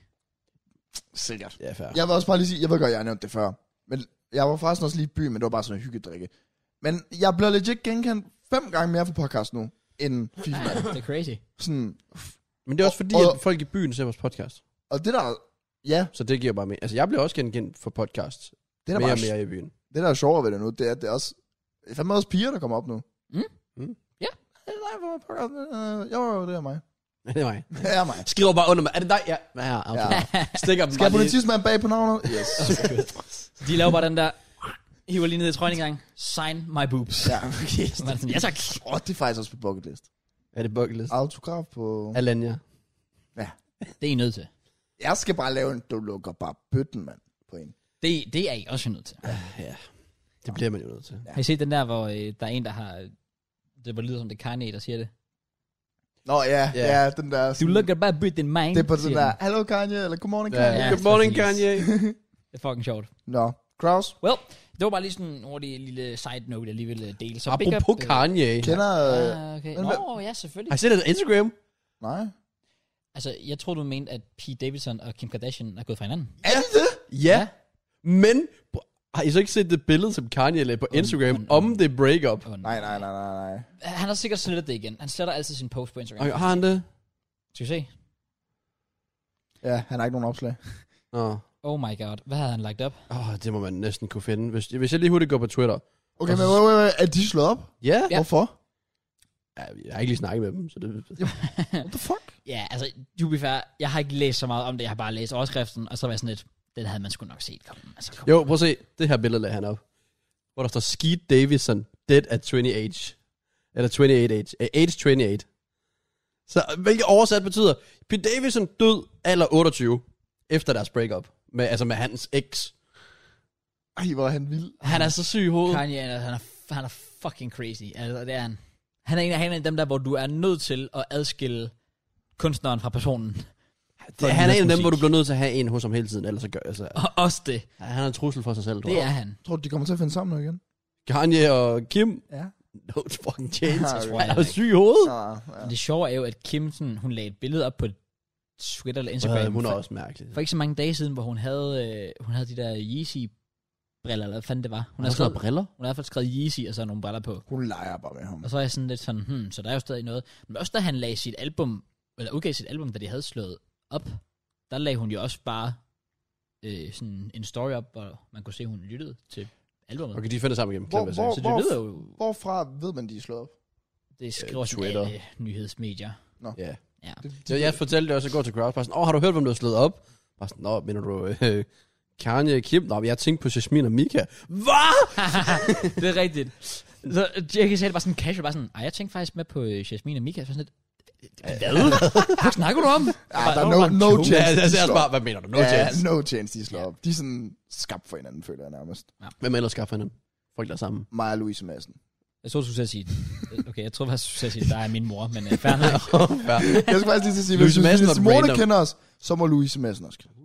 Speaker 3: Sikkert.
Speaker 2: Ja, fair.
Speaker 3: Jeg vil også bare lige sige, jeg ved godt, jeg har nævnt det før. Men jeg var faktisk også lige i byen, men det var bare sådan en hyggedrikke. Men jeg blev legit genkendt fem gange mere for podcast nu. end FIFA.
Speaker 1: Nej, det er crazy.
Speaker 3: Sådan,
Speaker 2: Men det er også fordi,
Speaker 3: Og-
Speaker 2: at folk i byen ser vores podcast.
Speaker 3: og det der, ja,
Speaker 2: Så det giver bare mere. Altså, jeg bliver også genkendt for podcast.
Speaker 3: det der,
Speaker 2: mere
Speaker 3: bare,
Speaker 2: og mere i byen. [LAUGHS]
Speaker 3: det der er sjovere ved det nu, det er, at det er også, det er fandme også piger, der kommer op nu.
Speaker 1: Mm.
Speaker 2: Mm.
Speaker 1: Ja.
Speaker 3: Er det dig, hvor pokker? Øh, Jo, jo, det er mig.
Speaker 2: det er mig.
Speaker 3: Det er mig.
Speaker 2: Skriver bare under mig. Er det dig? Ja. Ja, ja.
Speaker 3: Ja.
Speaker 2: ja. Stikker dem
Speaker 3: Skal jeg politismand bag på navnet? Yes.
Speaker 1: De laver bare den der, hiver lige ned i trøjen engang, sign my boobs.
Speaker 3: [LAUGHS] ja,
Speaker 2: [LAUGHS]
Speaker 3: okay.
Speaker 1: Så man er sådan, ja tak.
Speaker 3: Åh, oh, det er faktisk også på bucket list.
Speaker 2: Er det bucket list?
Speaker 3: Autograf på...
Speaker 2: Alanya.
Speaker 1: Det er I nødt til.
Speaker 3: Jeg skal bare lave en, du lukker bare bøtten, mand, på en.
Speaker 1: Det, det er I også nødt til.
Speaker 2: Ja. Det bliver man jo nødt til.
Speaker 1: Har I set den der, hvor øh, der er en, der har... Det var lyder som det er Kanye, der siger det.
Speaker 3: Nå ja,
Speaker 2: Ja.
Speaker 3: ja, den der...
Speaker 1: Du
Speaker 3: Sådan,
Speaker 1: look at my boot in mine.
Speaker 3: Det er på den
Speaker 1: siger
Speaker 3: der,
Speaker 1: han.
Speaker 3: hello Kanye, eller good morning
Speaker 2: Ja.
Speaker 3: Kanye.
Speaker 1: Ja,
Speaker 2: Good morning,
Speaker 1: præcis.
Speaker 2: Kanye.
Speaker 1: Det er fucking sjovt.
Speaker 3: Nå, Kraus,
Speaker 1: Well, det var bare lige sådan en hurtig lille side note, jeg lige ville øh, dele. Så big up,
Speaker 2: Apropos
Speaker 1: øh,
Speaker 2: Kanye.
Speaker 3: kender... Øh,
Speaker 1: Ah, okay.
Speaker 3: men
Speaker 1: Nå,
Speaker 3: hvad-
Speaker 1: ja,
Speaker 2: Har
Speaker 1: selvfølgelig.
Speaker 2: I set hans Instagram?
Speaker 3: nej.
Speaker 1: Altså, jeg tror du mente, at Pete Davidson og Kim Kardashian er gået fra hinanden.
Speaker 3: Er det det?
Speaker 2: Ja. Men br- har I så ikke set det billede, som Kanye lagde på Instagram
Speaker 1: om-
Speaker 2: om det breakup?
Speaker 1: Åh,
Speaker 3: Nej, nej, nej, nej, nej.
Speaker 1: Han har sikkert slettet det igen. Han sletter altid sin post på Instagram.
Speaker 2: Og har han det?
Speaker 1: Skal vi se?
Speaker 3: Ja, han har ikke nogen opslag.
Speaker 2: Åh, oh.
Speaker 1: Oh my god. Hvad havde han lagt op?
Speaker 2: oh, det må man næsten kunne finde. Hvis, hvis jeg lige hurtigt går på Twitter.
Speaker 3: Okay, men wait, wait, wait, er de slået op?
Speaker 2: Ja.
Speaker 1: Ja.
Speaker 2: ja.
Speaker 3: Hvorfor?
Speaker 2: Jeg har ikke lige snakket med dem, så det... [LAUGHS]
Speaker 3: What the fuck?
Speaker 1: Ja, altså, du be fair, jeg har ikke læst så meget om det. Jeg har bare læst overskriften, og så var jeg sådan lidt, den havde man sgu nok set komme. Altså, kom.
Speaker 2: Jo, prøv at se. Det her billede lagde han op. Hvor der står Skeet Davidson, dead at 28. Eller 28 age. Eh, Age 28. Så hvilket oversat betyder, Pete Davidson død alder 28, efter deres breakup. Med, altså med hans eks.
Speaker 3: Ej, hvor er han vild.
Speaker 2: Han er så syg i hovedet.
Speaker 1: Kanye, han er, han er, han er fucking crazy. Altså, det er han. Han er en af, han er en af dem der, hvor du er nødt til at adskille kunstneren fra personen. [LAUGHS]
Speaker 2: Det, han er en af dem, hvor du bliver nødt til at have en hos ham hele tiden, ellers så gør altså,
Speaker 1: Og også det.
Speaker 2: Han er en trussel for sig selv, tror
Speaker 1: Det
Speaker 2: jeg.
Speaker 1: er han.
Speaker 3: Tror du, de kommer til at finde sammen nu igen?
Speaker 2: Kanye og Kim, [LAUGHS]
Speaker 3: Ja.
Speaker 2: no fucking
Speaker 3: [LAUGHS]
Speaker 2: chance.
Speaker 3: Ah,
Speaker 1: Tror jeg
Speaker 2: Han er
Speaker 1: heller ikke.
Speaker 2: syg i hovedet.
Speaker 3: Ah, ja.
Speaker 1: Men Det sjove er jo, at Kim, sådan, hun lagde et billede op på Twitter eller
Speaker 2: Ja,
Speaker 1: Instagram.
Speaker 2: hun er
Speaker 1: for,
Speaker 2: også mærkelig.
Speaker 1: for ikke så mange dage siden, hvor hun havde, øh, hun havde de der Yeezy-briller, eller hvad fanden det var. Hun
Speaker 2: Hun
Speaker 1: har,
Speaker 2: har
Speaker 1: skrevet,
Speaker 2: skrevet briller.
Speaker 1: hun har i hvert fald skrevet Yeezy og så nogle briller på.
Speaker 3: Hun leger bare med ham.
Speaker 1: Og så er jeg sådan lidt sådan, hmm, så der er jo stadig noget. Men også da han lagde sit album, eller udgav sit album, da de havde slået op, der lagde hun jo også bare øh, sådan en story op, hvor man kunne se, hun lyttede til albumet. Okay.
Speaker 2: Okay, de finder sammen igen.
Speaker 3: Hvor-
Speaker 2: Hvor, hvor?
Speaker 3: hvor-
Speaker 1: Så det lyder jo,
Speaker 3: Hvorfra ved man, de er slået op?
Speaker 1: det skriver
Speaker 2: Øh,
Speaker 1: sådan
Speaker 2: Twitter.
Speaker 1: alle nyhedsmedier. [LAUGHS]
Speaker 2: Ja.
Speaker 1: Ja.
Speaker 3: Det,
Speaker 2: Så jeg fortalte det også, jeg går til crowd, bare sådan, åh, har du hørt, hvem der er slået op? Bare sådan, nå, mener du øh, Kanye og Kim? Nå, men jeg tænkte på Jasmin og Mika. Hvad?
Speaker 1: det er rigtigt. Så Jackie sagde det bare sådan casual, bare sådan, ej, jeg tænkte faktisk med på øh, Jasmine og Mika, så sådan lidt,
Speaker 2: [LAUGHS]
Speaker 1: hvad? Hvad snakker du om?
Speaker 3: Ja, Ah, der er no, no
Speaker 2: Ja,
Speaker 3: chance,
Speaker 2: jeg
Speaker 3: de
Speaker 2: ser
Speaker 3: slår
Speaker 2: også bare,
Speaker 3: op.
Speaker 2: hvad mener du? No
Speaker 3: ja,
Speaker 2: chance.
Speaker 3: no chance, de slår op. De er sådan skabt for hinanden, føler jeg nærmest.
Speaker 2: Hvem ellers skaffer hinanden? Folk, der er sammen.
Speaker 3: Maja Louise Madsen.
Speaker 1: Jeg tror, du skulle til at sige, okay, jeg tror faktisk, du skulle til at sige, der er min mor, men øh, fair nok.
Speaker 2: ja.
Speaker 3: Jeg skal faktisk lige til at sige,
Speaker 2: Louise
Speaker 3: hvis, hvis,
Speaker 2: Madsen
Speaker 3: hvis
Speaker 2: og
Speaker 3: Simone
Speaker 2: Brandon.
Speaker 3: kender os, så må Louise Madsen også kende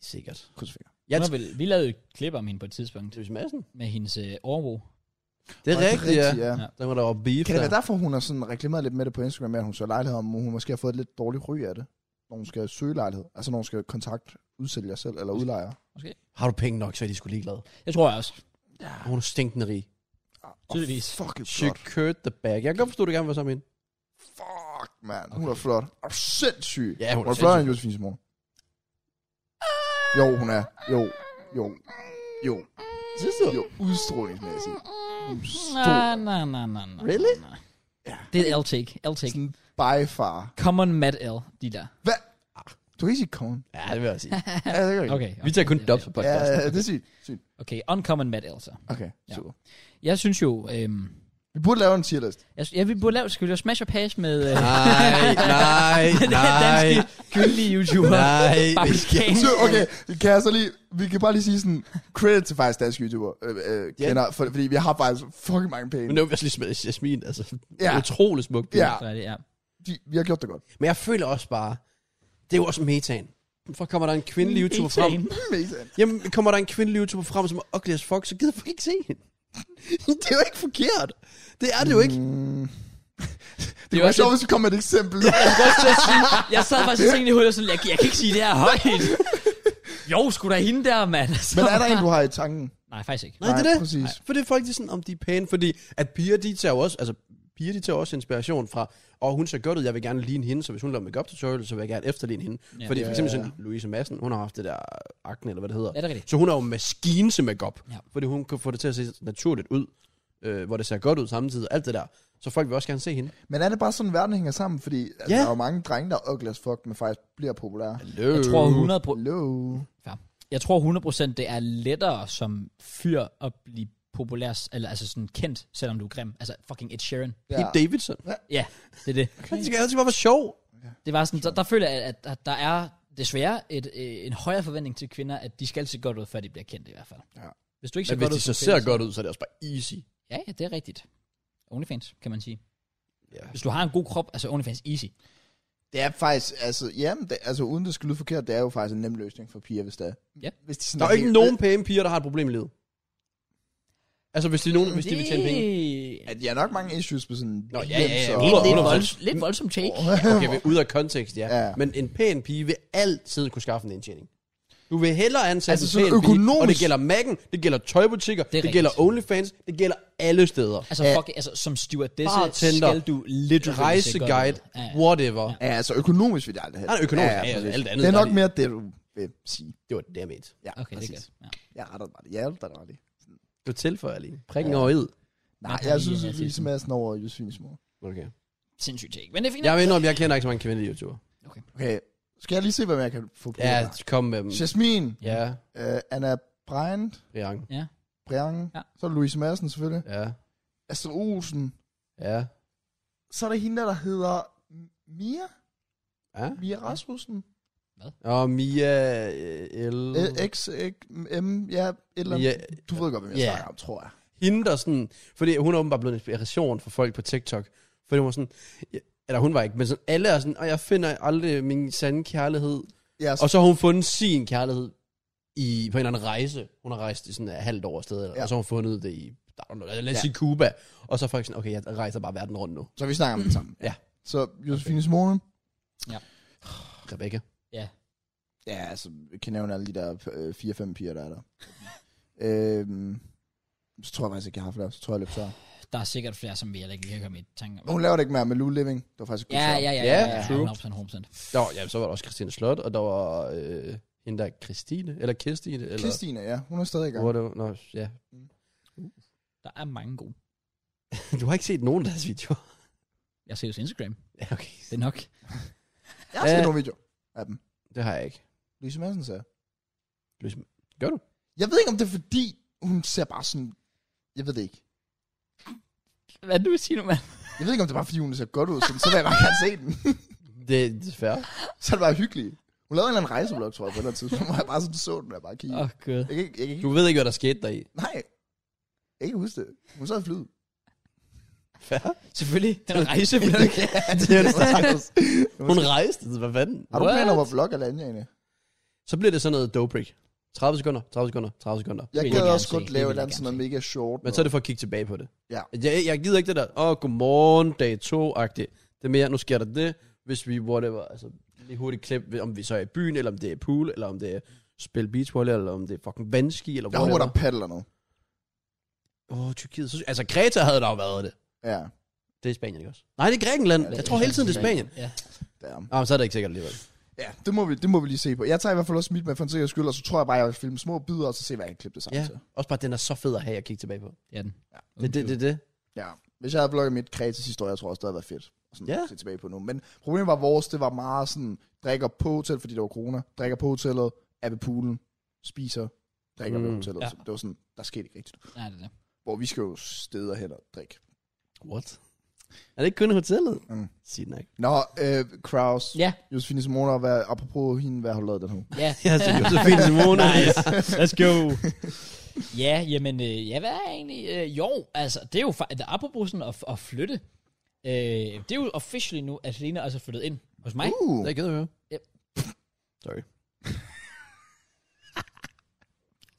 Speaker 2: Sikkert.
Speaker 3: krydsfinger.
Speaker 2: [LAUGHS] Jeg
Speaker 1: Hun har
Speaker 2: tænkte,
Speaker 1: vel- Vi lavede jo et klip om hende på et tidspunkt.
Speaker 2: Louise Madsen.
Speaker 1: med hendes øh, overbo.
Speaker 2: Det er rigtigt, ja.
Speaker 3: ja.
Speaker 1: Ja.
Speaker 2: Der var der jo beef
Speaker 3: Kan det
Speaker 2: der.
Speaker 3: være derfor, hun har sådan reklameret lidt med det på Instagram, med at hun søger lejlighed, om hun måske har fået et lidt dårligt ry af det, når hun skal søge lejlighed? Altså når hun skal kontakte udsælger selv eller udlejer.
Speaker 2: Har du penge nok, så er de skulle ligeglade.
Speaker 1: Jeg tror jeg også.
Speaker 3: Ja,
Speaker 2: Hun er stinkende rig.
Speaker 1: Tydeligvis.
Speaker 3: Oh, fuck,
Speaker 2: She
Speaker 3: flot.
Speaker 2: cut the bag. Jeg kan godt forstå, at du gerne vil være sammen med hende.
Speaker 3: Fuck, man. Hun er flot. Og sindssyg.
Speaker 2: Ja, hun er
Speaker 3: hun er flot end
Speaker 2: sindssyg.
Speaker 3: Josefine Simone. Jo, hun er. Jo, jo, jo.
Speaker 2: Synes du?
Speaker 3: Jo, udstrålingsmæssigt. Hun er stor.
Speaker 1: Nej, nej, nej, nej, nej.
Speaker 2: Really?
Speaker 1: nej, nej.
Speaker 3: Ja.
Speaker 1: Det er L-take. L-take.
Speaker 3: Sådan by far.
Speaker 1: Common Mad L, de der.
Speaker 3: Hvad? Du kan ikke sige
Speaker 2: [LAUGHS]
Speaker 3: kongen.
Speaker 2: Ja, det vil jeg sige.
Speaker 3: Ja, det kan du ikke.
Speaker 1: Okay.
Speaker 2: Vi tager kun
Speaker 1: okay,
Speaker 2: dubs på
Speaker 3: Ja,
Speaker 2: [LAUGHS] podcasten.
Speaker 3: ja, det er sygt. sygt.
Speaker 1: Okay, Uncommon Mad L så.
Speaker 3: Okay,
Speaker 1: Ja.
Speaker 3: super.
Speaker 1: Jeg synes jo... Øhm,
Speaker 3: Vi burde lave en tierlist.
Speaker 1: jeg, jeg, vi burde lave... Skal vi lave Smash og Pass med... Øh, [LAUGHS]
Speaker 2: Nej, nej,
Speaker 1: den her
Speaker 2: nej.
Speaker 1: danske gyldige YouTuber.
Speaker 2: Nej, vi skal [LAUGHS]
Speaker 1: Babikan.
Speaker 3: Så, okay, kan jeg så lige, vi kan bare lige sige sådan, credit til faktisk danske YouTuber, øh, øh, kender, for, fordi vi har faktisk fucking mange penge.
Speaker 2: Men det var også ligesom Jasmin, altså.
Speaker 3: Ja.
Speaker 2: Ja. Utrolig smuk. pige.
Speaker 3: Ja,
Speaker 1: Så er det, ja.
Speaker 3: de, vi har gjort det godt.
Speaker 2: Men jeg føler også bare, det er jo også metaen. For kommer der en kvindelig YouTuber
Speaker 3: [LAUGHS]
Speaker 2: frem.
Speaker 1: Ethan.
Speaker 3: Mæsen.
Speaker 2: Jamen, kommer der en kvindelig YouTuber frem, som er ugly as fuck, så gider folk ikke se hende. [LAUGHS] det er jo ikke forkert. Det er Mm. det jo
Speaker 3: [LAUGHS]
Speaker 2: ikke.
Speaker 3: Det
Speaker 1: er
Speaker 3: var
Speaker 1: også
Speaker 3: sjovt, hvis vi kom med et eksempel.
Speaker 1: Jeg kunne også til at sige, jeg sad faktisk og tænkte i hovedet, og sådan, jeg, jeg kan ikke sige det her højt. Jo, skulle der hende der, mand. Så-
Speaker 3: Men er der en, du har i tanken?
Speaker 1: Nej, faktisk ikke.
Speaker 2: Nej, det er det.
Speaker 3: præcis.
Speaker 2: For det er folk, de er sådan, om de er pæne. Fordi at piger, de tager jo også, altså piger, de tager også inspiration fra, og hun ser godt ud, jeg vil gerne ligne hende, så hvis hun laver makeup tutorial, så vil jeg gerne efterligne hende.
Speaker 1: Ja.
Speaker 2: Ja, Fordi
Speaker 3: Ja,
Speaker 2: for eksempel
Speaker 3: ja,
Speaker 2: sådan Louise Madsen, hun har haft det der akne, eller hvad det hedder.
Speaker 1: Er det rigtigt?
Speaker 2: Så hun er jo en maskine til makeup,
Speaker 1: Ja.
Speaker 2: ja. fordi hun kan få det til at se naturligt ud, øh, hvor det ser godt ud samtidig, alt det der. Så folk vil også gerne se hende.
Speaker 3: Men er det bare sådan, verden hænger sammen? Fordi altså,
Speaker 2: Ja.
Speaker 3: der er jo mange drenge, der er ugly as fuck, men faktisk bliver populære.
Speaker 2: Hello.
Speaker 1: Jeg tror 100
Speaker 3: Hello.
Speaker 1: jeg tror 100% det er lettere som fyr at blive populær, eller altså sådan kendt, selvom du er grim. Altså fucking Ed Sheeran.
Speaker 2: Pete
Speaker 3: Ja.
Speaker 2: Davidson.
Speaker 1: Ja, det er det.
Speaker 2: Han skal altid bare være sjov.
Speaker 1: Det var sådan, der, der føler jeg, at, at der er desværre et, øh, en højere forventning til kvinder, at de skal se godt ud, før de bliver kendt i hvert fald.
Speaker 3: Ja.
Speaker 1: Hvis du ikke ser
Speaker 2: Men hvis
Speaker 1: godt ud,
Speaker 2: de så
Speaker 1: som kvinde,
Speaker 2: ser godt ud, så er det også bare easy.
Speaker 1: Ja, ja, det er rigtigt. Onlyfans, kan man sige.
Speaker 2: Ja.
Speaker 1: Hvis du har en god krop, altså Onlyfans easy.
Speaker 3: Det er faktisk, altså, jamen, det, altså uden det skal lyde forkert, det er jo faktisk en nem løsning for piger, hvis det er.
Speaker 1: Ja.
Speaker 3: Hvis de sådan
Speaker 2: Der er jo ikke
Speaker 3: helt-
Speaker 2: nogen pæne piger, der har et problem i livet. Altså, hvis de, er nogen, hvis de vil tjene penge.
Speaker 1: Det-
Speaker 3: At jeg har nok mange issues med sådan...
Speaker 2: Nå, ja, ja, ja.
Speaker 3: så-
Speaker 1: Lidt, lidt,
Speaker 3: [LAUGHS]
Speaker 2: 100%.
Speaker 1: volds, lidt voldsom take.
Speaker 2: Okay, vi- ud af kontekst, ja.
Speaker 3: Ja.
Speaker 2: ja. Men en pæn pige vil altid kunne skaffe en indtjening. Du vil hellere ansætte
Speaker 3: Altså,
Speaker 2: en
Speaker 3: sådan
Speaker 2: pæn pige, og det
Speaker 3: økonomisk-
Speaker 2: gælder Mac'en, det gælder tøjbutikker, det,
Speaker 1: rigtigt.
Speaker 2: det gælder Onlyfans, det gælder alle steder.
Speaker 1: Altså,
Speaker 3: Ja.
Speaker 1: fuck, altså som stewardesse
Speaker 2: Bartender,
Speaker 1: skal du literally
Speaker 2: Rejseguide,
Speaker 1: se godt ud. Ja, ja.
Speaker 2: whatever. Ja.
Speaker 3: Ja, altså økonomisk vil jeg aldrig have.
Speaker 2: Nej, økonomisk, ja,
Speaker 3: præcis.
Speaker 2: alt andet
Speaker 3: Det er
Speaker 2: der
Speaker 3: nok
Speaker 2: er det-
Speaker 3: mere det, du vil sige.
Speaker 2: Det var det, jeg mente.
Speaker 3: Ja,
Speaker 1: Okay, det er
Speaker 3: præcis.
Speaker 1: godt. Ja.
Speaker 3: Jeg retter bare det. Jeg er der det.
Speaker 2: Du tilføjer lige. Prikken over id.
Speaker 3: Nej,
Speaker 1: kan
Speaker 3: jeg
Speaker 1: lige
Speaker 3: synes,
Speaker 1: være
Speaker 3: at
Speaker 1: til
Speaker 3: Louise Madsen over Josefines mor.
Speaker 2: Okay.
Speaker 1: Sindssygt take. Men det er fint.
Speaker 2: Jeg ved om jeg kender ikke så mange kvindelige YouTubere.
Speaker 3: Okay, skal jeg lige se, hvem jeg kan få på?
Speaker 2: Ja, mm.
Speaker 3: her?
Speaker 2: kom med dem.
Speaker 3: Jasmine,
Speaker 2: Ja,
Speaker 3: øh, Anna Bryant,
Speaker 2: Brian.
Speaker 3: Brian,
Speaker 1: Ja.
Speaker 3: ja. så er det Louise Madsen selvfølgelig,
Speaker 2: Ja,
Speaker 3: Astrid Olsen,
Speaker 2: ja.
Speaker 3: så er der hende, der hedder Mia,
Speaker 2: Ja.
Speaker 3: Mia Rasmussen,
Speaker 2: Og Mia øh, L...
Speaker 3: Øh, X, X, M, ja, et eller andet.
Speaker 2: Mia,
Speaker 3: Du ved godt, hvem jeg
Speaker 2: Ja.
Speaker 3: snakker om, tror jeg.
Speaker 2: hende der sådan, fordi hun er åbenbart blevet en inspiration for folk på TikTok, fordi hun var sådan, ja, eller hun var ikke, men sådan, alle er sådan, og jeg finder aldrig min sande kærlighed,
Speaker 3: Ja,
Speaker 2: og så har hun fundet sin kærlighed i, på en eller anden rejse, hun har rejst i sådan et halvt år afsted, ja.
Speaker 3: Ja.
Speaker 2: og så har hun fundet det i, I don't know, lad os
Speaker 3: Ja.
Speaker 2: sige Cuba, og så er folk sådan, okay, jeg rejser bare verden rundt nu,
Speaker 3: så vi snakker om
Speaker 1: Mm.
Speaker 3: det sammen.
Speaker 2: Ja.
Speaker 3: Så Josefines mor,
Speaker 2: Rebecca.
Speaker 3: ja, altså, jeg kan nævne alle de der øh, 4-5 piger, der er der. øhm, så tror jeg faktisk ikke, jeg har flere, så tror jeg, jeg løb tør.
Speaker 1: Der er sikkert flere, som vi heller ikke lige kan komme i tanke om.
Speaker 3: Hun laver det ikke mere med Lou Living, det var faktisk et godt
Speaker 1: Ja,
Speaker 3: svar.
Speaker 1: ja, ja.
Speaker 2: Ja,
Speaker 1: ja,
Speaker 2: true.
Speaker 1: 100%, 100%.
Speaker 2: Der var, ja, så var der også Christine Slot, og der var øh, hende der Christine, eller Kirstine, eller...
Speaker 3: Christine, ja, hun er stadig i gang.
Speaker 2: Hvor det, nå, ja. [LAUGHS]
Speaker 1: Der er mange gode.
Speaker 2: Du har ikke set nogen af deres videoer.
Speaker 1: Jeg ser jo sin Instagram.
Speaker 2: Ja, okay.
Speaker 1: Det er nok.
Speaker 3: Jeg har set
Speaker 2: Øh.
Speaker 3: nogle videoer af dem.
Speaker 2: Det har jeg ikke.
Speaker 3: Louise Madsen sagde.
Speaker 2: Ligesom,
Speaker 3: Jeg ved ikke, om det er fordi, hun ser bare sådan... Jeg ved det ikke.
Speaker 1: Hvad er det, du vil sige nu, mand?
Speaker 3: Jeg ved ikke, om det er bare fordi, hun ser godt ud, sådan, så vil jeg bare gerne se den. [LAUGHS]
Speaker 2: det er desværre.
Speaker 3: så er det bare hyggeligt. Hun lavede en eller anden rejseblog, tror jeg, på et eller andet tidspunkt, hvor jeg bare sådan så den, og jeg bare kiggede.
Speaker 1: Åh, oh, gud.
Speaker 3: Jeg kan ikke, jeg kan
Speaker 2: Du
Speaker 3: ikke,
Speaker 2: ved ikke, hvad der skete deri.
Speaker 3: nej, jeg kan ikke huske det. Hun sad i flyet.
Speaker 2: Fair.
Speaker 1: Selvfølgelig. Den er rejseblog. [LAUGHS]
Speaker 2: det er det
Speaker 3: Hun
Speaker 2: Hun rejste, hvad fanden?
Speaker 3: har du
Speaker 1: What?
Speaker 3: planer om at vlogge eller andet, Jane?
Speaker 2: Så bliver det sådan noget dope break. 30 sekunder, 30 sekunder, 30 sekunder.
Speaker 3: Jeg
Speaker 1: vil jeg
Speaker 3: gad
Speaker 1: gerne
Speaker 3: også
Speaker 1: se.
Speaker 3: godt
Speaker 1: Det
Speaker 3: lave
Speaker 1: vil
Speaker 3: et
Speaker 1: jeg
Speaker 3: eller andet sådan
Speaker 1: gerne
Speaker 3: noget mega short.
Speaker 2: Men så er det for at kigge tilbage på det.
Speaker 3: Ja.
Speaker 2: Jeg, jeg gider ikke det der, åh, oh, godmorgen, dag 2-agtigt. Det er mere, nu sker der det, hvis vi, whatever, altså lige hurtigt klip, om vi så er i byen, eller om det er pool, eller om det er spille beachvolley, eller om det er fucking vandski, eller
Speaker 3: Jeg håber,
Speaker 2: whatever.
Speaker 3: der paddler noget.
Speaker 2: Åh, oh, Tyrkiet. Så, altså, Kreta havde der jo været det.
Speaker 3: Ja,
Speaker 2: Det er Spanien, ikke også? Nej, det er Grækenland.
Speaker 3: Ja, det
Speaker 2: jeg
Speaker 3: er
Speaker 2: tror hele tiden, det er Spanien.
Speaker 1: Ja.
Speaker 3: det er
Speaker 2: Ah, men så er det ikke sikkert alligevel.
Speaker 3: Ja, det må, vi, det må vi lige se på. Jeg tager i hvert fald også mit med for en sikkerheds skyld, og så tror jeg bare, jeg vil filme små bidder, og så se, hvad jeg kan klippe det sammen
Speaker 2: Ja,
Speaker 3: til.
Speaker 2: også bare, den er så fed at have at kigge tilbage på.
Speaker 1: Ja, den.
Speaker 3: Ja.
Speaker 2: Det, det, det, det.
Speaker 3: Ja. Hvis jeg havde blogget mit kreatis historie, jeg tror også, det havde været fedt. Og Sådan,
Speaker 2: Ja.
Speaker 3: yeah. se tilbage på nu. Men problemet var vores, det var meget sådan, drikker på hotel, fordi det var corona. Drikker på hotellet, er ved poolen, spiser, drikker mm, ved
Speaker 2: Mm,
Speaker 3: hotellet.
Speaker 1: ja.
Speaker 3: Ja. Så det var sådan, der skete ikke rigtigt.
Speaker 1: Nej, det er det.
Speaker 3: Hvor vi skal jo steder hen og drikke.
Speaker 2: What? Er det ikke kun hotellet?
Speaker 3: Mm.
Speaker 2: Sig nej.
Speaker 3: Nå, øh, Kraus,
Speaker 1: Ja.
Speaker 3: Josefine Simona, hvad, apropos hende, hvad har du lavet den her uge?
Speaker 1: Ja. [LAUGHS]
Speaker 2: Ja, så altså Josefine Simone.
Speaker 1: Nice. Let's go. ja, jamen, øh, ja, hvad er egentlig? Øh, jo, altså, det er jo fa- apropos sådan at, at flytte. Øh, det er jo officially nu, at Lena også er flyttet ind hos mig.
Speaker 3: Uh,
Speaker 2: Det gider jeg høre.
Speaker 1: Yep.
Speaker 2: Sorry.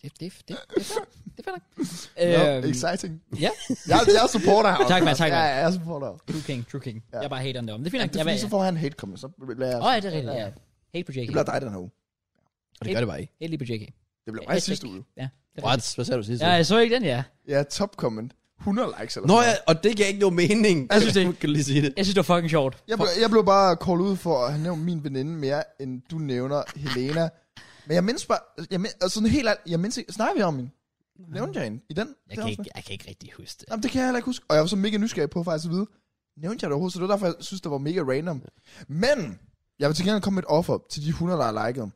Speaker 1: Det, det, det, det, det er fair nok.
Speaker 3: no,
Speaker 1: Øhm,
Speaker 3: exciting.
Speaker 1: ja.
Speaker 3: [LAUGHS] Jeg, jeg supporter her.
Speaker 1: Tak, mand, tak, mand.
Speaker 3: Ja, jeg er supporter.
Speaker 1: True King, True King. Ja.
Speaker 3: Ja.
Speaker 1: Jeg er bare hateren derom. Det er fint
Speaker 3: Ja,
Speaker 1: nok.
Speaker 3: det er
Speaker 1: Jeg
Speaker 3: fordi,
Speaker 1: vil-
Speaker 3: så får han hate comment, så bliver jeg...
Speaker 1: Åh, oh, ja, det er rigtigt. Ja. Hate på JK.
Speaker 3: Det bliver dig den her uge.
Speaker 2: Og det gør det bare ikke.
Speaker 1: Hate lige på JK.
Speaker 3: Det bliver
Speaker 1: Ja,
Speaker 3: mig sidste
Speaker 1: tak.
Speaker 3: uge.
Speaker 1: Ja. det er
Speaker 2: What? Hvad sagde du sidste?
Speaker 1: rigtigt. Ja, jeg så ikke den, ja.
Speaker 3: Ja, top comment. 100 likes eller
Speaker 2: Nå
Speaker 3: sådan
Speaker 2: ja, og det gav ikke nogen mening.
Speaker 1: Jeg synes det
Speaker 2: [LAUGHS] Kan du lige sige det?
Speaker 1: Jeg synes, det var fucking sjovt.
Speaker 3: Jeg blev, jeg blev bare callet ud for at have nævnt min veninde mere, end du nævner Helena. Men jeg mindes bare, jeg mindes, altså sådan helt alt, jeg mindes ikke, snakker vi om hende? Nævnte jeg hende i
Speaker 1: Jeg
Speaker 3: den? det
Speaker 1: kan,
Speaker 3: afsnit?
Speaker 1: ikke, jeg kan ikke rigtig huske det.
Speaker 3: Jamen, det kan jeg heller ikke huske. Og jeg var så mega nysgerrig på faktisk at vide, nævnte jeg det overhovedet, så det var derfor, jeg synes, det var mega random. Men, jeg vil til gengæld komme med et offer til de 100, der har liket.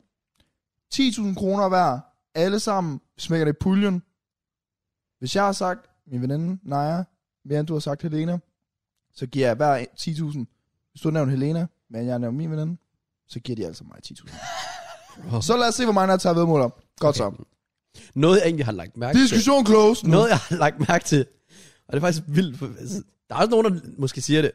Speaker 3: 10.000 kroner hver, alle sammen, smækker det i puljen. Hvis jeg har sagt, min veninde, Naja, mere end du har sagt Helena, så giver jeg hver en 10.000. Hvis du har nævnt Helena, men jeg har nævnt min veninde, så giver de altså mig
Speaker 2: [LAUGHS]
Speaker 3: 10.000. så lad os se, hvor mange der tager vedmål op. Godt okay. så.
Speaker 2: Noget, jeg egentlig har lagt mærke til.
Speaker 3: Diskussion closed. nu.
Speaker 2: Noget, jeg har lagt mærke til, og det er faktisk vildt, for, altså, der er også nogen, der måske siger det,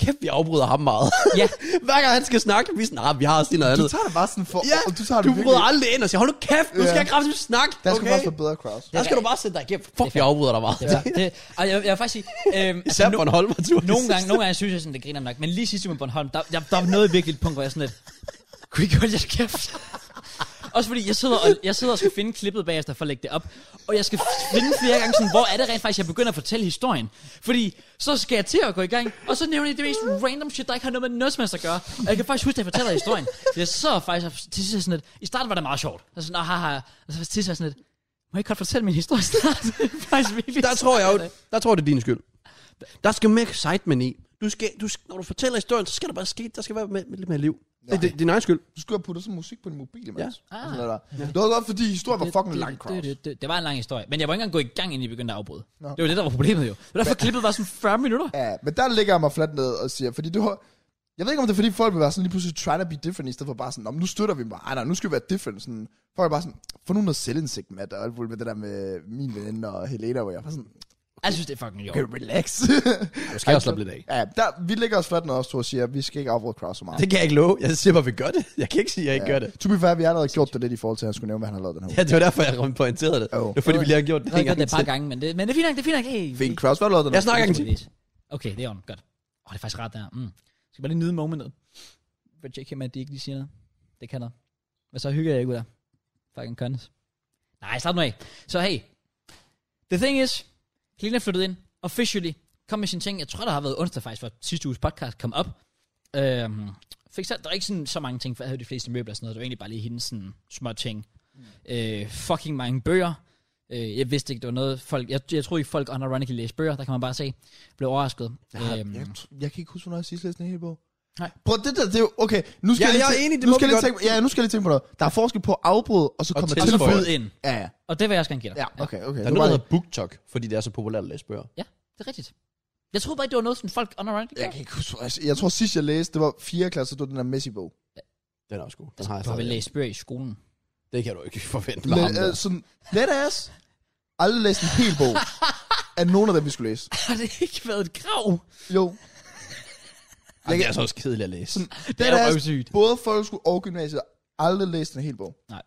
Speaker 2: kæft, vi afbryder ham meget. [LAUGHS]
Speaker 1: Ja.
Speaker 2: Hver gang han skal snakke, vi snakker, nah, vi har også lige noget
Speaker 3: Du
Speaker 2: andet.
Speaker 3: tager det bare sådan for...
Speaker 2: Ja,
Speaker 3: du tager det
Speaker 2: du
Speaker 3: virkelig-
Speaker 2: bryder aldrig ind og siger, hold nu kæft, nu skal
Speaker 3: Ja.
Speaker 2: jeg kraftigt snakke.
Speaker 3: Der skal
Speaker 2: okay?
Speaker 3: okay. faktisk være bedre crowds.
Speaker 2: Der skal du bare sætte dig igennem. Fuck, vi afbryder dig meget. [LAUGHS] Altså,
Speaker 1: Ja. Det, og jeg, jeg vil faktisk sige, øhm, altså,
Speaker 2: Især
Speaker 1: no,
Speaker 2: Bornholm tur.
Speaker 1: nogle, gange, nogle gange synes jeg sådan, det griner nok, men lige sidst med Bornholm, der, der, der var noget virkelig et punkt, hvor jeg sådan lidt, kunne I ikke holde jeres kæft? Også fordi jeg sidder, og, jeg sidder og skal finde klippet bagefter for at lægge det op. Og jeg skal finde flere gange sådan, hvor er det rent faktisk, jeg begynder at fortælle historien. Fordi så skal jeg til at gå i gang, og så nævner jeg det mest random shit, der ikke har noget med noget som helst at gøre. Og jeg kan faktisk huske, at jeg fortæller historien. Så jeg sidder faktisk og til sidst er jeg sådan lidt, i starten var det meget sjovt. Og sådan, "Nå, haha. Og så til sidst er jeg sådan lidt, må jeg ikke godt fortælle min historie snart? [LAUGHS] Det er faktisk virkelig
Speaker 2: [LAUGHS] Der tror jeg
Speaker 1: sjovt.
Speaker 2: jo, der tror jeg, det er din skyld. Der skal mere excitement i. Du skal, du, skal- når du fortæller historien, så skal der bare ske, der skal være med, med lidt mere liv. Det, det, det er din egen skyld.
Speaker 3: Du skulle have puttet sådan musik på din mobil, mand.
Speaker 2: Ja.
Speaker 3: Ja. Ah. Sådan noget der. Det var godt, fordi historien var fucking lang crowds.
Speaker 1: det, det, det, det var en lang historie, men jeg var ikke engang gået i gang, inden I begyndte at afbryde.
Speaker 3: Nå.
Speaker 1: Det var det, der var problemet jo. Det var derfor, klippet var sådan 40 minutter.
Speaker 3: Ja, men der ligger jeg mig fladt ned og siger, fordi du har... Jeg ved ikke, om det er, fordi folk vil være sådan lige pludselig try to be different, i stedet for bare sådan, "Nå, men nu støtter vi mig. Ej, nej, nu skal vi være different. Sådan, folk er bare sådan, få nu noget selvindsigt, Matt, og alt muligt med det der med min veninde og Helena, hvor jeg er bare sådan,
Speaker 1: Altså, Jeg synes, det er fucking
Speaker 3: okay,
Speaker 1: jo.
Speaker 2: [LAUGHS]
Speaker 3: relax.
Speaker 2: Du skal også slappe lidt af.
Speaker 3: ja, der, vi ligger os fladt ned også, to og siger, vi skal ikke afråde crowds så meget.
Speaker 2: Det kan jeg ikke love. Jeg siger bare, vi gør det. Jeg kan ikke sige, at jeg ikke
Speaker 3: Ja.
Speaker 2: gør det.
Speaker 3: To be fair, vi har allerede gjort det lidt i forhold til, at han skulle nævne, hvad han har lavet den her uge.
Speaker 2: Ja, det var derfor, jeg pointerede det.
Speaker 3: Jo.
Speaker 2: Det var fordi, vi lige har gjort det
Speaker 1: Jeg har gjort
Speaker 2: en gang
Speaker 1: det et par
Speaker 2: til.
Speaker 1: gange, men det, men det er fint nok, det er fint nok. Hey,
Speaker 3: Fint, crowds, hvad har du lavet den her uge?
Speaker 2: Jeg snakker ikke til.
Speaker 1: Naturligvis. Okay, det er ordentligt. Godt. Åh, det er faktisk rart der. Mm. Skal bare lige nyde momentet. For JK med, at de ikke lige siger noget. Det kan der. Men så hygger jeg ikke ud af. Fucking kønnes. Nej, slap nu af. Så hey. The thing is, Helena er flyttet ind. Officially. Kom med sine ting. Jeg tror, der har været onsdag faktisk, hvor sidste uges podcast kom op. Øhm, fik så, der er ikke sådan, så mange ting, for jeg havde de fleste møbler og sådan noget. Det var egentlig bare lige hendes sådan, små ting. Øh, fucking mange bøger. Øh, jeg vidste ikke, det var noget folk... Jeg, jeg tror ikke, folk unironically læser bøger. Der kan man bare se. Blev overrasket.
Speaker 3: Jeg,
Speaker 1: Øhm,
Speaker 3: jeg, tr- jeg kan ikke huske, hvornår jeg sidst læste en hel bog.
Speaker 1: Nej.
Speaker 3: Prøv, det der, det er jo, okay, nu skal
Speaker 2: Ja,
Speaker 3: jeg, lige
Speaker 2: jeg er
Speaker 3: tæ-
Speaker 2: enig, det
Speaker 3: nu
Speaker 2: må
Speaker 3: skal
Speaker 2: vi
Speaker 3: jeg lige
Speaker 2: godt.
Speaker 3: tænke, på- ja, nu skal jeg lige tænke på noget. Der er forskel på at afbryde, og så
Speaker 2: Og
Speaker 3: komme
Speaker 1: og så
Speaker 3: til
Speaker 2: tilføje.
Speaker 3: at
Speaker 1: føde ind.
Speaker 3: Ja, ja.
Speaker 1: Og det vil jeg også gerne give dig.
Speaker 3: ja, okay, okay. Det
Speaker 2: Der er
Speaker 3: var
Speaker 2: noget, der
Speaker 3: bare-
Speaker 2: hedder BookTok, fordi det er så populært at læse bøger.
Speaker 1: Det er rigtigt. Jeg troede bare ikke, det var noget, som folk unironically
Speaker 3: jeg kan ikke huske, altså, jeg tror sidst jeg læste, det var 4. klasse, det var den der Messi-bog.
Speaker 2: Den er også god. Den
Speaker 1: Altså,
Speaker 2: har jeg
Speaker 1: du har vel
Speaker 2: stadig.
Speaker 1: læst bøger i skolen.
Speaker 2: Det kan du ikke [LAUGHS] forvente med
Speaker 3: Le,
Speaker 2: ham der.
Speaker 3: øh, sådan, let ass. Aldrig læst en hel bog af nogen af dem, vi skulle læse.
Speaker 1: Har det ikke været et krav?
Speaker 3: Jo,
Speaker 2: Ej, det er altså også kedeligt at læse.
Speaker 3: sådan,
Speaker 1: Det
Speaker 3: let
Speaker 1: er
Speaker 3: ass.
Speaker 1: røvsygt.
Speaker 3: Både folkeskole og gymnasiet har aldrig læst en hel bog.
Speaker 1: Nej.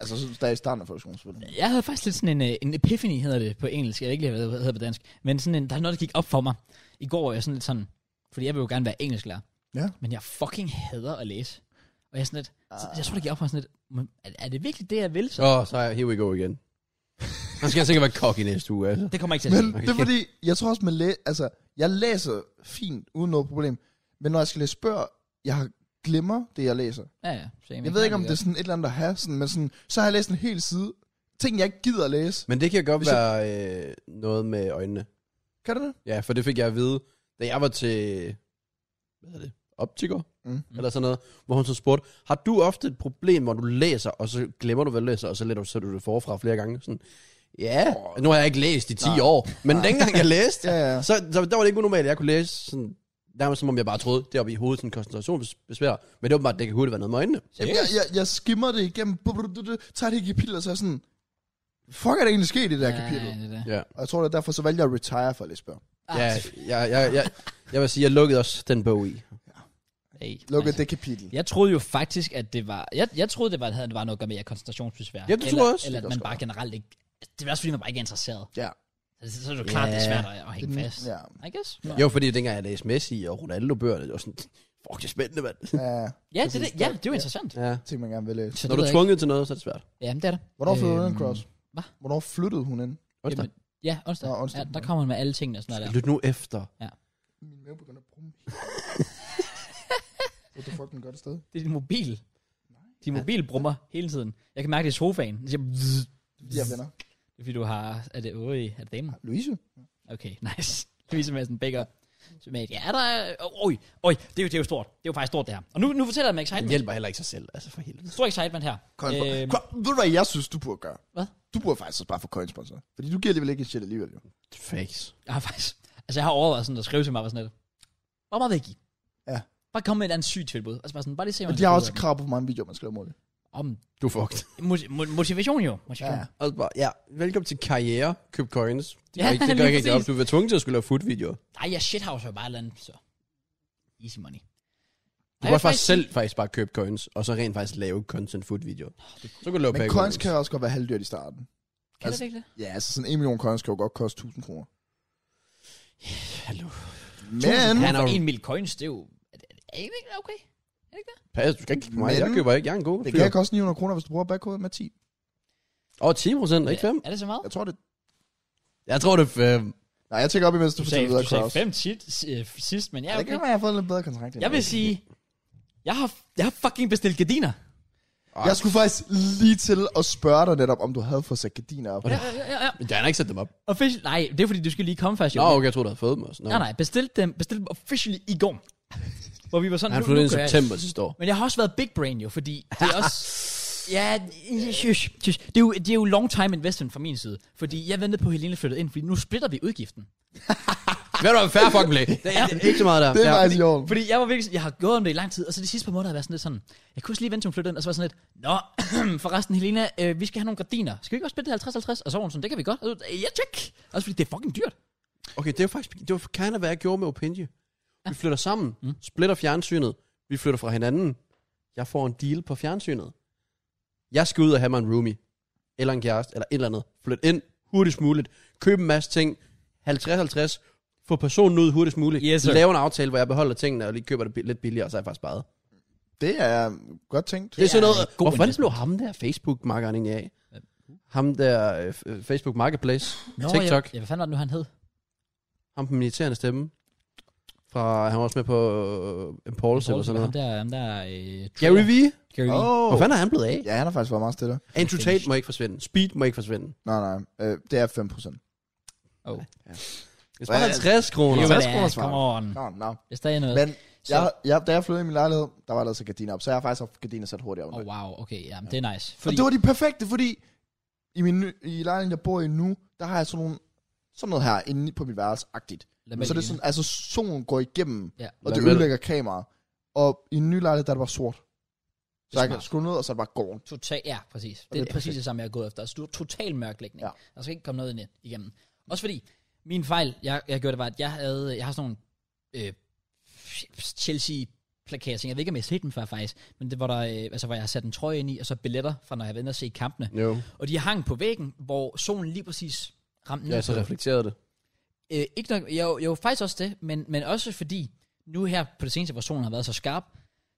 Speaker 3: Altså, så der er i starten af folkeskolen, selvfølgelig.
Speaker 1: Jeg havde faktisk lidt sådan en, øh, en epiphany, hedder det på engelsk. Jeg ved ikke, lige, hvad det hedder på dansk. Men sådan en, der er noget, der gik op for mig. I går var jeg sådan lidt sådan, fordi jeg vil jo gerne være engelsklærer.
Speaker 3: Ja.
Speaker 1: Men jeg fucking hader at læse. Og jeg er sådan lidt, så, jeg tror, det gik op for mig sådan lidt, men er, er det virkelig det, jeg vil så?
Speaker 2: Åh, oh, så er here we go igen. Han skal sikkert være cocky næste uge, altså.
Speaker 1: Det kommer ikke til at
Speaker 3: Men
Speaker 1: ske.
Speaker 3: det er fordi, jeg tror også med læ- altså, jeg læser fint, uden noget problem. Men når jeg skal læse bøger, jeg har- glemmer det, jeg læser.
Speaker 1: Ja, ja. Same.
Speaker 3: Jeg ved ikke, om det er sådan et eller andet at have, sådan, men sådan, så har jeg læst en hel side. Ting, jeg ikke gider at læse.
Speaker 2: Men det kan godt
Speaker 3: Hvis jeg-
Speaker 2: være øh, noget med øjnene.
Speaker 3: Kan du det?
Speaker 2: Ja, for det fik jeg at vide, da jeg var til, hvad er det, optiker?
Speaker 3: Mm.
Speaker 2: Eller sådan noget, hvor hun så spurgte, har du ofte et problem, hvor du læser, og så glemmer du, hvad du læser, og så læser du, så du det forfra flere gange? Sådan, ja, oh, nu har jeg ikke læst i 10
Speaker 3: Nej.
Speaker 2: år, men
Speaker 3: Nej.
Speaker 2: dengang jeg læste,
Speaker 3: Ja, ja.
Speaker 2: så, så der var det ikke unormalt, at jeg kunne læse sådan, nærmest som om jeg bare troede, det oppe i hovedet, sådan koncentrationsbesvær, men det var bare, det kan hurtigt være noget med øjnene.
Speaker 3: Jamen, jeg, jeg, jeg skimmer det igennem, bu- bu- bu- bu- tager det i kapitel, og så er jeg sådan, fuck er der egentlig sket i det der kapitel?
Speaker 1: Ja, det er det.
Speaker 2: Ja,
Speaker 3: Og jeg tror, det er derfor, så valgte jeg at retire for at læse bøger.
Speaker 1: Ah,
Speaker 2: ja jeg, jeg, jeg, jeg vil sige, jeg lukkede også den bog i.
Speaker 1: hey,
Speaker 3: Lukke
Speaker 1: altså.
Speaker 3: det kapitel.
Speaker 1: Jeg troede jo faktisk, at det var... Jeg, jeg troede, det, var, at det var noget at gøre med at koncentrationsbesvær.
Speaker 2: Ja, det tror
Speaker 1: eller,
Speaker 2: jeg også.
Speaker 1: Eller
Speaker 3: Det
Speaker 1: at man
Speaker 3: kan også
Speaker 1: bare generelt ikke... Det er også, fordi man bare ikke er interesseret.
Speaker 3: Ja.
Speaker 1: Så, så er det jo klart, yeah. det er
Speaker 2: Ja.
Speaker 1: svært at at hænge fast.
Speaker 3: Ja.
Speaker 1: I guess. Ja,
Speaker 2: Jo, fordi dengang jeg læste Messi og Ronaldo-bøgerne, det var sådan, fuck, det er spændende, mand.
Speaker 3: ja.
Speaker 1: ja det, er det, ja, det er jo interessant.
Speaker 2: Ja.
Speaker 3: Ting, man gerne vil
Speaker 1: [LAUGHS]
Speaker 3: læse.
Speaker 1: Så det
Speaker 2: Når
Speaker 1: ved
Speaker 2: du er
Speaker 1: jeg
Speaker 2: tvunget til noget, så er det svært.
Speaker 1: ikke. Ja, men det er det.
Speaker 3: Hvornår flyttede hun
Speaker 1: Øhm,
Speaker 3: ind, Cross?
Speaker 1: hvad?
Speaker 3: Hvornår flyttede hun ind?
Speaker 2: Onsdag.
Speaker 1: Jamen, Ja, onsdag.
Speaker 3: Nå,
Speaker 1: Nå,
Speaker 3: onsdag.
Speaker 1: onsdag. Ja, der kommer han med alle tingene og sådan noget der.
Speaker 2: Lyt nu efter.
Speaker 3: Min mave begynder at brumme. What the fuck, den gør det sted?
Speaker 1: Det er din mobil. Din mobil brummer hele tiden. Jeg kan mærke det i sofaen. Det siger, bzzz.
Speaker 3: De her venner. Ah,
Speaker 1: Det er fordi du har... Er det, øj, er det damen?
Speaker 3: Louise?
Speaker 1: Okay, [LAUGHS] nice. Louise Madsen Becker. Så med, ja, der er... Oj, oj, det er, jo, det er jo stort. Det er jo faktisk stort, det her. Og nu, nu fortæller jeg med
Speaker 2: Han
Speaker 1: excitement.
Speaker 2: hjælper heller ikke sig selv, altså for helvede.
Speaker 1: Stor excitement her.
Speaker 3: Coin
Speaker 1: Øhm,
Speaker 3: øhm. Ved du hvad, jeg synes, du burde gøre?
Speaker 1: Hvad?
Speaker 3: Du burde faktisk også bare få coinsponsor. Fordi du giver alligevel ikke en shit alligevel, jo.
Speaker 2: Fakes.
Speaker 1: Jeg har faktisk... Altså, jeg har overvejet sådan at skrive til mig, og var sådan lidt. Hvor meget vil I give?
Speaker 3: Ja.
Speaker 1: Bare komme med et andet sygt tilbud. Altså bare sådan, bare lige se, om
Speaker 3: Men
Speaker 1: han
Speaker 3: de har
Speaker 1: skriver
Speaker 3: også krav på, hvor mange videoer, man skal lave om måneden.
Speaker 1: Om
Speaker 2: Du er fucked.
Speaker 1: moti- mo- motivation jo. Motivation.
Speaker 3: Ja.
Speaker 1: Ja.
Speaker 2: Og bare, ja, velkommen til karriere. Køb coins. Det
Speaker 1: Ja,
Speaker 2: gør ikke, det gør
Speaker 1: lige
Speaker 2: ikke rigtig op.
Speaker 1: præcis.
Speaker 2: Du vil være tvunget til at skulle lave food-videoer.
Speaker 1: Nej, jeg shithouser jo bare et eller andet, så. Easy money.
Speaker 2: Du kan også faktisk selv faktisk bare købe coins, og så rent faktisk lave content food-videoer. Så kan du lave
Speaker 3: Men
Speaker 2: pay
Speaker 3: coins kan også godt være halvdyrt i starten.
Speaker 1: Kan altså, det ikke det?
Speaker 3: Ja, altså sådan en million coins kan jo godt koste 1000 kroner.
Speaker 2: Hallo.
Speaker 3: Men,
Speaker 1: Han
Speaker 2: Han
Speaker 1: har
Speaker 2: er jo-
Speaker 1: en mil coins, det er jo... Er det, er det ikke okay? Er det ikke det?
Speaker 2: Pas, du skal ikke kigge på mig.
Speaker 3: Men-
Speaker 2: Jeg køber ikke. Jeg er en god
Speaker 3: det
Speaker 2: fyr.
Speaker 3: kan koste 900 kroner, hvis du bruger backcode med 10.
Speaker 2: Og 10 procent, ikke 5?
Speaker 1: Er det så meget?
Speaker 3: Jeg tror det.
Speaker 2: Jeg tror, øh, det er 5.
Speaker 3: Nej, jeg tænker op imens, du,
Speaker 1: Du
Speaker 3: du
Speaker 1: sagde,
Speaker 3: fortæller videre,
Speaker 1: du sagde
Speaker 3: Kraus.
Speaker 1: fem tit, øh, sidst, men ja,
Speaker 3: Ja, det
Speaker 1: okay.
Speaker 3: kan være, jeg har fået en lidt bedre kontrakt. end
Speaker 1: Jeg vil
Speaker 3: dig.
Speaker 1: sige, jeg har, jeg har fucking bestilt gardiner.
Speaker 3: Jeg skulle faktisk lige til at spørge dig netop, om du havde fået sat gardiner op.
Speaker 1: Ja, ja, ja, ja.
Speaker 2: Men jeg har ikke sat dem op.
Speaker 1: Official, nej, det er fordi, du skal lige komme først, jo.
Speaker 2: Nå, okay, jeg troede, du havde fået dem også. Nå.
Speaker 1: Nej, nej, bestilte dem, bestilte dem officially i [LAUGHS] går. Hvor vi var sådan,
Speaker 2: Han
Speaker 1: nu- nu
Speaker 2: flyttede ind i
Speaker 1: gør jeg det.
Speaker 2: september sidste år.
Speaker 1: Men jeg har også været big brain jo, fordi det er
Speaker 2: [LAUGHS]
Speaker 1: også... Ja, shush, shush. Det, er jo, det er jo long time investment fra min side. Fordi jeg ventede på, at Helene flyttede ind, fordi nu splitter vi udgiften.
Speaker 2: Hvad er du, fair fucking
Speaker 1: [LAUGHS]
Speaker 2: play? Det er ikke så meget der.
Speaker 3: Det er
Speaker 2: Ja.
Speaker 3: faktisk i orden.
Speaker 1: Fordi jeg var virkelig, jeg har gået om det i lang tid, og så de sidste par måneder har jeg været sådan lidt sådan, jeg kunne også lige vente til hun flyttede ind, og så var jeg sådan lidt, nå, [CLEARS THROAT] forresten Helena, øh, vi skal have nogle gardiner. Skal vi ikke også splitte det 50-50? Og så var hun sådan, det kan vi godt. Og så, ja, tjek. Også fordi det er fucking dyrt.
Speaker 2: Okay, det var faktisk det var kind of, hvad jeg gjorde med Opinje. Vi flytter sammen, mm. splitter fjernsynet, vi flytter fra hinanden. Jeg får en deal på fjernsynet. Jeg skal ud og have mig en roomie, eller en kæreste, eller et eller andet. Flyt ind hurtigst muligt, køb en masse ting, 50-50, få personen ud hurtigst muligt,
Speaker 1: Yes, sir.
Speaker 2: lave en aftale, hvor jeg beholder tingene, og lige køber det bi- lidt billigere, og så er jeg faktisk sparet.
Speaker 3: Det er godt tænkt.
Speaker 2: Det er sådan
Speaker 1: er
Speaker 2: noget,
Speaker 1: en god
Speaker 2: hvorfor
Speaker 1: investment.
Speaker 2: blev ham der Facebook-markeren egentlig af? Ham der øh, f- øh, Facebook Marketplace, TikTok.
Speaker 1: Jeg, ja, hvad fanden var det nu, han hed?
Speaker 2: Ham på den irriterende stemme. Fra, han var også med på uh, Impulse eller sådan
Speaker 1: Ham
Speaker 2: noget.
Speaker 1: der, ham der, øh,
Speaker 2: Gary
Speaker 1: Trevor.
Speaker 2: V.
Speaker 1: Gary Vee.
Speaker 3: Oh.
Speaker 2: Hvor fanden er han blevet af?
Speaker 3: Ja, han har faktisk været meget stille.
Speaker 2: Andrew Tate må ikke forsvinde. Speed må ikke forsvinde.
Speaker 3: Nej, nej. Øh, det er 5 procent.
Speaker 1: Oh.
Speaker 2: Det sparer
Speaker 3: Hvad?
Speaker 2: 50 kroner.
Speaker 1: Det er jo, hvad
Speaker 3: 50
Speaker 1: det
Speaker 3: kroner
Speaker 1: er.
Speaker 3: svarer.
Speaker 1: Come on.
Speaker 3: Nå, nå.
Speaker 1: Det er stadig noget.
Speaker 3: Men
Speaker 1: Så-
Speaker 3: jeg, jeg, da jeg flyttede i min lejlighed, der var der altså gardiner op, så jeg har faktisk haft gardiner sat hurtigt op.
Speaker 1: Oh,
Speaker 3: Oh,
Speaker 1: wow, okay, jamen, det er nice.
Speaker 3: fordi... Og det var de perfekte, fordi i, min, ny- i lejligheden, jeg bor i nu, der har jeg sådan nogle sådan noget her inde på mit værelse-agtigt.
Speaker 1: Lad
Speaker 3: Men
Speaker 1: mig
Speaker 3: så er det
Speaker 1: lige-
Speaker 3: sådan, altså solen går igennem,
Speaker 1: Ja.
Speaker 3: og
Speaker 2: Lad
Speaker 3: det
Speaker 2: mig-
Speaker 3: ødelægger kameraet. Og i en ny lejlighed, der er det bare sort. Så jeg kan
Speaker 1: smart.
Speaker 3: skrue ned, og så er det bare gården.
Speaker 1: Total, ja, præcis. Det,
Speaker 3: det er
Speaker 1: er præcis det samme, jeg har gået efter. Altså, du- total mørklægning.
Speaker 3: Ja.
Speaker 1: Ja. Der skal ikke komme noget ind i- igennem. Også fordi, min fejl, jeg, jeg gjorde det, var, at jeg, havde, jeg har sådan nogle øh, Chelsea plakater, jeg ved ikke, om jeg har set dem før faktisk, men det var der, øh, altså, hvor jeg har sat en trøje ind i, og så billetter fra, når jeg var inde og se kampene.
Speaker 2: Jo,
Speaker 1: Og de hang på væggen, hvor solen lige præcis ramte
Speaker 2: jeg
Speaker 1: ned
Speaker 2: så
Speaker 1: på det.
Speaker 2: reflekteret det.
Speaker 1: Øh, ikke nok, jo, jo, faktisk også det, men, men også fordi, nu her på det seneste, hvor solen har været så skarp,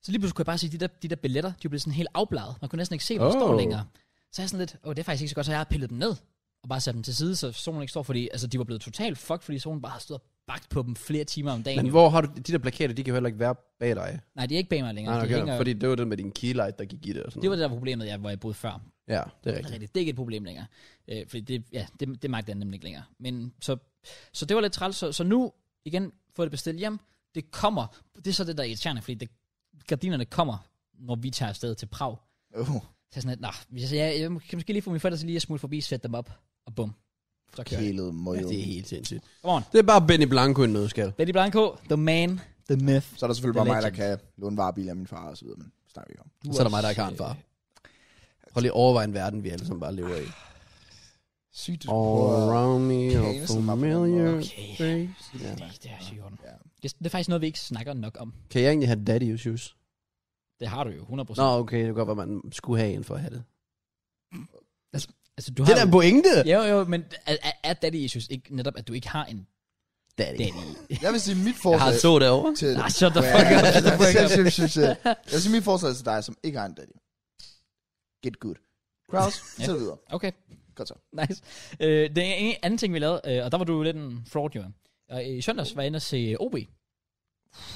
Speaker 1: så lige pludselig kunne jeg bare sige, de der, de der billetter, de blev sådan helt afbladet. Man kunne næsten ikke se, hvor oh. de står
Speaker 2: Oh.
Speaker 1: længere. Så er jeg sådan lidt, åh, det er faktisk ikke så godt, så jeg har pillet dem ned, og bare sat dem til side, så solen ikke står, fordi altså, de var blevet totalt fucked, fordi solen bare har stået og bagt på dem flere timer om dagen.
Speaker 2: Men
Speaker 1: Men,
Speaker 2: hvor har du, de der plakater, de kan jo heller ikke være bag dig.
Speaker 1: Nej, de er ikke bag mig længere.
Speaker 2: Nej,
Speaker 1: de
Speaker 2: okay,
Speaker 1: hænger,
Speaker 2: fordi det var den med din keylight, der gik i det og sådan
Speaker 1: Det var det der var problemet, jeg, hvor jeg boede før.
Speaker 2: noget. Ja, det er
Speaker 1: Det er
Speaker 2: rigtigt.
Speaker 1: rigtigt. Det er ikke et problem længere. Øh, fordi det, ja, det, det magter jeg nemlig ikke længere. Men så, så det var lidt træls. Så, så nu, igen, få det bestilt hjem. Det kommer. Det er så det, der er irriterende, fordi det, gardinerne kommer, når vi tager afsted til Prag.
Speaker 3: Uh,
Speaker 1: Så jeg er sådan lidt, nah, hvis jeg, jeg kan måske lige få mine forældre til lige at smutte forbi, sætte dem op, og bum. Så kører jeg.
Speaker 3: kælet møg.
Speaker 2: Ja, det er helt sindssygt.
Speaker 1: Come on.
Speaker 2: Det er bare Benny Blanco i en nødskal.
Speaker 1: Betty Blanco, the man, the myth.
Speaker 3: Så er der selvfølgelig
Speaker 1: The
Speaker 3: bare mig, der
Speaker 1: legend.
Speaker 3: kan låne varebil af min far og så videre, men det snakker vi ikke om.
Speaker 1: Du øh,
Speaker 2: Så er der mig, der ikke har en far. Prøv lige at overveje en verden, vi alle sammen bare lever i.
Speaker 3: Sygt, du
Speaker 2: All around me are
Speaker 3: Kane, som er på den
Speaker 2: familiar
Speaker 3: måde.
Speaker 1: Okay.
Speaker 2: faces.
Speaker 1: Ja.
Speaker 2: Ja.
Speaker 1: Det, det, er sygt i orden.
Speaker 3: Ja.
Speaker 1: det, det er faktisk noget, vi ikke snakker nok om.
Speaker 2: Kan jeg egentlig have daddy issues?
Speaker 1: Det har du jo, 100%.
Speaker 2: Nå, okay, det kan godt være, man skulle have en for at have det.
Speaker 1: Altså, du
Speaker 2: Det
Speaker 1: har
Speaker 2: er da
Speaker 1: jo,
Speaker 2: en pointe!
Speaker 1: jo, jo, men er, er- er daddy issues ikke netop, at du ikke har en
Speaker 2: Daddy.
Speaker 1: daddy?
Speaker 3: Jeg vil sige,
Speaker 1: [LAUGHS]
Speaker 3: mit
Speaker 2: Jeg har
Speaker 3: forslag
Speaker 2: så derovre.
Speaker 3: til...
Speaker 1: Nej, shut the
Speaker 3: [LAUGHS]
Speaker 1: fuck up. Shut the fuck up.
Speaker 2: [LAUGHS]
Speaker 3: Shit, shit, shit, shit. Jeg vil sige, mit forslag til dig, som ikke har en daddy. Get good. Kraus, fortæl videre.
Speaker 1: Okay.
Speaker 3: Godt så.
Speaker 1: Nice. Øh, det er en anden ting, vi lavede, øh, og der var du lidt en fraud, Johan. Og i søndags var jeg inde og se OB.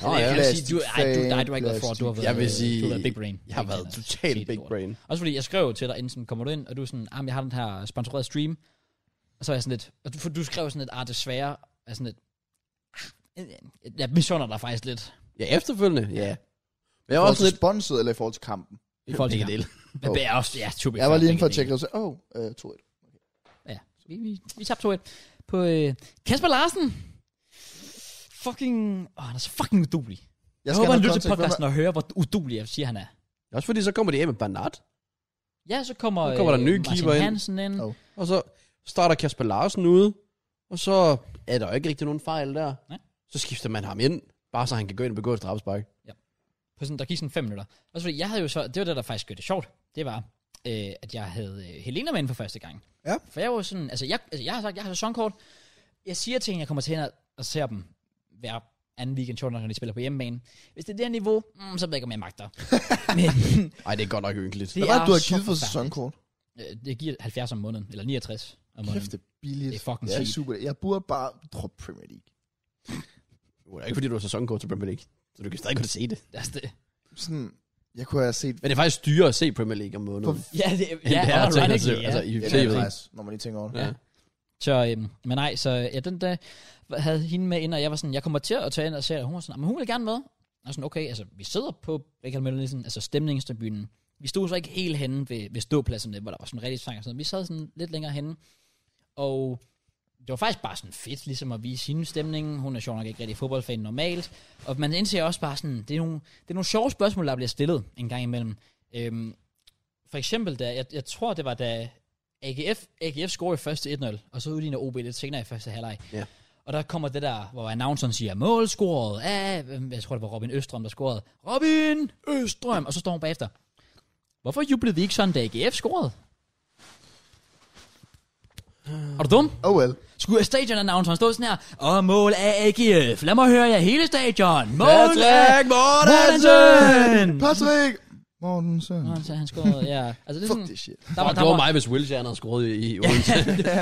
Speaker 2: Nå,
Speaker 1: jeg
Speaker 2: ja.
Speaker 1: kan sige, du, ej, du,
Speaker 3: Plastic
Speaker 1: nej, du har ikke været fraud, du har
Speaker 3: fan,
Speaker 1: været,
Speaker 2: Jeg vil
Speaker 1: øh,
Speaker 2: sige,
Speaker 1: du har været big brain.
Speaker 2: Jeg har været
Speaker 1: Ikke,
Speaker 2: totalt
Speaker 1: Helt
Speaker 2: big
Speaker 1: lort.
Speaker 2: brain.
Speaker 1: Også fordi jeg skrev til dig, inden sådan, kommer du ind, og du er sådan, ah, men jeg har den her sponsorerede stream. Og så er jeg sådan lidt, og du, for du skrev sådan lidt, ah, desværre, jeg er sådan lidt, "Ah, øh, jeg misunder dig faktisk lidt.
Speaker 2: Ja, efterfølgende, ja. Men jeg
Speaker 3: Jeg
Speaker 2: var
Speaker 3: var
Speaker 2: også lidt...
Speaker 3: sponset, eller i forhold til kampen.
Speaker 1: I forhold til
Speaker 2: Begge dele.
Speaker 1: Men det er også, ja, to be
Speaker 3: Jeg var
Speaker 1: fair,
Speaker 3: lige inde for at
Speaker 1: begge
Speaker 3: tjekke, og så, åh, øh, 2-1.
Speaker 1: dele. Ja, vi, vi, vi tabte 2 på øh, Kasper Larsen. Fucking, åh, han er så fucking udulig. Jeg, jeg håber,
Speaker 3: have
Speaker 1: han
Speaker 3: noget
Speaker 1: lytter til
Speaker 3: contact for
Speaker 1: podcasten og hører, hvor udulig jeg siger, han er.
Speaker 2: Også fordi så kommer de af med Bernard,
Speaker 1: Ja, så kommer, øh,
Speaker 2: Nu kommer der en ny
Speaker 1: Martin
Speaker 2: keeper ind.
Speaker 1: Hansen ind.
Speaker 3: Oh.
Speaker 1: Oh.
Speaker 2: og så starter Kasper Larsen ude, og så er der jo ikke rigtig nogen fejl der.
Speaker 1: Nej.
Speaker 2: Så skifter man ham ind, bare så han kan gå ind og begå et straffespark.
Speaker 1: På sådan, der gik sådan fem minutter. Og så fordi jeg havde jo så, det var det, der faktisk gjorde det sjovt. Det var, øh, at jeg havde øh, Helena med ind for første gang.
Speaker 3: Ja.
Speaker 1: For jeg var jo sådan, altså jeg, altså jeg har sagt, jeg har sæsonkort. Jeg siger til hende, jeg kommer til hende og- og ser dem hver anden weekend, sjovt nok, når de spiller på hjemmebane. Hvis det er det her niveau, mm, så ved jeg ikke, om jeg [LAUGHS] magter. Men
Speaker 2: Ej, det er godt nok ynkeligt.
Speaker 1: det
Speaker 3: Hvad var
Speaker 1: er
Speaker 3: det, du har
Speaker 1: så
Speaker 3: givet for
Speaker 1: forfærdeligt.
Speaker 3: sæsonkort?
Speaker 1: Øh, Det giver 70 om måneden, eller 69 om måneden.
Speaker 3: Kæft, det er billigt.
Speaker 1: Det er fucking
Speaker 3: ja,
Speaker 1: sygt.
Speaker 3: super. Jeg burde bare droppe Premier League.
Speaker 2: Det er ikke fordi, du har sæsonkort til Premier League, så du kan stadig godt se det.
Speaker 1: Altså, det,
Speaker 3: Sådan, jeg kunne have set...
Speaker 2: Men det er faktisk dyrere at se Premier League om måneden.
Speaker 3: For-
Speaker 1: ja, det,
Speaker 2: end
Speaker 1: ja,
Speaker 2: det er at tage
Speaker 1: ironically,
Speaker 2: til-
Speaker 1: ja.
Speaker 2: altså, i
Speaker 3: Ja,
Speaker 2: tv.
Speaker 3: det er faktisk, når man lige tænker over det.
Speaker 2: Ja.
Speaker 1: Så, øhm, men nej, så ja, den dag havde hende med ind, og jeg var sådan, jeg kommer til at tage ind og se, og hun var sådan, men hun vil gerne med. Og jeg var sådan, okay, altså, vi sidder på Richard Møller Nielsen, altså stemningstribunen. Vi stod så ikke helt henne ved, ved ståpladserne, hvor der var sådan rigtig sang og sådan noget. Vi sad sådan lidt længere henne, og det var faktisk bare sådan fedt, ligesom at vise sin stemning. Hun er sjov nok ikke rigtig fodboldfan normalt. Og man indser også bare sådan, det er nogle, det er nogle sjove spørgsmål, der bliver stillet en gang imellem. Øhm, for eksempel, da, jeg, jeg tror, det var da AGF, AGF scorer i første 1-0, og så udligner OB lidt senere i første halvleg.
Speaker 2: Ja.
Speaker 1: Og der kommer det der, hvor announceren siger, mål scoret af, jeg tror det var Robin Østrøm, der scorede. Robin Østrøm! Og så står hun bagefter. Hvorfor jublede vi ikke sådan, da AGF scorede? Er du dum?
Speaker 3: Oh well.
Speaker 1: Skulle stadion announceren stå sådan her, og mål af AGF, lad mig høre jer hele stadion, mål af
Speaker 2: Patrick Mortensen!
Speaker 1: Mortensen!
Speaker 3: Patrick! Mortensen.
Speaker 1: Nå, så han scorede, ja. Altså, det er
Speaker 3: Fuck
Speaker 1: sådan,
Speaker 3: det shit.
Speaker 1: der var,
Speaker 2: Fuck,
Speaker 1: der
Speaker 2: det var
Speaker 1: var,
Speaker 2: mig, hvis Wilshere havde skruet i, i Odense.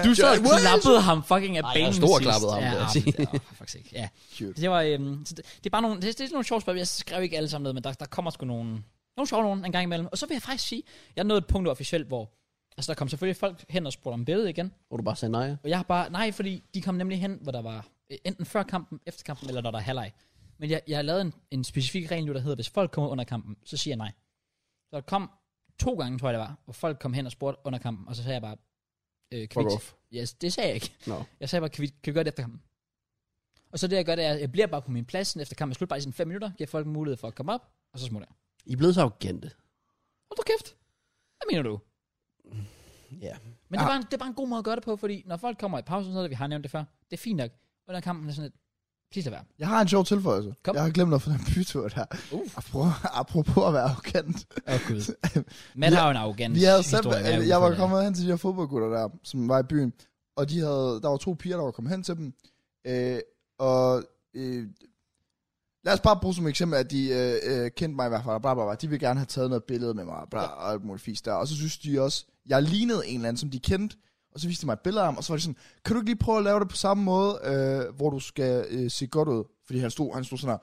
Speaker 1: du så
Speaker 3: Jack Wilson.
Speaker 1: klappede ham fucking af
Speaker 2: Nej, jeg
Speaker 1: banen
Speaker 2: stor
Speaker 1: sidst.
Speaker 2: klappede ham,
Speaker 1: ja,
Speaker 2: vil jeg
Speaker 1: ah,
Speaker 2: sige.
Speaker 1: men det- åh, faktisk ikke. Ja.
Speaker 3: Cute.
Speaker 1: Det var, øhm, så det, det, er bare nogle, det, det er sådan nogle sjove spørgsmål. Jeg skrev ikke alle sammen ned, men der, der kommer sgu nogle, nogle sjove nogen en gang imellem. Og så vil jeg faktisk sige, jeg nåede et punkt officielt, hvor altså, der kom selvfølgelig folk hen og spurgte om billedet igen.
Speaker 2: Hvor du bare sagde nej.
Speaker 1: Og jeg har bare, nej, fordi de kom nemlig hen, hvor der var øh, enten før kampen, efter kampen, eller når der er halvleg. Men jeg, jeg har lavet en, en specifik regel nu, der hedder, hvis folk kommer under kampen, så siger jeg nej. Så der kom to gange, tror jeg det var, hvor folk kom hen og spurgte under kampen, og så sagde jeg bare, øh, kan vi
Speaker 2: Fuck
Speaker 1: ikke-
Speaker 2: off.
Speaker 1: Yes, det sagde jeg ikke.
Speaker 2: Nå.
Speaker 1: Jeg sagde bare, kan vi, kan vi gøre det efter kampen? Og så det, jeg gør, det er, at jeg bliver bare på min plads sådan efter kampen. Jeg slutter bare i sådan fem minutter, giver folk mulighed for at komme op, og så smutter jeg.
Speaker 2: I er blevet så arrogante.
Speaker 1: Hold du kæft. Hvad mener du?
Speaker 2: Ja.
Speaker 1: Men det, er bare en, det er bare en god måde at gøre det på, fordi når folk kommer i pausen, så er det, vi har nævnt det før. Det er fint nok. Under kampen er sådan et, please lad være.
Speaker 3: Jeg har en sjov tilføjelse.
Speaker 1: Kom.
Speaker 3: Jeg har glemt noget fra den bytur der.
Speaker 1: Uh.
Speaker 3: Apropos, apropos at være arrogant.
Speaker 1: Åh oh,
Speaker 3: [LAUGHS]
Speaker 1: gud. Matt har jo en arrogant
Speaker 3: Vi havde selv,
Speaker 1: historie, hvad
Speaker 3: jeg,
Speaker 1: er
Speaker 3: jeg var
Speaker 1: udenfor,
Speaker 3: kommet hen til de her fodboldgutter der, som var i byen, og de havde, der var to piger, der var kommet hen til dem, øh, og øh, lad os bare bruge som eksempel, at de øh, øh, kendte mig i hvert fald, og bla, bla, bla. de ville gerne have taget noget billede med mig, og bla, og alt muligt fisk der, og så synes de også, jeg lignede en eller anden, som de kendte, og så viste de mig et billede af ham, og så var de sådan, kan du ikke lige prøve at lave det på samme måde, øh, hvor du skal øh, se godt ud, fordi han stod, han stod sådan her,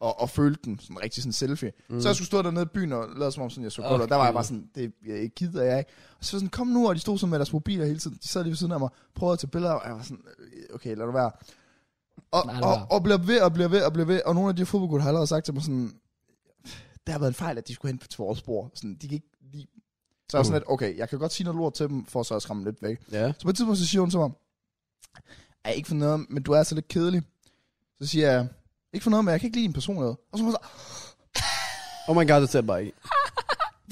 Speaker 3: og, og følte den, sådan rigtig sådan selfie. Mm. Så jeg skulle stå dernede i byen og lade som om, sådan, jeg så godt, og der var jeg bare sådan, det jeg gider jeg ikke. Og så var jeg sådan, kom nu, og de stod sådan med deres mobiler hele tiden, de sad lige ved siden af mig, prøvede at tage billeder, og jeg var sådan, "Øh, okay, lad det være. Og,
Speaker 1: Nej, lad
Speaker 3: og,
Speaker 1: være.
Speaker 3: og bliver ved, og bliver ved, og bliver ved, og nogle af de her fodboldgutter har allerede sagt til mig sådan, det har været en fejl, at de skulle hen på vores spor. Sådan, de kan ikke lide. Så jeg var sådan lidt, okay, jeg kan godt sige noget lort til dem, for så at skræmme dem lidt væk.
Speaker 2: Ja.
Speaker 3: Så på et tidspunkt, så siger hun til mig, jeg er ikke for noget, men du er altså lidt kedelig. Så siger jeg, ikke for noget, men jeg kan ikke lide din personlighed. Og så var hun så,
Speaker 2: Oh my god, det ser bare ikke.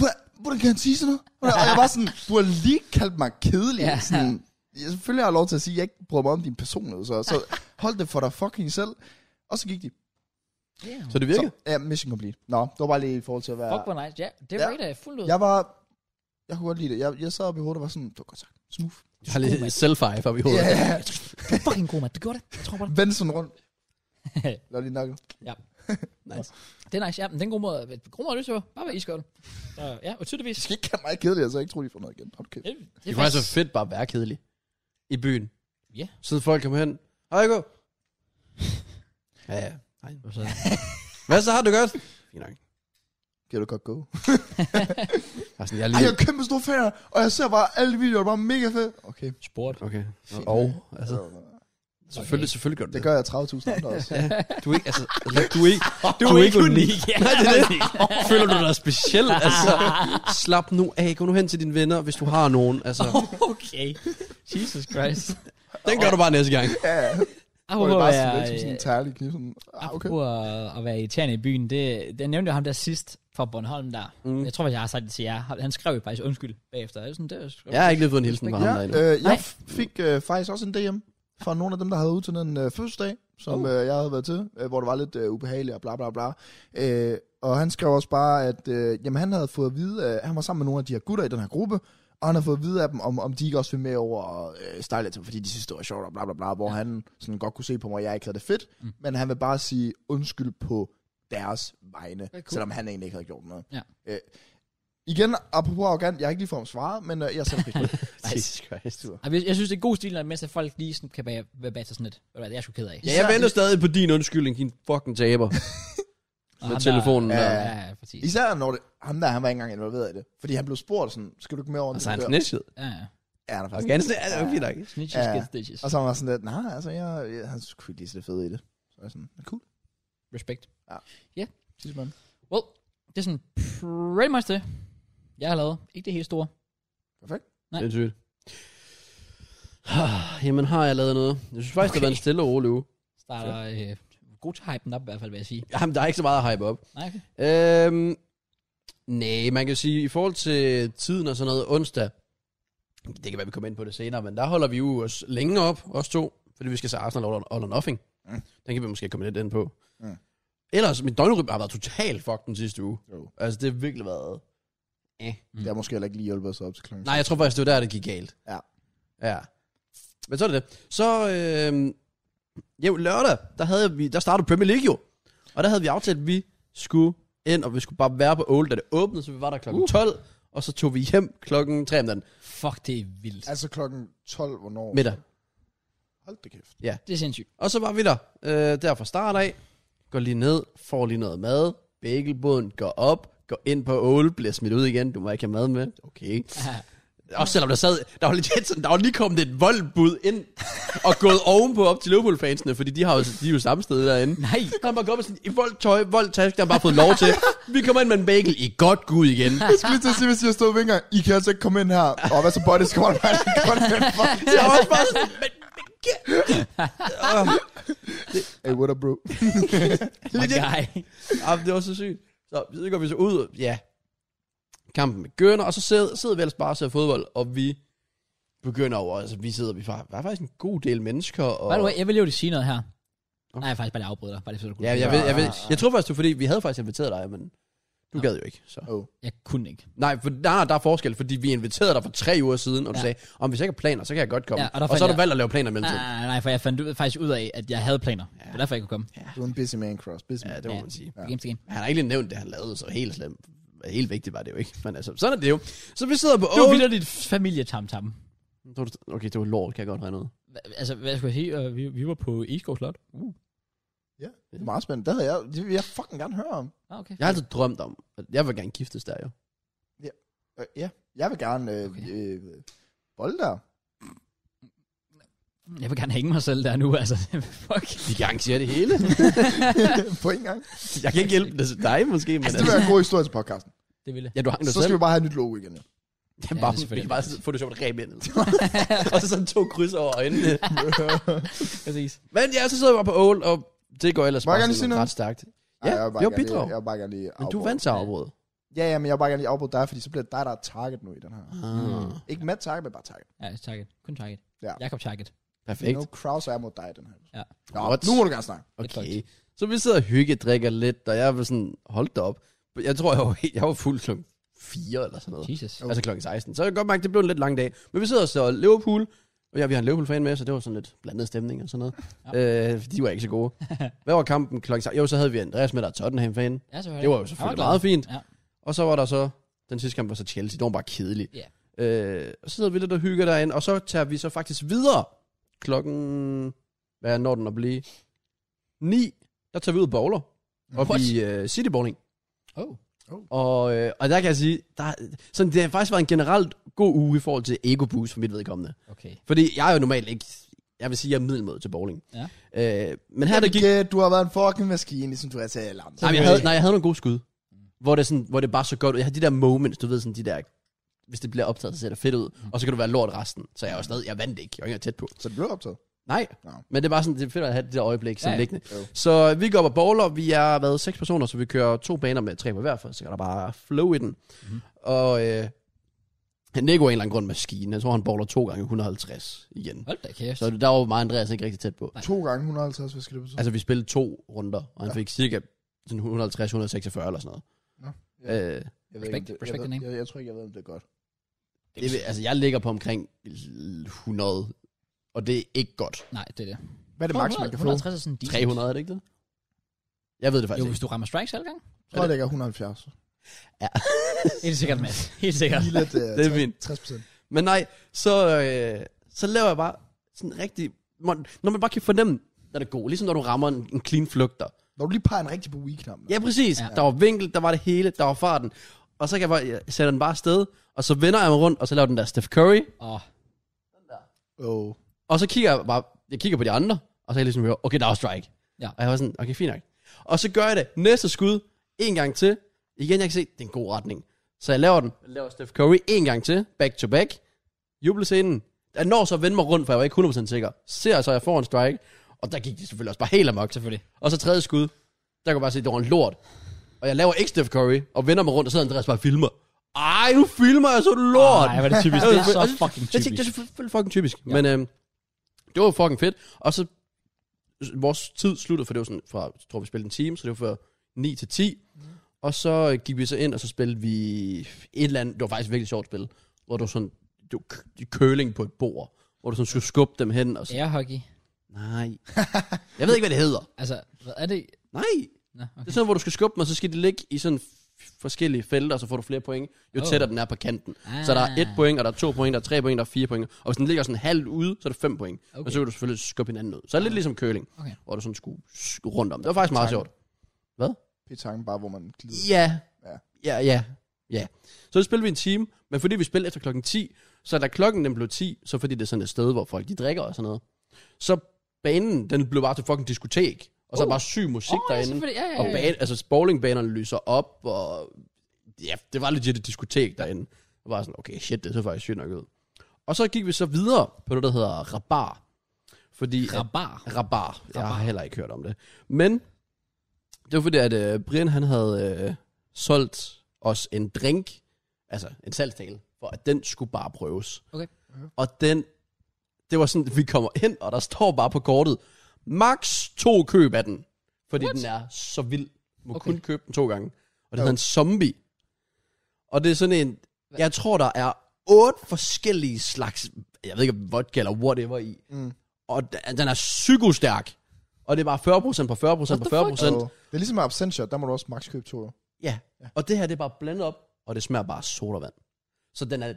Speaker 3: "Hva- hvordan kan han sige sådan noget? Og jeg var sådan, du har lige kaldt mig kedelig.
Speaker 1: Ja.
Speaker 3: Ja. Sådan, jeg selvfølgelig har jeg lov til at sige, at jeg ikke bryder mig om din personlighed, så, så hold det for dig fucking selv. Og så gik de.
Speaker 1: ja.
Speaker 2: Så det virker?
Speaker 3: Så, ja, mission complete. Nå, det var bare lige i forhold til at være...
Speaker 1: Fuck, hvor nice. Ja, det
Speaker 3: Ja.
Speaker 1: var ja. fuldt ud.
Speaker 3: Jeg var... Jeg kunne godt lide det. Jeg, jeg sad oppe i hovedet og var sådan, du har godt sagt. Smooth.
Speaker 2: Jeg har lidt self-five op i hovedet.
Speaker 3: Ja. [LAUGHS]
Speaker 1: [LAUGHS] Fucking god, mand. Du gjorde det. Jeg tror på dig.
Speaker 3: Vend sådan rundt. Lad lige nakke.
Speaker 1: Ja.
Speaker 2: Nice.
Speaker 1: Det er nice, ja. Men den gode måde, god måde at løse det på. Bare være iskold. Så, ja, og
Speaker 3: Det
Speaker 1: tydeligvis.
Speaker 3: skal ikke være meget kedeligt, altså jeg ikke tror, de får noget igen. Hold kæft.
Speaker 1: Det,
Speaker 2: Det altså kunne faktisk være fedt bare at være kedelig. I byen.
Speaker 1: Ja.
Speaker 2: Siden folk kommer hen. Hej, gå. [LAUGHS] ja, ja. Nej, hvad [LAUGHS] så? Hvad så har du godt? Fint nok.
Speaker 3: Kan du godt gå?
Speaker 2: Jeg er
Speaker 3: Ej,
Speaker 2: sådan, jeg er
Speaker 3: jeg
Speaker 2: lige...
Speaker 3: er kæmpe stor fan, af- og jeg ser bare alle videoer, der er bare mega fedt. Okay.
Speaker 1: Sport.
Speaker 2: Okay.
Speaker 3: Fint.
Speaker 2: Og, altså,
Speaker 1: selvfølgelig-
Speaker 2: selvfølgelig, selvfølgelig gør du
Speaker 3: Det
Speaker 2: det.
Speaker 3: gør jeg 30.000 andre
Speaker 1: [LAUGHS]
Speaker 3: også.
Speaker 2: Du er ikke, altså, altså du er ikke, [LAUGHS] du
Speaker 1: Du er ikke unik. Ja,
Speaker 2: Nej, det er det. Føler du dig speciel? [LAUGHS] Altså, slap nu af. Gå nu hen til dine venner, hvis du har nogen. Altså,
Speaker 1: [LAUGHS] Okay. Jesus Christ.
Speaker 2: den gør du bare næste gang.
Speaker 3: Ja, ja.
Speaker 1: Jeg
Speaker 3: Hvor det
Speaker 1: håber,
Speaker 3: bare
Speaker 1: jeg, øh,
Speaker 3: sådan lidt som sådan en tærlig kniv. Sådan, ah, okay.
Speaker 1: Apropos at, at være irriterende i byen, det, jeg nævnte jo ham der sidst fra Bornholm der. Mm.
Speaker 2: Mm.
Speaker 1: Jeg tror faktisk, jeg har sagt det til jer. Han skrev jo faktisk undskyld bagefter. Jeg, er sådan, det er, sgu-
Speaker 2: Jeg har ikke lige fået en hilsen fra ham
Speaker 3: Ja,
Speaker 2: der endnu.
Speaker 3: øh, jeg
Speaker 1: Nej.
Speaker 3: f- fik øh, faktisk også en DM fra nogle af dem, der havde ude til den øh, fødselsdag, som
Speaker 1: Oh.
Speaker 3: øh, jeg havde været til, øh, hvor det var lidt øh, ubehageligt og bla bla bla. Øh, og han skrev også bare, at øh, jamen, han havde fået at vide, at han var sammen med nogle af de her gutter i den her gruppe, og han har fået at vide af dem, om, om de ikke også vil med over og øh, style til, fordi de synes, det var sjovt og bla bla bla, hvor han sådan godt kunne se på mig, at jeg ikke havde det fedt,
Speaker 1: Mm.
Speaker 3: mm. men han vil bare sige undskyld på deres vegne,
Speaker 1: cool.
Speaker 3: cool. selvom han egentlig ikke havde gjort noget.
Speaker 1: Ja.
Speaker 3: Øh, igen, apropos arrogant, jeg har ikke lige fået svaret, men øh, jeg sætter pris på det.
Speaker 2: [LAUGHS] Jesus Christ.
Speaker 1: Ej, jeg, jeg synes, det er god stil, når mens at folk lige sådan kan bage, være bag sig sådan lidt. Ved du hvad, Det er jeg sgu ked af.
Speaker 2: Ja, jeg venter stadig på din undskyldning, din fucking taber.
Speaker 1: Og
Speaker 2: med
Speaker 1: ham
Speaker 2: telefonen
Speaker 1: Ah, Der,
Speaker 3: der.
Speaker 1: ja, ja, ja, præcis.
Speaker 3: Især når det, ham der, han var ikke engang involveret i det. Fordi han blev spurgt sådan, skal du ikke med over
Speaker 2: Altså,
Speaker 3: den
Speaker 2: han
Speaker 3: dør?
Speaker 2: snitchede.
Speaker 1: Ja, ja.
Speaker 3: Ja, han er faktisk.
Speaker 2: Okay, han snitchede. Ja, det var fint nok.
Speaker 1: Snitches
Speaker 3: Ja.
Speaker 1: ja. get stitches.
Speaker 3: Og så var han sådan lidt, nej, altså, jeg, jeg, han skulle ikke lige så fed i det. Så er jeg sådan, cool,
Speaker 1: Respekt.
Speaker 3: sidste mand.
Speaker 1: Well, det er sådan pretty much det, jeg har lavet. Ikke det helt store. Nej.
Speaker 2: Det er sygt. [SIGHS] Jamen, har jeg lavet noget? Jeg synes faktisk, okay. det har været en stille og rolig uge.
Speaker 1: Starter øh, god til hypen op i hvert fald, vil jeg sige.
Speaker 2: Jamen, der er ikke så meget at hype op.
Speaker 1: Nej, okay.
Speaker 2: Øhm, nej, man kan sige, i forhold til tiden og sådan noget, onsdag, det kan være, vi kommer ind på det senere, men der holder vi jo os længe op, os to, fordi vi skal se Arsenal All, all or Nothing.
Speaker 3: Mm.
Speaker 2: Mm. Den kan vi måske komme lidt ind på.
Speaker 3: Mm.
Speaker 2: Mm. Ellers, min døgnrytme har været totalt fucked den sidste uge.
Speaker 3: Jo.
Speaker 2: Altså, det har virkelig været... Eh.
Speaker 3: Det har måske heller ikke lige hjulpet os op til klokken.
Speaker 2: Nej, jeg tror faktisk, det var der, det gik galt.
Speaker 3: Ja.
Speaker 2: Ja. Men så er det det. Så, øh, jo, lørdag, der, havde vi, der startede Premier League jo. Og der havde vi aftalt, at vi skulle ind, og vi skulle bare være på Old, da det åbnede, så vi var der klokken uh. 12, og så tog vi hjem klokken 3 om natten.
Speaker 1: Fuck, det er vildt.
Speaker 3: Altså klokken 12, hvornår?
Speaker 2: Middag.
Speaker 3: Hold da kæft.
Speaker 1: Det er sindssygt.
Speaker 2: Og så var vi der, øh, der fra start af. Går lige ned, får lige noget mad. Bagelbåden går op, går ind på Old, bliver smidt ud igen. Du må ikke have mad med. Okay.
Speaker 1: Ja.
Speaker 2: Også selvom der sad, der var, legit, sådan, der var lige kommet et voldbud ind, og gået ovenpå op til Liverpool-fansene, fordi de, har jo, de er jo samme sted derinde.
Speaker 1: Nej.
Speaker 2: Han var kommet sådan i voldtøj, voldtask, der har bare fået lov til. Vi kommer ind med en bagel i godt gud igen.
Speaker 3: Jeg skulle lige til at sige, hvis jeg stod ved engang, I kan altså ikke komme ind her. Og hvad så, buddy, skal man bare lige komme ind for?
Speaker 2: Så jeg var også bare sådan, men,
Speaker 3: [LAUGHS] Hey, what up, bro?
Speaker 1: My guy.
Speaker 2: ah, det var så sygt. Så, så går vi så ud, og- ja, kampen med Gønner, og så sidder, sidder vi ellers bare og ser fodbold, og vi begynder over, altså vi sidder, vi var, var faktisk en god del mennesker. Og,
Speaker 1: By the way, jeg vil jo lige sige noget her.
Speaker 2: Okay.
Speaker 1: Nej, jeg faktisk bare lige afbryder dig. Bare lige så du kunne.
Speaker 2: ja, jeg, ved, jeg, ved, jeg tror faktisk, det var fordi, vi havde faktisk inviteret dig, men du gad jo ikke, så.
Speaker 3: Oh.
Speaker 1: jeg kunne ikke.
Speaker 2: Nej, for der, der er forskel, fordi vi inviterede dig for tre uger siden, og du
Speaker 1: Ja.
Speaker 2: ja. sagde, om hvis jeg ikke har planer, så kan jeg godt komme.
Speaker 1: Ja, og
Speaker 2: Ja, og,
Speaker 1: der
Speaker 2: og så har
Speaker 1: fandt
Speaker 2: du valgt at lave planer mellem tiden.
Speaker 1: Nej, nej, for jeg fandt ud, faktisk ud af, at jeg havde planer. Ja. Det var derfor, jeg kunne komme.
Speaker 3: Du er en busy man, Cross. Busy man.
Speaker 2: Ja, det må man sige.
Speaker 1: Ja. Game to game.
Speaker 2: Han har ikke lige nævnt det, han lavede, så helt slemt. Helt vigtigt var det jo ikke. Men altså, sådan er det jo. Så vi sidder på
Speaker 1: Det var
Speaker 2: Old...
Speaker 1: vildt dit familietamtam.
Speaker 2: Tror du- Okay, det var lort, kan jeg godt regne ud.
Speaker 1: Hva- Altså, hvad skulle jeg sige? Øh, Vi, vi var på Eastgård Slot.
Speaker 3: Ja, det er meget spændende. Det havde jeg, det vil jeg fucking gerne høre om.
Speaker 1: Ah, okay.
Speaker 2: Jeg har altid drømt om, at jeg vil gerne giftes der jo.
Speaker 3: Øh, ja, jeg vil gerne øh,
Speaker 1: Okay.
Speaker 3: øh, bolde
Speaker 2: [LAUGHS]
Speaker 3: dig.
Speaker 1: Jeg vil gerne hænge mig selv der nu, altså. Fuck.
Speaker 2: Vi gang siger det hele.
Speaker 3: på en gang.
Speaker 2: jeg kan ikke hjælpe det til dig måske, men
Speaker 3: Altså,
Speaker 2: altså,
Speaker 3: det vil være en god historie til podcasten.
Speaker 1: Det ville.
Speaker 2: Ja, du hang dig
Speaker 3: Så skal
Speaker 2: selv.
Speaker 3: vi bare have et nyt logo igen. jo.
Speaker 2: Det er
Speaker 1: Ja, det er
Speaker 2: bare, vi kan
Speaker 1: selvfølgelig
Speaker 2: bare
Speaker 1: rigtigt.
Speaker 2: få det sjovt rem
Speaker 3: [LAUGHS]
Speaker 2: ind. og så sådan to kryds over øjnene.
Speaker 1: Præcis.
Speaker 2: Men ja, så sidder vi bare på Old, og det går ellers
Speaker 3: Må jeg
Speaker 2: bare
Speaker 3: gerne sige
Speaker 2: sådan
Speaker 3: noget?
Speaker 2: ret stærkt.
Speaker 3: Ej,
Speaker 2: Ja,
Speaker 3: jeg vil bare
Speaker 2: jo,
Speaker 3: gerne lige-
Speaker 2: bidrag.
Speaker 3: Jeg vil bare gerne lige
Speaker 2: Men du
Speaker 3: afbryde.
Speaker 2: vandt til at afbryde.
Speaker 3: Ja, ja, men jeg vil bare gerne lige afbryde dig, fordi så bliver det dig, der er target nu i den her.
Speaker 2: Ah,
Speaker 3: Ikke med target, men bare target.
Speaker 1: Ja, target. Kun target.
Speaker 3: Ja.
Speaker 1: Jakob target.
Speaker 2: perfekt.
Speaker 3: No crowds er mod dig i den her.
Speaker 1: Ja.
Speaker 3: Nå,
Speaker 2: What?
Speaker 3: nu må du gerne snakke.
Speaker 2: Okay. Så vi sidder og hygge, drikker lidt, og jeg var sådan, hold da op. Jeg tror, jeg var, helt- jeg var fuld klokken 4 eller sådan noget.
Speaker 1: Jesus.
Speaker 2: Altså klokken 16. Så jeg kan godt mærke, at det blev en lidt lang dag. Men vi sidder og så Liverpool, Og jeg, vi har en Liverpool-fan med, så det var sådan lidt blandet stemning og sådan noget. Ja. Øh, de var ikke så [LAUGHS] gode. Hvad var kampen klokken? seks? Jo, så havde vi Andreas med, der er Tottenham-fan.
Speaker 1: Ja, selvfølgelig.
Speaker 2: Det var jo selvfølgelig
Speaker 1: glad.
Speaker 2: meget fint.
Speaker 1: Ja.
Speaker 2: Og så var der så, den sidste kamp var så Chelsea, det var bare kedelig.
Speaker 1: Ja.
Speaker 2: Øh, og så sidder vi lidt og hygger derinde, og så tager vi så faktisk videre klokken, hvad når den at blive? 9, der tager vi ud og bowler. Og
Speaker 1: What?
Speaker 2: i øh, City Bowling.
Speaker 1: Oh.
Speaker 2: Og, øh, og der kan jeg sige, der, sådan, det har faktisk været en generelt god uge i forhold til Ego Boost for mit vedkommende.
Speaker 1: Okay.
Speaker 2: Fordi jeg er jo normalt ikke, jeg vil sige, jeg er middelmåde til bowling.
Speaker 1: Ja.
Speaker 2: Øh, men her der gik,
Speaker 3: Gæt, du har været en fucking maskine, ligesom du har til alle andre.
Speaker 2: nej, men jeg havde, Mm. nej, jeg havde nogle gode skud, hvor det, sådan, hvor det bare så godt ud. Jeg havde de der moments, du ved, sådan de der, hvis det bliver optaget, så ser det fedt ud, og så kan du være lort resten. Så jeg er jo stadig, jeg vandt ikke, jeg var ikke engang tæt på.
Speaker 3: Så det blev optaget.
Speaker 2: Nej,
Speaker 3: Nå.
Speaker 2: men det er bare sådan, det er fedt at have det der øjeblik sådan
Speaker 1: Ja,
Speaker 2: ja,
Speaker 1: ja.
Speaker 2: liggende.
Speaker 3: Jo.
Speaker 2: Så vi går op og bowler, vi er været seks personer, så vi kører to baner med tre på hver, for så kan der bare flow i den. Mm-hmm. Og øh, Nico er en eller anden grund maskine, jeg tror han bowler to gange 150 igen.
Speaker 1: Hold da kæft.
Speaker 2: Så der var mig og Andreas ikke rigtig tæt på.
Speaker 3: To gange 150, hvad skal det betyde?
Speaker 2: Altså, vi spillede to runder, og
Speaker 3: Ja.
Speaker 2: han ja. fik cirka sådan 150, 146 eller sådan noget.
Speaker 3: Nå,
Speaker 2: Ja. Øh,
Speaker 3: jeg, ved ikke, om
Speaker 1: respekt-
Speaker 3: det-
Speaker 1: respekt
Speaker 3: jeg,
Speaker 1: the name.
Speaker 3: ved, jeg, jeg, tror ikke, jeg ved, om det er godt.
Speaker 2: det, vil- altså, jeg ligger på omkring 100, og det er ikke godt.
Speaker 1: Nej, det er det.
Speaker 3: Hvad er det maks, man kan få?
Speaker 1: 150 er sådan decent.
Speaker 2: 300 er det ikke det? Jeg ved
Speaker 1: Jo,
Speaker 2: det faktisk
Speaker 1: hvis
Speaker 2: ikke.
Speaker 1: du rammer strikes alle gang.
Speaker 3: Jeg tror, jeg lægger 170.
Speaker 1: Helt sikkert,
Speaker 2: [LAUGHS]
Speaker 1: Mads. Helt sikkert.
Speaker 3: Lige lidt uh,
Speaker 2: Det er fint.
Speaker 3: 60 procent.
Speaker 2: Men nej, så, øh, så laver jeg bare sådan rigtig... man- Når man bare kan fornemme, der er det god. Ligesom når du rammer en, en clean flugter.
Speaker 3: Når du lige peger en rigtig på weeknappen.
Speaker 2: Ja, præcis.
Speaker 1: Ja.
Speaker 2: Ja. Der var vinkel, der var det hele, der var farten. Og så kan jeg bare jeg sætter den bare afsted, og så vender jeg mig rundt, og så laver den der Steph Curry.
Speaker 1: Åh,
Speaker 3: Oh.
Speaker 2: Og så kigger jeg bare, jeg kigger på de andre, og så er jeg ligesom, okay, der er strike.
Speaker 1: Ja.
Speaker 2: Og jeg var sådan, okay, fint nok. Og så gør jeg det næste skud, en gang til. Igen, jeg kan se, det er en god retning. Så jeg laver den. Jeg laver Steph Curry en gang til, back to back. Jubelscenen. Jeg når så at vende mig rundt, for jeg var ikke 100% sikker. Ser så, at jeg får en strike. Og der gik det selvfølgelig også bare helt amok.
Speaker 1: selvfølgelig.
Speaker 2: Og så tredje skud. Der kunne jeg bare se, at det var en lort. Og jeg laver ikke Steph Curry, og vender mig rundt, og sidder Andreas bare og filmer. Ej, nu filmer jeg så er det lort.
Speaker 1: Nej, var det typisk. Det er så fucking
Speaker 2: Jeg tænkte,
Speaker 1: typisk.
Speaker 2: det er selvfølgelig fucking typisk. Ja. Men øhm, det var fucking fedt. Og så, vores tid sluttede, for det var sådan, fra, jeg tror vi spillede en time, så det var fra 9 til 10. Mm. Og så øh, gik vi så ind, og så spillede vi et eller andet, det var faktisk et virkelig sjovt spil, hvor du sådan, du køling på et bord, hvor du sådan skulle skubbe dem hen, og så, ja.
Speaker 1: Air hockey.
Speaker 2: nej. jeg ved ikke, hvad det hedder.
Speaker 1: Altså, hvad er det?
Speaker 2: Nej.
Speaker 1: Nå,
Speaker 2: Det
Speaker 1: okay.
Speaker 2: er sådan, hvor du skal skubbe dem, og så skal det ligge i sådan f- forskellige felter, og så får du flere point, jo
Speaker 1: Oh.
Speaker 2: oh. tættere den er på kanten. Ah. Så der er et point, og der er to point, der er tre point, der er fire point. Og hvis den ligger sådan halvt ude, så er det fem point. Okay.
Speaker 1: Okay. Ah.
Speaker 2: Og så vil du selvfølgelig skubbe hinanden ud. Så er det lidt ligesom curling,
Speaker 1: Okay.
Speaker 2: hvor du sådan skulle sk- rundt om. Det var faktisk meget
Speaker 3: Tak.
Speaker 2: sjovt.
Speaker 3: Petanque bare, hvor man glider.
Speaker 2: Ja.
Speaker 3: Ja.
Speaker 2: Ja, ja. Ja. Så spillede vi en time, men fordi vi spillede efter klokken 10, så da klokken den blev 10, så fordi det er sådan et sted, hvor folk de drikker og sådan noget, så banen, den blev bare til fucking diskotek. Og så er
Speaker 1: Oh.
Speaker 2: bare syg musik
Speaker 1: Åh, ja,
Speaker 2: derinde.
Speaker 1: selvfølgelig. Ja, ja,
Speaker 2: Og
Speaker 1: ja, ja.
Speaker 2: bane, altså bowlingbanerne lyser op, og ja, det var legit et diskotek derinde. Og bare sådan, okay, shit, det så faktisk sygt nok ud. Og så gik vi så videre på noget, der hedder Rabar. Fordi, at-
Speaker 1: Rabar.
Speaker 2: Rabar. Jeg har
Speaker 1: Rabar.
Speaker 2: heller ikke hørt om det. Men det var fordi, at øh, Brian han havde øh, solgt os en drink, altså en salgstale, for at den skulle bare prøves.
Speaker 1: Okay.
Speaker 2: Og den, det var sådan, at vi kommer ind, og der står bare på kortet, max to køb af den. Fordi What? den er så vild. Må
Speaker 1: Okay.
Speaker 2: okay. kun købe den to gange. Og det
Speaker 3: Jo.
Speaker 2: hedder en zombie. Og det er sådan en, jeg tror, der er otte forskellige slags, jeg ved ikke, om vodka eller whatever i.
Speaker 3: Mm.
Speaker 2: Og d- den er psykostærk. Og det er bare 40% på 40%
Speaker 1: What
Speaker 2: på
Speaker 1: the
Speaker 2: 40%.
Speaker 3: Oh. Det er ligesom med absentia, der må du også maks købe to. jo.
Speaker 2: Ja. Og det her, det er bare blandet op, og det smager bare af sodavand. Så den er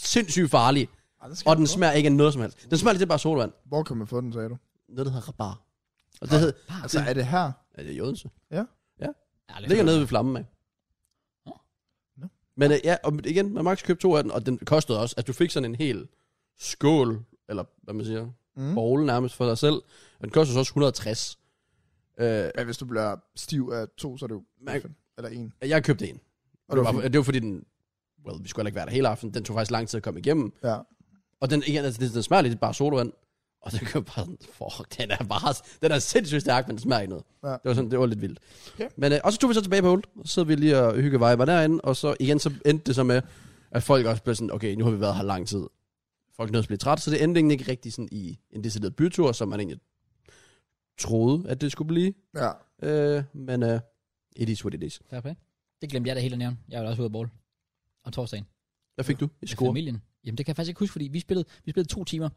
Speaker 2: sindssygt farlig.
Speaker 3: Ej, det skal
Speaker 2: Og
Speaker 3: jeg
Speaker 2: den
Speaker 3: prøve.
Speaker 2: smager ikke af noget som helst. Den smager lidt af bare sodavand.
Speaker 3: Hvor kan man få den, sagde du?
Speaker 2: Noget, der hedder rabar. Og det hedder...
Speaker 3: Altså, er Ah, det her?
Speaker 2: Ja, det er i Odense.
Speaker 1: Ja,
Speaker 2: Det ligger nede ved flammen, af.
Speaker 1: Nå.
Speaker 3: Nå.
Speaker 2: Men øh, ja, og igen, man max købte to af den, og den kostede også, at du fik sådan en hel skål, eller hvad man siger,
Speaker 3: Mm.
Speaker 2: bowl nærmest for dig selv. Og den kostede så også 160. Øh,
Speaker 3: Men hvis du bliver stiv af to, så er det jo...
Speaker 2: Man-
Speaker 3: fint. Eller en.
Speaker 2: jeg købte en.
Speaker 3: Og
Speaker 2: Og det, var, for- det var fordi den... Well, vi skulle heller ikke være der hele aften. Den tog faktisk lang tid at komme igennem.
Speaker 3: Ja.
Speaker 2: Og den, igen, altså, den, den smager lidt bare sodavand. Og den kan bare sådan, fuck, den er bare, den er sindssygt stærk, men den smager ikke noget.
Speaker 3: Ja.
Speaker 2: Ja. Det var sådan, det var lidt vildt.
Speaker 3: Ja.
Speaker 2: Men, øh, og så tog vi så tilbage på hold, og så sidder vi lige og hygge viber derinde, og så igen, så endte det så med, at folk også blev sådan, okay, nu har vi været her lang tid. Folk nåede at blive træt, så det endte egentlig ikke rigtig sådan i en decideret bytur, som man egentlig troede, at det skulle blive.
Speaker 3: Ja.
Speaker 2: Øh, men øh, it is what it is.
Speaker 1: Fair play. Det glemte jeg da helt at nævne. Jeg var da også ude at bowl. Om torsdagen.
Speaker 2: Hvad fik du i
Speaker 1: Med
Speaker 2: score?
Speaker 1: familien. Jamen, det kan jeg faktisk ikke huske, fordi vi spillede, vi spillede to timer.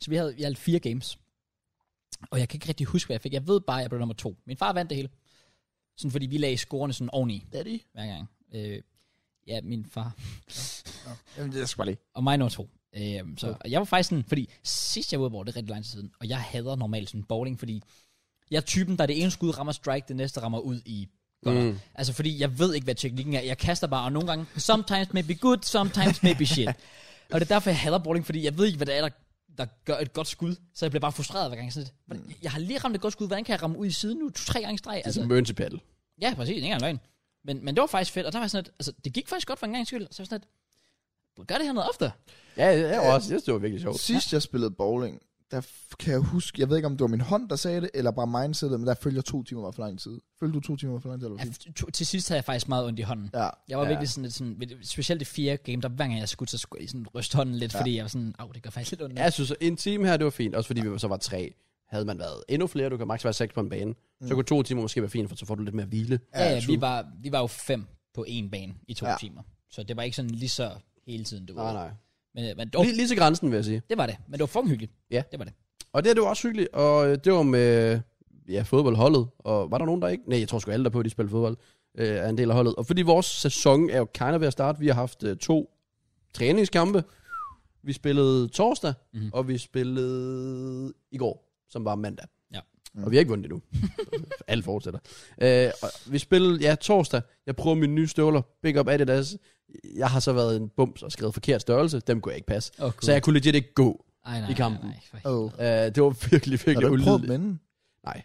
Speaker 1: Så vi havde i alt fire games. Og jeg kan ikke rigtig huske, hvad jeg fik. Jeg ved bare, at jeg blev nummer to. Min far vandt det hele. Sådan fordi vi lagde scorene sådan oveni
Speaker 3: Daddy?
Speaker 1: hver gang. Øh, ja, min far.
Speaker 3: Jamen, det skal bare lige.
Speaker 1: Og mig nummer to. Øhm, så og jeg var faktisk sådan, fordi sidst jeg var ude hvor det er rigtig lang tid siden, og jeg hader normalt sådan bowling, fordi jeg er typen, der det ene skud rammer strike, det næste rammer ud i gutter.
Speaker 2: Mm.
Speaker 1: Altså fordi jeg ved ikke, hvad teknikken er. Jeg kaster bare, og nogle gange, sometimes may be good, sometimes may be
Speaker 2: [LAUGHS]
Speaker 1: shit. og det er derfor, jeg hader bowling, fordi jeg ved ikke, hvad det er, der, der gør et godt skud. Så jeg bliver bare frustreret hver gang. Sådan lidt. Hvordan- Jeg har lige ramt et godt skud, hvordan kan jeg ramme ud i siden nu? To-tre gange i streg.
Speaker 2: Mm.
Speaker 1: Altså,
Speaker 3: Altså-
Speaker 2: Det er som Mørn til paddle.
Speaker 1: Ja, præcis. Ikke engang løgn. Men, men det var faktisk fedt, og der var sådan et, altså, det gik faktisk godt for en gang skyld. Så jeg var sådan et, gør det her noget ofte.
Speaker 2: Ja, jeg var også. Jeg synes, det var virkelig sjovt.
Speaker 3: Sidst jeg spillede bowling, der f- kan jeg huske, jeg ved ikke, om det var min hånd, der sagde det, eller bare mindsetet, men der følger to timer var for lang tid. Følger du to timer var for lang tid, eller
Speaker 1: Ja,
Speaker 3: hvad?
Speaker 1: f- to- til sidst havde jeg faktisk meget ondt i hånden.
Speaker 3: Ja.
Speaker 1: Jeg var
Speaker 2: Ja.
Speaker 1: ja. virkelig sådan lidt sådan, ved- specielt det fjerde game, der hver gang jeg skulle, så skulle jeg sådan ryste hånden lidt, ja. fordi jeg var sådan, au, det gør faktisk lidt ondt.
Speaker 2: Ja, jeg synes, en time her, det var fint. Også fordi vi så var tre. Havde man været endnu flere, du kan maks være seks på en bane. Så kunne to timer måske være fint, for så får du lidt mere hvile.
Speaker 1: ja, ja,
Speaker 3: true.
Speaker 1: vi, var, vi var jo fem på en bane i to
Speaker 3: Ja.
Speaker 1: ja. timer. Så det var ikke sådan lige så hele tiden, du
Speaker 2: Nej,
Speaker 1: ved.
Speaker 2: nej.
Speaker 1: Men, øh, men oh,
Speaker 2: Lige, lige til grænsen, vil jeg sige.
Speaker 1: det var det. Men det var fucking hyggeligt.
Speaker 2: Ja.
Speaker 1: Det var det.
Speaker 2: Og det, her, det var også hyggeligt, og øh, det var med ja, fodboldholdet. Og var der nogen, der ikke? Nej, jeg tror sgu alle, der på, de spiller fodbold, øh, er en del af holdet. Og fordi vores sæson er jo kind of ved at starte, vi har haft øh, to træningskampe. Vi spillede torsdag, mm-hmm.
Speaker 1: Mhm.
Speaker 2: og vi spillede i går, som var mandag.
Speaker 1: Ja.
Speaker 2: Mm. Og vi har ikke vundet endnu. Alt fortsætter. Øh, og vi spillede, ja, torsdag. Jeg prøver mine nye støvler. Big up Adidas. Jeg har så været en bums og skrevet forkert størrelse. Dem kunne jeg ikke passe.
Speaker 1: Oh,
Speaker 2: Så jeg kunne legit ikke gå.
Speaker 1: Ej, nej,
Speaker 2: i kampen.
Speaker 1: Nej, nej,
Speaker 3: Oh.
Speaker 1: oh.
Speaker 2: Øh, det var virkelig,
Speaker 3: Har
Speaker 2: virkelig
Speaker 3: du ikke prøvet
Speaker 2: ulideligt.
Speaker 3: dem inden?
Speaker 2: Nej.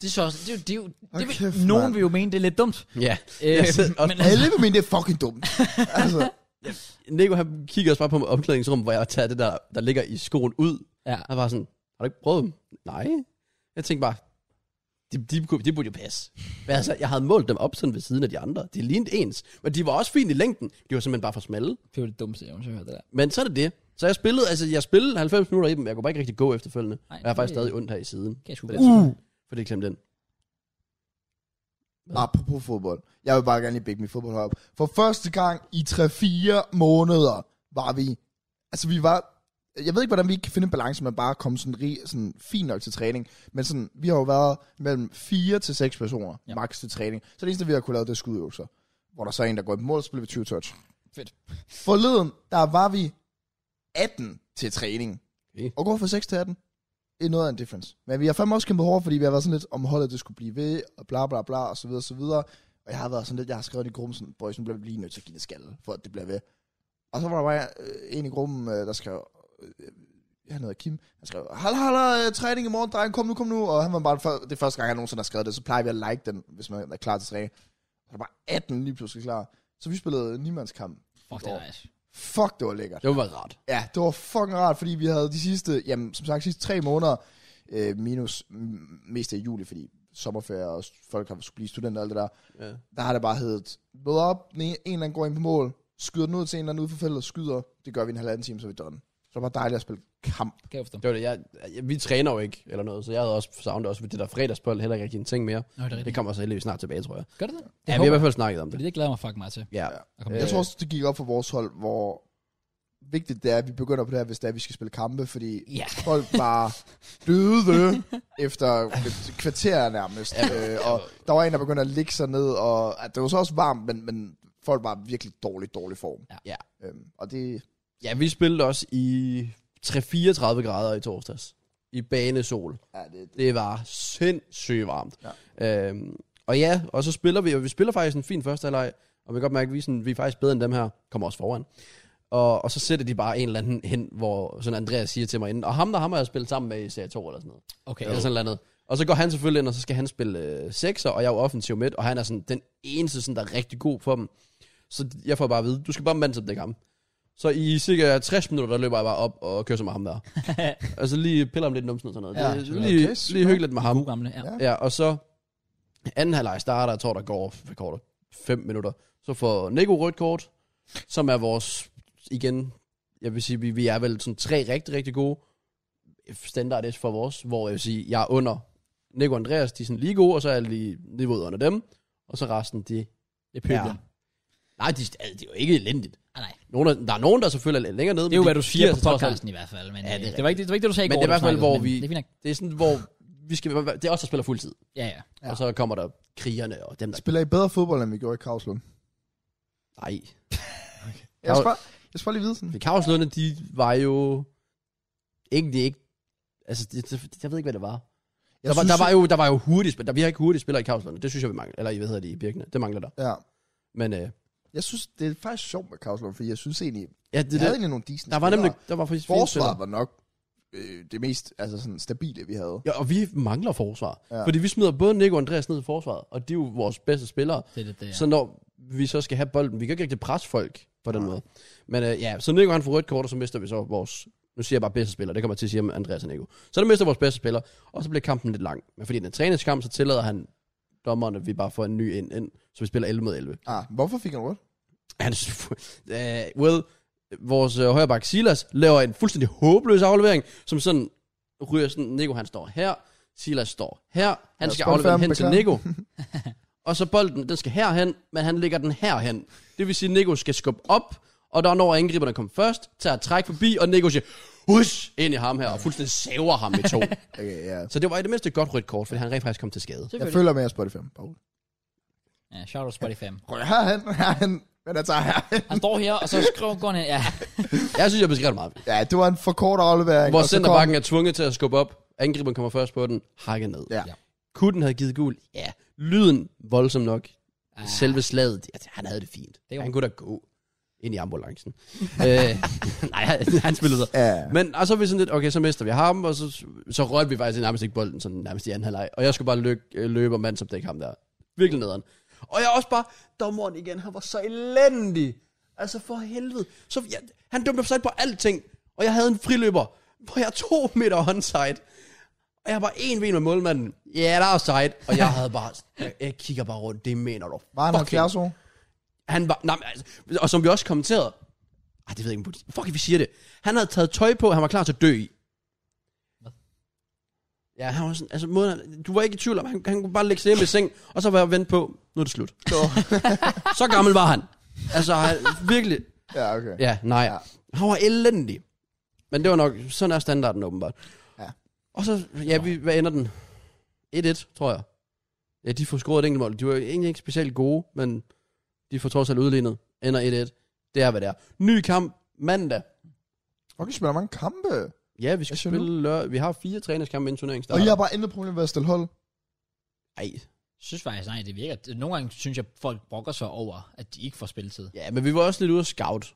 Speaker 1: Det er så også, det, er jo- det, er jo- det,
Speaker 3: Hold
Speaker 1: det,
Speaker 3: kæft,
Speaker 1: det, nogen
Speaker 3: mand.
Speaker 1: vil jo mene, det er lidt dumt.
Speaker 2: [LAUGHS] Ja.
Speaker 1: Øh,
Speaker 2: sidder også-
Speaker 1: men
Speaker 3: Alle vil mene, det er fucking [LAUGHS] dumt. altså,
Speaker 2: Nico, han kigger også bare på mig i omklædningsrummet, hvor jeg tager det der, der ligger i skoen ud.
Speaker 1: Ja.
Speaker 2: Han var sådan, har du ikke prøvet dem? Nej. Jeg tænkte bare, de, de, kunne- de burde jo passe. Men altså, jeg havde målt dem op sådan ved siden af de andre. De lignede ens, men de var også fint i længden. De var simpelthen bare for smalle.
Speaker 1: det er jo det dummeste, jeg nogensinde har hørt det der.
Speaker 2: Men så er det det. Så jeg spillede, altså jeg spillede 90 minutter i dem, jeg kunne bare ikke rigtig gå efterfølgende.
Speaker 1: Ej,
Speaker 2: Ej, jeg har faktisk
Speaker 1: det-
Speaker 2: stadig ondt her i siden,
Speaker 1: Kan jeg sgu
Speaker 2: Det er
Speaker 1: godt se.
Speaker 2: for det er klemt ind.
Speaker 3: apropos fodbold. Jeg vil bare gerne lige bække mit fodboldhold op. For første gang i 3-4 måneder var vi... Altså, vi var... Jeg ved ikke, hvordan vi ikke kan finde en balance med bare at komme sådan, rig, sådan fint nok til træning. Men sådan, vi har jo været mellem 4 til 6 personer ja.
Speaker 1: Ja.
Speaker 3: max til træning. Så det eneste, vi har kunne lave, det er skudøvelser. Hvor der så er en, der går i mål, så bliver vi 20 touch.
Speaker 1: Fedt.
Speaker 3: Forleden, der var vi 18 til træning.
Speaker 2: Okay.
Speaker 3: Og går fra 6 til 18. Det er noget af en difference. Men vi har fandme også kæmpet hårdt, fordi vi har været sådan lidt, om holdet det skulle blive ved, og bla bla bla, og så videre, og så videre. Og jeg har været sådan lidt, jeg har skrevet i gruppen sådan, boys, nu bliver vi lige nødt til at give det skalle, for at det bliver ved. Og så var der bare øh, en i gruppen, øh, der skrev, øh, han hedder Kim, han skrev, halla halla, øh, træning i morgen, dreng, kom nu, kom nu. Og han var bare, den før- det er første gang, jeg nogensinde har skrevet det, så plejer vi at like den, hvis man er klar til træning. Og der var 18 lige pludselig klar. Så vi spillede en nimandskamp.
Speaker 1: Fuck, det er nice.
Speaker 3: Fuck, det var lækkert.
Speaker 2: Det var bare rart.
Speaker 3: Ja, det var fucking rart, fordi vi havde de sidste, jamen som sagt, sidste tre måneder, øh, minus m- mest af juli, fordi sommerferie og s- folk har skulle blive studenter og alt det der,
Speaker 2: Ja.
Speaker 3: der har det bare heddet, mød op, den ene- en eller anden går ind på mål, skyder den ud til en eller anden ude for feltet, skyder, det gør vi en halvanden time, så er vi done. Så det var bare dejligt at spille kamp.
Speaker 1: Kan jeg forstå.
Speaker 2: Det var det. Jeg, jeg, vi træner jo ikke, eller noget, så jeg havde også savnet også ved det der fredagsbold, heller ikke rigtig en ting mere.
Speaker 1: Nå, det er
Speaker 2: Det
Speaker 1: rigtigt.
Speaker 2: kommer så heldigvis snart tilbage, tror jeg.
Speaker 1: Gør det det?
Speaker 2: Ja,
Speaker 1: Det
Speaker 2: vi har i
Speaker 1: håber
Speaker 2: hvert fald snakket om
Speaker 1: Fordi
Speaker 2: det.
Speaker 1: det glæder jeg mig fucking meget til.
Speaker 2: Ja.
Speaker 1: At komme
Speaker 2: Øh,
Speaker 3: Jeg
Speaker 1: til.
Speaker 3: tror også, det gik op for vores hold, hvor vigtigt det er, at vi begynder på det her, hvis det er, at vi skal spille kampe, fordi
Speaker 1: Ja.
Speaker 3: folk bare døde efter et kvarter nærmest. øh, og der var en, der begyndte at ligge sig ned, og at det var så også varmt, men, men folk var virkelig dårlig, dårlig form.
Speaker 1: Ja.
Speaker 2: Ja.
Speaker 3: Øhm, og det,
Speaker 2: Ja, vi spillede også i 3-34 grader i torsdags. I banesol.
Speaker 3: ja, det, det
Speaker 2: Det var sindssygt varmt. Ja. Øhm, og ja, og så spiller vi, og vi spiller faktisk en fin første halvleg. Og vi kan godt mærke, at vi, er sådan, vi er faktisk bedre end dem her. Kommer også foran. Og, og så sætter de bare en eller anden hen, hvor sådan Andreas siger til mig inden. Og ham der ham har jeg spillet sammen med i serie 2 eller sådan noget.
Speaker 1: Okay. altså,
Speaker 2: Eller altså sådan noget andet. Og så går han selvfølgelig ind, og så skal han spille øh, sekser, og jeg er jo offensiv midt, og han er sådan den eneste, sådan, der er rigtig god for dem. Så jeg får bare at vide, du skal bare mande som det ham. Så i cirka 60 minutter, der løber jeg bare op og kører som med
Speaker 1: [LAUGHS]
Speaker 2: ham der. altså lige piller om lidt i numsen og sådan noget.
Speaker 1: Ja,
Speaker 2: Ja, det,
Speaker 1: selvfølgelig.
Speaker 2: lige,
Speaker 3: Okay,
Speaker 2: lige hygge lidt med ham.
Speaker 1: God gamle, ja.
Speaker 3: Ja.
Speaker 2: Ja, og så anden halvleg starter, jeg tror, der går, hvad går der, fem minutter. Så får Nico rødt kort, som er vores, igen, jeg vil sige, vi, vi er vel sådan tre rigtig, rigtig gode standard S for vores, hvor jeg vil sige, jeg er under Nico og Andreas, de er sådan lige gode, og så er jeg lige niveauet under dem, og så resten, de
Speaker 1: Det pøbler.
Speaker 2: Nej, de, altså, det er jo ikke elendigt.
Speaker 1: Ah, nej.
Speaker 2: Nogle der, der er nogen, der selvfølgelig er længere nede.
Speaker 1: Det er jo,
Speaker 2: men de
Speaker 1: hvad du siger
Speaker 2: fire,
Speaker 1: på
Speaker 2: så tror jeg
Speaker 1: podcasten i hvert fald. Men
Speaker 2: Ja,
Speaker 1: ja,
Speaker 2: det er
Speaker 1: det, det, var ikke, det, det var ikke det, du sagde i
Speaker 2: Men
Speaker 1: går,
Speaker 2: det er
Speaker 1: da
Speaker 2: i
Speaker 1: du
Speaker 2: hvert fald,
Speaker 1: snakkede,
Speaker 2: hvor
Speaker 1: men
Speaker 2: vi-
Speaker 1: Det er fint nok.
Speaker 2: sådan- Det er sådan, hvor vi skal, det er også der spiller fuldtid.
Speaker 1: Ja, ja.
Speaker 2: Ja. Og så kommer der krigerne og dem, der...
Speaker 3: Spiller I bedre fodbold, end vi gjorde i Kavslund?
Speaker 2: Nej.
Speaker 3: Jeg skal, bare, jeg skal bare lige vide sådan.
Speaker 2: Kaoslunde, de var jo... Egentlig ikke... Altså, det, det, jeg ved ikke, hvad det var.
Speaker 3: Jeg
Speaker 2: der, var,
Speaker 3: synes
Speaker 2: der, var jo, der var jo hurtige spillere. Der, vi har ikke hurtige spillere i Kavslunde. Det synes jeg, vi mangler. Eller, hvad hedder de i Birkene? Det mangler der.
Speaker 3: Ja.
Speaker 2: Men øh,
Speaker 3: Jeg synes, det er faktisk sjovt med Kavslund, fordi jeg synes egentlig,
Speaker 2: ja, det,
Speaker 3: vi havde
Speaker 2: det,
Speaker 3: egentlig nogle decent
Speaker 2: der var nemlig...
Speaker 3: spillere.
Speaker 2: Der var faktisk fine
Speaker 3: Forsvaret
Speaker 2: spillere.
Speaker 3: var nok øh, det mest altså sådan, stabile, vi havde.
Speaker 2: Ja, og vi mangler forsvar.
Speaker 3: Ja.
Speaker 2: Ja. Fordi vi smider både Nico og Andreas ned i forsvaret, og de er jo vores bedste spillere.
Speaker 1: Det er det, det
Speaker 2: Ja.
Speaker 1: er.
Speaker 2: Så når vi så skal have bolden, vi kan ikke rigtig presse folk på den måde. Men øh, ja, så Nico han får rødt kort, og så mister vi så vores, nu siger jeg bare bedste spiller, det kommer jeg til at sige om Andreas og Nico. Så der mister vores bedste spiller, og så bliver kampen lidt lang. Men fordi den er en træningskamp, så tillader han dommerne, at vi bare får en ny ind, ind så vi spiller 11 mod 11.
Speaker 3: Ah, hvorfor fik han rødt?
Speaker 2: Han, uh, well, vores øh, højre bak Silas laver en fuldstændig håbløs aflevering, som sådan ryger sådan, Nico han står her, Silas står her, han
Speaker 3: Ja,
Speaker 2: skal
Speaker 3: spot
Speaker 2: aflevere den
Speaker 3: færdig,
Speaker 2: hen til Nico.
Speaker 3: beklager. [LAUGHS]
Speaker 2: og så bolden, den skal herhen, men han lægger den herhen. Det vil sige, at Nico skal skubbe op, og der når angriberne kommer først, tager et træk forbi, og Nico siger, hush, ind i ham her, og fuldstændig saver ham i
Speaker 3: [LAUGHS]
Speaker 2: to.
Speaker 3: Okay, ja.
Speaker 2: så det var i det mindste et godt rødt kort, fordi han rent faktisk kom til skade.
Speaker 3: Jeg
Speaker 1: Selvfølgelig.
Speaker 3: føler med, at Spotify er bagud.
Speaker 1: Ja, shout out Spotify.
Speaker 3: Røg herhen, herhen. Men altså, jeg tager herhen.
Speaker 1: Han står her, og så skriver går han ind. Ja,
Speaker 2: Jeg synes, jeg beskrev det meget.
Speaker 3: [LAUGHS] Ja, det var en for kort aflevering.
Speaker 2: Hvor
Speaker 3: og så kom-
Speaker 2: centerbakken er tvunget til at skubbe op. Angriberen kommer først på den. Hakke ned.
Speaker 3: Ja.
Speaker 1: Ja.
Speaker 2: Kunne den have givet gul? Ja. Lyden voldsom nok.
Speaker 1: Ah.
Speaker 2: Selve slaget, ja, han havde det fint.
Speaker 1: Det var-
Speaker 2: han kunne da gå ind i ambulancen. [LAUGHS] øh,
Speaker 1: [LAUGHS]
Speaker 2: nej, han, han spillede så.
Speaker 3: Ja.
Speaker 2: Men og så er vi sådan lidt, okay, så mister vi ham, og så, så rørte vi faktisk nærmest ikke bolden, sådan nærmest i anden halvleg. Og jeg skulle bare løb, øh, løbe og mandsopdække ham der. Virkelig nederen. Og jeg er også bare, dommeren igen, han var så elendig. Altså for helvede. Så jeg, han dømte offside på alting, og jeg havde en friløber, hvor jeg er to meter onside. Og jeg var en ben med målmanden. Ja, yeah, der er offside. Og jeg havde bare, jeg, jeg kigger bare rundt, det mener du.
Speaker 3: Var han
Speaker 2: fucking
Speaker 3: 70 år?
Speaker 2: han var, nej, men altså, og som vi også kommenterede, ej, det ved jeg ikke, om politi- fuck, vi siger det. Han havde taget tøj på, han var klar til at dø i. Ja, han var sådan, altså, måden, du var ikke i tvivl om, han, han kunne bare lægge sig hjem i seng, og så var jeg vendt på, nu er det slut. Så, så gammel var han. Altså, han, virkelig,
Speaker 3: [LAUGHS] Ja, okay.
Speaker 2: ja, nej. Han var elendig. Men det var nok, sådan er standarden åbenbart.
Speaker 3: Ja.
Speaker 2: Og så, ja, vi, hvad ender den? 1-1, tror jeg. Ja, de får scoret et enkelt mål. De var egentlig ikke specielt gode, men de får trods alt udlignet. Ender 1-1. Det er, hvad det er. Ny kamp mandag.
Speaker 3: Okay, spiller mange kampe.
Speaker 2: Ja, vi skal
Speaker 3: Hvad siger du?
Speaker 2: spille lørdag. Vi har fire træningskampe inden turneringen
Speaker 3: Og
Speaker 2: starter.
Speaker 3: I har bare intet problem ved at stille hold.
Speaker 2: Ej.
Speaker 1: Jeg synes faktisk, nej, det virker. Nogle gange synes jeg, folk brokker sig over, at de ikke får spilletid.
Speaker 2: Ja, men vi var også lidt ude at scout.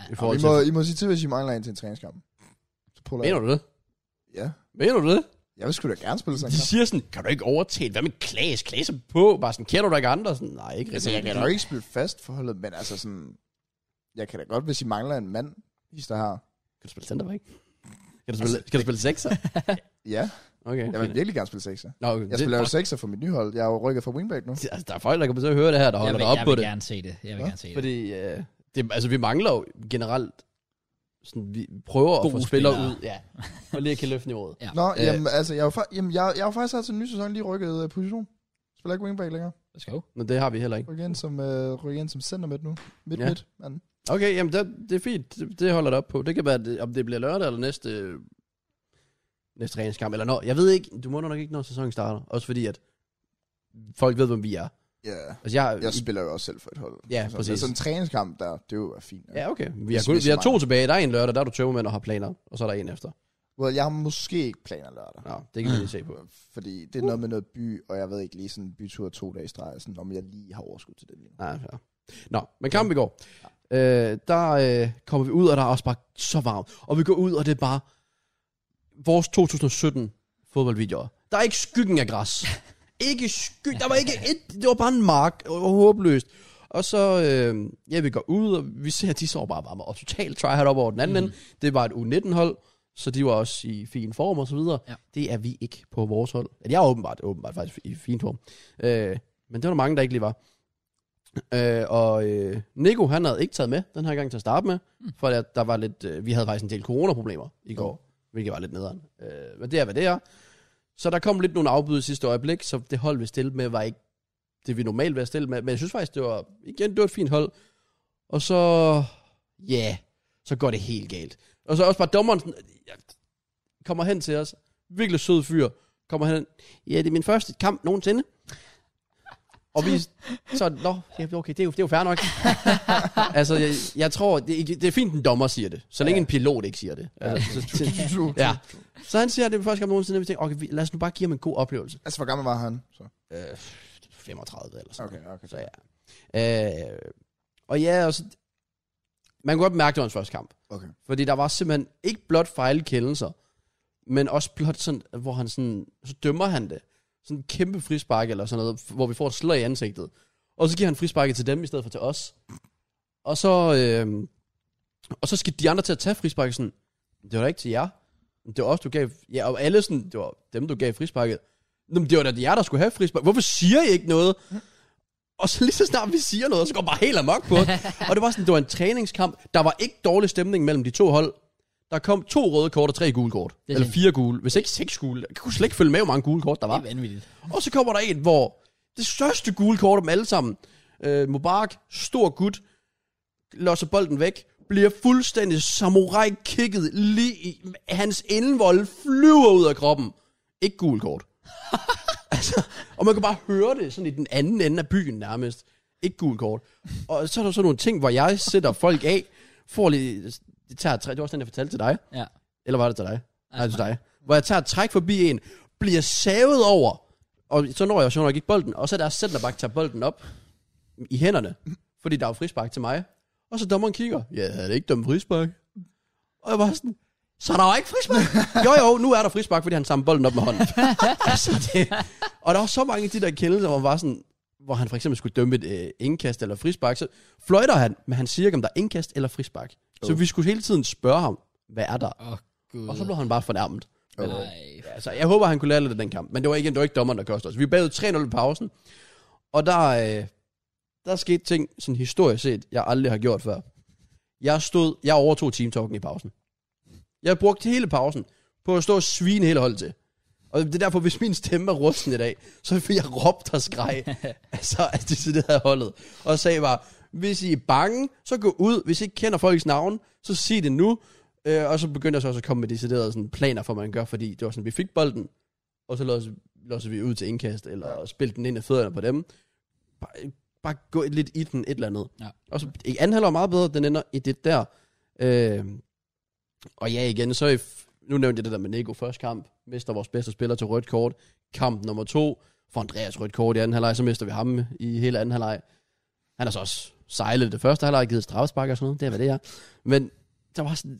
Speaker 2: I
Speaker 3: Og
Speaker 2: forhold
Speaker 3: I
Speaker 2: til...
Speaker 3: må, I må sige til, hvis I mangler en til en træningskamp. Så puller jeg.
Speaker 2: Mener du det?
Speaker 3: Ja.
Speaker 2: Mener du det?
Speaker 3: Jeg vil sgu da gerne spille sådan en
Speaker 2: De [LAUGHS]
Speaker 3: kamp.
Speaker 2: siger sådan, kan du ikke overtale? Hvad med Klaas? Klaas er på. Bare sådan, kender du der ikke andre? Sådan, nej, ikke
Speaker 3: Altså, jeg kan nok ikke spille fast for holdet, men altså sådan... Jeg kan da godt, hvis I mangler en mand, hvis der har...
Speaker 2: Kan du spille centerback? Kan du spille, kan du spille sekser?
Speaker 3: Ja,
Speaker 2: Okay.
Speaker 3: jeg vil virkelig gerne spille sekser.
Speaker 2: Nå, okay.
Speaker 3: Jeg
Speaker 2: det,
Speaker 3: spiller jo sekser for mit nye hold. Jeg er jo rykket fra wingback nu.
Speaker 2: det- altså, der er folk, der kommer til at høre det her, der holder
Speaker 1: jeg vil,
Speaker 2: dig op
Speaker 1: jeg
Speaker 2: på
Speaker 1: vil
Speaker 2: det.
Speaker 1: gerne se det. Jeg vil
Speaker 3: Hva?
Speaker 1: gerne se det.
Speaker 2: Fordi, øh, det, altså, vi mangler jo generelt, sådan, vi prøver at
Speaker 1: Gode
Speaker 2: få spillere
Speaker 1: spillere.
Speaker 2: ud. [LAUGHS] Ja. Og lige at kan løfte niveauet.
Speaker 1: Ja.
Speaker 3: Nå,
Speaker 2: Øh.
Speaker 3: jamen, altså, jeg er jo, fa- jamen, jeg, jeg er jo faktisk altså en ny sæson lige rykket øh, position. Spiller ikke wingback længere.
Speaker 1: Let's go.
Speaker 2: Men det har vi heller ikke.
Speaker 3: Rykker ind som, øh, rykker ind som center midt nu. Midt,
Speaker 2: Ja.
Speaker 3: midt, mand.
Speaker 2: Okay, jamen, det, det er fint. Det, det holder det op på. Det kan være, det, om det bliver lørdag eller næste, næste træningskamp. Eller når, jeg ved ikke, du må nok ikke, når sæsonen starter. Også fordi, at folk ved, hvem vi er.
Speaker 3: Ja.
Speaker 2: Altså, jeg,
Speaker 3: Jeg spiller jo også selv for et hold.
Speaker 2: Ja,
Speaker 3: altså,
Speaker 2: præcis.
Speaker 3: men Sådan en træningskamp der, det er jo fint.
Speaker 2: Ja, okay. Vi
Speaker 3: Jeg
Speaker 2: har, kun,
Speaker 3: spiser
Speaker 2: vi har to
Speaker 3: meget.
Speaker 2: tilbage. Der er en lørdag, der er du tømmermænd og har planer. Og så er der en efter.
Speaker 3: Well, jeg har måske ikke planer lørdag.
Speaker 2: Nå, det
Speaker 3: Mm.
Speaker 2: kan vi lige se på.
Speaker 3: Fordi det er noget med noget by, og jeg ved ikke lige sådan en bytur to dage i streg, sådan, om jeg lige har overskud til det lige nu.
Speaker 2: Nej, ja. Nå, men kampen i går. Øh, der øh, kommer vi ud, og der er også bare så varmt. Og vi går ud, og det er bare vores 2017 fodboldvideoer. Der er ikke skyggen af græs. Ikke sky, der var ikke et, det var bare en mark, og det var håbløst. Og så, øh, ja, vi går ud, og vi ser, at de så bare varme, og totalt tryhard op over den anden mm. ende. Det var et U19-hold, så de var også i fin form og så videre.
Speaker 1: Ja.
Speaker 2: Det er vi ikke på vores hold. Eller jeg er åbenbart, åbenbart faktisk i fin form. Øh, men det var der mange, der ikke lige var. Øh, og øh, Nico, han havde ikke taget med den her gang til at starte med, mm. for der, der var lidt, øh, vi havde faktisk en del coronaproblemer i går, hvilket var lidt nederen. Øh, men det er, hvad det er. Så der kom lidt nogle afbud i sidste øjeblik, så det hold, vi stillede med, var ikke det, vi normalt ville stille med. Men jeg synes faktisk, det var, igen, det var et fint hold. Og så Ja, yeah. så går det helt galt. Og så også bare dommeren sådan, ja, kommer hen til os. Virkelig sød fyr. Kommer hen. Ja, det er min første kamp nogensinde. Og vi så, nå, ja, okay, det er jo, det er jo fair nok. [LAUGHS] altså, jeg, jeg tror, det, det er fint, en dommer siger det. Så længe ja. en pilot ikke siger det. Altså, så, så, [LAUGHS] ja. så han siger, at det er første kamp nogensinde, og vi tænker, okay, vi- lad os nu bare give ham en god oplevelse.
Speaker 3: Altså, hvor gammel var han? Så.
Speaker 2: Øh, 35 eller sådan
Speaker 3: Okay, okay.
Speaker 2: Så ja. Øh, og ja, og så, man kunne godt mærke, det var hans første kamp.
Speaker 3: Okay.
Speaker 2: Fordi der var simpelthen ikke blot fejlkendelser, men også blot sådan, hvor han sådan, så dømmer han det. Sådan en kæmpe frispark eller sådan noget, hvor vi får et slag i ansigtet. Og så giver han frisparket til dem i stedet for til os. Og så, øh, og så skal de andre til at tage frisparket sådan, det var da ikke til jer. Det var os, du gav, ja, og alle sådan, det var dem, du gav frisparket. "Nå, Men det var da jer, der skulle have frispark. Hvorfor siger I ikke noget? Og så lige så snart vi siger noget, så går bare helt amok på. det. og det var sådan, det var en træningskamp. Der var ikke dårlig stemning mellem de to hold. Der kom to røde kort og tre gule kort.
Speaker 1: er
Speaker 2: Eller
Speaker 1: sindssygt.
Speaker 2: fire gule, hvis ikke seks gule. Jeg kunne slet ikke følge med, hvor mange gule kort der
Speaker 1: Det
Speaker 2: var.
Speaker 1: er vanvittigt.
Speaker 2: Og så kommer der en, hvor det største gule kort af dem alle sammen, øh, Mubarak, stor gut, losser bolden væk, bliver fuldstændig samurai-kikket lige i, hans indvold flyver ud af kroppen. Ikke gul kort. [LAUGHS] altså, og man kan bare høre det sådan i den anden ende af byen nærmest. Ikke gul kort. Og så er der sådan nogle ting, hvor jeg sætter folk af, får lige, det tager tre, det var også den, jeg fortalte til dig.
Speaker 1: Ja.
Speaker 2: Eller var det til dig? Nej, til dig. Hvor jeg tager et træk forbi en, bliver savet over, og så når jeg jo nok ikke bolden, og så er der centerback, tager bolden op i hænderne, fordi der er jo frispark til mig. Og så dommeren kigger, ja, havde det ikke dømt frispark? Og jeg var sådan, så er der jo ikke frispark? jo, jo, nu er der frispark, fordi han samler bolden op med hånden. [LAUGHS] altså det, og der var så mange af de der kendelser, hvor, han var sådan, hvor han for eksempel skulle dømme et øh, indkast eller frispark, så fløjter han, men han siger ikke, om der er indkast eller frispark. Så vi skulle hele tiden spørge ham, hvad er der?
Speaker 1: Åh, oh, gud.
Speaker 2: Og så blev han bare fornærmet. Men, øh,
Speaker 1: Nej.
Speaker 2: Ja, så jeg håber, han kunne lære lidt af den kamp. Men det var igen, det var ikke dommeren, der kostede os. Vi bagede 3-0 i pausen. Og der, øh, der skete ting, sådan historisk set, jeg aldrig har gjort før. Jeg stod, jeg overtog teamtalken i pausen. Jeg brugte hele pausen på at stå og svine hele holdet til. Og det er derfor, hvis min stemme er rusten i dag, så vil jeg råbe og skreg, altså at de sidder havde holdet, og sagde bare, hvis I er bange, så gå ud. Hvis I ikke kender folks navn, så sig det nu. Øh, og så begyndte jeg så også at komme med deciderede sådan, planer for, hvad man gør, fordi det var sådan, vi fik bolden, og så låser, låser vi ud til indkast, eller ja. spilte den ind af fødderne på dem. Bare, bare gå lidt i den, et eller andet.
Speaker 1: Ja.
Speaker 2: Og så ikke anden halvår meget bedre, den ender i det der. Øh, og ja, igen, så i, f- nu nævnte jeg det der med Nico første kamp, mister vores bedste spiller til rødt kort. Kamp nummer to, for Andreas rødt kort i anden halvleg, så mister vi ham i hele anden halvleg. Han har så også sejlet det første halvleg, givet straffespark og sådan noget, det er hvad det er. Men der var sådan,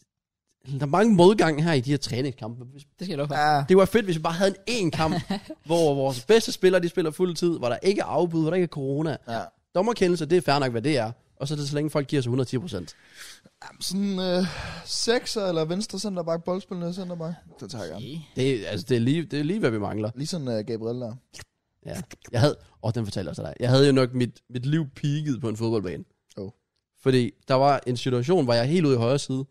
Speaker 2: der er mange modgange her i de her træningskampe. Hvis
Speaker 1: Det skal jeg love for.
Speaker 3: Ja.
Speaker 2: det var fedt, hvis vi bare havde en én kamp, hvor vores bedste spillere, de spiller fuld tid, hvor der ikke er afbud, hvor der ikke er corona.
Speaker 3: ja.
Speaker 2: Dommerkendelser, det er fair nok, hvad det er. Og så er det så længe folk giver sig 110 procent.
Speaker 3: Sådan øh, sekser eller venstre centerback, boldspillende centerback. Det tager jeg gerne.
Speaker 1: Okay.
Speaker 2: Det, er- altså, det, er lige, det er lige, hvad vi mangler.
Speaker 3: Lige sådan øh, Gabriel der.
Speaker 2: Ja. Jeg havde, åh, den fortæller jeg til dig. Jeg havde jo nok mit, mit liv peaked på en fodboldbane.
Speaker 3: Oh.
Speaker 2: Fordi der var en situation, hvor jeg er helt ude i højre side.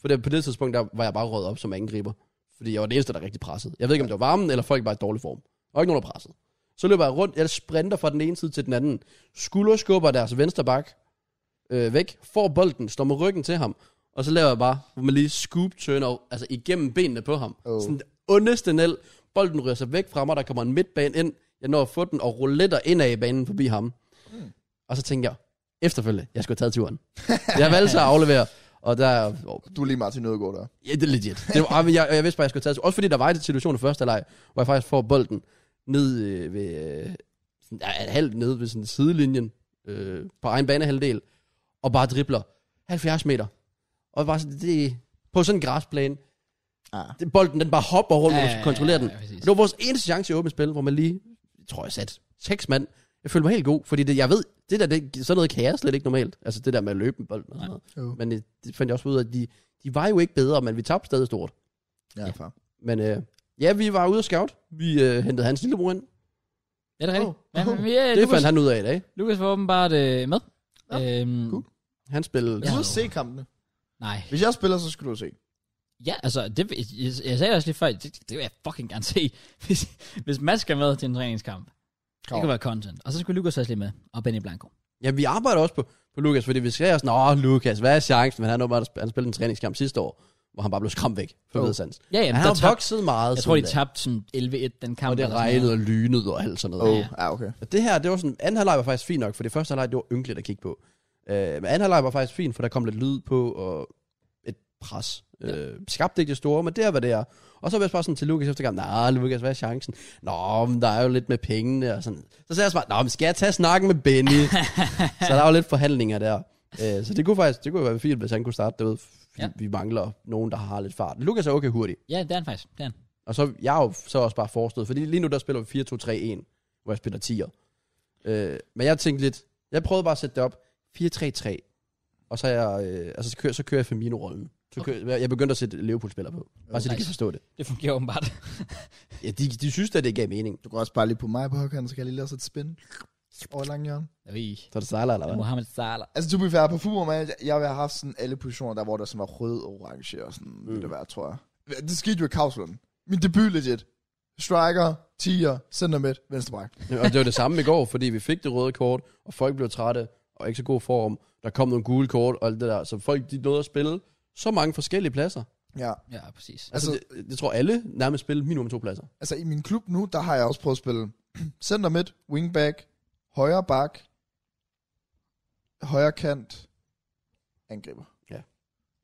Speaker 2: For det, på det tidspunkt, der var jeg bare røget op som angriber. Fordi jeg var den eneste, der rigtig pressede. Jeg ved ikke, om det var varmen, eller folk bare i dårlig form. Og ikke nogen, der pressede. Så løber jeg rundt, jeg sprinter fra den ene side til den anden. Skulder skubber deres venstre bak øh, væk, får bolden, står med ryggen til ham. Og så laver jeg bare, hvor man lige scoop turner, altså igennem benene på ham.
Speaker 3: Oh.
Speaker 2: Oh. Sådan det ondeste nel. Bolden ryger sig væk fra mig, der kommer en midtbane ind. Jeg når at få den og rouletter indad i banen forbi ham. Og så tænker jeg, efterfølgende, jeg skulle have taget turen. jeg valgte så at aflevere, og der... Oh,
Speaker 3: Du er lige Martin Ødegaard der.
Speaker 2: ja, det er legit. Det var, ah, men jeg, jeg vidste bare, jeg skulle have taget turen. Også fordi der var en situation i første leg, hvor jeg faktisk får bolden ned øh, ved... øh, Sådan, ja, halvt ned ved sådan sidelinjen øh, på egen banehalvdel, og bare dribler 70 meter. Og bare sådan, det, på sådan en græsplæne.
Speaker 3: Ah.
Speaker 2: Det, bolden, den bare hopper rundt, ja, og du skal kontrollere den.
Speaker 1: Ja, præcis.
Speaker 2: Det var vores eneste chance i åbent spil, hvor man lige, jeg tror jeg sat seks mand. Jeg følte mig helt god, fordi det, jeg ved, det der, det, sådan noget kan jeg slet ikke normalt. Altså det der med at løbe med bolden og sådan noget.
Speaker 3: Jo.
Speaker 2: Men det, det fandt jeg også ud af, at de, de var jo ikke bedre, men vi tabte stadig stort.
Speaker 3: Ja, ja. far.
Speaker 2: Men øh, ja, vi var ude og scout. Vi øh, hentede hans lillebror ind.
Speaker 1: Er det rigtigt?
Speaker 3: Oh.
Speaker 1: Ja, men, ja,
Speaker 2: Det
Speaker 1: Lukas,
Speaker 2: fandt han ud af i dag.
Speaker 1: Lukas var åbenbart øh, med. Øhm,
Speaker 3: cool.
Speaker 2: Han spillede...
Speaker 3: Du
Speaker 1: Ja.
Speaker 3: skal se kampene.
Speaker 1: Nej.
Speaker 3: Hvis jeg spiller, så skal du se.
Speaker 1: Ja, altså, det, jeg, jeg sagde også lige før, det, det vil jeg fucking gerne se, [LAUGHS] hvis, hvis Mads skal med til en træningskamp. Det
Speaker 3: Krav.
Speaker 1: kunne være content. Og så skulle Lukas også lige med, og Benny Blanco.
Speaker 2: Ja, vi arbejder også på, på Lukas, fordi vi skrev sådan, åh Lukas, hvad er chancen? Men han, åbenbart, han spillede en træningskamp sidste år, hvor han bare blev skræmt væk for
Speaker 3: Jo.
Speaker 2: oh. vedsands.
Speaker 1: Ja, ja, men
Speaker 2: han
Speaker 1: der
Speaker 2: har
Speaker 1: tabte-
Speaker 2: vokset meget.
Speaker 1: Jeg tror, de
Speaker 2: siden da.
Speaker 1: tabte sådan 11-1 den kamp.
Speaker 2: Og det
Speaker 1: eller sådan noget.
Speaker 2: regnede og lynede og alt sådan noget.
Speaker 3: Åh,
Speaker 2: Oh.
Speaker 3: oh,
Speaker 1: Ja.
Speaker 3: ja. okay.
Speaker 2: Og det her, det var sådan, anden halvleg var faktisk fint nok, for det første halvleg, det var ynkeligt at kigge på. Øh, men anden halvleg var faktisk fint, for der kom lidt lyd på, og et pres.
Speaker 1: Ja.
Speaker 2: Øh, skabte ikke det store, men det er, hvad det er. Og så var jeg bare sådan til Lukas efter kampen, nej, Lukas, hvad er chancen? Nå, men der er jo lidt med pengene og sådan. Så sagde jeg bare, nå, men skal jeg tage snakken med Benny? så der var lidt forhandlinger der. Øh, så det kunne faktisk det kunne være fint, hvis han kunne starte derude.
Speaker 1: Ja.
Speaker 2: Ja. Vi mangler nogen, der har lidt fart. Lukas er okay hurtig.
Speaker 1: Ja, det er han faktisk. Det er han.
Speaker 2: Og så jeg er jo så også bare forestået, fordi lige nu der spiller vi 4-2-3-1, hvor jeg spiller 10'er. Øh, men jeg tænkte lidt, jeg prøvede bare at sætte det op 4-3-3, og så, er jeg, øh, altså, så, kører, så kører jeg Firmino-rollen. Så kører, okay. Jeg begyndte at sætte Liverpool-spillere på, bare så de
Speaker 1: Nice.
Speaker 2: kan forstå det.
Speaker 1: Det fungerer åbenbart.
Speaker 2: Ja, de, de synes at det gav mening.
Speaker 3: Du kan også bare lige på mig på højkanten, så kan jeg lige lave sådan et spin over lang hjørne.
Speaker 1: Ui.
Speaker 2: Så er det Salah, eller hvad?
Speaker 1: Mohamed Salah.
Speaker 3: Altså, du bliver på Fubber, man. Jeg- Jeg vil have haft sådan alle positioner, der hvor der sådan var rød og orange og sådan, mm. ville det være, tror jeg. Det skete jo i Kavsland. Min debut legit. Striker, 10'er, center midt, venstre bak.
Speaker 2: og det var det samme i går, fordi vi fik det røde kort, og folk blev trætte og ikke så god form. Der kom nogle gule kort og alt det der, så folk de nåede at spille så mange forskellige pladser.
Speaker 3: Ja.
Speaker 1: Ja, præcis.
Speaker 2: Altså,
Speaker 3: Altså-
Speaker 2: altså det, jeg tror alle nærmest spillede minimum to pladser.
Speaker 3: Altså, i min klub nu, der har jeg også prøvet at spille center midt, wingback, højre bak, højre kant, angriber.
Speaker 2: Ja.
Speaker 3: Og så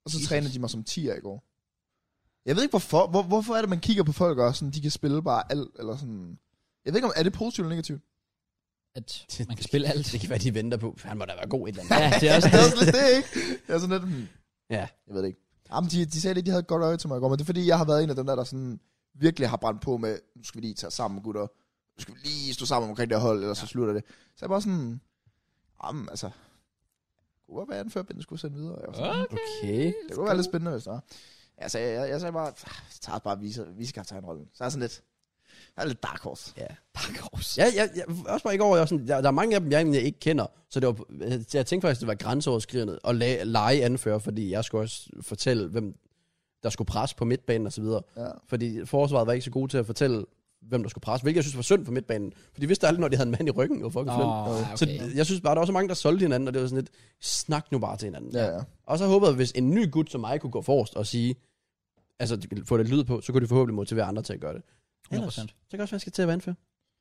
Speaker 1: Jesus.
Speaker 3: Jesus. træner de mig som 10'er i går. Jeg ved ikke, hvorfor, hvor, hvorfor er det, man kigger på folk og sådan, de kan spille bare alt, eller sådan... Jeg ved ikke, om er det positivt eller negativt?
Speaker 1: At
Speaker 2: [LAUGHS]
Speaker 1: man kan spille alt.
Speaker 2: Det kan være, de venter på. Han må da være god et eller andet.
Speaker 1: Ja, det er også
Speaker 3: det er
Speaker 1: det.
Speaker 3: også lidt det, ikke? Jeg er sådan lidt, hmm,
Speaker 2: Ja.
Speaker 3: jeg ved det ikke. Jamen, de, de sagde lidt, de havde et godt øje til mig i går, men det er fordi, jeg har været en af dem der, der sådan virkelig har brændt på med, nu skal vi lige tage os sammen, gutter. Nu skal vi lige stå sammen omkring det her hold, ellers ja. så slutter det. Så jeg bare sådan, jamen altså, det kunne godt være den før, Bente skulle sende videre. Jeg var sådan,
Speaker 1: Okay.
Speaker 2: Okay.
Speaker 3: det kunne være lidt spændende, hvis det var. Jeg sagde, jeg, jeg sagde bare, "Ah, jeg tager bare vise, visekaptajnrollen. Så er jeg sådan lidt, jeg er lidt dark horse.
Speaker 2: Ja.
Speaker 1: Dark Horse.
Speaker 2: Ja, jeg, jeg, også bare i går, jeg var sådan, jeg, der er mange af dem, jeg egentlig ikke kender, så det var, jeg tænkte faktisk, det var grænseoverskridende at la- lege anfører, fordi jeg skulle også fortælle, hvem der skulle presse på midtbanen og så videre.
Speaker 3: Ja.
Speaker 2: Fordi forsvaret var ikke så gode til at fortælle, hvem der skulle presse, hvilket jeg synes var synd for midtbanen, for de vidste aldrig, når de havde en mand i ryggen, og fucking
Speaker 1: Åh,
Speaker 2: oh,
Speaker 1: okay.
Speaker 2: Så jeg synes bare, der var så mange, der solgte hinanden, og det var sådan lidt, snak nu bare til hinanden.
Speaker 3: Ja, ja.
Speaker 2: Og så håbede jeg, hvis en ny gut som mig kunne gå forrest og sige, altså få det lyd på, så kunne det forhåbentlig motivere andre til at gøre det.
Speaker 1: 100%.
Speaker 2: så kan det også være, at jeg skal til at være anfører.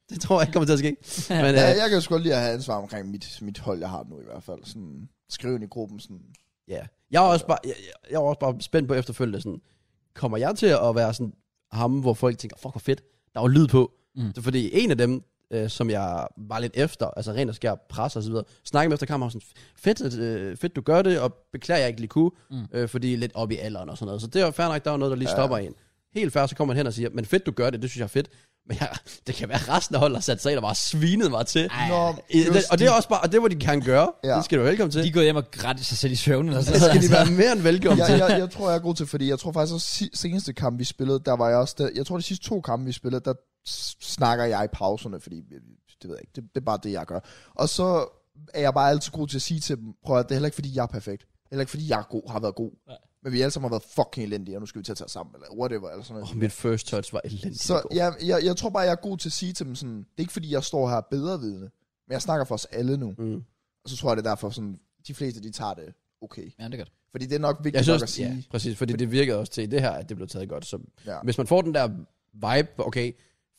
Speaker 2: Det tror jeg ikke kommer til at ske. [LAUGHS] Men øh,
Speaker 3: Ja,
Speaker 2: ja,
Speaker 3: jeg kan jo sgu godt lide at have ansvar omkring mit, mit hold, jeg har nu i hvert fald. Sådan, skrive ind i gruppen, sådan,
Speaker 2: ja. jeg, er også bare, jeg, jeg- jeg er også bare spændt på efterfølgende. Sådan, kommer jeg til at være sådan ham, hvor folk tænker, fuck hvor fedt, der var lyd på.
Speaker 1: Mm.
Speaker 2: Mm. Det er fordi en af dem, øh, som jeg var lidt efter, altså rent og skær pres og så videre, snakkede med efter kampen, og var sådan, fedt, at, øh, fedt du gør det, og beklager jeg ikke lige kunne,
Speaker 1: Mm.
Speaker 2: mm. øh, fordi lidt op i alderen og sådan noget. Så det er jo fair nok, der er jo noget, der lige stopper ja. en. Helt færdig, så kommer han hen og siger, men fedt du gør det, det synes jeg er fedt. Men jeg, det kan være resten af holdet har sat sig ind og bare svinet mig til.
Speaker 1: Ej,
Speaker 3: Nå,
Speaker 2: I, det,
Speaker 3: just
Speaker 2: og det er også bare, og det må de gerne gøre.
Speaker 3: Ja.
Speaker 2: Ja. Det skal du være velkommen til.
Speaker 1: De er gået hjem og grædte sig selv i søvn. Eller sådan
Speaker 2: [LAUGHS] det skal
Speaker 1: noget.
Speaker 2: de være mere end velkommen
Speaker 3: jeg,
Speaker 2: til.
Speaker 3: jeg, jeg tror, jeg er god til, fordi jeg tror faktisk også si- seneste kamp, vi spillede, der var jeg også... Der, jeg tror, de sidste to kampe, vi spillede, der s- snakker jeg i pauserne, fordi øh, det ved jeg ikke, det, det er bare det, jeg gør. Og så er jeg bare altid god til at sige til dem, prøv at det er heller ikke, fordi jeg er perfekt. Heller ikke, fordi jeg er god, har været god.
Speaker 1: Nej.
Speaker 3: Men vi alle sammen har været fucking elendige, og nu skal vi til at tage os sammen, eller whatever, eller sådan noget.
Speaker 2: Oh, mit first touch var elendigt. i
Speaker 3: Så
Speaker 2: går.
Speaker 3: jeg, jeg, jeg tror bare, jeg er god til at sige til dem sådan, det er ikke fordi, jeg står her bedre vidne, men jeg snakker for os alle nu.
Speaker 2: Mm.
Speaker 3: Og så tror jeg, det er derfor sådan, de fleste, de tager det okay.
Speaker 1: Ja, det er godt.
Speaker 3: Fordi det er nok vigtigt
Speaker 2: Jeg synes,
Speaker 3: nok at
Speaker 2: også-
Speaker 3: sige.
Speaker 2: ja, præcis, fordi det virkede også til i det her, at det blev taget godt. Så
Speaker 3: Ja.
Speaker 2: hvis man får den der vibe, okay,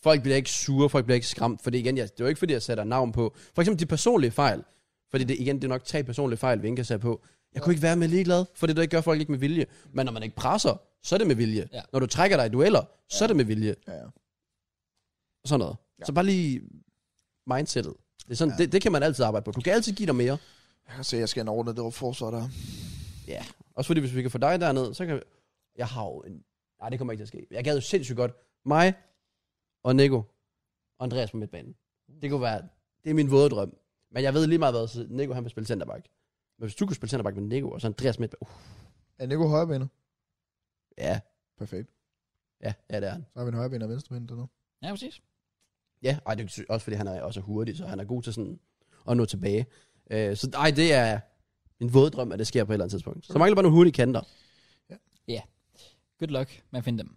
Speaker 2: folk bliver ikke sure, folk bliver ikke skræmt, for det igen, jeg, det var ikke fordi, jeg sætter navn på. For eksempel de personlige fejl, fordi det igen, det er nok tre personlige fejl, vi ikke kan sætte på. Jeg kunne ikke være med ligeglad, for det der ikke gør folk ikke med vilje. Men når man ikke presser, så er det med vilje.
Speaker 1: Ja.
Speaker 2: Når du trækker dig i dueller, så er det med vilje.
Speaker 3: Ja.
Speaker 2: Sådan noget.
Speaker 3: Ja.
Speaker 2: Ja. Så bare lige mindsetet. Det, er sådan,
Speaker 3: Ja.
Speaker 2: ja. det, det, kan man altid arbejde på. Du kan altid give dig mere.
Speaker 3: Jeg kan se, at jeg skal have en ordnet det forsvar der.
Speaker 2: Ja. Også fordi, hvis vi kan få dig derned, så kan vi... Jeg har jo en... Nej, det kommer ikke til at ske. Jeg gad jo sindssygt godt. Mig og Nico og Andreas på midtbanen. Det kunne være... Det er min våde drøm. Men jeg ved lige meget hvad, så Nico han vil spille centerback. Men hvis du kunne spille centerback med Nico og så Andreas midtback... Uh,
Speaker 3: Er Nico højrebenet?
Speaker 2: ja,
Speaker 3: Perfekt.
Speaker 2: ja, ja, det er han.
Speaker 3: Så har vi en højrebenet og venstrebenet dernede.
Speaker 1: Ja, præcis.
Speaker 2: Ja, ej, det er sy- også fordi han er også hurtig, så han er god til sådan at nå tilbage. Øh, så ej, det er min våde drøm, at det sker på et eller andet tidspunkt. Så mangler bare nogle hurtige kanter.
Speaker 1: Good luck med at finde dem.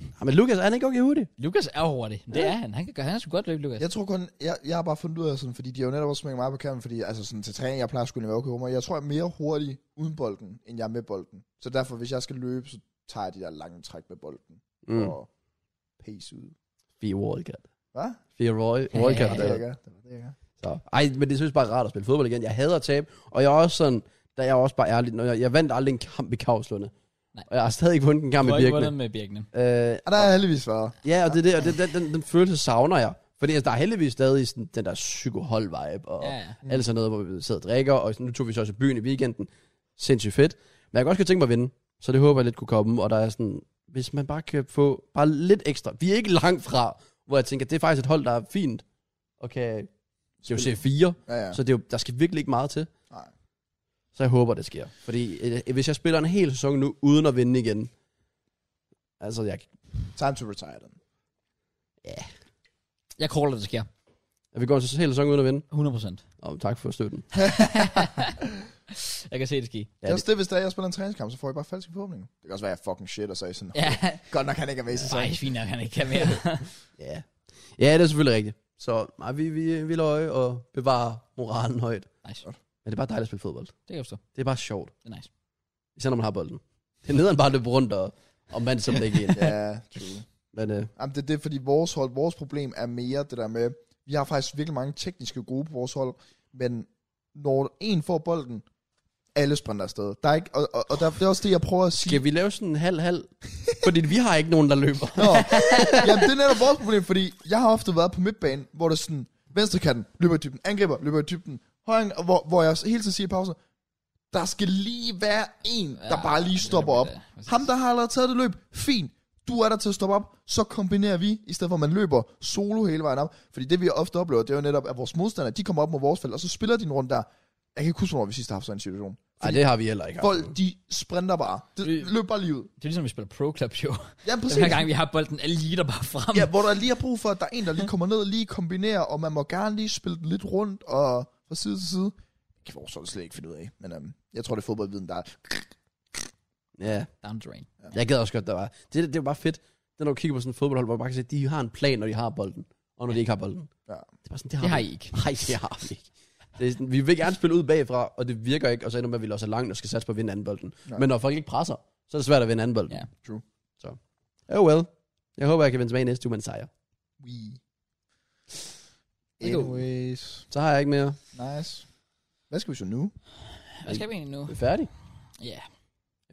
Speaker 2: Ja, Ah, men Lukas, er han ikke okay hurtig?
Speaker 1: Lukas er hurtig. Det er han. Han kan, gøre- han er sgu godt løbe, Lukas.
Speaker 3: Jeg tror kun, jeg, jeg har bare fundet ud af sådan, fordi de har jo netop også smækket mig på kampen, fordi altså sådan til træning, jeg plejer sgu egentlig at være okay humor. Jeg tror, jeg er mere hurtig uden bolden, end jeg er med bolden. Så derfor, hvis jeg skal løbe, så tager jeg de der lange træk med bolden. Mm.
Speaker 2: Mm.
Speaker 3: Og pace ud.
Speaker 2: Fire Wildcat.
Speaker 3: Hvad?
Speaker 2: Fire Roy, Wildcat.
Speaker 3: Det
Speaker 1: Ja.
Speaker 3: er det, jeg
Speaker 2: Ja.
Speaker 3: gør. Det er det, jeg gør.
Speaker 2: Så. Ej, men det er selvfølgelig bare rart at spille fodbold igen. Jeg hader at tabe, og jeg er også sådan, der er jeg også bare ærlig, når jeg, jeg vandt aldrig en kamp i Kavslunde.
Speaker 1: Nej.
Speaker 2: Og jeg har stadig ikke vundet en
Speaker 1: Du
Speaker 2: kamp i
Speaker 1: har ikke
Speaker 2: Birkene.
Speaker 1: vundet med Birkene.
Speaker 2: Øh,
Speaker 3: Og der er jeg heldigvis været.
Speaker 2: ja, og det er det, og det, den, den, den, følelse savner jeg. Fordi altså, der er heldigvis stadig sådan, den der psykohold-vibe, og
Speaker 1: Ja,
Speaker 2: ja.
Speaker 1: ja.
Speaker 2: alt sådan noget, hvor vi sidder og drikker, og sådan, nu tog vi så også i byen i weekenden. Sindssygt fedt. Men jeg kan også godt tænke mig at vinde, så det håber jeg lidt kunne komme, og der er sådan, hvis man bare kan få bare lidt ekstra. Vi er ikke langt fra, hvor jeg tænker, det er faktisk et hold, der er fint, og kan det er jo se 4
Speaker 3: Ja, ja.
Speaker 2: så det er jo, der skal virkelig ikke meget til.
Speaker 3: Nej.
Speaker 2: Så jeg håber, det sker. Fordi øh, hvis jeg spiller en hel sæson nu, uden at vinde igen, altså jeg,
Speaker 3: Time to retire den.
Speaker 1: Jeg crawler, det sker.
Speaker 2: jeg vil gå en sæson- hel sæson uden at vinde.
Speaker 1: [LAUGHS] 100%.
Speaker 2: Og tak for støtten.
Speaker 1: Jeg kan se det ske.
Speaker 3: Ja, det er også det, hvis det er, jeg spiller en træningskamp, så får jeg bare falske forhåbninger. Det kan også være, at jeg fucking shit, og så er I sådan,
Speaker 1: Ja. [LAUGHS]
Speaker 3: godt nok, han ikke er med i sæsonen.
Speaker 1: Ej, fint nok, han ikke kan [LAUGHS] mere.
Speaker 2: Ja. ja, det er selvfølgelig rigtigt. Så nej, vi, vi, vi løje og bevarer moralen højt.
Speaker 1: nice.
Speaker 2: Men det er bare dejligt at spille fodbold.
Speaker 1: Det kan jeg forstå.
Speaker 2: Det er bare sjovt.
Speaker 1: Det er nice.
Speaker 2: Især når man har bolden. Det er nederen bare at løbe rundt og, og mand som ikke ind.
Speaker 3: Ja, true.
Speaker 2: Men øh,
Speaker 3: Jamen, det er det, fordi vores hold, vores problem er mere det der med, vi har faktisk virkelig mange tekniske gode på vores hold, men når en får bolden, alle sprinter afsted. Der er ikke, og, og, og der, det er også det, jeg prøver at sige.
Speaker 2: skal vi lave sådan en halv-halv? Fordi vi har ikke nogen, der løber.
Speaker 3: Nå, jamen, det er netop vores problem, fordi jeg har ofte været på midtbanen, hvor det er sådan, venstre kanten, løber i dybden, angriber, løber i dybden, højre, og hvor, hvor jeg også hele tiden siger i pausen, der skal lige være en, der
Speaker 1: Ja,
Speaker 3: bare lige stopper
Speaker 1: det er
Speaker 3: op.
Speaker 1: det, præcis.
Speaker 3: Ham, der har allerede taget det løb, fint. Du er der til at stoppe op, så kombinerer vi, i stedet for at man løber solo hele vejen op. Fordi det, vi ofte oplever, det er jo netop, at vores modstandere, de kommer op mod vores felt, og så spiller de en runde der. Jeg kan ikke huske, hvornår vi sidst har haft sådan en situation.
Speaker 2: Nej, det har vi heller ikke. haft.
Speaker 3: Folk, de sprinter bare. Det,
Speaker 1: Vi-
Speaker 3: løb bare lige ud.
Speaker 1: Det er ligesom, vi spiller Pro Club, jo.
Speaker 3: Ja, præcis.
Speaker 1: [LAUGHS] Den her gang, vi har bolden, alle lige der bare frem.
Speaker 3: Ja, hvor der lige er brug for, at der er en, der lige kommer ned og lige kombinerer, og man må gerne lige spille den lidt rundt og fra side til side. Det kan vores hold slet ikke finde ud af, men øhm, jeg tror, det er fodboldviden, der er...
Speaker 2: Ja.
Speaker 1: Down the drain.
Speaker 2: Jeg gad også godt, der var. Det, det var bare fedt. Det er, når du kigger på sådan et fodboldhold, hvor man bare kan se, at de har en plan, når de har bolden. Og når de ikke har bolden.
Speaker 3: Ja.
Speaker 2: Det er bare sådan, det har,
Speaker 1: Det har
Speaker 2: vi
Speaker 1: I ikke.
Speaker 2: [LAUGHS] Nej, det har vi ikke. Det er sådan, vi vil gerne spille ud bagfra, og det virker ikke, og så ender man med, at vi låser langt og skal satse på at vinde anden bolden.
Speaker 3: Nej.
Speaker 2: Men når folk ikke presser, så er det svært at vinde anden bolden.
Speaker 1: Ja.
Speaker 3: True.
Speaker 2: Så. Oh well. Jeg håber, jeg kan vende tilbage næste uge med en sejr.
Speaker 3: We.
Speaker 1: er god.
Speaker 3: Anyways,
Speaker 2: Så har jeg ikke mere.
Speaker 3: nice. Hvad skal vi så nu?
Speaker 1: Hvad skal vi egentlig nu?
Speaker 2: Vi er færdig.
Speaker 1: Ja.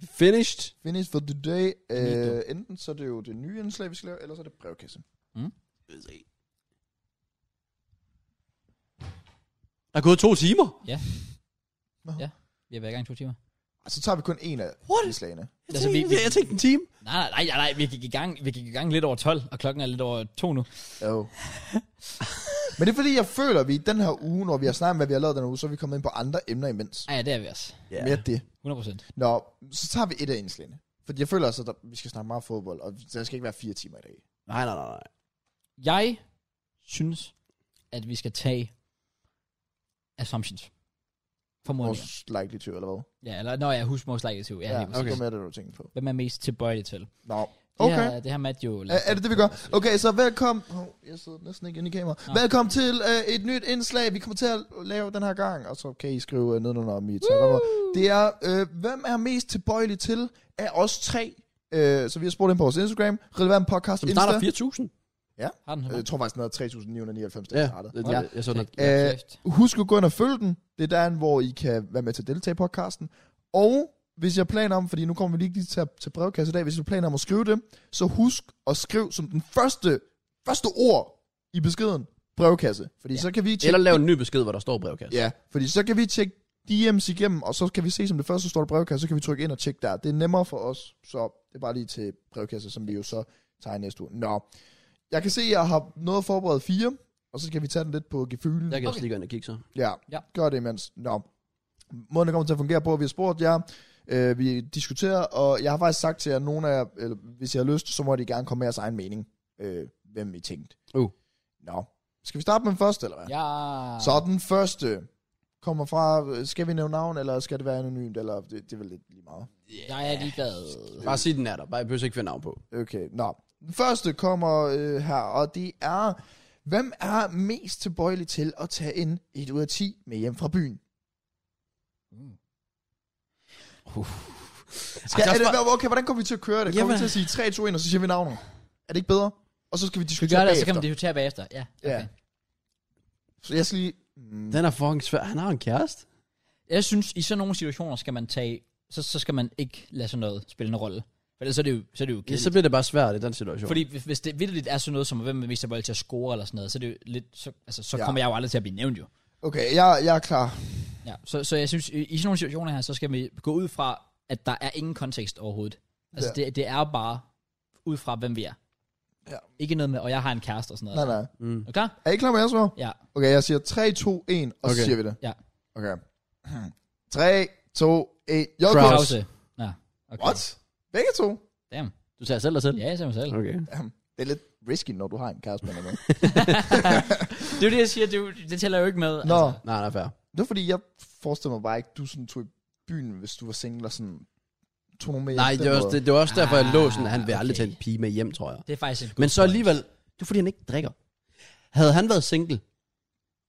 Speaker 2: Finished.
Speaker 3: Finish for the day.
Speaker 1: Video.
Speaker 3: Øh, enten så er det jo det nye indslag, vi skal lave, eller så er det brevkasse.
Speaker 2: Der er gået to timer.
Speaker 1: Vi har været i gang i to timer.
Speaker 3: Og så tager vi kun en af
Speaker 2: What?
Speaker 3: indslagene.
Speaker 2: Jeg
Speaker 1: Altså,
Speaker 2: tænkte,
Speaker 1: vi-
Speaker 2: jeg, jeg tænkte en time.
Speaker 1: Nej, nej, nej, nej, nej, vi gik i gang, vi gik i gang lidt over 12, og klokken er lidt over 2 nu.
Speaker 3: Jo. Men det er fordi, jeg føler, at vi i den her uge, når vi har snakket om, hvad vi har lavet den her uge, så er vi kommet ind på andre emner imens.
Speaker 1: Ej, ja, det er vi også.
Speaker 2: Ja.
Speaker 3: Mere det.
Speaker 1: 100%.
Speaker 3: Nå, så tager vi et af indslagene. Fordi jeg føler altså, at der- vi skal snakke meget fodbold, og der skal ikke være fire timer i dag.
Speaker 2: Nej, nej, nej, nej.
Speaker 1: Jeg synes, at vi skal tage assumptions. Formodninger.
Speaker 3: Most likely to, eller hvad?
Speaker 1: Ja, eller når jeg husker most likely to. Ja, ja
Speaker 3: ja okay.
Speaker 1: okay.
Speaker 3: det var mere det, du tænkte på.
Speaker 1: Hvem er mest tilbøjelig til?
Speaker 3: Nå,
Speaker 1: Det
Speaker 3: okay.
Speaker 1: her, det her Matt jo...
Speaker 3: Er, er det det, vi gør? Okay, så velkommen... Oh, jeg sidder næsten ikke inde i kameraet.
Speaker 1: Nå.
Speaker 3: Velkommen til øh, et nyt indslag, vi kommer til at lave den her gang. Og så kan I skrive øh, nedenunder om I tager Det er, øh, hvem er mest tilbøjelig til af os tre? Øh, så vi har spurgt ind på vores Instagram, relevant podcast,
Speaker 2: Som
Speaker 3: Insta.
Speaker 2: starter 4.000.
Speaker 1: Har den så
Speaker 3: Øh, Jeg
Speaker 1: meget?
Speaker 3: tror faktisk, den hedder 3.999, da
Speaker 2: Ja,
Speaker 3: den startede.
Speaker 2: det, det, jeg så den.
Speaker 1: Hold
Speaker 3: Øh,
Speaker 1: kæft.
Speaker 3: Husk at gå ind og følge den. Det er derinde, hvor I kan være med til at deltage i podcasten. Og hvis jeg har planer om, fordi nu kommer vi lige til, at- til brevkasse i dag, hvis I har planer om at skrive det, så husk at skrive som den første, første ord i beskeden, brevkasse. Fordi ja. så kan vi tjekke,
Speaker 2: Eller lave en ny besked, hvor der står brevkasse.
Speaker 3: ja, fordi så kan vi tjekke DM's igennem, og så kan vi se, som det første står der brevkasse, så kan vi trykke ind og tjekke der. Det er nemmere for os, så det er bare lige til brevkasse, som vi jo så tager i næste uge. Nå, jeg kan se, at jeg har noget forberedt fire, og så skal vi tage den lidt på gefylen.
Speaker 2: Jeg kan også
Speaker 1: Okay.
Speaker 2: lige gå ind og kigge så.
Speaker 3: Ja,
Speaker 1: Ja.
Speaker 3: ja. gør det imens. Nå. Måden, det kommer til at fungere på, vi har spurgt jer, øh, vi diskuterer, og jeg har faktisk sagt til jer, at nogen af jer, eller hvis I har lyst, så må de gerne komme med jeres egen mening, øh, hvem I tænkte.
Speaker 2: Uh.
Speaker 3: Nå. Skal vi starte med den første, eller hvad?
Speaker 1: Ja.
Speaker 3: Så den første kommer fra, øh, skal vi nævne navn, eller skal det være anonymt, eller det, det er vel lidt lige meget.
Speaker 1: Jeg er ligeglad.
Speaker 3: Mm.
Speaker 2: Bare sig den er der. Bare, jeg behøver ikke finde navn på.
Speaker 3: Okay, nå. Den første kommer øh, her, og det er, hvem er mest tilbøjelig til at tage en 1 ud af 10 med hjem fra byen?
Speaker 1: Mm.
Speaker 3: Skal,
Speaker 2: Ej,
Speaker 3: er
Speaker 2: det er
Speaker 3: det,
Speaker 2: også
Speaker 3: okay, hvordan kommer vi til at køre det? Kommer
Speaker 1: Altså, Jamen.
Speaker 3: vi til at sige 3, 2, 1, og så siger vi navnet? Er det ikke bedre? Og så skal
Speaker 1: Vi
Speaker 3: vi
Speaker 1: gør
Speaker 3: diskutere
Speaker 1: det, og så
Speaker 3: bagefter.
Speaker 1: kan man diskutere bagefter. Ja, okay.
Speaker 3: Ja. Så jeg skal lige... Mm,
Speaker 2: Den er fucking svær. Han har en kæreste.
Speaker 1: Jeg synes, i sådan nogle situationer skal man tage, så, så skal man ikke lade sådan noget spille en rolle. For ellers så er det jo, så er det jo
Speaker 2: Ja,
Speaker 1: kedeligt.
Speaker 2: så bliver det bare svært i den situation.
Speaker 1: Fordi hvis- hvis det vildt er sådan noget som, hvem er mest tilbøjelig til at score eller sådan noget, så, er det jo lidt, så, altså, så
Speaker 3: Ja.
Speaker 1: ja. kommer jeg jo aldrig til at blive nævnt jo.
Speaker 3: okay, jeg, jeg er klar.
Speaker 1: Ja, så, så jeg synes, i i sådan nogle situationer her, så skal vi gå ud fra, at der er ingen kontekst overhovedet. Altså ja. det, det er bare ud fra, hvem vi er.
Speaker 3: Ja.
Speaker 1: Ikke noget med, og jeg har en kæreste og sådan noget.
Speaker 3: Nej, nej.
Speaker 2: Mm.
Speaker 1: Er du klar?
Speaker 3: Er I klar med jeres svar?
Speaker 1: Ja.
Speaker 3: Okay, jeg siger 3, 2, 1, og okay. så
Speaker 2: Okay.
Speaker 3: siger vi det.
Speaker 1: Ja.
Speaker 3: Okay. [CLEARS THROAT] 3, 2, 1. Jo,
Speaker 2: Kraus.
Speaker 1: Pause. Ja. Okay.
Speaker 3: What? Begge to?
Speaker 1: Damn.
Speaker 2: Du tager selv dig selv?
Speaker 1: Ja, jeg ser mig selv.
Speaker 2: Okay.
Speaker 3: Det er lidt risky, når du har en kæreste med
Speaker 2: [LAUGHS]
Speaker 3: dig.
Speaker 1: Det er jo det, jeg siger. Det, er jo, det tæller jo ikke med.
Speaker 3: Nå,
Speaker 1: Altså.
Speaker 2: Nej, nej, fair.
Speaker 3: det var fordi, jeg forestiller mig bare ikke, du sådan tog i byen, hvis du var single og sådan tog nogen med
Speaker 2: Nej,
Speaker 3: hjem på
Speaker 2: det
Speaker 3: den
Speaker 2: var, også,
Speaker 3: måde.
Speaker 2: det, det var også derfor, jeg lå sådan, at han
Speaker 1: Ah,
Speaker 2: vil aldrig
Speaker 1: okay.
Speaker 2: tage en pige med hjem, tror jeg.
Speaker 1: Det er faktisk en
Speaker 2: Men
Speaker 1: god
Speaker 2: så
Speaker 1: point.
Speaker 2: alligevel, det er fordi, han ikke drikker. Havde han været single,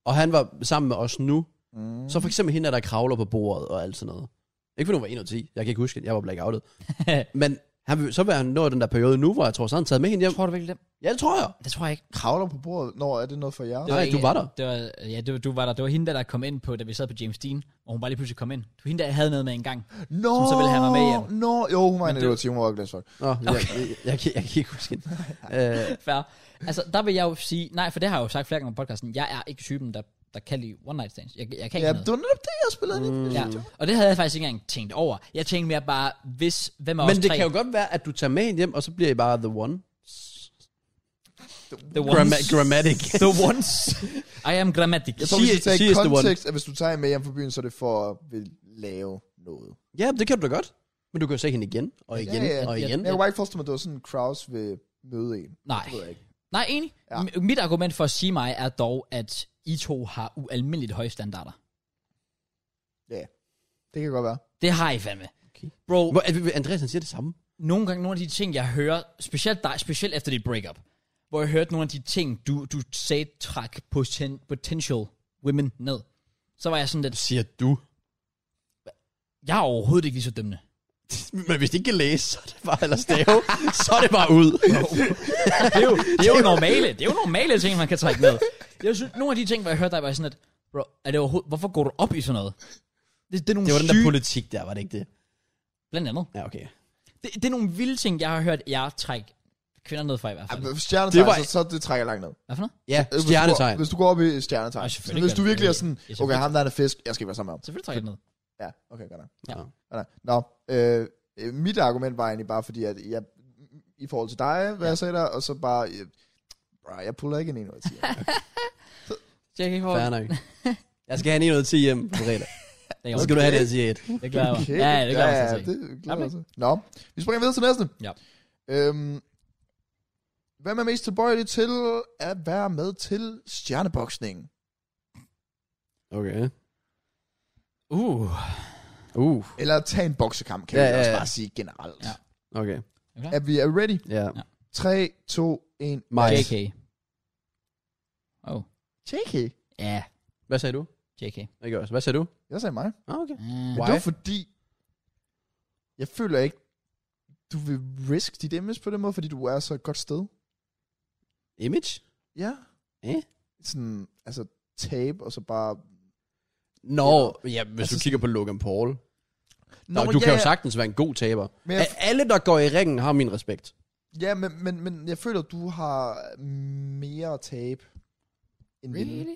Speaker 2: og han var sammen med os nu,
Speaker 3: Mm.
Speaker 2: så for eksempel hende, der kravler på bordet og alt sådan noget. Ikke fordi hun var 1 og 10, jeg kan ikke huske, det. jeg var blackoutet. Men han, vil- så vil han nå den der periode nu, hvor jeg tror, så har han taget med hende hjem.
Speaker 1: Tror du virkelig det?
Speaker 2: Ja, det tror jeg.
Speaker 1: Det tror jeg ikke.
Speaker 3: Kravler på bordet? Nå, er det noget for jer?
Speaker 2: Nej,
Speaker 1: ikke-
Speaker 2: du var der.
Speaker 1: Det var, ja, det var, du var der. Det var hende, der kom ind på, da vi sad på James Dean, og hun bare lige pludselig kom ind. Det var hende, der havde noget med en
Speaker 2: [LAUGHS]
Speaker 1: gang.
Speaker 3: Nå,
Speaker 1: Som så ville have mig med hjem.
Speaker 3: Nå, jo, hun var en
Speaker 1: Men
Speaker 3: 11
Speaker 1: det-
Speaker 3: ud af 10, hun var også glasvagt.
Speaker 2: Nå, okay. jeg, jeg, jeg, kan- jeg, kan ikke huske hende. Øh,
Speaker 1: Fair. Altså, der vil jeg jo sige, nej, for det har jeg jo sagt flere gange på podcasten, jeg er ikke typen, der, der kan lide one night stands. Jeg, jeg kan ikke
Speaker 3: Ja,
Speaker 1: noget.
Speaker 3: det var netop det, jeg spillede mm.
Speaker 1: Ja. Og det havde jeg faktisk ikke engang tænkt over. Jeg tænkte mere bare, hvis, hvem er
Speaker 2: men
Speaker 1: os
Speaker 2: det
Speaker 1: tre?
Speaker 2: kan jo godt være, at du tager med hende hjem, og så bliver I bare the one.
Speaker 1: The ones.
Speaker 2: Gramma grammatic.
Speaker 1: The ones. I am grammatic.
Speaker 3: Jeg tror,
Speaker 2: She
Speaker 3: vi skal
Speaker 2: is- she
Speaker 3: tage
Speaker 2: is the one.
Speaker 3: kontekst, at hvis du tager en med hjem fra byen, så er det for at vil lave noget.
Speaker 2: ja, det kan du da godt. Men du kan jo se hende igen, og igen,
Speaker 3: Ja, ja.
Speaker 2: og
Speaker 1: Ja,
Speaker 2: igen.
Speaker 3: Men jeg kunne bare ikke forestille mig, at det var sådan, Kraus vil møde en.
Speaker 1: Nej.
Speaker 3: Det ved jeg ikke.
Speaker 1: Nej, enig.
Speaker 3: Ja.
Speaker 1: Ja. Mit argument for at sige mig er dog, at I to har ualmindeligt høje standarder.
Speaker 3: Det kan godt være.
Speaker 1: Det har I fandme.
Speaker 2: Okay.
Speaker 1: Bro,
Speaker 2: Hvor, at- Andreas, han siger det samme.
Speaker 1: nogle gange, nogle af de ting, jeg hører, specielt dig, specielt efter dit breakup, hvor jeg hørte nogle af de ting, du, du sagde trak poten, potential women ned, så var jeg sådan lidt,
Speaker 2: Siger du?
Speaker 1: jeg er overhovedet ikke lige så dømmende.
Speaker 2: Men hvis de ikke kan læse, så er det bare, eller stave, så er det bare ud.
Speaker 1: Det er jo, det er jo normale, det er jo normale ting, man kan trække ned. Jeg synes, nogle af de ting, hvor jeg hørte dig, var jeg sådan lidt, bro, er det overhovedet, hvorfor går du op i sådan noget? Det, det er nogle
Speaker 2: Det var den
Speaker 1: syge,
Speaker 2: der politik der, var det ikke det?
Speaker 1: blandt andet.
Speaker 2: Ja, okay.
Speaker 1: Det, det, er nogle vilde ting, jeg har hørt jer trække kvinder ned fra i hvert fald.
Speaker 3: Ja, Stjernetegn,
Speaker 2: Det var-
Speaker 3: så, så det trækker langt ned.
Speaker 1: Hvad for noget?
Speaker 2: Ja,
Speaker 3: øh, Hvis du går-
Speaker 2: stjernetegn.
Speaker 3: Hvis du går op i stjernetegn.
Speaker 1: Ej,
Speaker 3: Så
Speaker 1: selvfølgelig
Speaker 3: hvis
Speaker 1: gør
Speaker 3: du
Speaker 1: det.
Speaker 3: virkelig er sådan,
Speaker 1: Ja, selvfølgelig.
Speaker 3: okay, ham der er en fisk, jeg skal være sammen med ham.
Speaker 1: Selvfølgelig trækker jeg det ned.
Speaker 3: Ja, okay, godt nok.
Speaker 2: Ja.
Speaker 3: Godt nok. Nå, øh, øh, mit argument var egentlig bare fordi, at jeg, i forhold til dig, hvad jeg sagde der, og så bare, øh, bro, jeg puller ikke en en ud af 10.
Speaker 1: Tjek ikke for.
Speaker 2: Fair nok. [LAUGHS] Jeg skal have en 1 ud af 10 hjem på [LAUGHS] fredag.
Speaker 1: Det
Speaker 2: Så skal du have det, jeg siger et.
Speaker 1: Det glæder jeg mig. [LAUGHS] Ja, ja, det glæder jeg mig til at se.
Speaker 3: det glæder jeg mig til. Nå, vi springer videre til næste.
Speaker 1: Ja.
Speaker 3: Øhm, hvem er mest tilbøjelig til at være med til stjerneboksning?
Speaker 2: Okay.
Speaker 1: Uh.
Speaker 2: Uh.
Speaker 3: Eller tage en boksekamp, kan ja,
Speaker 2: Ja,
Speaker 3: vi
Speaker 2: ja,
Speaker 3: også
Speaker 2: ja.
Speaker 3: bare sige generelt.
Speaker 1: Ja.
Speaker 2: Okay.
Speaker 3: Er vi er vi ready?
Speaker 2: Ja.
Speaker 3: 3, 2, 1.
Speaker 2: Mig.
Speaker 1: JK. Oh.
Speaker 3: JK.
Speaker 1: Ja,
Speaker 2: Hvad sagde du?
Speaker 1: JK.
Speaker 2: Ikke også. Hvad sagde du?
Speaker 3: Jeg sagde mig.
Speaker 2: Ah, okay.
Speaker 1: Mm.
Speaker 3: Men
Speaker 2: Why?
Speaker 3: det var fordi, jeg føler ikke, du vil risk dit image på den måde, fordi du er så et godt sted.
Speaker 2: Image?
Speaker 3: Ja.
Speaker 2: Eh?
Speaker 3: Sådan, altså tape, og så bare...
Speaker 2: Nå, ja, hvis
Speaker 3: Altså
Speaker 2: du kigger på Logan Paul. Nå,
Speaker 3: men
Speaker 2: du
Speaker 3: ja,
Speaker 2: kan jo
Speaker 3: ja.
Speaker 2: sagtens være en god taber.
Speaker 3: Men jeg,
Speaker 2: A- Alle, der går i ringen, har min respekt.
Speaker 3: ja, men, men, men jeg føler, du har mere tape end vi.
Speaker 1: Really?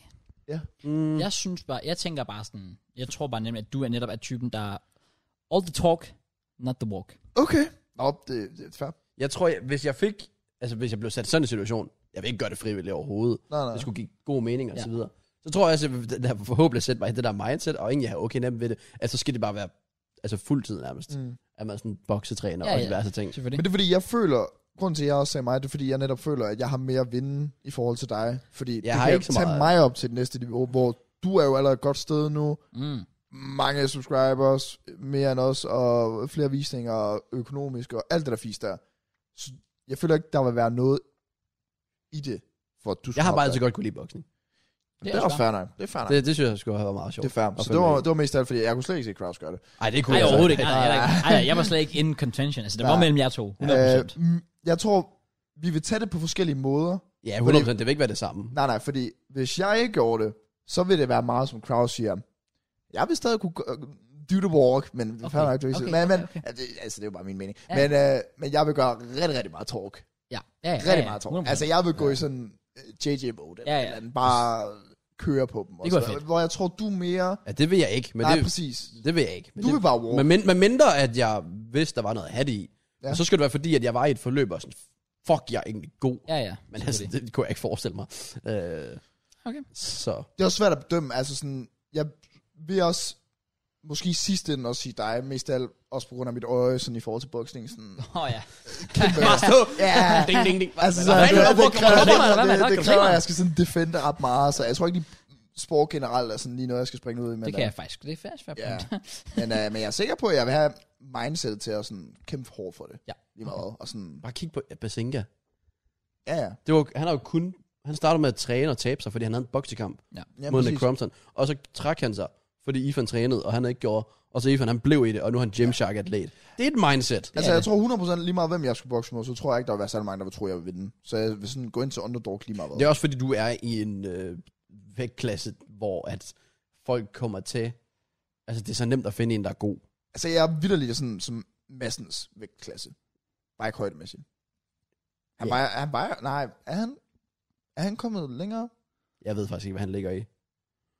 Speaker 2: Mm.
Speaker 1: Jeg synes bare, jeg tænker bare sådan, jeg tror bare nemlig, at du er netop af typen, der all the talk, not the walk.
Speaker 3: Okay. Nå, det, det er fair.
Speaker 2: Jeg tror, jeg, hvis jeg fik... Altså, hvis jeg blev sat i sådan en situation, jeg vil ikke gøre det frivilligt overhovedet.
Speaker 3: Nej, nej.
Speaker 2: Det skulle give god mening og
Speaker 1: Ja.
Speaker 2: så videre. Så tror jeg også, at jeg vil- den der forhåbentlig sætte mig i det der mindset, og egentlig have okay nemt ved det, at så skal det bare være altså fuldtid nærmest. Mm.
Speaker 3: Mm.
Speaker 2: At man er sådan boksetræner
Speaker 1: Ja,
Speaker 2: ja, og
Speaker 1: ja.
Speaker 2: diverse ting.
Speaker 1: Selvfølgelig.
Speaker 3: Men det er fordi, jeg føler... Grunden til, at jeg også sagde mig, det er fordi, jeg netop føler, at jeg har mere at vinde i forhold til dig. Fordi jeg du
Speaker 2: har
Speaker 3: kan
Speaker 2: ikke så
Speaker 3: tage
Speaker 2: meget.
Speaker 3: mig op til det næste niveau, hvor du er jo allerede et godt sted nu.
Speaker 1: Mm.
Speaker 3: mange subscribers, mere end os, og flere visninger, og økonomisk, og alt det der fisk der. Så jeg føler ikke, der vil være noget i det, for at du
Speaker 2: Jeg har
Speaker 3: skulle opdage
Speaker 2: bare altid godt kunne lide boksning.
Speaker 3: Det er også fair nok. Det er fair nok.
Speaker 2: Det, det synes jeg skulle have været meget sjovt.
Speaker 3: Det er fair.
Speaker 2: Og
Speaker 3: Så det var,
Speaker 2: følge
Speaker 3: det var mest af alt, fordi jeg kunne slet ikke se Kraus gøre det.
Speaker 2: med. Ej, det kunne
Speaker 1: Nej,
Speaker 2: jeg altså
Speaker 1: overhovedet ikke. Nej, nej,
Speaker 3: Nej.
Speaker 1: nej, nej, jeg var slet ikke in contention. Altså, det var
Speaker 3: Nej.
Speaker 1: mellem jer to. 100%.
Speaker 3: Øh, mm, jeg tror, vi vil tage det på forskellige måder.
Speaker 2: Ja, 100%. Det vil ikke være det samme.
Speaker 3: Nej, nej, fordi hvis jeg ikke gjorde det, så vil det være meget, som Kraus siger. Jeg vil stadig kunne gø- do the walk, men
Speaker 1: Okay,
Speaker 3: okay, fair nok, du okay,
Speaker 1: okay,
Speaker 3: men, men,
Speaker 1: okay, okay.
Speaker 3: Ja, det, altså, det er jo bare min mening.
Speaker 1: Ja.
Speaker 3: Ja. Men, øh, men jeg vil gøre rigtig, rigtig meget talk.
Speaker 1: ja. ja, ja,
Speaker 3: Rigtig
Speaker 1: ja,
Speaker 3: meget talk.
Speaker 1: 100%.
Speaker 3: Altså, jeg vil gå i sådan øh, JJ-mode,
Speaker 1: Ja,
Speaker 3: ja,
Speaker 1: ja.
Speaker 3: ja. eller andet, bare køre på dem. og
Speaker 1: Det kunne
Speaker 3: sådan
Speaker 1: være
Speaker 3: noget. Hvor jeg tror, du er mere...
Speaker 2: Ja, Altså, det vil jeg ikke. Men
Speaker 3: nej,
Speaker 2: det,
Speaker 3: præcis.
Speaker 2: det vil jeg ikke. Men
Speaker 3: Du
Speaker 2: det,
Speaker 3: vil bare walk.
Speaker 2: Men, men, men mindre, at jeg vidste, der var noget hat i. Ja.
Speaker 3: Ja.
Speaker 2: Og så skulle det være fordi, at jeg var i et forløb, og sådan, fuck, jeg er egentlig god. Ja,
Speaker 1: Ja, ja.
Speaker 2: men altså, det kunne jeg ikke forestille mig. Øh,
Speaker 1: Okay.
Speaker 2: så,
Speaker 3: det er også svært at bedømme. Altså sådan, jeg vil også måske i sidste ende også sige dig, mest af alt også på grund af mit øje, sådan i forhold til boksning. Sådan,
Speaker 1: Åh, oh, ja.
Speaker 3: kæmpe,
Speaker 2: bare stå.
Speaker 3: ja,
Speaker 2: [LAUGHS] ding, ding, ding.
Speaker 3: altså, så,
Speaker 2: Hvad
Speaker 3: det,
Speaker 2: fanden,
Speaker 3: det,
Speaker 2: hvorfor
Speaker 3: det, kræver,
Speaker 2: kommer du-
Speaker 1: mig? Hvad med
Speaker 3: det,
Speaker 1: dig? Kom
Speaker 3: det, det
Speaker 1: til
Speaker 3: kræver,
Speaker 1: mig.
Speaker 3: at jeg skal sådan defende ret meget, så jeg tror ikke, de sport generelt er sådan lige noget, jeg skal springe ud i. Men,
Speaker 1: Det kan jeg faktisk. Det er fast fair
Speaker 3: Ja.
Speaker 1: point.
Speaker 3: men, øh, men jeg er sikker på, at jeg vil have mindset til at sådan kæmpe hårdt for det.
Speaker 1: Ja.
Speaker 3: Lige meget. Og sådan,
Speaker 2: Bare kig på Basinga.
Speaker 3: ja, ja.
Speaker 2: Det var, han har jo kun... Han startede med at træne og tabe sig, fordi han havde en boksekamp
Speaker 3: ja
Speaker 2: mod Nick
Speaker 3: præcis.
Speaker 2: Crompton. Og så trak han sig, fordi Ifan trænede, og han ikke gjorde... Og så Ifan, han blev i det, og nu er han Gymshark-atlet. Det er et mindset.
Speaker 3: Altså,
Speaker 1: er
Speaker 3: jeg tror 100% lige meget, hvem jeg skulle bokse mod, så tror jeg ikke, der vil være særlig mange, der vil tro, jeg vil vinde. Så jeg vil sådan gå ind til underdog lige meget. hvad.
Speaker 2: Det er også fordi, du er i en øh, vægtklasse, hvor at folk kommer til... Altså, det er så nemt at finde en, der er god.
Speaker 3: Altså, jeg er vidderlig sådan som Massens vægtklasse. Bare ikke højdemæssigt. Han
Speaker 2: Ja.
Speaker 3: vejer, han vejer, nej, er han, er han kommet længere?
Speaker 2: Jeg ved faktisk ikke, hvad han ligger i.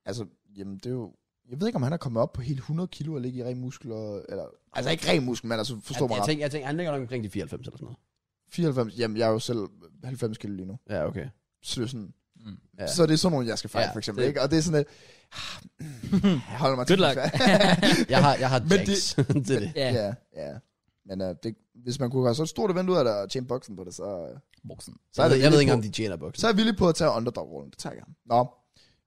Speaker 3: Altså, jamen det er jo, jeg ved ikke, om han er kommet op på helt 100 kilo og ligge i ren muskler, eller, altså ikke ren muskel, men altså forstår
Speaker 2: jeg,
Speaker 3: mig
Speaker 2: jeg,
Speaker 3: ret.
Speaker 2: tænker, jeg tænker, han ligger nok omkring de 94 eller sådan noget.
Speaker 3: 94, jamen jeg er jo selv 90 kilo lige nu.
Speaker 2: Ja, okay.
Speaker 3: Så det er sådan,
Speaker 1: Mm.
Speaker 2: Ja.
Speaker 3: ja. så det er sådan nogle, jeg skal fejle,
Speaker 2: Ja,
Speaker 3: ja, for eksempel,
Speaker 2: det-
Speaker 3: det. ikke? Og det er sådan et, jeg holder mig til.
Speaker 1: Good luck.
Speaker 2: Jeg har, jeg har
Speaker 3: [LAUGHS] Men
Speaker 2: Jax. [LAUGHS] det er det.
Speaker 1: [LAUGHS] Ja.
Speaker 3: [LAUGHS] ja, ja. Men uh, det, hvis man kunne gøre så stort event ud af det, og tjene boksen på det, så,
Speaker 1: Boksen.
Speaker 3: så er det
Speaker 2: jeg
Speaker 3: egentlig
Speaker 2: ved ikke,
Speaker 3: på-
Speaker 2: om de tjener boksen.
Speaker 3: Så er jeg villig på at tage underdog-rollen. Det tager jeg gerne. Nå.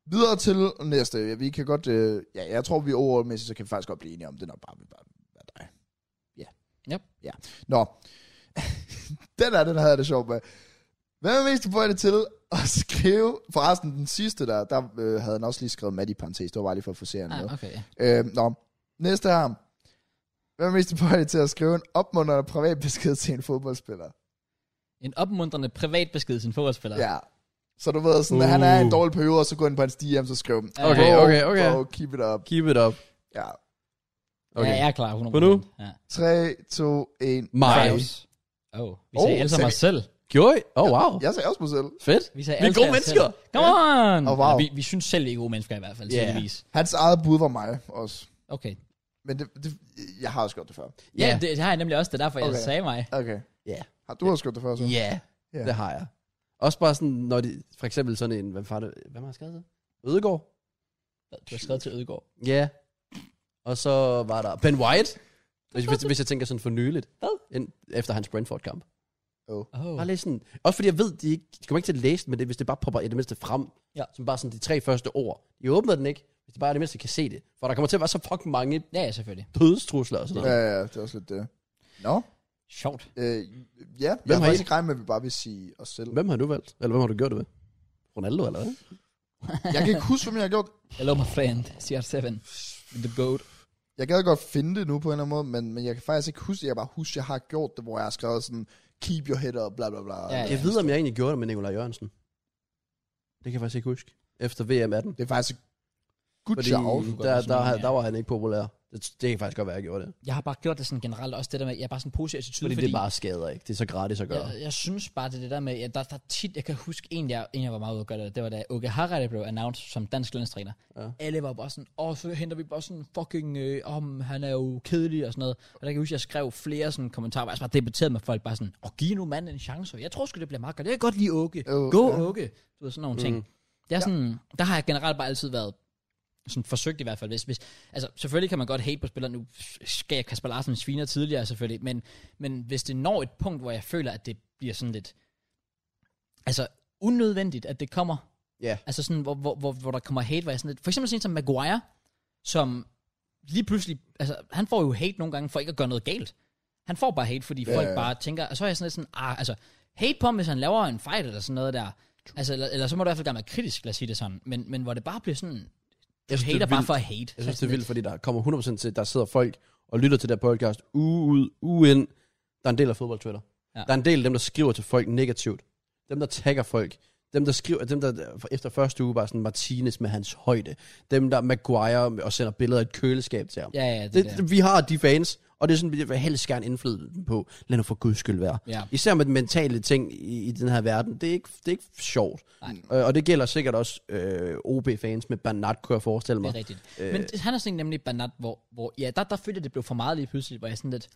Speaker 3: Videre til næste. Ja, Vi kan godt... Øh, ja, jeg tror, vi overordmæssigt, så kan vi faktisk godt blive enige om, det er nok bare, bare være dig. Ja.
Speaker 1: Yep.
Speaker 3: Ja. Nå. [LAUGHS] den er den, havde jeg det sjovt med. Hvad er mest tilbøjelig til at [LAUGHS] skrive... Forresten, den sidste der, der øh, havde han også lige skrevet Matt i parentes. Det var bare lige for at få serien
Speaker 1: Ah,
Speaker 3: med.
Speaker 1: okay. ja.
Speaker 3: Øh, nå. Næste her. Hvad er mest tilbøjelig til at skrive en opmuntrende privat besked til en fodboldspiller?
Speaker 1: En opmuntrende privat besked til en fodboldspiller.
Speaker 3: Ja. Så du ved sådan, uh. han er i en dårlig periode, og så går ind på hans DM, så skriver han,
Speaker 1: Okay,
Speaker 3: "Bro,
Speaker 2: okay, okay."
Speaker 3: Bro, keep it up.
Speaker 2: Keep it up.
Speaker 3: Ja.
Speaker 1: Okay.
Speaker 2: Okay.
Speaker 1: Ja, jeg er klar. 100%.
Speaker 2: På nu?
Speaker 1: Ja.
Speaker 3: 3, 2, 1.
Speaker 2: Mig.
Speaker 1: Kraus. Åh, oh, vi
Speaker 3: Oh,
Speaker 1: sagde alle sammen
Speaker 3: sagde
Speaker 1: os selv.
Speaker 2: Gjorde I? Oh, wow.
Speaker 3: Jeg sagde også mig selv.
Speaker 2: Fedt.
Speaker 1: Vi sagde
Speaker 2: Vi er
Speaker 1: alle
Speaker 2: gode
Speaker 1: tre os
Speaker 2: mennesker.
Speaker 1: Selv. Come on!
Speaker 3: Og wow.
Speaker 1: Eller vi, vi synes selv, vi er gode mennesker i hvert fald,
Speaker 2: Ja.
Speaker 1: yeah. tydeligvis.
Speaker 3: Hans eget bud var mig også.
Speaker 1: Okay.
Speaker 3: Men det, det, jeg har også gjort det før.
Speaker 1: Ja,
Speaker 2: Ja.
Speaker 1: yeah. det, det har jeg nemlig også. Det er derfor, jeg
Speaker 3: Okay.
Speaker 1: sagde mig.
Speaker 3: Okay.
Speaker 2: Ja.
Speaker 3: Har du også gjort det før, så?
Speaker 2: Ja,
Speaker 3: Ja.
Speaker 2: det har jeg. Også bare sådan, når de, for eksempel sådan en, hvem fanden, hvem har skrevet det? Ødegård?
Speaker 1: Du har skrevet til Ødegård.
Speaker 2: Ja. Og så var der Ben White. Hvis, hvis, hvis jeg tænker sådan for nyligt.
Speaker 1: Hvad?
Speaker 2: En, efter hans Brentford-kamp.
Speaker 1: Oh.
Speaker 2: Bare lige sådan, også fordi jeg ved, de, ikke, de kommer ikke til at læse den, men det, hvis det bare popper i det mindste frem.
Speaker 1: Ja.
Speaker 2: Som bare sådan de tre første ord. De åbner den ikke, hvis de bare i det mindste kan se det. For der kommer til at være så fucking mange
Speaker 1: Ja, ja, selvfølgelig.
Speaker 2: dødstrusler og sådan
Speaker 3: Ja,
Speaker 2: noget.
Speaker 3: ja, det er også lidt det. Nå,
Speaker 1: Sjovt.
Speaker 3: øh, ja, jeg har
Speaker 2: Hvem har I-
Speaker 3: faktisk ikke regnet med, at vi bare vil sige os selv.
Speaker 2: Hvem har du valgt? Eller hvem har du gjort det med? Ronaldo eller hvad?
Speaker 3: Jeg kan ikke huske, hvem jeg har gjort.
Speaker 1: Hello, my friend. CR7. The GOAT.
Speaker 3: Jeg gad godt finde det nu på en eller anden måde, men, men jeg kan faktisk ikke huske det. Jeg kan bare huske, at jeg har gjort det, hvor jeg har skrevet sådan, keep your head up, bla bla bla.
Speaker 1: Ja, ja.
Speaker 2: Jeg ved, om jeg egentlig gjorde det med Nikolaj Jørgensen. Det kan jeg faktisk ikke huske. Efter VM 18.
Speaker 3: Det er faktisk et good
Speaker 2: Fordi
Speaker 3: job.
Speaker 1: kunne godt
Speaker 2: der,
Speaker 1: være
Speaker 2: der,
Speaker 1: sådan
Speaker 2: der,
Speaker 1: en, ja.
Speaker 2: der, var han ikke populær. Det, det kan faktisk godt være, jeg gjorde det.
Speaker 1: Jeg har bare gjort det sådan generelt, også det der med, jeg er bare sådan en positiv attitude,
Speaker 2: Fordi, fordi det bare skader ikke. Det er så gratis at gøre.
Speaker 1: Jeg, jeg synes bare, det er det der med, at der, der er tit, jeg kan huske en, jeg, en, jeg var meget ude at gøre det, det var da Uke Harald blev announced som dansk landstræner. Ja.
Speaker 2: Ja.
Speaker 1: Alle var bare sådan, åh, så henter vi bare sådan fucking, øh, om han er jo kedelig og sådan noget. Og der kan jeg huske, jeg skrev flere sådan kommentarer, hvor jeg altså bare debatteret med folk, bare sådan, åh, giv nu manden en chance, jeg tror sgu, det bliver meget godt, jeg kan godt lide Uke,
Speaker 3: Jo,
Speaker 1: gå
Speaker 3: ja. Mm.
Speaker 1: Uke, du ved, sådan nogle ting. Det er sådan, der har jeg generelt bare altid været sådan forsøgt i hvert fald. Hvis, hvis, altså, selvfølgelig kan man godt hate på spilleren. Nu skal jeg Kasper Larsen sviner tidligere selvfølgelig, men, men hvis det når et punkt, hvor jeg føler, at det bliver sådan lidt... Altså, unødvendigt, at det kommer.
Speaker 2: Ja.
Speaker 1: Altså sådan, hvor, hvor, hvor, hvor der kommer hate, hvor jeg sådan lidt... For eksempel sådan en som Maguire, som lige pludselig... Altså, han får jo hate nogle gange for ikke at gøre noget galt. Han får bare hate, fordi
Speaker 3: Ja,
Speaker 1: folk
Speaker 3: ja.
Speaker 1: bare tænker, og så er jeg sådan lidt sådan, ah, altså, hate på ham, hvis han laver en fejl eller sådan noget der. Altså, eller, eller så må du i hvert fald gerne være kritisk, lad os sige det sådan. Men, men hvor det bare bliver sådan, du
Speaker 2: Jeg synes, det er
Speaker 1: hater bare
Speaker 2: vildt.
Speaker 1: for at hate.
Speaker 2: Jeg synes, det er vildt, fordi der kommer 100% til, der sidder folk og lytter til det her podcast uge ud, uge ind. Der er en del af fodboldtwitter.
Speaker 1: Ja.
Speaker 2: Ja. Der er en del af dem, der skriver til folk negativt. Dem, der tagger folk. Dem, der skriver, dem, der efter første uge bare sådan Martinez med hans højde. Dem, der Maguire og sender billeder af et køleskab til ham.
Speaker 1: Ja, ja, det,
Speaker 2: det,
Speaker 1: der.
Speaker 2: det, vi har de fans, og det er sådan, vi vil helst gerne indflyde dem på. Lad nu for guds skyld være.
Speaker 1: Ja.
Speaker 2: Især med den mentale ting i, i den her verden. Det er ikke, det er ikke sjovt.
Speaker 1: Nej.
Speaker 2: Øh, og det gælder sikkert også øh, OB-fans med Bernard, kunne jeg forestille mig.
Speaker 1: Det er rigtigt. Øh, men det- han er sådan en nemlig Bernat, hvor, hvor ja, der, der følte jeg, det blev for meget lige pludselig, hvor jeg sådan lidt,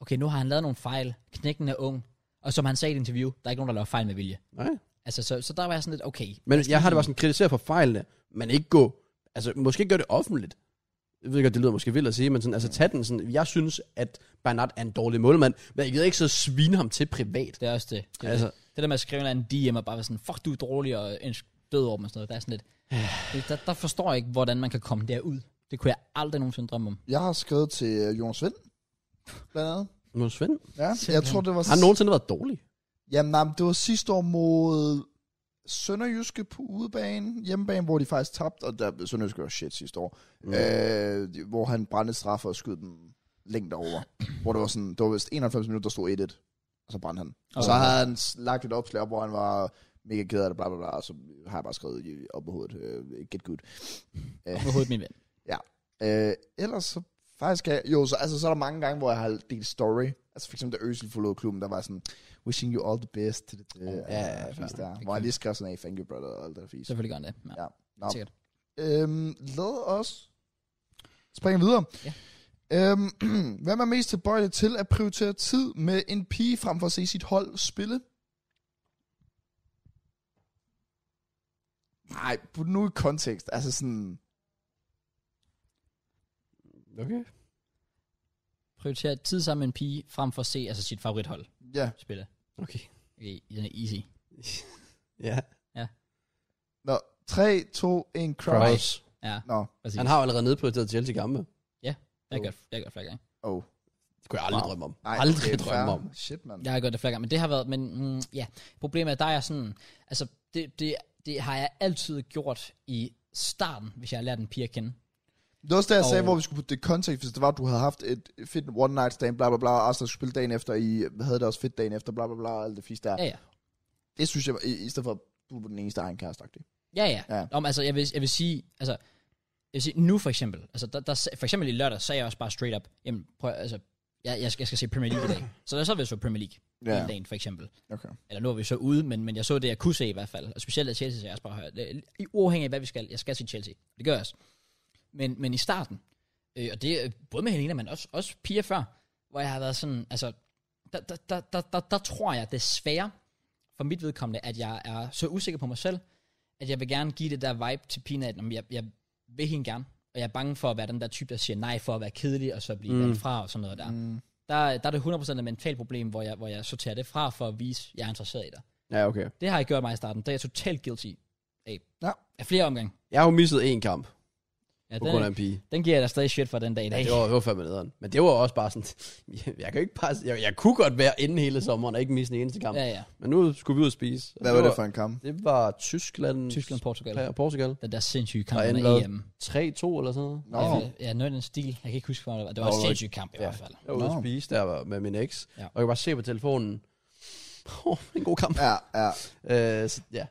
Speaker 1: okay, nu har han lavet nogle fejl, knækken er ung, og som han sagde i et interview, der er ikke nogen, der laver fejl med vilje.
Speaker 2: Nej.
Speaker 1: Altså, så, så der var jeg sådan lidt, okay,
Speaker 2: Men jeg har det bare sådan, kritisere for fejlene, men ikke gå, altså måske gøre det offentligt. Jeg ved godt, det lyder måske vildt at sige, men sådan, altså tag den sådan, jeg synes, at Bernard er en dårlig målmand, men jeg gider ikke så svine ham til privat.
Speaker 1: det er også det. Det, er
Speaker 2: Altså.
Speaker 1: det. det der med at skrive en eller anden DM og bare være sådan, fuck, du er dårlig, og en død over dem og sådan noget, der er sådan lidt,
Speaker 2: [SIGHS]
Speaker 1: det, der, der forstår jeg ikke, hvordan man kan komme derud. Det kunne jeg aldrig nogensinde drømme
Speaker 2: [LAUGHS]
Speaker 1: om.
Speaker 3: Jeg har skrevet til øh, Jonas Vind, blandt andet.
Speaker 2: Nu Svend,
Speaker 3: Ja, jeg
Speaker 1: Simpelthen.
Speaker 3: tror, det var...
Speaker 2: har han nogensinde været dårlig?
Speaker 3: Jamen, nej, men det var sidste år mod Sønderjyske på udebane, hjemmebane, hvor de faktisk tabte, og der, Sønderjyske var shit sidste år, mm. øh, hvor han brændte straffer og skød dem længder over, hvor det var sådan, det var vist 91 minutter, der stod 1-1, og så brændte han. Og så
Speaker 1: Okay.
Speaker 3: havde han s- lagt et opslag op, hvor han var mega ked af det, bla bla bla, og så har jeg bare skrevet i- op på hovedet, øh, get good. Øh,
Speaker 1: Overhovedet min ven.
Speaker 3: Øh, ellers så faktisk, er, jo, så, altså, så er der mange gange, hvor jeg har delt story. Altså for eksempel, da Øsel forlod klubben, der var sådan, wishing you all the best. Det, det, oh,
Speaker 2: ja, ja,
Speaker 3: der, der, hvor jeg lige skrev sådan af, thank you brother, og alt det der fisk.
Speaker 1: Selvfølgelig gør han det. Ja.
Speaker 3: Ja. Nå.
Speaker 1: Sikkert.
Speaker 3: Øhm, lad os springe videre.
Speaker 1: Ja.
Speaker 3: Øhm, [CLEARS THROAT] hvem er mest tilbøjelig til at prioritere tid med en pige frem for at se sit hold spille? Nej, på nu i kontekst. Altså sådan,
Speaker 2: Okay.
Speaker 1: Prioritere tid sammen med en pige, frem for at se altså, sit favorithold
Speaker 3: ja.
Speaker 1: spille.
Speaker 2: Okay. [LAUGHS]
Speaker 1: Okay, den er easy.
Speaker 2: ja.
Speaker 3: Nå, 3, 2, 1, crouch.
Speaker 2: Cross.
Speaker 1: Ja,
Speaker 3: Nå,
Speaker 1: præcis.
Speaker 2: Han har jo allerede nedprioriteret Chelsea kampe.
Speaker 1: Jeg har gjort, jeg har gjort flere gange.
Speaker 3: oh.
Speaker 2: Det kunne jeg aldrig
Speaker 3: Wow.
Speaker 2: drømme om.
Speaker 3: Nej,
Speaker 2: aldrig
Speaker 3: det er
Speaker 2: drømme
Speaker 3: fair.
Speaker 2: om.
Speaker 3: Shit, mand.
Speaker 1: Jeg har gjort det flere gange, men det har været, men mm, ja, problemet er, der er sådan, altså det, det, det har jeg altid gjort i starten, hvis jeg har lært en pige at kende.
Speaker 3: Det var også det, jeg sagde,
Speaker 1: Og-
Speaker 3: hvor vi skulle putte det i kontekst, hvis det var, at du havde haft et fedt one night stand, bla bla bla, og Arsenal skulle spille dagen efter, I havde det også fedt dagen efter, bla bla bla, og alt det fisk der.
Speaker 1: Ja, ja.
Speaker 3: Det synes jeg, var- i, i stedet for, at du var den eneste, der har en kæreste.
Speaker 1: Ja, ja.
Speaker 3: Ja.
Speaker 1: ja. Om, altså, jeg vil, jeg vil sige, altså, jeg vil sige, nu for eksempel, altså, der, der, sag- for eksempel i lørdag, sagde jeg også bare straight up, jamen, prøv, at- altså, jeg, jeg, skal, jeg skal se Premier League i [CLEARS THROAT] dag. Så der så vil jeg så Premier League ja. hele dagen, for eksempel.
Speaker 3: okay.
Speaker 1: Eller nu er vi så ude, men, men jeg så det, jeg kunne se i hvert fald. Og specielt af Chelsea, så jeg også bare hører. det- I uafhængig af, hvad vi skal, jeg skal se Chelsea. Det gør jeg også. Men, men i starten, øh, og det er både med Helena, men også, også piger før, hvor jeg har været sådan, altså, der, der, der, der, der, der tror jeg desværre, for mit vedkommende, at jeg er så usikker på mig selv, at jeg vil gerne give det der vibe til pigen, at "Nå, men jeg, jeg vil hende gerne, og jeg er bange for at være den der type, der siger nej for at være kedelig, og så blive
Speaker 2: Mm.
Speaker 1: mm. valgt fra og sådan noget der
Speaker 3: Mm.
Speaker 1: der, der er det 100% et mentalt problem, hvor jeg, hvor jeg sorterer det fra for at vise, at jeg er interesseret i dig.
Speaker 2: Ja, okay.
Speaker 1: Det har jeg gjort mig i starten. Det er jeg totalt guilty af.
Speaker 3: Ja.
Speaker 1: Af flere omgange.
Speaker 2: Jeg har jo misset én kamp
Speaker 1: Ja,
Speaker 2: på grund af
Speaker 1: den,
Speaker 2: en pige.
Speaker 1: den giver jeg da stadig shit for den dag i dag.
Speaker 2: Det var, det var fandme nederen. Men det var også bare sådan, [LAUGHS] jeg, kan jo ikke passe, jeg, jeg kunne godt være inde hele sommeren og ikke misse en eneste kamp.
Speaker 1: ja, ja.
Speaker 2: Men nu skulle vi ud og spise. Og
Speaker 3: Hvad var det for en kamp?
Speaker 2: Det var Tyskland,
Speaker 1: Tyskland, Portugal.
Speaker 2: Ja, Portugal.
Speaker 1: Den der sindssyge kamp
Speaker 2: Der er
Speaker 1: under
Speaker 2: indlaget.
Speaker 1: EM.
Speaker 2: 3-2 eller sådan noget.
Speaker 3: Nå,
Speaker 1: Ja, Ja, noget i den stil. Jeg kan ikke huske, hvor det var. Det var
Speaker 2: Nå,
Speaker 1: en
Speaker 2: det var
Speaker 1: sindssyg kamp i hvert fald.
Speaker 2: Jeg var ude
Speaker 3: Nå.
Speaker 2: at spise der var med min eks,
Speaker 1: Ja.
Speaker 2: ja. og jeg kunne bare se på telefonen, [LAUGHS] oh, en god kamp.
Speaker 3: ja, ja.
Speaker 2: Øh, så, ja.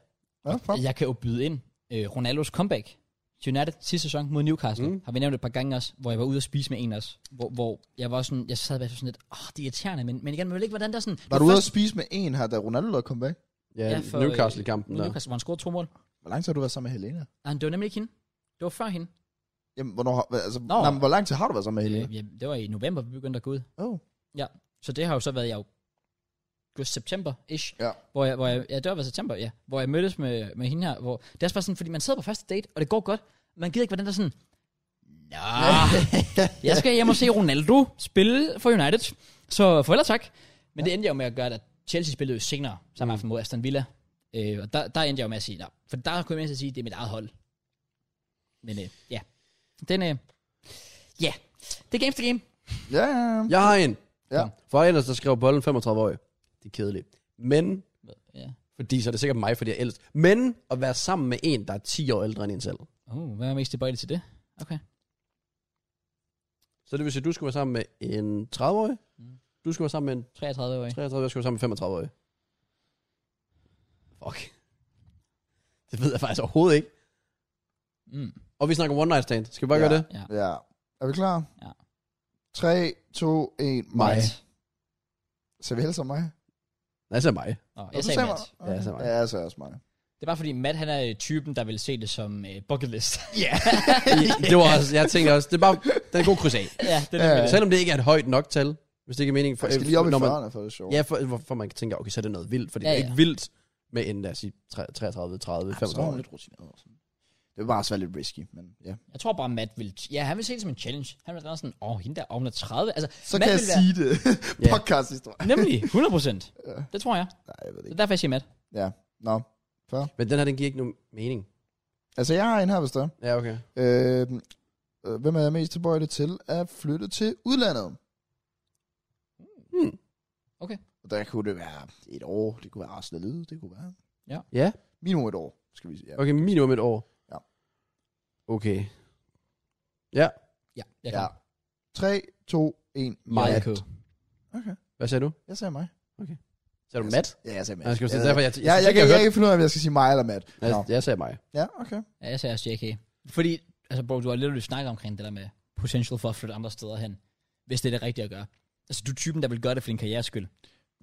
Speaker 3: ja fuck.
Speaker 1: Jeg kan jo byde ind øh, Ronaldos comeback. til United sidste sæson mod Newcastle, mm. har vi nævnt et par gange også, hvor jeg var ude at spise med en også, hvor, hvor jeg var sådan, jeg sad bare sådan lidt, åh, oh, det er irriterende, men, men igen, man vil ikke, hvordan der sådan...
Speaker 3: Var du ude at spise med en her, da Ronaldo lavede comeback?
Speaker 2: Ja, ja
Speaker 1: for, øh,
Speaker 2: Newcastle-kampen der.
Speaker 1: Newcastle, hvor han scorede to mål.
Speaker 3: Hvor lang tid har du været sammen med Helena?
Speaker 1: Nej, det var nemlig ikke hende. Det var før hende.
Speaker 3: Jamen, hvornår, har- hvad- altså,
Speaker 1: Nå.
Speaker 3: nej, men hvor lang tid har du været sammen med Helena?
Speaker 1: Øh, ja, det var i november, vi begyndte at gå ud.
Speaker 3: Oh.
Speaker 1: Så det har jo så været i august, september-ish.
Speaker 3: Ja.
Speaker 1: Hvor jeg, hvor jeg, ja, det var i september, ja. Hvor jeg mødtes med, med hende her. Hvor, det er også bare sådan, fordi man sidder på første date, og det går godt. Man gider ikke, hvordan der sådan... Nå, [LAUGHS] jeg skal hjem og se Ronaldo spille for United. Så for ellers tak. Men det endte jeg jo med at gøre, at Chelsea spillede jo senere samme aften mod Aston Villa. Øh, og der, der endte jeg jo med at sige, nej. For der kunne jeg med at sige, at det er mit eget hold. Men øh, ja. Den, øh, ja. Det er games to game.
Speaker 3: Ja, ja, ja.
Speaker 2: Jeg har en.
Speaker 3: Ja.
Speaker 2: For ellers, der skrev bolden 35 år. Det er kedeligt. Men,
Speaker 1: Ja.
Speaker 2: fordi så er det sikkert mig, fordi jeg er ældst. Men at være sammen med en, der er 10 år ældre end en selv.
Speaker 1: Oh, hvad er mest tilbøjelig til det? Okay.
Speaker 2: Så det vil sige, at du skal være sammen med en 30-årig.
Speaker 1: Mm.
Speaker 2: Du skal være sammen med en
Speaker 1: 33 år.
Speaker 2: 33, jeg skal være sammen med en 35-årig. Fuck. Det ved jeg faktisk overhovedet ikke.
Speaker 1: Mm.
Speaker 2: Og vi snakker one night stand. Skal vi bare ja. gøre det?
Speaker 1: Ja.
Speaker 3: Ja. Er vi klar?
Speaker 1: Ja.
Speaker 3: 3, 2, 1, mig. Så vi helst mig?
Speaker 2: Nej, så er mig.
Speaker 1: Oh,
Speaker 3: Nå,
Speaker 1: jeg
Speaker 3: du
Speaker 1: sagde Matt.
Speaker 3: mig.
Speaker 2: Ja, så mig.
Speaker 3: Ja, så er jeg også mig.
Speaker 1: Det er bare fordi Matt, han er øh, typen, der vil se det som øh, bucket list. [LAUGHS] Ja.
Speaker 2: det var også, jeg tænkte også, det er bare, den er god kryds af.
Speaker 1: ja, det er
Speaker 3: Ja.
Speaker 1: nemlig det.
Speaker 2: Selvom det ikke er et højt nok tal, hvis det ikke er meningen.
Speaker 3: Jeg
Speaker 1: øh,
Speaker 3: skal lige op i
Speaker 2: når man,
Speaker 3: 40'erne for det er sjovt.
Speaker 2: Ja, for, hvorfor man kan tænke, okay, så er det noget vildt, for det
Speaker 1: Ja,
Speaker 2: er
Speaker 1: ja.
Speaker 2: ikke vildt med en, lad os sige, tre- 33, 30,
Speaker 3: så er hun
Speaker 2: 35.
Speaker 3: lidt rutineret. og sådan. Det var bare svært lidt risky, men ja.
Speaker 1: Jeg tror bare, Matt vil... Ja, han vil se det som en challenge. Han vil sådan sådan, åh, oh, hende der, åh, hun er 30. Altså,
Speaker 3: Så
Speaker 1: Matt
Speaker 3: kan jeg
Speaker 1: vil være-
Speaker 3: sige
Speaker 1: [LAUGHS]
Speaker 3: det.
Speaker 2: Ja.
Speaker 3: Podcast historie. [LAUGHS]
Speaker 1: Nemlig, 100 procent. Det tror jeg.
Speaker 3: Nej, jeg ved det
Speaker 1: Det er
Speaker 3: ikke.
Speaker 1: derfor, jeg siger Matt.
Speaker 3: Ja. Nå.
Speaker 2: Men den her, den giver ikke nogen mening.
Speaker 3: Altså, jeg har en her, hvis der.
Speaker 2: Ja, okay.
Speaker 3: Øh, øh, hvem er jeg mest tilbøjelig til at flytte til udlandet?
Speaker 2: Hmm.
Speaker 1: Okay.
Speaker 3: Og der kunne det være et år, det kunne være resten af livet, det kunne være
Speaker 2: Ja,
Speaker 3: minimum et år, skal vi sige. Ja.
Speaker 2: okay, minimum et år.
Speaker 3: Ja.
Speaker 2: Okay. Ja,
Speaker 1: Ja, jeg kan.
Speaker 3: ja. 3, 2, 1,
Speaker 1: Meget
Speaker 3: Maja.
Speaker 1: cool.
Speaker 3: Okay,
Speaker 2: hvad sagde du?
Speaker 3: jeg sagde mig.
Speaker 2: Sagde du Matt?
Speaker 3: Ja, jeg sagde mig.
Speaker 2: Ja, jeg skal også sige, derfor, jeg, Altså,
Speaker 3: Ja, jeg,
Speaker 2: synes
Speaker 3: kan,
Speaker 2: ikke,
Speaker 3: jeg
Speaker 2: jeg,
Speaker 3: kan ikke finde ud af, om jeg skal sige mig eller Matt.
Speaker 2: jeg,
Speaker 3: Nå.
Speaker 2: jeg, jeg sagde mig.
Speaker 3: Ja, okay.
Speaker 1: Ja, jeg sagde også JK. Fordi, altså bro, du har lidt snakket omkring det der med potential for at flytte andre steder hen, hvis det er det rigtige at gøre. Altså, du er typen, der vil gøre det for din karrieres skyld.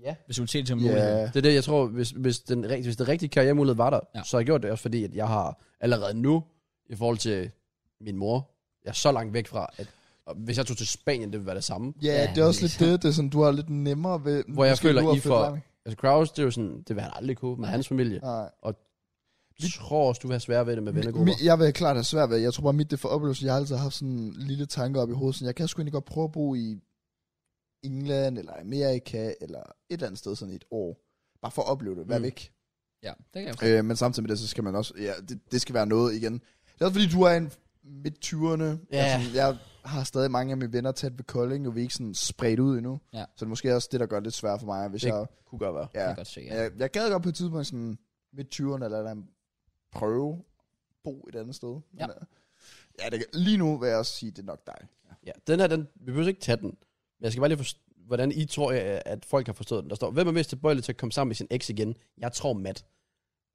Speaker 2: Ja.
Speaker 1: Hvis du vil se det som en mulighed.
Speaker 3: Ja,
Speaker 2: Det er det, jeg tror, hvis, hvis, den, rigt- hvis den rigtige karrieremulighed var der,
Speaker 1: Ja.
Speaker 2: ja. så har jeg gjort det også, fordi at jeg har allerede nu, i forhold til min mor, jeg er så langt væk fra, at og hvis jeg tog til Spanien, det ville være det samme.
Speaker 3: ja, det er også lidt det, det er sådan, du har lidt nemmere ved...
Speaker 2: Hvor jeg
Speaker 3: måske
Speaker 2: føler,
Speaker 3: nu at
Speaker 2: I
Speaker 3: flytte
Speaker 2: får-
Speaker 3: langt.
Speaker 2: Altså Kraus, det er jo sådan, det vil han aldrig kunne med hans familie.
Speaker 3: Nej.
Speaker 2: Jeg tror også, du vil have svært ved det med vennegrupper.
Speaker 3: Mi- Jeg vil klart have svært ved, jeg tror bare, mit det er for oplevelse, jeg har altid haft sådan en lille tanke op i hovedet, sådan, jeg kan sgu egentlig godt prøve at bo i England, eller Amerika, eller et eller andet sted sådan i et år. Bare for at opleve det, vær
Speaker 2: Mm.
Speaker 3: væk.
Speaker 1: Ja, det kan jeg godt.
Speaker 3: Øh, men samtidig med det, så skal man også, ja, det, det skal være noget igen. Det er også fordi, du er en midt 20'erne.
Speaker 2: Ja.
Speaker 3: Jeg, er sådan- jeg har stadig mange af mine venner tæt ved Kolding, og vi er ikke sådan spredt ud endnu.
Speaker 1: Ja.
Speaker 3: Så det er måske også det, der gør det lidt svært for mig, hvis
Speaker 2: Det-
Speaker 3: jeg...
Speaker 2: kunne godt være.
Speaker 1: Det
Speaker 3: Ja,
Speaker 1: kan jeg godt se, ja.
Speaker 3: jeg, jeg gad godt på et tidspunkt sådan midt 20'erne, eller der prøve at bo et andet sted. Men,
Speaker 1: Ja.
Speaker 3: øh, ja det, kan- lige nu vil jeg også sige, det er nok dig.
Speaker 2: Ja, den her, den, vi behøver ikke tage den. Men jeg skal bare lige forstå, hvordan I tror, at at folk har forstået den. Der står, hvem er mest tilbøjelig til at komme sammen med sin eks igen? Jeg tror Matt.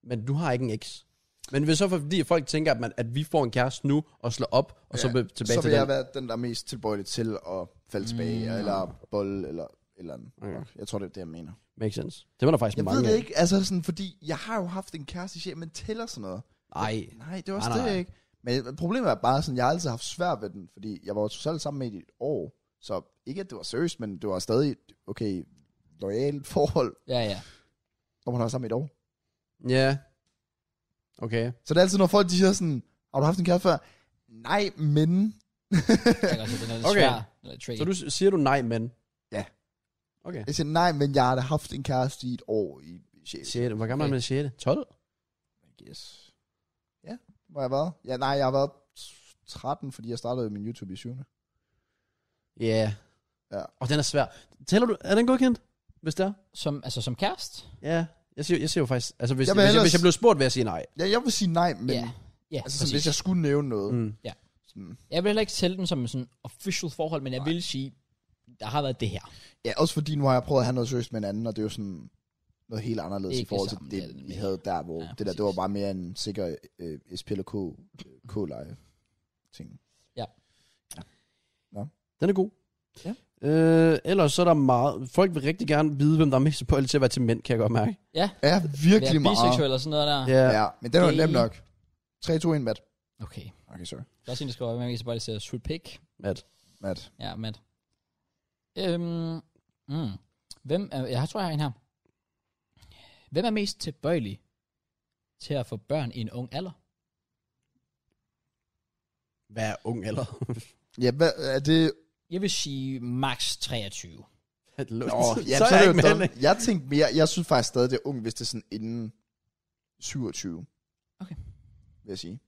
Speaker 2: Men du har ikke en eks. Men hvis så fordi folk tænker, at, man, at vi får en kæreste nu og slår op, og ja, så
Speaker 3: Ja,
Speaker 2: vil- tilbage
Speaker 3: så
Speaker 2: til
Speaker 3: vil jeg
Speaker 2: den.
Speaker 3: være den, der er mest tilbøjelig til at falde tilbage,
Speaker 1: Mm.
Speaker 3: eller bolle, eller et eller andet.
Speaker 2: Okay.
Speaker 3: Jeg tror, det er det, jeg mener.
Speaker 2: Makes sense. Det var der faktisk
Speaker 3: Jeg
Speaker 2: mange
Speaker 3: ved det
Speaker 2: af.
Speaker 3: ikke, altså sådan, fordi jeg har jo haft en kæreste i sjæl, men tæller sådan noget.
Speaker 2: Nej.
Speaker 3: Nej, det var også
Speaker 2: Nej,
Speaker 3: nej,
Speaker 2: nej,
Speaker 3: det,
Speaker 2: nej.
Speaker 3: ikke? Men problemet er bare sådan, jeg har altid haft svært ved den, fordi jeg var jo totalt sammen med i et år, så ikke at det var seriøst, men det var stadig, okay, lojalt forhold,
Speaker 1: Ja, ja.
Speaker 3: når man har været sammen i et år.
Speaker 2: Ja. Okay.
Speaker 3: Så det er altid, når folk de siger sådan, har du haft en kæreste før? Nej, men...
Speaker 1: Jeg kan godt se, den er lidt
Speaker 2: Okay.
Speaker 1: svær. Den er lidt tricky.
Speaker 2: Så du s- siger du nej, men?
Speaker 3: Ja.
Speaker 2: Okay.
Speaker 3: jeg siger, nej, men jeg har da haft en kæreste i et år i i sjæl.
Speaker 2: 6. Hvor gammel er man i 6? 12?
Speaker 3: Yes. Ja, hvor har jeg været? Ja, nej, jeg har været 13, fordi jeg startede min YouTube i 7.
Speaker 2: Ja. Yeah.
Speaker 3: Ja.
Speaker 2: Og den er svær. Tæller du, er den godkendt? Hvis det er?
Speaker 1: Som, altså, som kæreste?
Speaker 2: Ja. Jeg siger, jeg siger jo faktisk, altså hvis
Speaker 3: Jeg
Speaker 2: jeg,
Speaker 3: vil
Speaker 2: hvis, jeg,
Speaker 3: ellers-
Speaker 2: hvis jeg blev spurgt, vil jeg sige nej.
Speaker 3: Ja, jeg vil sige nej, men...
Speaker 1: Ja. Ja,
Speaker 3: Altså,
Speaker 1: præcis.
Speaker 3: sådan, hvis jeg skulle nævne noget. Mm.
Speaker 2: Mm.
Speaker 3: Sådan,
Speaker 1: Jeg vil heller ikke tælle den som en sådan official forhold, men jeg vil sige, der har været det her.
Speaker 3: Ja, også fordi nu har jeg prøvet at have noget seriøst med en anden, og det er jo sådan noget helt anderledes
Speaker 1: Ikke
Speaker 3: i forhold
Speaker 1: sammen,
Speaker 3: til
Speaker 1: det er
Speaker 3: det,
Speaker 1: det
Speaker 3: vi
Speaker 1: mere.
Speaker 3: havde der, hvor
Speaker 1: Ja,
Speaker 3: ja, det der,
Speaker 1: præcis.
Speaker 3: det var bare mere en sikker øh, SPL og K, øh, K-leje ting.
Speaker 2: Den er god.
Speaker 3: Ja.
Speaker 2: Øh, ellers så er der meget... Folk vil rigtig gerne vide, hvem der er mest tilbøjelig til at være til mænd, kan jeg godt mærke.
Speaker 3: Ja, virkelig
Speaker 1: Være
Speaker 3: meget.
Speaker 1: biseksuel og sådan noget der.
Speaker 2: Ja. ja.
Speaker 3: Ja, men den var
Speaker 1: Gay.
Speaker 3: nem nok. 3, 2, 1, Matt.
Speaker 1: Okay.
Speaker 3: Okay, sorry.
Speaker 1: Der er også en, der skriver, at man kan bare sige, shoot pick.
Speaker 2: At,
Speaker 3: Matt.
Speaker 1: Ja, Matt. Øhm, mm. Hvem er, jeg tror, jeg har en her. Hvem er mest tilbøjelig til at få børn i en ung alder?
Speaker 2: hvad er ung eller? [LAUGHS]
Speaker 3: Ja, hvad, er det...
Speaker 1: Jeg vil sige max 23.
Speaker 3: Nå,
Speaker 1: [LAUGHS]
Speaker 2: [LAUGHS]
Speaker 3: ja, så, er det jo dumt. Jeg tænkte mere, jeg synes faktisk stadig, det er ung, hvis det er sådan inden 27.
Speaker 1: Okay.
Speaker 3: Vil jeg sige.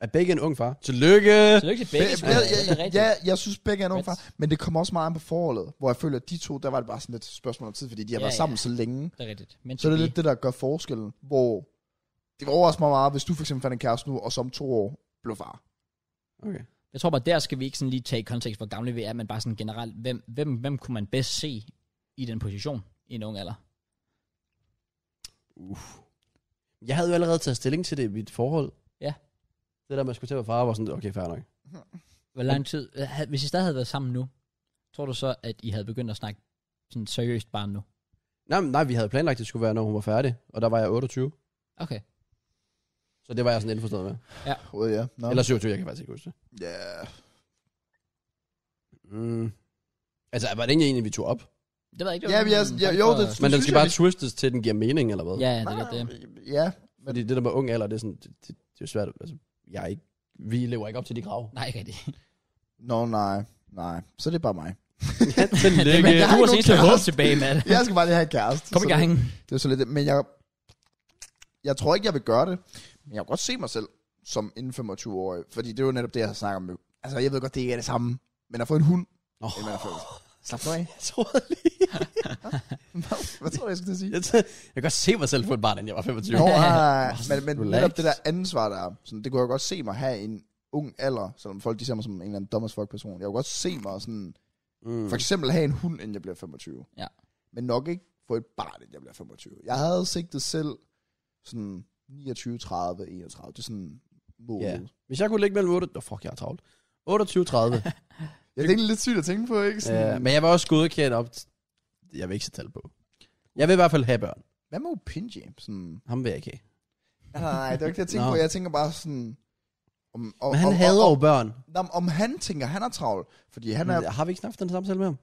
Speaker 2: Er Er begge en ung far? Tillykke!
Speaker 1: Tillykke til
Speaker 3: Men,
Speaker 1: begge
Speaker 3: jeg,
Speaker 1: spillere. det er
Speaker 3: jeg,
Speaker 1: rigtigt.
Speaker 3: jeg, jeg synes begge er nogen
Speaker 1: Men-
Speaker 3: far, men det kommer også meget an på forholdet, hvor jeg føler, at de to, der var det bare sådan lidt spørgsmål om tid, fordi de har
Speaker 1: Ja,
Speaker 3: været
Speaker 1: ja.
Speaker 3: sammen så længe.
Speaker 1: Det er rigtigt. Men
Speaker 3: Så er det lidt det, der gør forskellen, hvor det var overrasker mig meget, hvis du for eksempel fandt en kæreste nu, og som to år blev far.
Speaker 2: Okay.
Speaker 1: Jeg tror bare, der skal vi ikke sådan lige tage i kontekst, hvor gamle vi er, men bare sådan generelt, hvem, hvem, hvem kunne man bedst se i den position i en ung alder?
Speaker 2: Jeg havde jo allerede taget stilling til det i mit forhold.
Speaker 1: Ja.
Speaker 2: Det der, man skulle til at være far, var sådan, okay, fair nok.
Speaker 1: Hvor lang tid, havde- hvis I stadig havde været sammen nu, tror du så, at I havde begyndt at snakke sådan seriøst bare nu?
Speaker 2: Nej, men- nej, vi havde planlagt, at det skulle være, når hun var færdig. Og der var jeg 28.
Speaker 1: Okay.
Speaker 2: Så det var jeg sådan indforstået med.
Speaker 3: Oh, ja. Nå.
Speaker 2: Eller 27, jeg kan faktisk ikke huske det.
Speaker 3: Ja.
Speaker 2: Mm. Altså, var det ikke egentlig, vi tog op?
Speaker 1: Det ved jeg ikke.
Speaker 3: Ja, men jeg, ja, jo, det,
Speaker 2: Men den
Speaker 3: synes
Speaker 2: skal
Speaker 3: jeg,
Speaker 2: bare
Speaker 3: vi-
Speaker 2: twistes til, at den giver mening, eller hvad?
Speaker 1: Ja, ja, det er godt det.
Speaker 3: Ja,
Speaker 2: Fordi det der med ung alder, det er sådan, det, det, det er svært. Altså, jeg er ikke, vi lever ikke op til de krav.
Speaker 1: Nej, ikke [LAUGHS] rigtigt.
Speaker 3: Nå, nej, nej. Så det er bare
Speaker 1: [LAUGHS]
Speaker 3: mig.
Speaker 2: [LAUGHS] Tillykke.
Speaker 3: jeg
Speaker 1: Du
Speaker 3: har
Speaker 1: har
Speaker 3: ikke nogen
Speaker 1: senest noget håb
Speaker 3: kæreste.
Speaker 1: tilbage, mand.
Speaker 3: Jeg skal bare lige have en kæreste.
Speaker 1: Kom
Speaker 3: så
Speaker 1: i gang.
Speaker 3: Det, det er så lidt det. Men jeg, jeg tror ikke, jeg vil gøre det. Men jeg kan godt se mig selv som inden 25-årig. Fordi det er jo netop det, jeg har snakket om. Altså, jeg ved godt, det ikke er det samme. Men at få en hund,
Speaker 2: Nå,
Speaker 3: end man har fået. Slap nu af.
Speaker 2: jeg troede lige.
Speaker 3: [LAUGHS] Hvad- Hvad tror du, jeg skulle til at sige?
Speaker 2: Jeg, t- jeg kan godt se mig selv få et barn, inden jeg var 25.
Speaker 3: Nå, nej, nej, nej. men, men
Speaker 2: Relax.
Speaker 3: netop det der ansvar, der er, sådan, det kunne jeg godt se mig have i en ung alder, selvom folk de ser mig som en eller anden dumb as fuck person. Jeg kunne godt se mig sådan,
Speaker 2: Mm.
Speaker 3: for eksempel have en hund, inden jeg bliver 25.
Speaker 1: Ja.
Speaker 3: Men nok ikke få et barn, inden jeg bliver 25. Jeg havde sigtet selv sådan 29, 30, 31. Det er sådan målet.
Speaker 2: Ja.
Speaker 3: Yeah.
Speaker 2: Hvis jeg kunne ligge mellem 8... Nå, fuck, jeg er travlt. 28, [LAUGHS] 30.
Speaker 3: Ja, det er egentlig lidt sygt at tænke på, ikke? Sådan,
Speaker 2: ja, men jeg var også godkendt op... t- Jeg vil ikke sætte tal på. Jeg vil i hvert fald have børn.
Speaker 3: Hvad med Opinji? Sådan,
Speaker 2: Ham vil jeg ikke have.
Speaker 3: nej, nej, nej, det er ikke det, jeg tænker
Speaker 2: Nå.
Speaker 3: på. Jeg tænker bare sådan... Om, om,
Speaker 2: Men han
Speaker 3: om,
Speaker 2: hader
Speaker 3: om,
Speaker 2: jo børn.
Speaker 3: om, om, han tænker, han er travl. Fordi han er...
Speaker 2: Men Har vi ikke snakket den samtale med ham?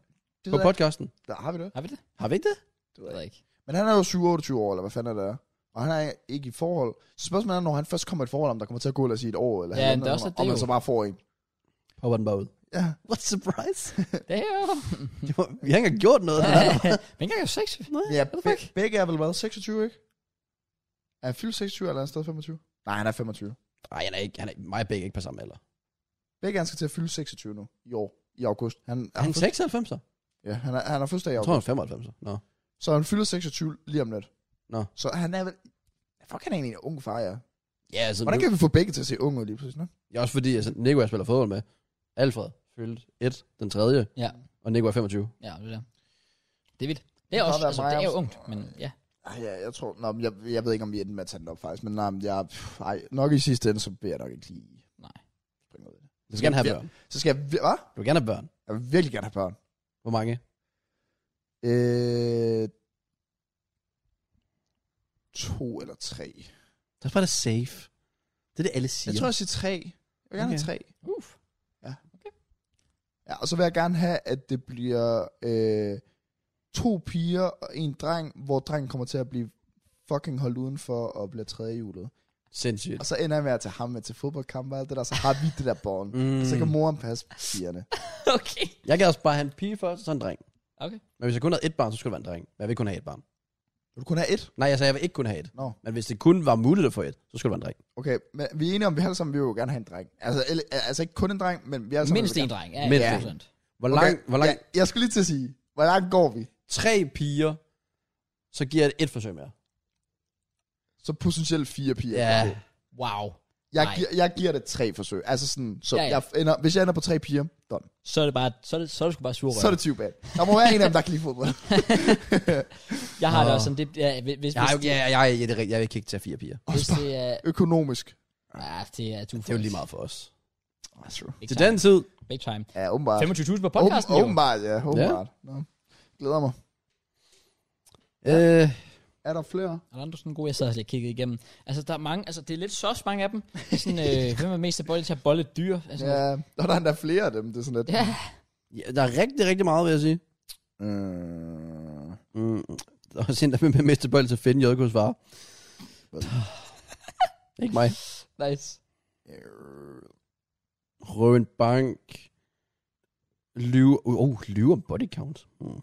Speaker 3: det
Speaker 2: På
Speaker 3: ved jeg
Speaker 2: podcasten?
Speaker 3: ikke. Der har vi det.
Speaker 1: Har vi det?
Speaker 2: Har vi ikke det?
Speaker 1: Det ved jeg [LAUGHS] ikke.
Speaker 3: Men han er jo 27 år, eller hvad fanden er det? er. Og han er ikke i forhold. Så spørgsmålet er, når han først kommer i et forhold, om der kommer til at gå, lad os sige, et år eller
Speaker 1: Ja,
Speaker 3: halvandet,
Speaker 1: men det er også
Speaker 3: om,
Speaker 1: det
Speaker 3: om man
Speaker 1: jo.
Speaker 3: så bare får en.
Speaker 2: Hopper den bare ud.
Speaker 3: Ja.
Speaker 2: What surprise?
Speaker 1: Det er jo...
Speaker 2: [LAUGHS] Det var, vi har ikke engang gjort noget.
Speaker 1: Men ikke engang sex.
Speaker 3: ja be- begge er vel hvad? 26, ikke? Er han fyldt 26, eller er han stadig 25? Nej, han er 25.
Speaker 2: Nej, han er ikke, han er, mig og begge er ikke på samme alder.
Speaker 3: Begge han skal til at fylde 26 nu, i år, i august. Han,
Speaker 2: Er han
Speaker 3: fød-
Speaker 2: 96'er?
Speaker 3: Ja, han er, han er fødselsdag i
Speaker 2: Jeg
Speaker 3: august.
Speaker 2: tror, han er 95'er. Nå.
Speaker 3: Så han fylder 26 lige om lidt.
Speaker 2: Nå.
Speaker 3: Så han er vel... Fuck, han er egentlig en ung far, ja.
Speaker 2: Ja, altså,
Speaker 3: Hvordan
Speaker 2: nu,
Speaker 3: kan vi få begge til at se unge ud lige pludselig? Nå?
Speaker 2: ja, også fordi, altså, Nico, jeg spiller fodbold med. Alfred fyldte 1, den tredje,
Speaker 1: Ja.
Speaker 2: og Nico er 25.
Speaker 1: Ja, det der. Det er vildt. Det er
Speaker 3: Det kan
Speaker 1: også,
Speaker 3: være
Speaker 1: altså,
Speaker 3: mig
Speaker 1: det er jo
Speaker 3: også.
Speaker 1: ungt, men ja.
Speaker 3: Ej, Ja, jeg tror... Nå, men jeg, jeg ved ikke, om vi ender med at tage den op, faktisk. Men nej, men jeg... pff, Ej, nok i sidste ende, så vil jeg nok ikke lige...
Speaker 1: Nej.
Speaker 3: springe ud i det.
Speaker 2: Du skal gerne have
Speaker 3: Ja.
Speaker 2: børn.
Speaker 3: Så skal jeg... vir- Hvad?
Speaker 2: Du vil gerne have børn.
Speaker 3: Jeg vil virkelig gerne have børn.
Speaker 2: Hvor mange?
Speaker 3: Øh, to eller tre.
Speaker 2: Det er bare det safe. Det er det, alle siger.
Speaker 3: Jeg tror, jeg siger tre. Jeg vil gerne okay. have tre.
Speaker 1: Uff.
Speaker 3: Ja, og så vil jeg gerne have, at det bliver øh, to piger og en dreng, hvor drengen kommer til at blive fucking holdt udenfor og bliver tredje hjulet.
Speaker 2: Sindssygt.
Speaker 3: Og så ender jeg med at tage ham med til fodboldkampe og alt det der, så har vi det der bånd.
Speaker 2: Mm.
Speaker 3: Og så kan moren passe pigerne.
Speaker 1: [LAUGHS] Okay.
Speaker 2: Jeg kan også bare have en pige først, og så en dreng.
Speaker 1: Okay.
Speaker 2: Men hvis jeg kun havde et barn, så skulle det være en dreng. Men jeg vil kun have et barn.
Speaker 3: Vil du kun have et?
Speaker 2: Nej, jeg sagde, jeg vil ikke kun have et.
Speaker 3: Nå.
Speaker 2: Men hvis det kun var muligt at få et, så skulle det være en dreng.
Speaker 3: Okay, men vi er enige om, at vi alle sammen vil jo gerne have en dreng. Altså, eller, altså ikke kun en dreng, men vi alle sammen
Speaker 1: Mindst
Speaker 3: vil
Speaker 1: en
Speaker 3: gerne-
Speaker 1: dreng. Ja,
Speaker 2: Altså, Mindst
Speaker 1: ja.
Speaker 2: en.
Speaker 1: 100%.
Speaker 2: Hvor
Speaker 3: Okay,
Speaker 2: lang, hvor lang,
Speaker 3: Jeg, jeg skulle lige til at sige, hvor langt går vi?
Speaker 2: tre piger, så giver jeg et forsøg mere.
Speaker 3: Så potentielt fire piger.
Speaker 2: Ja.
Speaker 1: Wow.
Speaker 3: Jeg,
Speaker 1: Nej.
Speaker 3: giver, jeg giver det tre forsøg. Altså sådan, så
Speaker 1: Ja,
Speaker 3: ja,
Speaker 1: ja.
Speaker 3: ja. Jeg ender, hvis jeg ender på tre piger, done.
Speaker 1: Så er det bare, så er det, så er det sgu bare sur
Speaker 3: så er det 20 bag. Der må være en af dem, der kan lide fodbold.
Speaker 1: Jeg har det
Speaker 2: Nå.
Speaker 1: også sådan, det, ja, hvis, hvis,
Speaker 2: Jeg,
Speaker 1: hvis,
Speaker 2: jeg, jeg, jeg, jeg, jeg, jeg vil ikke kigge til fire piger.
Speaker 1: hvis det er,
Speaker 3: Økonomisk.
Speaker 1: ja, det er, du
Speaker 2: Det er jo lige meget for os.
Speaker 3: That's Ah, true.
Speaker 1: Big
Speaker 2: Til
Speaker 1: time.
Speaker 2: den tid.
Speaker 1: Big time.
Speaker 3: Ja, åbenbart.
Speaker 1: 25.000 på podcasten,
Speaker 3: Åben-
Speaker 1: jo.
Speaker 3: åbenbart, ja. Åbenbart. Nå. Glæder mig.
Speaker 2: Øh,
Speaker 3: Er der flere?
Speaker 1: Er der andre sådan gode? Jeg sad og lige kiggede igennem. Altså, der er mange, altså, det er lidt sos, mange af dem. Det er Sådan,
Speaker 2: [LAUGHS]
Speaker 1: øh, hvem er mest af bolle til at bolle et dyr? Altså,
Speaker 3: Ja, og der er endda flere af dem. Det er sådan lidt...
Speaker 1: ja.
Speaker 2: ja, der er rigtig, rigtig meget, vil jeg sige.
Speaker 3: Øh,
Speaker 2: Mm. [LAUGHS] Der var sådan, der med miste bold til Finn Jørgens [LAUGHS] far. ikke mig.
Speaker 1: Nice.
Speaker 3: øh,
Speaker 2: Røve en bank. Lyve. Uh, oh, lyve om body count. Mm.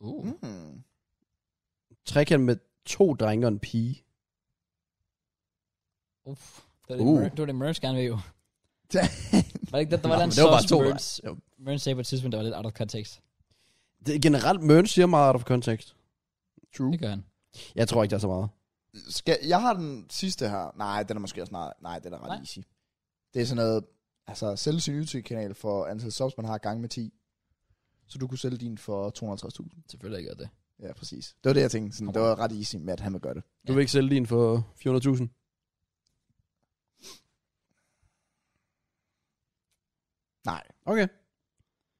Speaker 1: Uh.
Speaker 3: mm.
Speaker 2: Trekant med to drenge og en pige.
Speaker 1: Uff. Det var det,
Speaker 2: Uh.
Speaker 1: Mer- det, var det Merns gerne vil
Speaker 2: [LAUGHS]
Speaker 1: jo.
Speaker 3: Ja.
Speaker 1: var det ikke, der, der var
Speaker 2: Nå,
Speaker 1: en
Speaker 2: men det var bare
Speaker 1: sauce,
Speaker 2: to.
Speaker 1: Merns,
Speaker 2: Det var-
Speaker 1: Merns sagde på et tidspunkt, der var lidt out of context.
Speaker 2: Det, generelt, Mørn siger meget out of context.
Speaker 3: True.
Speaker 1: Det gør han.
Speaker 2: Jeg tror ikke, der er så meget.
Speaker 3: Skal, jeg har den sidste her. Nej, den er måske også snart. Nej, den er ret
Speaker 1: Nej.
Speaker 3: nej. easy. Det er sådan noget, altså sælge sin YouTube-kanal for antal subs, man har gange med 10. Så du kunne sælge din for 250.000.
Speaker 1: Selvfølgelig gør det.
Speaker 3: Ja, præcis. Det var det, jeg tænkte. Sådan,
Speaker 1: Kom
Speaker 3: det var ret easy med, at han vil gøre det.
Speaker 2: Du vil ikke sælge din for 400.000?
Speaker 3: Nej,
Speaker 2: Okay.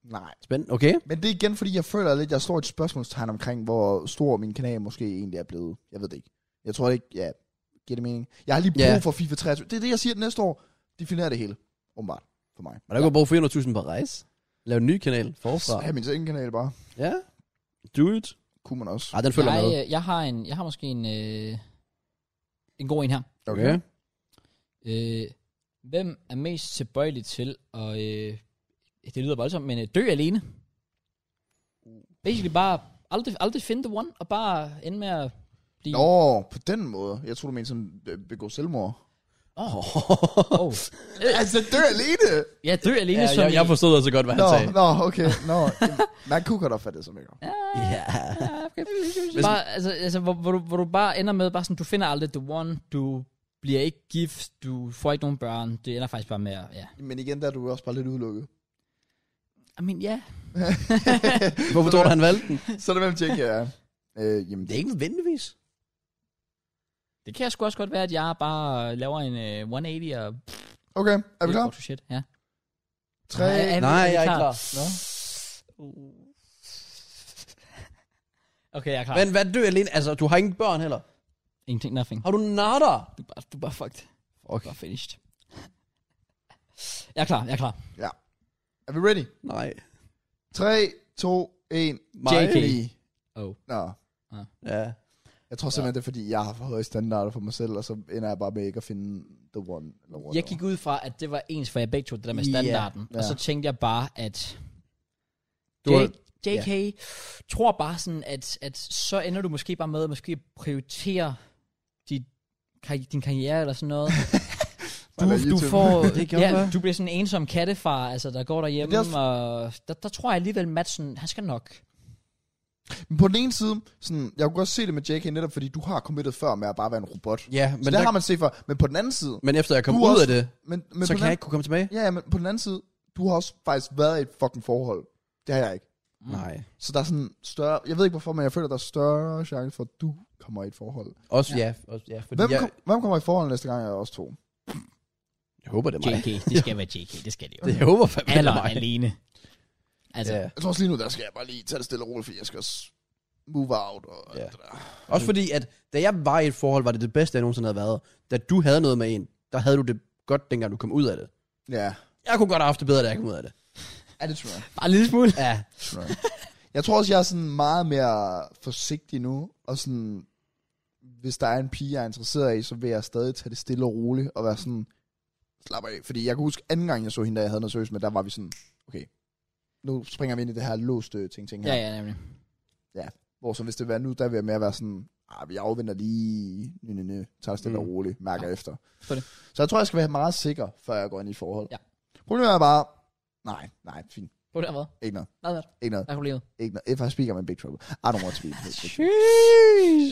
Speaker 3: nej.
Speaker 2: Spændende. Okay.
Speaker 3: Men det er igen, fordi jeg føler lidt, jeg står et spørgsmålstegn omkring, hvor stor min kanal måske egentlig er blevet. Jeg ved det ikke. Jeg tror det ikke, ja, giver det mening. Jeg har lige brug
Speaker 2: Ja.
Speaker 3: for FIFA 23. Det er det, jeg siger næste år. Definerer det hele, åbenbart, for mig.
Speaker 2: Og der kan du bruge 400.000 på rejse. Lav en ny kanal forfra.
Speaker 3: Så have min egen kanal bare.
Speaker 2: Ja. Do it.
Speaker 3: Kunne man også.
Speaker 2: Ej, den følger
Speaker 1: jeg,
Speaker 2: med.
Speaker 1: øh, jeg, har en, jeg har måske en, øh, en god en her.
Speaker 2: Okay.
Speaker 1: Øh, hvem er mest tilbøjelig til at... Øh, det lyder voldsomt, men øh, dø alene? Basically bare aldrig, aldrig finde the one, og bare ende med at blive...
Speaker 3: Nå, på den måde. Jeg tror du mener sådan, øh, begå selvmord.
Speaker 2: [LAUGHS]
Speaker 1: Oh.
Speaker 3: Altså, dø alene!
Speaker 1: Ja, dø alene
Speaker 2: Ja,
Speaker 1: som
Speaker 2: jeg,
Speaker 1: i-
Speaker 2: jeg forstod altså godt, hvad han
Speaker 3: Nå,
Speaker 2: sagde.
Speaker 3: nå, okay. Nå, Jamen, man kunne godt opfatte det som ikke.
Speaker 2: Ja.
Speaker 1: Hvis bare, altså, altså hvor, hvor, du, hvor du bare ender med, bare sådan, du finder aldrig the one, du bliver ikke gift, du får ikke nogen børn, det ender faktisk bare med, at- ja.
Speaker 3: Men igen, der er du også bare lidt udelukket.
Speaker 1: I mean, ja.
Speaker 2: Hvorfor tror du, han
Speaker 1: [LAUGHS]
Speaker 2: valgte den?
Speaker 3: Så er det hvem tjekker jeg er. Øh, jamen,
Speaker 2: Det er ikke nødvendigvis.
Speaker 1: Det kan sgu også godt være, at jeg bare laver en uh, 180 og...
Speaker 3: okay. Er vi klar?
Speaker 1: Oh, shit, ja.
Speaker 3: 3,
Speaker 1: Nej, er vi-
Speaker 2: Nej,
Speaker 1: er vi
Speaker 2: jeg er ikke klar.
Speaker 3: Nå.
Speaker 1: Okay, jeg er klar.
Speaker 2: Men hvad dø alene? Altså, du har ingen børn heller.
Speaker 1: Ingenting, nothing.
Speaker 2: Har du natter?
Speaker 1: Du er bare, du er bare fucked.
Speaker 2: Okay.
Speaker 1: Bare finished. jeg er klar, jeg er klar.
Speaker 3: Er vi ready?
Speaker 2: Nej.
Speaker 3: 3, 2, 1.
Speaker 2: Mig?
Speaker 1: JK. Oh.
Speaker 3: Nå,
Speaker 2: Ja.
Speaker 3: jeg tror simpelthen, det er fordi, jeg har for høje standarder for mig selv, og så ender jeg bare med ikke at finde the one. Eller whatever.
Speaker 1: Jeg gik ud fra, at det var ens for jer begge to, det der med standarden. Yeah,
Speaker 3: Ja.
Speaker 1: Og så tænkte jeg bare, at
Speaker 2: Du
Speaker 1: J-
Speaker 2: har-
Speaker 1: JK tror bare sådan, at, at så ender du måske bare med at måske prioritere dit, kar- din karriere eller sådan noget.
Speaker 3: Eller
Speaker 1: du, du,
Speaker 3: YouTube.
Speaker 1: får,
Speaker 2: Det kan godt
Speaker 1: ja,
Speaker 2: være.
Speaker 1: du bliver sådan en ensom kattefar, altså, der går derhjemme,
Speaker 3: Men det
Speaker 1: også... og der, der tror jeg alligevel, Madsen, han skal nok.
Speaker 3: Men på den ene side, sådan, jeg kunne godt se det med JK netop, fordi du har committet før med at bare være en robot. Så
Speaker 2: Ja,
Speaker 3: men
Speaker 2: men,
Speaker 3: det
Speaker 2: der,
Speaker 3: har man set før. Men på den anden side,
Speaker 2: men efter jeg kom
Speaker 3: Du
Speaker 2: ud
Speaker 3: også-
Speaker 2: af det,
Speaker 3: men, men på
Speaker 2: så
Speaker 3: den
Speaker 2: kan jeg ikke kunne komme tilbage.
Speaker 3: Ja, ja, men på den anden side, du har også faktisk været i et fucking forhold. Det har jeg ikke.
Speaker 1: Mm.
Speaker 2: Nej.
Speaker 3: Så der er sådan større, jeg ved ikke hvorfor, men jeg føler, der er større chance for, at du kommer i et forhold.
Speaker 2: Også ja. Også, ja fordi
Speaker 3: Hvem,
Speaker 2: jeg,
Speaker 3: kom, hvem kommer i forhold næste gang, jeg er også to?
Speaker 2: jeg håber, det er mig.
Speaker 1: JK, det [LAUGHS] skal være JK, det skal det jo.
Speaker 2: Jeg håber fandme, det
Speaker 1: Aller
Speaker 2: er mig.
Speaker 1: alene. Altså,
Speaker 2: Ja.
Speaker 3: Jeg tror også lige nu, der skal jeg bare lige tage det stille og roligt, fordi jeg skal også move out. Og
Speaker 2: Ja.
Speaker 3: alt det der.
Speaker 2: Også fordi, at da jeg var i et forhold, var det det bedste, jeg nogensinde havde været. Da du havde noget med en, der havde du det godt, dengang du kom ud af det.
Speaker 3: ja.
Speaker 2: Jeg kunne godt have haft det bedre, da jeg kom ud af det.
Speaker 3: ja, det tror jeg.
Speaker 1: bare en lille smule.
Speaker 2: Ja.
Speaker 3: Tror jeg. jeg tror også, jeg er sådan meget mere forsigtig nu, og sådan, hvis der er en pige, jeg er interesseret i, så vil jeg stadig tage det stille og roligt, og være sådan, slap af. Fordi jeg kan huske, anden gang jeg så hende, da jeg havde noget seriøst med, der var vi sådan, okay, nu springer vi ind i det her låste ting-ting her.
Speaker 1: Ja, ja, nemlig.
Speaker 3: Hvor så hvis det var nu, der vil jeg mere være sådan, ah, vi afventer lige, nø, nø, nø, tager det stille
Speaker 2: Mm.
Speaker 3: og roligt, mærker ja. efter.
Speaker 1: Forstår det.
Speaker 3: Så jeg tror, jeg skal være meget sikker, før jeg går ind i et forhold.
Speaker 1: Ja.
Speaker 3: Problemet er bare, nej, nej, fint,
Speaker 1: Hvor er det hvad?
Speaker 3: ikke noget,
Speaker 1: Hvad er det?
Speaker 3: ikke noget,
Speaker 1: Hvad er problemet?
Speaker 3: ikke noget. If I speak, I'm in big trouble. I don't want to be in big trouble.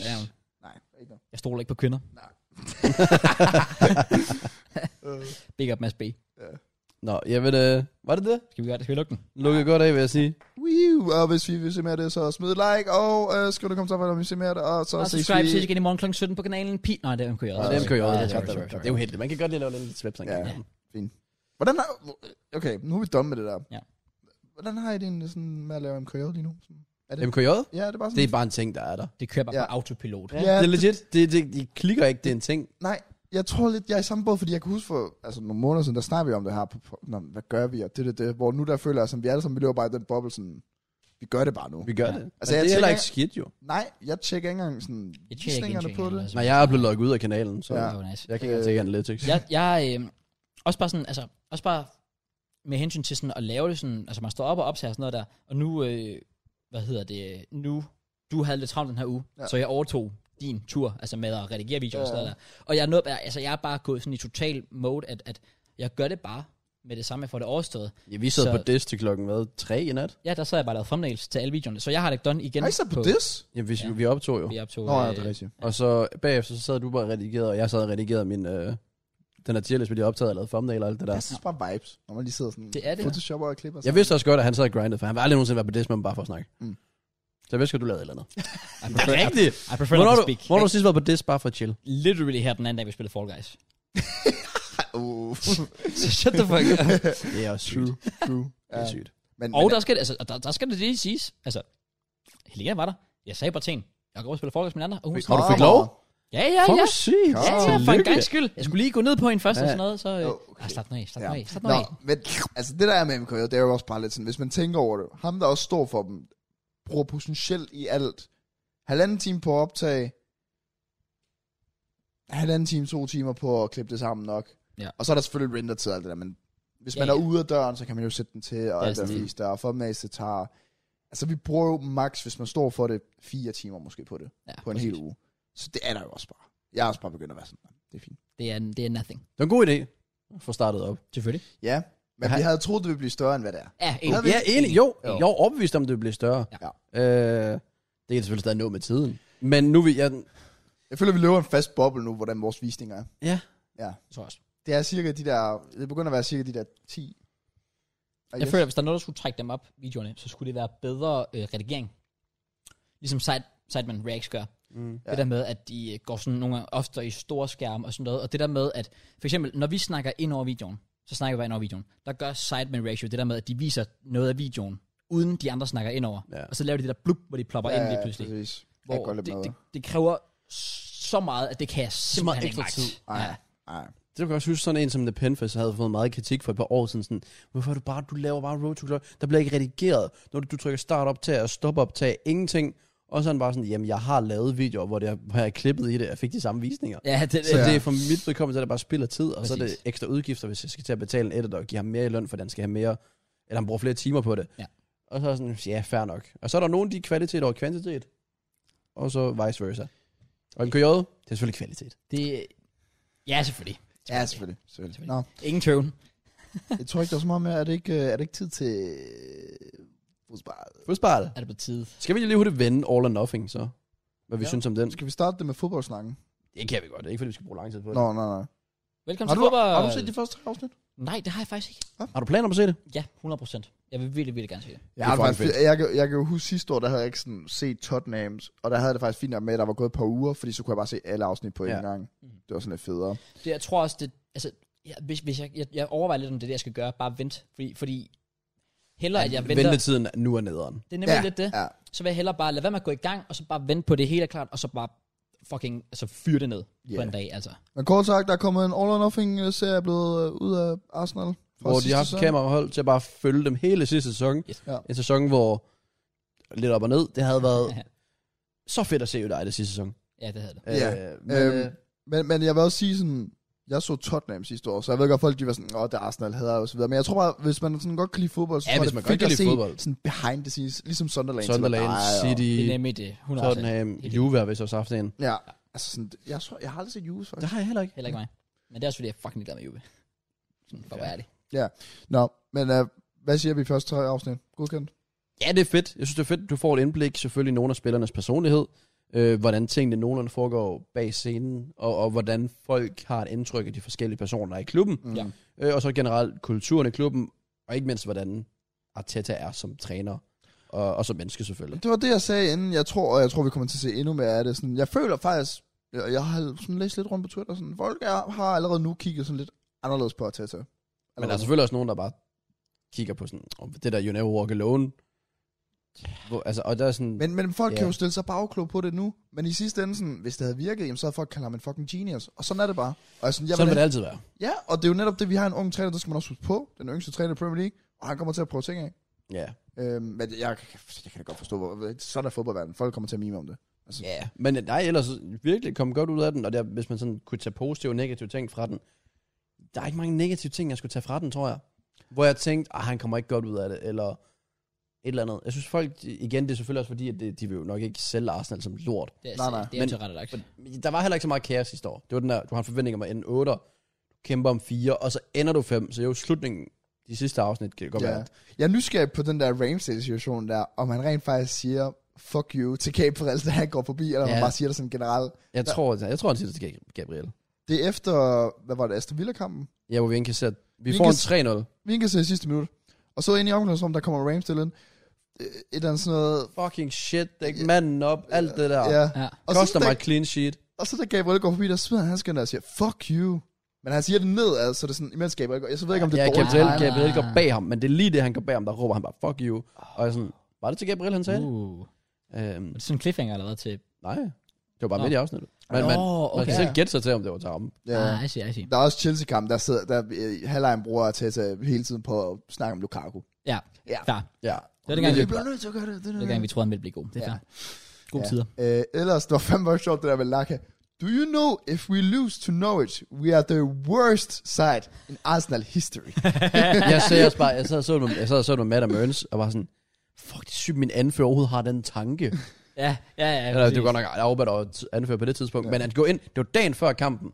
Speaker 1: Ja, men
Speaker 3: Nej, ikke noget.
Speaker 1: jeg stoler ikke på kvinder.
Speaker 3: Øh,
Speaker 1: [LAUGHS] Big up Mads B.
Speaker 2: Nå, jamen, øh, var det det?
Speaker 1: Skal vi gøre det? Skal vi lukke den?
Speaker 2: Lukkede godt af, vil jeg sige.
Speaker 3: wiu, og hvis vi vil se mere af det, så smid et like, og øh, skriv en kommentar, om vi ser mere af det, og så
Speaker 1: Og
Speaker 3: ses
Speaker 1: subscribe ses
Speaker 3: vi.
Speaker 1: igen i morgen kl. 17 på kanalen. Pi... Nej, det er MKJ.
Speaker 2: Og dem kører jeg
Speaker 1: Ja,
Speaker 2: over.
Speaker 1: sorry, sorry, sorry.
Speaker 2: Det er jo heldigt. Man kan godt lige lave lidt svipsang.
Speaker 3: Ja. Hvordan har, okay, nu er vi dumme med det der.
Speaker 1: Ja.
Speaker 3: Hvordan har I det egentlig sådan med at lave MKJ lige nu? Sådan-
Speaker 2: MKJ,
Speaker 3: Ja, det er bare sådan.
Speaker 2: det er bare en ting, der er der.
Speaker 1: Det kører bare
Speaker 3: Ja.
Speaker 1: på autopilot.
Speaker 3: Ja,
Speaker 2: det er
Speaker 3: det-
Speaker 2: legit. Det, det, de klikker ikke, det er en ting.
Speaker 3: Nej, jeg tror lidt, jeg er i samme båd, fordi jeg kan huske for altså, nogle måneder siden, der snakkede vi om det her, på, på nå, hvad gør vi, og det, det, det, hvor nu der føler jeg, som vi alle sammen, vi lever bare i den boble, sådan, vi gør det bare nu.
Speaker 2: Vi gør
Speaker 1: Ja.
Speaker 2: det.
Speaker 3: Altså,
Speaker 2: Altså, Men
Speaker 3: jeg
Speaker 2: det er heller
Speaker 3: tænker-
Speaker 2: ikke skidt, jo.
Speaker 3: Nej, jeg tjekker ikke engang sådan
Speaker 1: Jeg tjekker ikke
Speaker 3: visningerne på
Speaker 1: indtjeninger,
Speaker 3: det.
Speaker 1: altså.
Speaker 2: Nej, jeg er blevet logget ud af kanalen, så
Speaker 3: Ja.
Speaker 1: Det var nice.
Speaker 2: jeg kan ikke se analytics.
Speaker 1: Jeg, jeg øh, også bare sådan, altså, også bare med hensyn til sådan at lave det sådan, altså man står op og optager sådan noget der, og nu, øh, hvad hedder det, nu, du havde lidt travlt den her uge,
Speaker 3: Ja.
Speaker 1: så jeg overtog din tur, altså med at redigere videoer og
Speaker 3: Ja.
Speaker 1: sådan noget der. Og jeg er, nået, altså, jeg er bare gået sådan i total mode, at, at jeg gør det bare med det samme, jeg får det overstået.
Speaker 2: Ja, vi sad
Speaker 1: Så-
Speaker 2: så... på Diz til klokken, hvad, tre i nat?
Speaker 1: Ja, der så har jeg bare lavet thumbnails til alle videoerne, så jeg har det done igen.
Speaker 3: Har I så på this?
Speaker 2: Ja, vi,
Speaker 1: Ja.
Speaker 2: ja. vi optog jo.
Speaker 1: Vi optog,
Speaker 3: Nå, ja,
Speaker 1: øh,
Speaker 3: det er rigtigt.
Speaker 2: Og så bagefter, så sad du bare og redigerede, og jeg sad og redigerede min, øh, den her tierlist, vi lige optaget og lavet thumbnail og alt det
Speaker 3: Der
Speaker 2: der.
Speaker 3: er så bare vibes, når man lige sidder sådan...
Speaker 1: Det er det.
Speaker 3: Photoshopper og klipper.
Speaker 2: Jeg vidste også godt, at han sad og grindede, for han var aldrig nogensinde været på Diz, men bare for at snakke.
Speaker 3: Mm.
Speaker 2: Mm. Så jeg vidste godt, du lavede et eller andet.
Speaker 1: I prefer, I,
Speaker 2: Rigtigt!
Speaker 1: I prefer
Speaker 2: Hvornår
Speaker 1: not
Speaker 2: har
Speaker 1: to
Speaker 2: du,
Speaker 1: speak.
Speaker 2: hvornår har du sidst været på Diz bare for at chill?
Speaker 1: Literally her den anden dag, vi spillede Fall Guys.
Speaker 3: Uh,
Speaker 1: Så shut the fuck up.
Speaker 2: Det er også sygt.
Speaker 3: true, [LAUGHS] true.
Speaker 2: Det er sygt.
Speaker 3: Men,
Speaker 1: Og
Speaker 3: men,
Speaker 1: der skal, det- altså, og der, der skal det lige siges. Altså, Helena var der. Jeg sagde bare til hende, jeg går over og spiller forkost med mine andre. Og hun
Speaker 2: Har
Speaker 1: sagde,
Speaker 2: du fik lov?
Speaker 1: ja, ja,
Speaker 2: Fuck,
Speaker 1: ja.
Speaker 2: hvor sygt.
Speaker 1: Ja, ja, for en
Speaker 2: Tillykke.
Speaker 1: gangs skyld. Jeg skulle lige gå ned på hende først ja. og
Speaker 2: Ja.
Speaker 1: sådan noget, så... Øh,
Speaker 3: Okay.
Speaker 1: okay. ah, slap nu af, slap nu af, slap nu
Speaker 3: Nå,
Speaker 1: af.
Speaker 3: men altså det der er med MK, det er jo også bare lidt sådan, hvis man tænker over det, ham der også står for dem, bruger potentielt i alt, halvanden time på at optage, halvanden time, to timer på at klippe det sammen nok.
Speaker 1: Ja.
Speaker 3: Og så er der selvfølgelig render til alt det der, men hvis
Speaker 1: Ja,
Speaker 3: man
Speaker 1: ja.
Speaker 3: er ude af døren, så kan man jo sætte den til, og
Speaker 1: Ja, altså,
Speaker 3: alt det
Speaker 1: sådan.
Speaker 3: der, og få med sitar. Altså vi bruger jo max, hvis man står for det, fire timer måske på det,
Speaker 1: Ja,
Speaker 3: på en hel uge. Så det er der jo også bare. Jeg er også bare begyndt at være sådan, det er fint.
Speaker 1: Det er, det er nothing.
Speaker 2: Det var en god idé. Få startet op.
Speaker 1: Selvfølgelig.
Speaker 3: Ja, men
Speaker 2: Ja.
Speaker 3: vi havde troet, det ville blive større, end hvad det er.
Speaker 1: Ja, en,
Speaker 3: Havde vi
Speaker 2: Ja, enig. Jo,
Speaker 1: Jo.
Speaker 2: jo. jeg er overbevist om, det bliver større.
Speaker 1: Ja.
Speaker 2: Øh, det kan selvfølgelig stadig nå med tiden. Men nu vil jeg...
Speaker 3: Jeg føler, vi lever i en fast boble nu, hvordan vores visninger er.
Speaker 2: Ja.
Speaker 1: tror jeg også.
Speaker 3: Det er cirka de der, det begynder at være cirka de der 10. Og
Speaker 1: Jeg føler, at hvis der er noget, der skulle trække dem op, videoerne, så skulle det være bedre øh, redigering. Ligesom Side, Sideman Reacts gør.
Speaker 2: Mm.
Speaker 1: Ja. Det der med, at de øh, går sådan nogle gange ofte i store skærme og sådan noget. Og det der med, at for eksempel, når vi snakker ind over videoen, så snakker vi bare ind over videoen. Der gør Sideman Reaction det der med, at de viser noget af videoen, uden de andre snakker ind over.
Speaker 2: Ja.
Speaker 1: Og så laver de det der blub, hvor de plopper ja, ind lige pludselig.
Speaker 3: Præcis. Hvor,
Speaker 1: Hvor
Speaker 3: jeg
Speaker 1: det,
Speaker 3: lidt
Speaker 1: det,
Speaker 3: det,
Speaker 1: det, kræver så meget, at det kan jeg simpelthen ikke
Speaker 2: ekstra
Speaker 1: magt.
Speaker 2: tid.
Speaker 3: Ej.
Speaker 1: Ja.
Speaker 3: Ej.
Speaker 2: Det kan jeg også huske, sådan en som The Penfest havde fået meget kritik for et par år siden. Sådan, Hvorfor er du bare, du laver bare Road to Glory? Der bliver ikke redigeret, når du, du trykker start optag og stop optag, ingenting. Og så er han bare sådan, jamen jeg har lavet videoer, hvor, det er, hvor jeg er klippet i det, og jeg fik de samme visninger.
Speaker 1: Ja, det,
Speaker 2: Så
Speaker 1: det,
Speaker 2: det er for mit vedkommende, så er det bare spild af tid, og så er det
Speaker 1: Præcis.
Speaker 2: ekstra udgifter, hvis jeg skal til at betale en editor og give ham mere i løn, for han skal have mere, eller han bruger flere timer på det.
Speaker 1: Ja.
Speaker 2: Og så er jeg sådan, ja, fair nok. Og så er der nogen, de er kvalitet over kvantitet, og så vice versa. Og en KJ, det er selvfølgelig kvalitet.
Speaker 1: det, ja, selvfølgelig.
Speaker 3: Ja, selvfølgelig. selvfølgelig. Nå,
Speaker 1: Ingen tøven.
Speaker 3: jeg tror ikke, der er så meget mere. Er det ikke, øh, er det ikke tid til øh, fodbold?
Speaker 2: Fodbold.
Speaker 1: Er det på tide?
Speaker 2: Skal vi lige hurtigt vende All or Nothing, så? Hvad vi
Speaker 3: Ja.
Speaker 2: ja. synes om den?
Speaker 3: Skal vi starte det med fodboldsnakken?
Speaker 2: Det kan vi godt, det er ikke fordi, vi skal bruge lang tid på det.
Speaker 3: Nå, nej, nej.
Speaker 1: Velkommen
Speaker 3: Har
Speaker 1: til
Speaker 3: du,
Speaker 1: fodbold.
Speaker 3: har du set de første tre afsnit?
Speaker 1: Nej, det har jeg faktisk ikke.
Speaker 2: Har du planer om at se det?
Speaker 1: Ja, 100%. Jeg vil virkelig, virkelig gerne se det.
Speaker 3: Jeg,
Speaker 2: er
Speaker 3: har det
Speaker 2: fucking
Speaker 3: faktisk, jeg, kan- jeg kan jo huske sidste år, der havde jeg ikke sådan set Tottenhams, og der havde jeg det faktisk fint nok med, at der var gået et par uger, fordi så kunne jeg bare se alle afsnit på én
Speaker 2: Ja. Mm.
Speaker 3: gang.
Speaker 1: Mhm.
Speaker 3: Det var sådan lidt federe.
Speaker 1: det jeg tror også, det, altså, jeg, hvis, hvis jeg, jeg, jeg overvejer lidt, om det er det, jeg skal gøre. Bare vent. Fordi, fordi hellere, at jeg venter.
Speaker 2: Ventetiden nu er nederen.
Speaker 1: Det er nemlig
Speaker 3: Ja,
Speaker 1: lidt det.
Speaker 3: ja.
Speaker 1: Så vil jeg hellere bare lade være med at gå i gang, og så bare vente på det hele er klart, og så bare fucking altså, fyre det ned yeah. på
Speaker 3: Yeah.
Speaker 1: en dag. Altså.
Speaker 3: Men kort sagt, der er kommet en All or Nothing-serie blevet øh, ud af Arsenal. fra
Speaker 2: Hvor de
Speaker 3: sidste
Speaker 2: har haft
Speaker 3: sæson.
Speaker 2: kamerahold til at bare følge dem hele sidste sæson.
Speaker 1: Yes.
Speaker 3: Ja.
Speaker 2: En sæson, hvor lidt op og ned, det havde været så fedt at se United sidste sæson.
Speaker 1: ja, det havde det.
Speaker 3: Ja.
Speaker 2: Øh, men, øh,
Speaker 3: Øhm, men, men jeg vil også sige sådan, jeg så Tottenham sidste år, så jeg ved godt, folk de var sådan, åh, det er Arsenal hader og så videre. Men jeg tror bare, hvis man sådan godt kan lide fodbold, så
Speaker 2: Ja,
Speaker 3: tror jeg,
Speaker 2: hvis
Speaker 3: det er
Speaker 2: man
Speaker 3: fedt
Speaker 2: godt kan
Speaker 3: at se
Speaker 2: lide fodbold.
Speaker 3: Sådan behind the scenes, ligesom Sunderland.
Speaker 2: Sunderland,
Speaker 3: som er dig, og-
Speaker 2: City,
Speaker 1: Det er nemlig det. 100%.
Speaker 2: Tottenham,
Speaker 1: Helt
Speaker 2: øh, Juve har vist også haft en.
Speaker 3: Ja, altså sådan, jeg, tror, jeg har aldrig set Juve, faktisk.
Speaker 2: har jeg heller ikke.
Speaker 1: Heller ikke mig. Men det er også fordi, jeg er fucking glad med Juve. Sådan, for at være ærlig.
Speaker 3: Nå, men uh, hvad siger vi i første tre afsnit? Godkendt?
Speaker 2: Ja, det er fedt. Jeg synes, det er fedt. Du får et indblik selvfølgelig i nogle af spillernes personlighed. Øh, hvordan tingene nogenlunde foregår bag scenen. Og, og hvordan folk har et indtryk af de forskellige personer, der er i klubben.
Speaker 3: Mm.
Speaker 1: Ja.
Speaker 2: Øh, og så generelt kulturen i klubben. Og ikke mindst, hvordan Arteta er som træner. Og, og som menneske selvfølgelig.
Speaker 3: Det var det, jeg sagde inden. Jeg tror, og jeg tror, vi kommer til at se endnu mere af det. Sådan, jeg føler faktisk, jeg, jeg har sådan læst lidt rundt på Twitter, sådan, folk er, har allerede nu kigget sådan lidt anderledes på Arteta.
Speaker 2: Men altså- der er selvfølgelig også nogen, der bare kigger på sådan, om det der You Never Walk Alone. Hvor, altså, og der er sådan,
Speaker 3: Men, men folk
Speaker 2: Ja.
Speaker 3: yeah. kan jo stille sig bagklog på det nu. Men i sidste ende, sådan, hvis det havde virket, jamen, så havde folk kaldt ham en fucking genius. Og sådan er det bare. Og jeg er sådan, jeg
Speaker 2: sådan vil
Speaker 3: vil,
Speaker 2: det altid være.
Speaker 3: ja, og det er jo netop det, vi har en ung træner, der skal man også huske på. Den yngste træner i Premier League. Og han kommer til at prøve ting af.
Speaker 2: Ja.
Speaker 3: Øhm, men jeg, jeg, jeg kan da godt forstå, hvor, sådan er fodboldverdenen. Folk kommer til at mime om det.
Speaker 2: Ja, yeah. men nej, ellers virkelig kom godt ud af den, og der, hvis man sådan kunne tage positive og negative ting fra den, der er ikke mange negative ting, jeg skulle tage fra den, tror jeg. Hvor jeg tænkte, ah, han kommer ikke godt ud af det, eller et eller andet. Jeg synes folk, igen, det er selvfølgelig også fordi, at de, de vil jo nok ikke sælge Arsenal som lort.
Speaker 1: Det er,
Speaker 3: Nej,
Speaker 1: nej,
Speaker 3: nej.
Speaker 1: Det er
Speaker 2: Men-
Speaker 1: til ret lagt.
Speaker 2: Men Der var heller ikke så meget kaos sidste år. Det var den der, du har en forventning om at ende 8, kæmper om 4, og så ender du 5, så det er jo slutningen, de sidste afsnit kan det godt ja. være.
Speaker 3: Ja.
Speaker 2: at-
Speaker 3: Jeg er nysgerrig på den der Ramsdale-situation der, om han rent faktisk siger, fuck you, til Gabriel, da han går forbi, eller om
Speaker 2: Ja.
Speaker 3: han bare siger det sådan generelt.
Speaker 2: Jeg tror, jeg tror, han siger det til Gab- Gabriel.
Speaker 3: Det er efter, hvad var det, Aston Villa-kampen?
Speaker 2: Ja, hvor vi indkasserer. Vi, vi
Speaker 3: Vi
Speaker 2: får
Speaker 3: kan-
Speaker 2: en 3-0.
Speaker 3: Vinkas i sidste minut. Og så ind i omklædningsrummet, der kommer Ramsdale ind. Øh, Et eller andet sådan noget.
Speaker 2: Fucking shit, dæk manden op, alt det der.
Speaker 3: Ja.
Speaker 1: Ja.
Speaker 3: Og,
Speaker 2: Koster
Speaker 3: så,
Speaker 2: mig
Speaker 3: da,
Speaker 2: et clean sheet.
Speaker 3: og så da Gabriel går forbi, der smider han skøn der og siger, fuck you. Men han siger det ned, altså, så det er sådan, imens Gabriel går. Jeg så ved ikke, om det er
Speaker 2: Ja,
Speaker 3: dårligt.
Speaker 2: Gabriel,
Speaker 1: Nej, nej.
Speaker 2: Gabriel går bag ham, men det er lige det, han går bag ham, der råber han bare, fuck you. Og jeg er sådan, var det til Gabriel, han sagde det?
Speaker 1: Uh.
Speaker 2: Øhm,
Speaker 1: Er det sådan en cliffhanger eller hvad til?
Speaker 2: nej, det var bare
Speaker 1: Nå.
Speaker 2: midt i afsnittet. Men man,
Speaker 1: Nå,
Speaker 2: man kan
Speaker 1: okay.
Speaker 2: selv gætte sig til, om det var til ham.
Speaker 3: Ja.
Speaker 1: Ah, I see, I see.
Speaker 3: Der er også Chelsea-kamp, der sidder, der øh, halvlejen bruger Tata hele tiden på at snakke om Lukaku.
Speaker 1: Ja,
Speaker 3: Ja.
Speaker 1: klar.
Speaker 2: Ja.
Speaker 1: Det var dengang, vi,
Speaker 3: Vi bliver nødt til at gøre det. det,
Speaker 1: det var dengang, vi troede, han ville blive god. Det er
Speaker 3: Ja.
Speaker 1: klart. Gode tider.
Speaker 3: Øh, ellers, det var fandme også sjovt, det der med Laka. Do you know, if we lose to Norwich, we are the worst side in Arsenal
Speaker 2: [LAUGHS]
Speaker 3: history.
Speaker 2: jeg sagde også bare, jeg sad og så det med, jeg sad og så det med Matt og Mørns, og var sådan, fuck, det er sygt, min anfører overhovedet har den tanke.
Speaker 1: Ja, ja, ja.
Speaker 2: Eller det
Speaker 1: præcis.
Speaker 2: var godt nok Albert og anfører på det tidspunkt, ja. men at gå ind, det var dagen før kampen,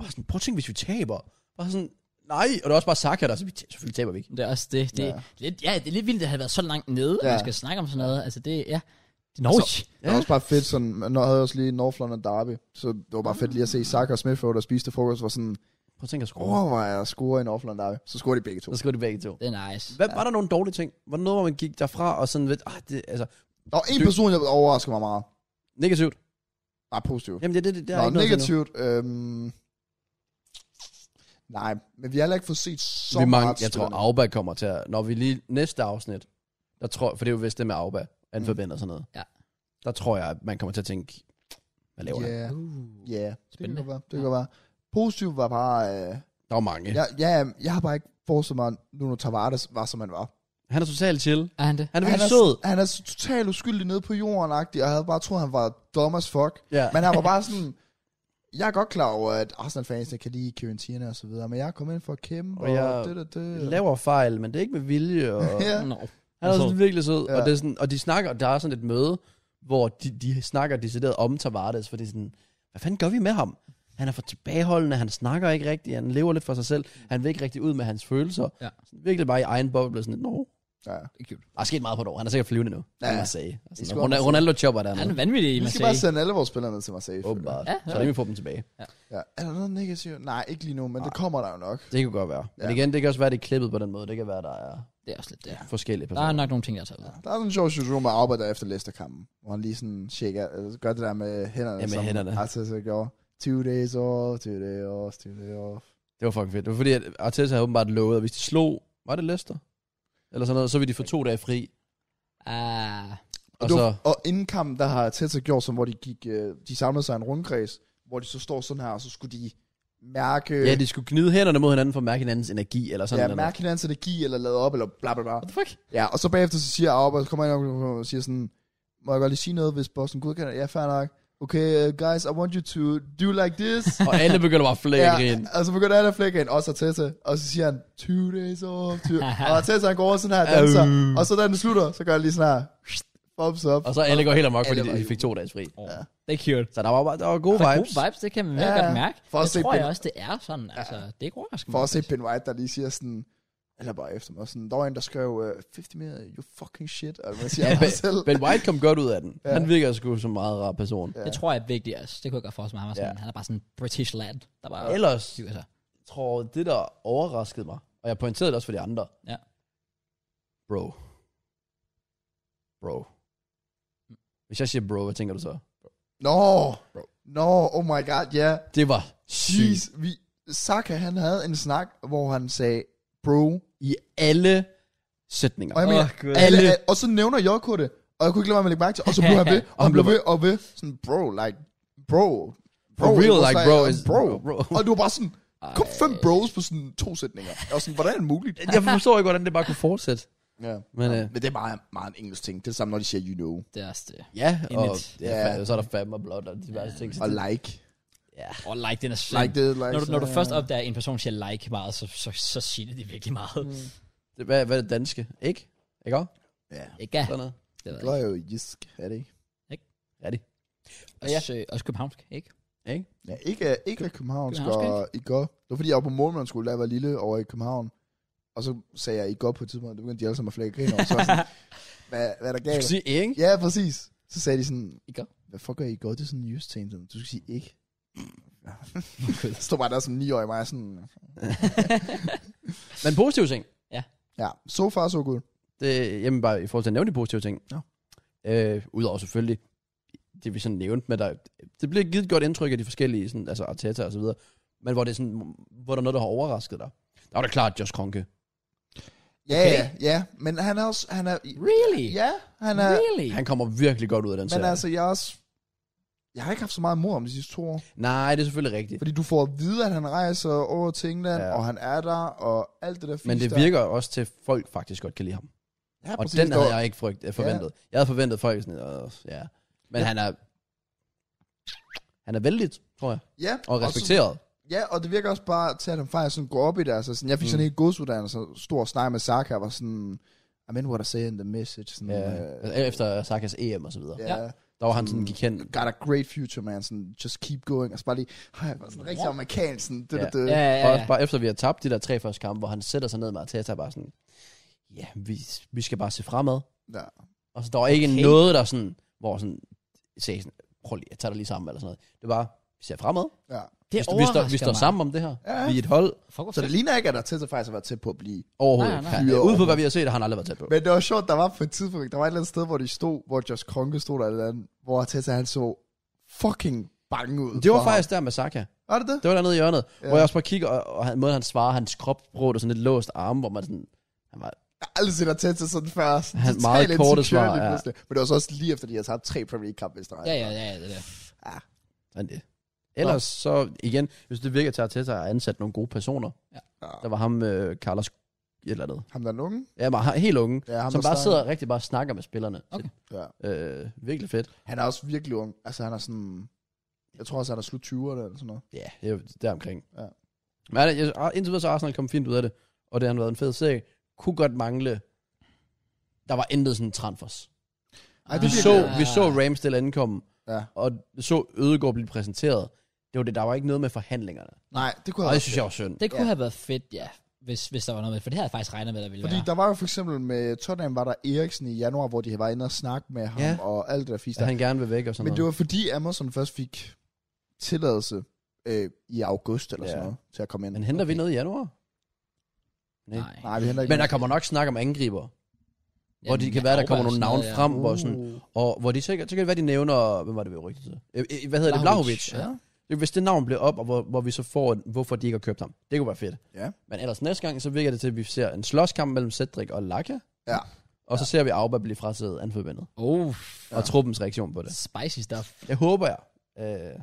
Speaker 2: bare sådan, prøv at tænke, hvis vi taber. Bare sådan, nej, og det var også bare Saka der, så vi, t- selvfølgelig taber vi ikke.
Speaker 1: Det er også det. Det, ja. Lidt, ja, det er lidt vildt, at det havde været så langt nede, ja. at
Speaker 3: Ja.
Speaker 1: man skal snakke om sådan noget. Altså det, ja. Det er Norwich.
Speaker 3: Det var også bare fedt, sådan, man havde også lige North London Derby, så det var bare fedt lige at se Saka og Smithrow, der spiste frokost, var sådan,
Speaker 2: Prøv at tænke at score. Oh.
Speaker 3: overvej at score i North London Derby. Så scorede de begge to.
Speaker 2: Så skriver de begge to.
Speaker 1: Det er nice.
Speaker 2: Hvad, ja. Var der nogle dårlige ting? Var der noget, hvor man gik derfra og sådan lidt, ah, det, altså,
Speaker 3: Der var en person, jeg overrasker mig meget.
Speaker 2: negativt.
Speaker 3: Nej, positivt.
Speaker 2: Jamen, det, det, det der er
Speaker 3: Nå,
Speaker 2: ikke noget til
Speaker 3: negativt. Øhm, nej, men vi har heller ikke fået set så
Speaker 2: nu. Vi
Speaker 3: meget.
Speaker 2: mange, jeg
Speaker 3: til
Speaker 2: tror,
Speaker 3: den.
Speaker 2: Auba kommer til at, når vi lige næste afsnit, der tror, for det er jo vist det med Auba, han forbinder sådan noget.
Speaker 1: Ja.
Speaker 2: Der tror jeg, at man kommer til at tænke, hvad laver yeah. han?
Speaker 3: Ja,
Speaker 1: Uh.
Speaker 3: ja. Det kan
Speaker 1: Spændende.
Speaker 3: godt være. Det kan godt være. Positivt var bare... Øh,
Speaker 2: Der var mange. Ja.
Speaker 3: jeg, ja, jeg har bare ikke forestillet mig, at Nuno Tavares var, som han var.
Speaker 2: Han er totalt chill.
Speaker 1: Er han det?
Speaker 2: Han er
Speaker 3: han,
Speaker 2: virkelig sød.
Speaker 3: er, han er så totalt uskyldig nede på jorden, og jeg havde bare troet, han var dumb as fuck.
Speaker 2: Ja.
Speaker 3: Men han var bare sådan... Jeg er godt klar over, at Arsenal-fansene kan lide Kieran Tierney og så videre, men jeg er kommet ind for at kæmpe,
Speaker 2: Og
Speaker 3: og,
Speaker 2: jeg
Speaker 3: det, det, det.
Speaker 2: Laver fejl, men det er ikke med vilje. Og...
Speaker 3: ja.
Speaker 1: Nå.
Speaker 2: Han er
Speaker 1: Så-
Speaker 2: sådan virkelig sød. Ja.
Speaker 3: Ja.
Speaker 2: Og, det er sådan, og de snakker, der er sådan et møde, hvor de, de snakker decideret om Tavardes, for det er sådan, hvad fanden gør vi med ham? Han er for tilbageholdende, han snakker ikke rigtigt, han lever lidt for sig selv, han vil ikke rigtig ud med hans følelser.
Speaker 1: Ja.
Speaker 2: Sådan, virkelig bare i egen boble, sådan, no.
Speaker 3: ja.
Speaker 1: Det er cute.
Speaker 2: Der er sket meget på et år, han er sikkert flyvende nu. Ja.
Speaker 3: Ja.
Speaker 2: Marseille. Altså,
Speaker 3: skal
Speaker 2: Ronaldo,
Speaker 3: Marseille.
Speaker 2: Ronaldo chopper der
Speaker 1: Han
Speaker 2: nu.
Speaker 1: er vanvittig i
Speaker 3: Vi skal
Speaker 1: Marseille.
Speaker 3: bare sende alle vores spillere ned til Marseille. selvfølgelig.
Speaker 2: Åbenbart.
Speaker 1: Ja,
Speaker 2: Ja,
Speaker 1: ja.
Speaker 2: så det vi får dem tilbage.
Speaker 3: Ja. Er der noget negativt? Nej, ikke lige nu, men det kommer der jo nok.
Speaker 2: Det kan godt være. Men
Speaker 3: Ja.
Speaker 2: igen, det kan også være, det er klippet på den måde. Det kan være, der er
Speaker 1: Det er også lidt det. Ja.
Speaker 2: forskellige
Speaker 1: Der er
Speaker 2: personer.
Speaker 1: nok nogle ting, der er taget ud.
Speaker 3: Der er sådan en sjov situation med Arbeit efter Leicester-kampen, hvor han lige sådan shaker, eller gør det der med hænderne,
Speaker 2: Ja, med
Speaker 3: som
Speaker 2: hænderne.
Speaker 3: Arteta gjorde. 20 days off, 20 days off, 20 days off.
Speaker 2: Det var fucking fedt. Det var fordi, at Arteta havde åbenbart lovet, at hvis de slog, var det Leicester? Eller sådan noget, så ville de få to dage fri.
Speaker 1: Ah,
Speaker 3: Og,
Speaker 2: Og
Speaker 3: det
Speaker 2: så,
Speaker 3: var, og inden kampen, der har Arteta gjort, som hvor de, gik, øh, de samlede sig i en rundkreds, hvor de så står sådan her, og så skulle de mærke,
Speaker 2: ja, de skulle gnide hænderne mod hinanden for at mærke hinandens energi, eller sådan
Speaker 3: ja,
Speaker 2: noget.
Speaker 3: mærke hinandens energi, eller lade op, eller bla bla bla.
Speaker 1: what the fuck?
Speaker 3: Ja, og så bagefter så siger Arbeit, kommer ind og- og siger sådan, må jeg godt lige sige noget, hvis Boston godkender? det?" Ja, fair nok. Okay, uh, guys, I want you to do like this.
Speaker 2: Og alle begynder bare at flække ja.
Speaker 3: [LAUGHS] Ja, og så begynder han at flække ind, også Arteta, og så siger han, 20 days off,
Speaker 2: [LAUGHS]
Speaker 3: 20. og Arteta han går over sådan her og danser, og så da den slutter, så gør han lige sådan her, thumbs up.
Speaker 2: Og så alle går helt amok, fordi
Speaker 3: Alle var
Speaker 2: de
Speaker 3: i-
Speaker 2: fik to dages fri.
Speaker 1: Oh, Det er cute.
Speaker 2: Så der var, bare- der var gode
Speaker 1: Der er
Speaker 2: vibes.
Speaker 1: Gode vibes, det kan man
Speaker 3: Ja,
Speaker 1: ja, godt mærke.
Speaker 3: for at
Speaker 1: jeg
Speaker 3: se
Speaker 1: tror jeg
Speaker 3: Ben-
Speaker 1: også, det er sådan. Altså, det er ikke overraskende.
Speaker 3: For at se Ben White, der lige siger sådan, eller bare efter mig, sådan, der var en, der skrev, øh, 50 mere, you fucking shit, og man siger
Speaker 2: Ja,
Speaker 3: ja,
Speaker 2: ben,
Speaker 3: bare selv.
Speaker 2: ben White kom godt ud af den. Han virker sgu som en meget rar person.
Speaker 1: Det tror jeg er vigtigt også. Det kunne jeg godt forestille mig. Han, var sådan,
Speaker 2: Ja.
Speaker 1: han er bare sådan en British lad, der bare Altså,
Speaker 2: Ellers
Speaker 1: hygger sig.
Speaker 2: tror det, der overraskede mig, og jeg pointerede det også for de andre.
Speaker 1: Ja.
Speaker 2: Bro. Bro. Hvis jeg siger bro, hvad tænker du så?
Speaker 3: Nå, nå, oh my god, ja. Yeah.
Speaker 2: Det var sygt.
Speaker 3: Jeez, vi, Saka, han havde en snak, hvor han sagde, bro,
Speaker 2: I alle sætninger.
Speaker 3: Og jeg mener,
Speaker 1: Åh, Gud.
Speaker 3: alle,
Speaker 2: Alle-
Speaker 3: og så nævner Jokko det, og jeg kunne ikke lade være med at lægge mærke til, og så blev han
Speaker 2: [LAUGHS]
Speaker 3: ved, og han blev ved, og ved, sådan, bro, like, bro, bro,
Speaker 2: For real,
Speaker 3: it was
Speaker 2: like, bro is-
Speaker 3: bro,
Speaker 2: bro.
Speaker 3: bro. [LAUGHS] Og du var bare sådan, kun fem bros på sådan to sætninger. Jeg var sådan, hvordan er det muligt?
Speaker 2: Jeg forstår ikke, hvordan det bare kunne fortsætte.
Speaker 3: Ja.
Speaker 2: Men øh,
Speaker 3: Men det er meget, meget en engelsk ting. Det er det samme, når de siger, you know,
Speaker 1: Det er også det.
Speaker 2: ja,
Speaker 1: In
Speaker 2: og
Speaker 1: it.
Speaker 2: ja,
Speaker 3: Ja.
Speaker 2: fa- så er der fandme og blot og diverse ting. Så
Speaker 3: og
Speaker 2: det,
Speaker 3: like.
Speaker 1: Og like, den er slem.
Speaker 3: Like det, like
Speaker 1: når, du,
Speaker 3: sådan,
Speaker 1: når du
Speaker 3: ja.
Speaker 1: først opdager, at en person siger like meget, så, så, så siger det det virkelig meget. Mm.
Speaker 2: det, hvad, hvad er det danske? Ikke? Ikke også?
Speaker 3: Ja.
Speaker 1: Ikke?
Speaker 2: Sådan noget.
Speaker 1: Det ved
Speaker 3: Det
Speaker 1: jeg
Speaker 3: var jo jysk, er det ikke?
Speaker 1: ikke. Også, øh, også københavnsk, ikke?
Speaker 3: Ja, ikke, ikke af københavnsk,
Speaker 1: Københavnsk,
Speaker 3: og I går. Det var fordi, jeg var på målmandsskole, da jeg var lille over i København. Og så sagde jeg, I går på et tidspunkt, det begyndte de alle sammen at flække grin over. Så var
Speaker 1: [LAUGHS]
Speaker 3: jeg sådan, hvad, hvad er der
Speaker 2: Du
Speaker 3: galt?
Speaker 2: skal sige ikke?
Speaker 3: Ja, præcis. Så sagde de sådan,
Speaker 1: I går.
Speaker 3: hvad fuck gør I går? Det er sådan en jysk ting, du skal sige
Speaker 1: [LAUGHS]
Speaker 3: ikke. Så stod bare der som 9 år i mig, sådan,
Speaker 2: Men positive ting.
Speaker 3: ja, so far so good.
Speaker 2: Det, jamen bare i forhold til at nævne de positive ting.
Speaker 3: Ja.
Speaker 2: Øh, Udover selvfølgelig det, vi sådan nævnte med dig. Det bliver givet et godt indtryk af de forskellige, sådan, altså Arteta og så videre. Men hvor, det er sådan, hvor der er noget, der har overrasket dig. Der var da klart Josh Kronke.
Speaker 3: Ja,
Speaker 1: Okay.
Speaker 3: ja, ja, men han er også, han er,
Speaker 1: Really?
Speaker 3: ja, han er,
Speaker 1: really?
Speaker 2: Han kommer virkelig godt ud af den
Speaker 3: men
Speaker 2: serie.
Speaker 3: altså, jeg er også, jeg har ikke haft så meget mor om de sidste to år.
Speaker 2: Nej, det er selvfølgelig rigtigt.
Speaker 3: Fordi du får at vide, at han rejser over til England,
Speaker 2: Ja.
Speaker 3: ja. og han er der, og alt det der fisk
Speaker 2: Men det
Speaker 3: der.
Speaker 2: virker også til, at folk faktisk godt kan lide ham.
Speaker 3: Ja,
Speaker 2: Og
Speaker 3: præcis,
Speaker 2: den havde
Speaker 3: der-
Speaker 2: jeg ikke frygt, øh, forventet. Ja. Jeg havde forventet folk sådan, øh, ja. Men ja. han er... Han er vældig, tror jeg.
Speaker 3: Ja,
Speaker 2: Og respekteret.
Speaker 3: så, ja, og det virker også bare til, at han faktisk sådan går op i det. Altså, sådan, jeg fik mm. sådan en helt godsuddannelse, stor snak med Saka, var sådan, I mean what I say in the message. Sådan, øh,
Speaker 2: Ja. Efter Sakas EM og så videre. Ja.
Speaker 3: ja.
Speaker 1: Ja.
Speaker 3: ja.
Speaker 2: Der var han sådan, gik hen.
Speaker 3: Got a great future, man. Sådan, just keep going. Altså bare lige, hej, var sådan rigtig amerikansk. Sådan, det,
Speaker 2: Ja.
Speaker 3: det, det.
Speaker 1: Ja, ja,
Speaker 2: Ja. Og
Speaker 1: ja.
Speaker 2: også bare efter vi har tabt de der tre første kampe, hvor han sætter sig ned med Arteta og bare sådan, ja, vi, vi skal bare se fremad.
Speaker 3: Ja.
Speaker 2: Og så der var ikke
Speaker 1: Okay.
Speaker 2: noget, der sådan, hvor sådan, sagde sådan, prøv lige, jeg tager dig lige sammen eller sådan noget. Det var, vi ser fremad.
Speaker 3: ja.
Speaker 1: Det
Speaker 2: vi, vi, står, vi står
Speaker 1: mig.
Speaker 2: sammen om det her.
Speaker 3: Ja.
Speaker 2: Vi er et hold
Speaker 1: Fuck, hvor
Speaker 3: Så det
Speaker 1: fedt.
Speaker 3: ligner ikke, at der til faktisk har været tæt på at blive
Speaker 2: overhovedet.
Speaker 1: Nej,
Speaker 2: Nej,
Speaker 1: nej.
Speaker 2: nej, nej. Ude på, hvad vi har set, har han aldrig været tæt på.
Speaker 3: Men det var sjovt, der var på et tidspunkt, der var et eller andet sted, hvor de stod, hvor Josh Kronke stod der et eller andet, hvor Tessa han så fucking bange ud.
Speaker 2: Det var
Speaker 3: for
Speaker 2: faktisk der med Saka.
Speaker 3: Ham. Var det det?
Speaker 2: Det var dernede i hjørnet, ja.
Speaker 3: Ja.
Speaker 2: hvor jeg også bare kigger, og, og han, måden han svarer, hans kropsbrud og sådan lidt låst arme, hvor man sådan, han var,
Speaker 3: Jeg har aldrig set dig tæt til sådan før. Sådan
Speaker 2: Han-
Speaker 3: total
Speaker 2: meget korte svar,
Speaker 3: insecurity
Speaker 2: ja.
Speaker 3: pludselig. Men det var så også lige efter, de havde tabt tre Premier League-kampe i streg.
Speaker 1: Ja, ja, ja, ja, det der.
Speaker 2: han det. Ellers så, igen, hvis det virker til at Arteta har ansat nogle gode personer, der var ham, øh, Carlos, et eller andet.
Speaker 3: Ham der er nogen.
Speaker 2: Ja, men han- helt unge,
Speaker 3: Ja, ham
Speaker 2: som
Speaker 3: der
Speaker 2: bare
Speaker 3: snakker.
Speaker 2: sidder og rigtig bare snakker med spillerne.
Speaker 1: Okay.
Speaker 3: Ja.
Speaker 2: Øh, virkelig fedt.
Speaker 3: Han er også virkelig ung. Altså han er sådan... Jeg tror også, han er slut 20'erne eller sådan noget.
Speaker 2: Ja, det er jo deromkring.
Speaker 3: Ja.
Speaker 2: Men han- jeg, ah, indtil videre så er Arsenal kom fint ud af det, og det har været en fed serie. Kunne godt mangle, der var intet sådan transfers.
Speaker 3: Ej,
Speaker 2: Vi
Speaker 3: bliver-
Speaker 2: så, vi så Ramsdale ankomme,
Speaker 3: Ja.
Speaker 2: og så Ødegård blive præsenteret. Det var det, der var ikke noget med forhandlingerne.
Speaker 3: Nej, det kunne
Speaker 2: Og
Speaker 3: jeg
Speaker 2: det
Speaker 3: også.
Speaker 2: synes jeg var synd.
Speaker 1: Det kunne
Speaker 3: Ja.
Speaker 1: have været fedt, ja. Hvis, hvis der var noget med, for det havde jeg faktisk regnet med, der ville
Speaker 3: Fordi
Speaker 1: være.
Speaker 3: der var jo for eksempel med Tottenham, var der Eriksen i januar, hvor de var inde og snakke med ham
Speaker 2: Ja.
Speaker 3: og alt det der fisk.
Speaker 2: At han gerne vil væk og sådan
Speaker 3: Men det
Speaker 2: noget.
Speaker 3: var fordi Amazon først fik tilladelse øh, i august eller
Speaker 2: Ja.
Speaker 3: ja. sådan noget, til at komme ind.
Speaker 2: Men henter vi noget i januar? Nej.
Speaker 1: Nej.
Speaker 3: Nej, vi henter ikke
Speaker 2: Men der kommer nok snak om angriber, hvor det kan være, der kommer nogle navne frem, hvor, sådan,
Speaker 3: Uh,
Speaker 2: og hvor de sikkert, så kan det være, de nævner, hvem var det, vi rygtede til? Øh, øh, Hvad hedder det? Vlahovic.
Speaker 3: Ja.
Speaker 2: Det- Hvis det navn bliver op, og hvor, hvor vi så får, en- hvorfor de ikke har købt ham. Det kunne være fedt.
Speaker 3: Ja.
Speaker 2: Men ellers næste gang, så virker det til, at vi ser en slåskamp mellem Cedric og Laka.
Speaker 3: Ja.
Speaker 2: Og så ser vi Auba blive frataget anforbindet.
Speaker 1: Oh,
Speaker 2: Ja. Og truppens reaktion på det.
Speaker 1: spicy stuff.
Speaker 2: Jeg håber jeg. Øh,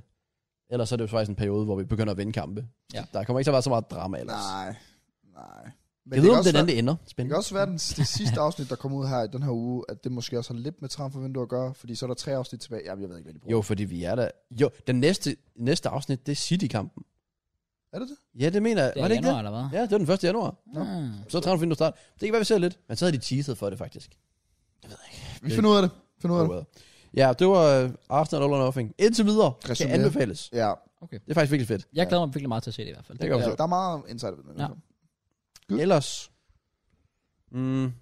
Speaker 2: ellers så er det jo faktisk en periode, hvor vi begynder at vinde kampe.
Speaker 1: Ja.
Speaker 2: Der kommer ikke til at være så meget drama ellers.
Speaker 3: Nej, nej. Men
Speaker 2: jeg ved, om
Speaker 3: også
Speaker 2: den anden
Speaker 3: være,
Speaker 2: det ender.
Speaker 3: det
Speaker 2: Spændende.
Speaker 3: kan også være den, det
Speaker 2: [LAUGHS]
Speaker 3: sidste afsnit, der kommer ud her i den her uge, at det måske også har lidt med transfervinduet at gøre, fordi så er der tre afsnit tilbage. Jamen, jeg ved ikke, hvad de bruger.
Speaker 2: Jo, fordi vi er der. Jo, den næste, næste afsnit, det er City-kampen.
Speaker 3: Er det det?
Speaker 2: Ja, det mener jeg.
Speaker 1: Det
Speaker 2: var
Speaker 1: er
Speaker 2: det ikke
Speaker 1: januar,
Speaker 2: det?
Speaker 1: eller hvad?
Speaker 2: Ja, det var den 1. januar.
Speaker 1: Ja. Ah.
Speaker 2: Så træner vi start. Det kan være, vi ser lidt. Men så havde de teaset for det, faktisk.
Speaker 3: Vi finder ud af det. Finder ud af
Speaker 2: Oh,
Speaker 3: det.
Speaker 2: well. Ja, det var øh, Arsenal All or Nothing. Indtil videre kan
Speaker 3: Resumé.
Speaker 2: anbefales.
Speaker 3: Ja,
Speaker 2: Det er faktisk virkelig fedt.
Speaker 1: Jeg glæder mig virkelig meget til at se det i hvert fald.
Speaker 2: Det kan
Speaker 3: ja
Speaker 2: ja.
Speaker 3: der er meget insight ved det.
Speaker 1: Ja.
Speaker 3: Ja. Good.
Speaker 2: Ellers... Mm,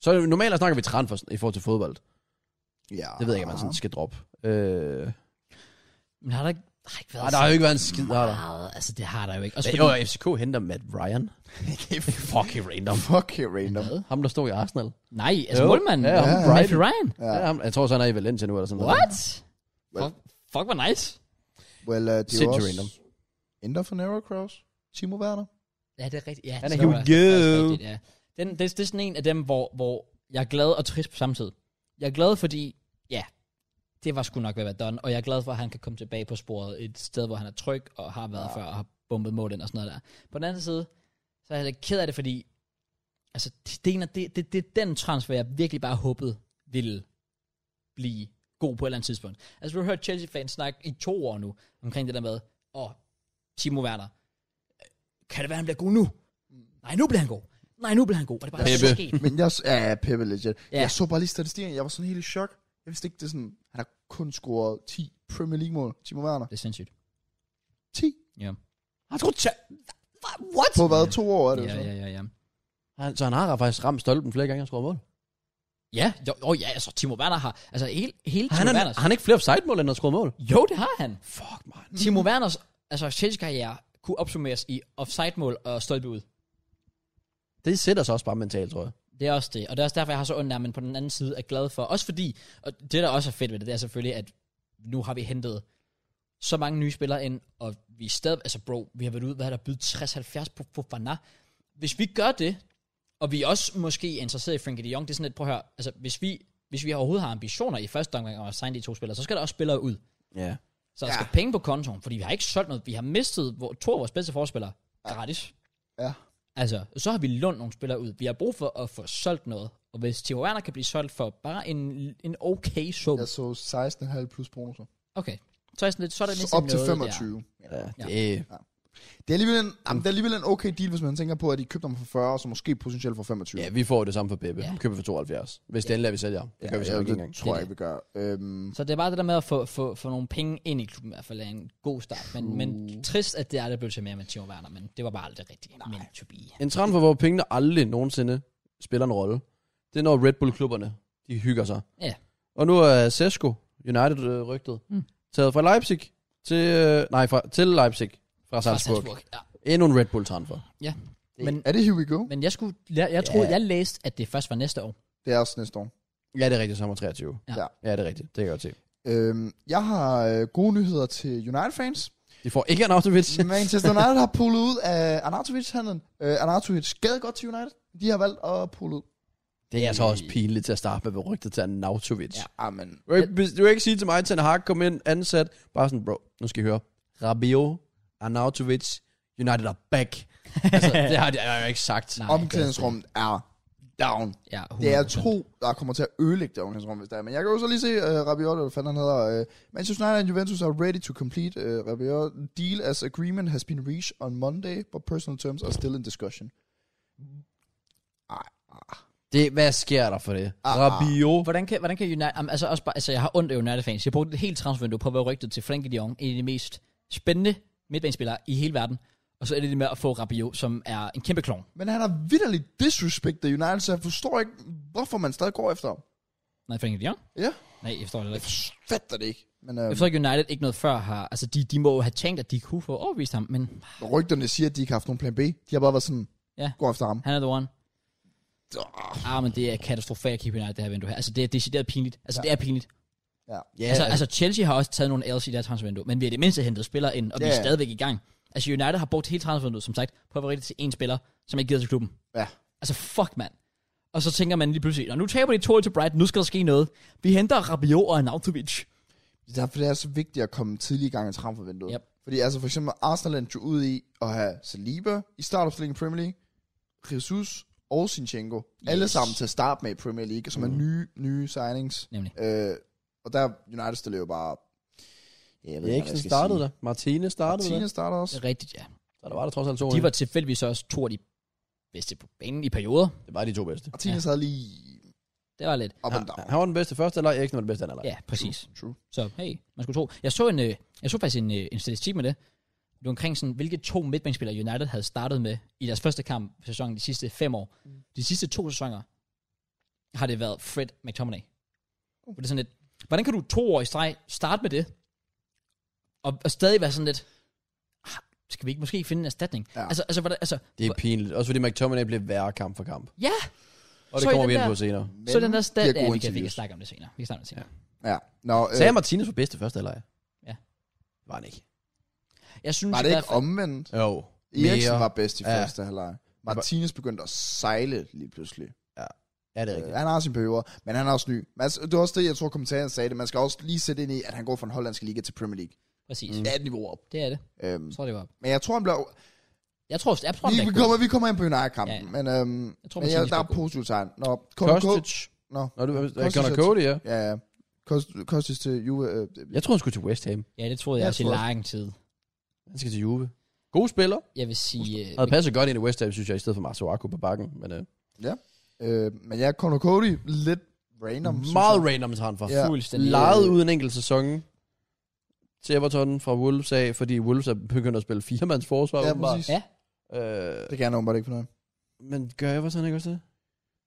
Speaker 2: så er det- normalt snakker vi transfer i forhold til fodbold.
Speaker 3: ja.
Speaker 2: Det ved jeg ikke, om man sådan
Speaker 3: [LAUGHS]
Speaker 2: skal droppe. Øh,
Speaker 1: Men har der ikke, der har ikke været
Speaker 2: ej, der har jo ikke været en skid, har der?
Speaker 1: meget, altså det har der jo ikke. Også
Speaker 2: Det
Speaker 1: fordi,
Speaker 2: var FCK henter Matt Ryan. Fucking random.
Speaker 3: Fucking random.
Speaker 2: Ham, der stod i Arsenal.
Speaker 1: nej, altså
Speaker 2: Jo.
Speaker 1: målmanden,
Speaker 2: Ja,
Speaker 1: ja,
Speaker 2: ham,
Speaker 1: ja,
Speaker 2: Brighton.
Speaker 1: Matthew Ryan.
Speaker 2: Ja. ja ham, jeg tror så, han er i Valencia nu, eller sådan
Speaker 1: What?
Speaker 3: Well.
Speaker 1: Fuck, fuck, hvor nice.
Speaker 3: Well, uh, det er jo
Speaker 2: Sindssygt
Speaker 3: også...
Speaker 2: random.
Speaker 3: Ender for Narrow Cross. Timo Werner.
Speaker 1: Ja, det er rigtigt. Ja,
Speaker 2: Han
Speaker 1: det
Speaker 2: er
Speaker 1: var
Speaker 2: huge.
Speaker 1: faktisk rigtigt, ja. Den, det, det, er sådan en af dem, hvor, hvor jeg er glad og trist på samme tid. Jeg er glad, fordi ja, det var sgu nok ved at være done, og jeg er glad for, at han kan komme tilbage på sporet et sted, hvor han er tryg og har været ja. før og har bumpet mål ind og sådan noget der. På den anden side, så er jeg lidt ked af det, fordi altså, det, det, er en af- det, det, det er den transfer, jeg virkelig bare håbede ville blive god på et eller andet tidspunkt. Altså, du har hørt Chelsea-fans snakke i to år nu, omkring det der med, åh, Timo Werner, kan det være, han bliver god nu? Nej, nu bliver han god. Nej, nu bliver han god. Og det er bare
Speaker 2: Peppe.
Speaker 1: så sket.
Speaker 3: Men jeg, s- ja, ja, Peppe legit.
Speaker 1: Ja.
Speaker 3: Ja. Jeg så bare lige statistikken, jeg var sådan helt i chok. Jeg vidste ikke, det er sådan, han har kun scoret 10 Premier League-mål, Timo Werner.
Speaker 1: Det er sindssygt.
Speaker 3: 10?
Speaker 1: Ja.
Speaker 2: Har du What?
Speaker 3: På hvad, to år er det jo
Speaker 1: Ja,
Speaker 3: så?
Speaker 1: ja, ja, ja.
Speaker 2: Han, så han har faktisk ramt stolpen flere gange, han skruer mål.
Speaker 1: Ja, jo, jo, ja, altså Timo Werner har... Altså hele, hele Timo
Speaker 2: Han, han,
Speaker 1: Werners...
Speaker 2: han har ikke flere offside-mål, end han skruer mål.
Speaker 1: Jo, det har han.
Speaker 2: Fuck, man.
Speaker 1: Timo Werners altså, Chelsea-karriere kunne opsummeres i offside-mål og stolpe ud.
Speaker 2: Det sætter sig også bare mentalt, tror jeg.
Speaker 1: Det er også det, og det er også derfor, jeg har så ondt af, men på den anden side er glad for. Også fordi, og det der også er fedt ved det, det er selvfølgelig, at nu har vi hentet så mange nye spillere ind, og vi er stadig, altså bro, vi har været ude, hvad er der byde 60-70 på Fofana. Hvis vi gør det, og vi er også måske er interesseret i Frankie de Jong, det er sådan lidt, prøv at høre, altså hvis vi, hvis vi overhovedet har ambitioner i første omgang om at signe de to spillere, så skal der også spillere ud.
Speaker 2: Ja.
Speaker 1: Så der
Speaker 3: Ja.
Speaker 1: skal penge på kontoen, fordi vi har ikke solgt noget. Vi har mistet vor- to af vores bedste forspillere gratis.
Speaker 3: Ja.
Speaker 1: Altså, så har vi lånt nogle spillere ud. Vi har brug for at få solgt noget. Og hvis Timo Werner kan blive solgt for bare en, en okay sum.
Speaker 3: Jeg så 16,5 plus bonusser.
Speaker 1: Okay. Så er, jeg sådan lidt, så er der
Speaker 3: Så
Speaker 1: næsten
Speaker 3: op til
Speaker 1: noget der.
Speaker 3: 25.
Speaker 2: ja.
Speaker 1: Ja.
Speaker 2: Det,
Speaker 3: Det er, alligevel en, jamen, det er alligevel en okay deal, hvis man tænker på, at de købte dem for 40, og så måske potentielt for 25.
Speaker 2: ja, vi får det samme for Beppe.
Speaker 1: Ja.
Speaker 2: Ja. Køber for 72. Hvis det endelig er, vi sælger. ham. Det gør vi så
Speaker 3: ja,
Speaker 2: ikke
Speaker 3: det
Speaker 2: engang.
Speaker 1: Det
Speaker 3: tror
Speaker 1: er
Speaker 3: jeg ikke, vi gør. Øhm,
Speaker 1: Så det er bare det der med at få, få, få nogle penge ind i klubben i hvert fald er en god start. Men, men trist, at det aldrig blev til mere med Timo Werner, men det var bare aldrig rigtigt. Nej. Men to be.
Speaker 2: En transfer, hvor pengene aldrig nogensinde spiller en rolle, det er når Red Bull-klubberne, de hygger sig.
Speaker 1: Ja.
Speaker 2: Og nu er Sesko, United-rygtet,
Speaker 1: Mm.
Speaker 2: mm. taget fra Leipzig til, øh, nej, fra, til Leipzig fra
Speaker 1: Fra
Speaker 2: Salzburg. Salzburg.
Speaker 1: Ja.
Speaker 2: Endnu en Red Bull-transfer.
Speaker 1: ja.
Speaker 3: det,
Speaker 1: Men,
Speaker 3: men, er det here we go?
Speaker 1: men jeg, skulle, jeg, jeg
Speaker 2: Ja.
Speaker 1: troede, jeg læste, at det først var næste år.
Speaker 3: Det er også næste år.
Speaker 2: Ja, det er rigtigt, sommer 23.
Speaker 1: Ja.
Speaker 3: Ja.
Speaker 2: ja, det er rigtigt. Det kan jeg godt se.
Speaker 3: Øhm, jeg har øh, gode nyheder til United-fans.
Speaker 2: De får ikke en Arnautovic.
Speaker 3: Manchester United har pullet ud af Arnautovic-handlen. Øh, Arnautovic skade godt til United. De har valgt at pulle ud.
Speaker 2: Det er altså også pinligt til at starte med, hvor rygtet til Arnautovic.
Speaker 1: Ja.
Speaker 2: Ja.
Speaker 3: Amen.
Speaker 2: Du, kan ikke- du kan ikke sige til mig, at Ten Hag kom ind ansat, bare sådan, bro, nu skal I høre. Rabiot, Arnautovic, United are back.
Speaker 1: [LAUGHS]
Speaker 2: [LAUGHS] altså, det har de jeg har jo ikke sagt.
Speaker 1: Nej.
Speaker 3: Omklædningsrummet er down.
Speaker 1: Ja, 100%.
Speaker 3: Det er to, der kommer til at ødelægge det omklædningsrum, hvis det er. Men jeg kan jo så lige se uh, Rabiot, eller hvad fanden han hedder. Uh, Manchester United and Juventus are ready to complete uh, Rabiot deal as agreement has been reached on Monday, but personal terms are still in discussion.
Speaker 2: Det, hvad sker der for det? Ah, Rabiot.
Speaker 1: Hvordan kan, hvordan kan United... Jamen, altså, også bare, altså, jeg har ondt af United-fans. Jeg brugte et helt transfervindue på at være rygtet til Frankie de Jong, en af de mest spændende midtbanespillere i hele verden. Og så er det det med at få Rabiot, som er en kæmpe klon.
Speaker 3: Men han har vidderligt disrespektet United, så jeg forstår ikke, hvorfor man stadig går efter ham.
Speaker 1: Nej, Frankie de Jong?
Speaker 3: Ja,
Speaker 1: Nej, jeg forstår det ikke.
Speaker 3: fatter det ikke. Men øh,
Speaker 1: Jeg forstår ikke, United ikke noget før har... Altså, de, de må jo have tænkt, at de kunne få overvist ham, men
Speaker 3: rygterne siger, at de ikke har haft nogen plan B. De har bare været sådan,
Speaker 1: Ja.
Speaker 3: ja. gå efter ham.
Speaker 1: han er the one.
Speaker 3: Åh,
Speaker 1: Ah, men det er katastrofalt at kigge på United, det her vindue her. Altså, det er decideret pinligt. Altså, ja. det er pinligt.
Speaker 3: Ja.
Speaker 2: Ja,
Speaker 1: Altså, altså, Chelsea har også taget nogle L's i deres transfervindue, men vi har i det mindste hentet spillere ind, og vi
Speaker 3: Ja,
Speaker 1: er
Speaker 3: ja.
Speaker 1: stadigvæk i gang. Altså, United har brugt hele transfervinduet, som sagt, på at være rigtig til én spiller, som ikke gider til klubben.
Speaker 3: Ja.
Speaker 1: Altså, fuck, mand. Og så tænker man lige pludselig, "Nå, nu taber de 2 til Brighton, nu skal der ske noget. Vi henter Rabiot og Arnautovic.
Speaker 3: Det er Derfor det er så vigtigt at komme tidlig i gang i transfervinduet.
Speaker 1: Yep.
Speaker 3: Fordi altså for eksempel Arsenal endte jo ud i at have Saliba i startopstillingen i Premier League, Jesus og Sinchenko. Yes. Alle sammen til at starte med i Premier League, som mm. er nye, nye signings.
Speaker 1: Nemlig.
Speaker 3: Øh, og der United stiller jo bare... Ja, jeg
Speaker 2: Eriksen startede der. Martine startede
Speaker 3: Martine
Speaker 2: der.
Speaker 3: starter også.
Speaker 1: Det er rigtigt, ja.
Speaker 2: Så der var der trods alt to.
Speaker 1: De var tilfældigvis også to af de bedste på banen i perioder.
Speaker 2: Det var de to bedste.
Speaker 3: Martine ja. sad lige
Speaker 1: Det var lidt.
Speaker 3: op
Speaker 2: Ja,
Speaker 3: and down.
Speaker 2: han var den bedste første, eller Eriksen var den bedste anden, eller?
Speaker 1: Ja, præcis.
Speaker 3: True.
Speaker 1: Så hey, man skulle tro. Jeg så, en, øh, jeg så faktisk en, øh, en statistik med det. Det var omkring sådan, hvilke to midtbanespillere United havde startet med i deres første kamp i sæsonen de sidste fem år.
Speaker 3: Mm.
Speaker 1: De sidste to sæsoner har det været Fred McTominay. Uh. Det er sådan lidt, hvordan kan du to år i streg starte med det, og, og stadig være sådan lidt, "Ah, skal vi ikke måske finde en erstatning? Ja.
Speaker 3: Ja.
Speaker 1: Altså, altså, hvordan, altså,
Speaker 2: Det er pinligt. Også fordi McTominay blev værre kamp for kamp.
Speaker 1: ja,
Speaker 2: Og det
Speaker 1: Så i
Speaker 2: kommer
Speaker 1: den
Speaker 2: vi ind
Speaker 1: der-
Speaker 2: på senere.
Speaker 3: Men
Speaker 1: så den der
Speaker 3: de har
Speaker 1: stat, ja,
Speaker 3: gode
Speaker 1: vi kan, vi kan
Speaker 3: interviews.
Speaker 1: snakke om det senere. Vi kan snakke om det senere.
Speaker 3: Ja. Nå, øh,
Speaker 2: Sagde Martinez var bedste første, eller?
Speaker 1: Ja.
Speaker 2: Var han ikke.
Speaker 1: Jeg synes,
Speaker 3: var
Speaker 1: i
Speaker 3: det
Speaker 1: hvert
Speaker 3: ikke
Speaker 1: fald-
Speaker 3: omvendt?
Speaker 2: Jo.
Speaker 3: Eriksen var bedst i
Speaker 2: Ja.
Speaker 3: første halvleg. Martinez begyndte at sejle lige pludselig.
Speaker 2: Ja, det
Speaker 3: Øh,
Speaker 2: er rigtigt.
Speaker 3: han har sine perioder, men han er også ny. Men altså, det er også det, jeg tror, kommentaren sagde det. Man skal også lige sætte ind i, at han går fra den hollandske liga til Premier League.
Speaker 1: Præcis.
Speaker 3: Mm. Det er et niveau op.
Speaker 1: Det er det.
Speaker 3: Øhm,
Speaker 1: Jeg tror, det var.
Speaker 3: men jeg tror, han bliver...
Speaker 1: Jeg tror, jeg tror,
Speaker 3: Vi,
Speaker 1: han
Speaker 3: vi,
Speaker 1: bliver
Speaker 3: kommer, vi kommer ind på United-kampen,
Speaker 1: Ja,
Speaker 3: ja, men, øhm,
Speaker 1: Jeg
Speaker 3: jeg
Speaker 1: tror,
Speaker 3: tror, men
Speaker 1: Martinez
Speaker 3: jeg, der er
Speaker 1: bliver god.
Speaker 3: positive tegn. Nå, Connor
Speaker 2: Kostic.
Speaker 3: Nå,
Speaker 2: Nå, du, øh,
Speaker 3: Kostic
Speaker 2: Connor
Speaker 3: er-
Speaker 2: Cody, ja.
Speaker 3: ja, ja. Kost- Kostic til Juve. Øh,
Speaker 2: Jeg tror han skulle til West Ham.
Speaker 1: Ja, det troede jeg,
Speaker 3: Jeg
Speaker 1: også i
Speaker 3: tror-
Speaker 1: lang tid.
Speaker 2: Han skal til Juve. God spiller.
Speaker 1: Jeg vil sige... øh,
Speaker 2: Havde passet godt ind i West Ham, synes jeg, i stedet for Masuaku på bakken. Men øh,
Speaker 3: Øh, men ja, Connor Cody, lidt random. synes
Speaker 2: meget
Speaker 3: jeg.
Speaker 2: random tager han fra.
Speaker 3: Ja.
Speaker 1: fuldstændig...
Speaker 2: Lejet ud en enkelt sæson til Everton fra Wolves af, fordi Wolves er begyndt at spille firemands forsvar.
Speaker 3: Ja,
Speaker 2: åbenbart.
Speaker 3: præcis.
Speaker 1: Ja.
Speaker 2: Øh,
Speaker 3: Det kan jeg åbenbart ikke finde ud af.
Speaker 2: men gør Everton ikke også det?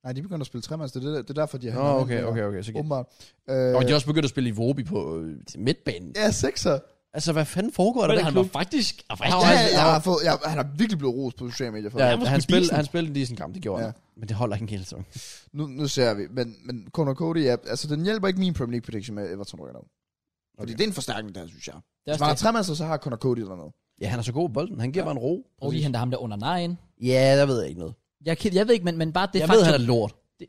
Speaker 3: Nej, de begynder at spille tremands. Det, er det, det er derfor, de har
Speaker 2: Nå,
Speaker 3: ham ind
Speaker 2: okay,
Speaker 3: der,
Speaker 2: okay, okay. Så gik-
Speaker 3: Åbenbart. Øh,
Speaker 2: Og de er også begyndt at spille i Vobi på øh, midtbanen.
Speaker 3: Ja, sekser.
Speaker 2: Altså, hvad fanden foregår der?
Speaker 1: Men
Speaker 2: i den
Speaker 1: han var
Speaker 2: klub?
Speaker 1: faktisk... Og
Speaker 3: Ja,
Speaker 1: faktisk
Speaker 2: var-
Speaker 3: ja,
Speaker 2: han
Speaker 3: jeg
Speaker 2: var-
Speaker 3: har fået, jeg, han har virkelig blevet rost på sociale medier for det.
Speaker 2: Ja,
Speaker 1: Han var
Speaker 2: han,
Speaker 1: sgu
Speaker 2: spillede,
Speaker 1: decent.
Speaker 2: han spillede en decent kamp, det gjorde
Speaker 3: Ja.
Speaker 2: ja. han. Men det holder ikke en hel sæson.
Speaker 3: Nu, nu ser vi. Men, men Connor Cody, ja, altså den hjælper ikke min Premier League prediction med at Everton rykker derud. Fordi
Speaker 2: Okay.
Speaker 3: det er en forstærkning der, synes jeg.
Speaker 1: Det er
Speaker 3: Hvis
Speaker 1: også
Speaker 3: man har
Speaker 1: det.
Speaker 3: tremands, så har Connor Cody eller noget.
Speaker 2: Ja, han er så god i bolden. Han giver
Speaker 3: Ja.
Speaker 2: ja. bare en ro.
Speaker 1: Og lige henter ham der under nejen.
Speaker 2: Ja, der ved jeg ikke noget.
Speaker 1: Jeg, kan- jeg ved ikke, men, men bare det
Speaker 2: Det jeg ved,
Speaker 1: faktum...
Speaker 2: han er lort.
Speaker 1: Det-